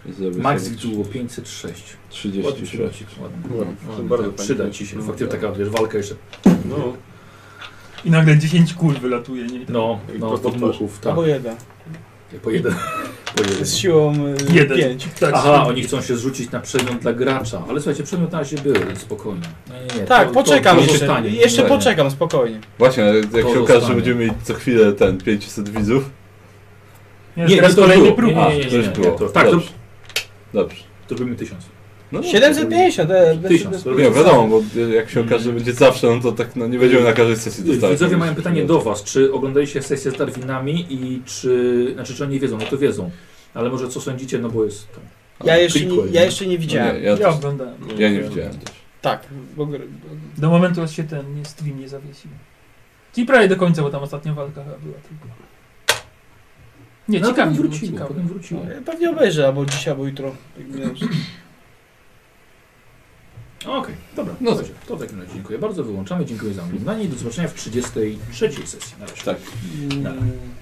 Speaker 1: I zrobię
Speaker 3: Max
Speaker 1: sobie
Speaker 3: było 506. Ładny
Speaker 1: 36.
Speaker 3: przyrodzik, ładny.
Speaker 1: No.
Speaker 3: Ładny,
Speaker 8: bardzo
Speaker 3: tak,
Speaker 8: fajny.
Speaker 3: Przyda ci się.
Speaker 8: No,
Speaker 3: Faktycznie
Speaker 8: tak.
Speaker 3: taka wiesz, walka jeszcze.
Speaker 8: No,
Speaker 4: I nagle 10 kul wylatuje, nie?
Speaker 3: No,
Speaker 8: I
Speaker 3: no,
Speaker 8: prosto
Speaker 3: podmuchów, tak.
Speaker 2: Albo jeden.
Speaker 3: Po jeden. Po jeden.
Speaker 2: Z siłą y,
Speaker 4: Jeden.
Speaker 2: pięć.
Speaker 4: Tak,
Speaker 3: Aha, oni chcą się zrzucić na przedmiot dla gracza. Ale słuchajcie, przedmiot na razie był, więc spokojnie. Nie, nie, nie.
Speaker 2: Tak,
Speaker 3: to-
Speaker 2: poczekam
Speaker 3: to, to
Speaker 2: jeszcze.
Speaker 3: zostanie.
Speaker 2: jeszcze
Speaker 3: Nie, nie.
Speaker 2: poczekam, spokojnie.
Speaker 1: Właśnie, ale jak się okaże,
Speaker 3: zostanie.
Speaker 1: że będziemy mieć co chwilę ten 500 widzów.
Speaker 4: Nie,
Speaker 3: Nie,
Speaker 4: teraz
Speaker 3: nie, to
Speaker 4: kolejny
Speaker 3: było.
Speaker 4: próg.
Speaker 3: Nie, nie, nie,
Speaker 1: A,
Speaker 3: nie,
Speaker 1: to już
Speaker 3: nie,
Speaker 1: było.
Speaker 3: to- tak, to-
Speaker 1: Dobrze. Dobrze.
Speaker 3: To robimy tysiąc.
Speaker 1: No,
Speaker 2: 750, e, bez-
Speaker 3: Tysiąc,
Speaker 2: bez-
Speaker 3: to
Speaker 1: Nie, wiadomo, bo jak się okaże, że będzie zawsze, no to tak no, nie będziemy na każdej sesji
Speaker 2: tak,
Speaker 1: dostawać.
Speaker 3: Widzowie mają pytanie do was, czy oglądaliście sesję z Darwinami i czy, znaczy czy oni wiedzą, no to wiedzą. Ale może co sądzicie, no bo jest tam.
Speaker 2: Ja jeszcze, nie,
Speaker 3: Prequel,
Speaker 2: ja jeszcze nie widziałem.
Speaker 1: No nie, ja,
Speaker 4: Ja
Speaker 1: też,
Speaker 4: oglądałem.
Speaker 1: ja nie widziałem też.
Speaker 2: Tak, bo, bo
Speaker 4: Do momentu aż się ten nie, stream nie zawiesił. I prawie do końca, bo tam ostatnia walka chyba była tylko. Nie,
Speaker 3: No,
Speaker 4: ciekawie,
Speaker 3: potem
Speaker 4: było,
Speaker 3: wróciło,
Speaker 4: ciekawe.
Speaker 3: potem wróciło.
Speaker 2: Ja no, Pewnie obejrzę, albo dzisiaj, albo jutro. jak będę miał czas.
Speaker 3: Okej, dobra.
Speaker 1: No
Speaker 3: No dobrze. To w takim razie dziękuję bardzo, wyłączamy, dziękuję za oglądanie i do zobaczenia w 33 sesji. Na razie.
Speaker 1: Tak.
Speaker 3: Dobra.
Speaker 2: Mm.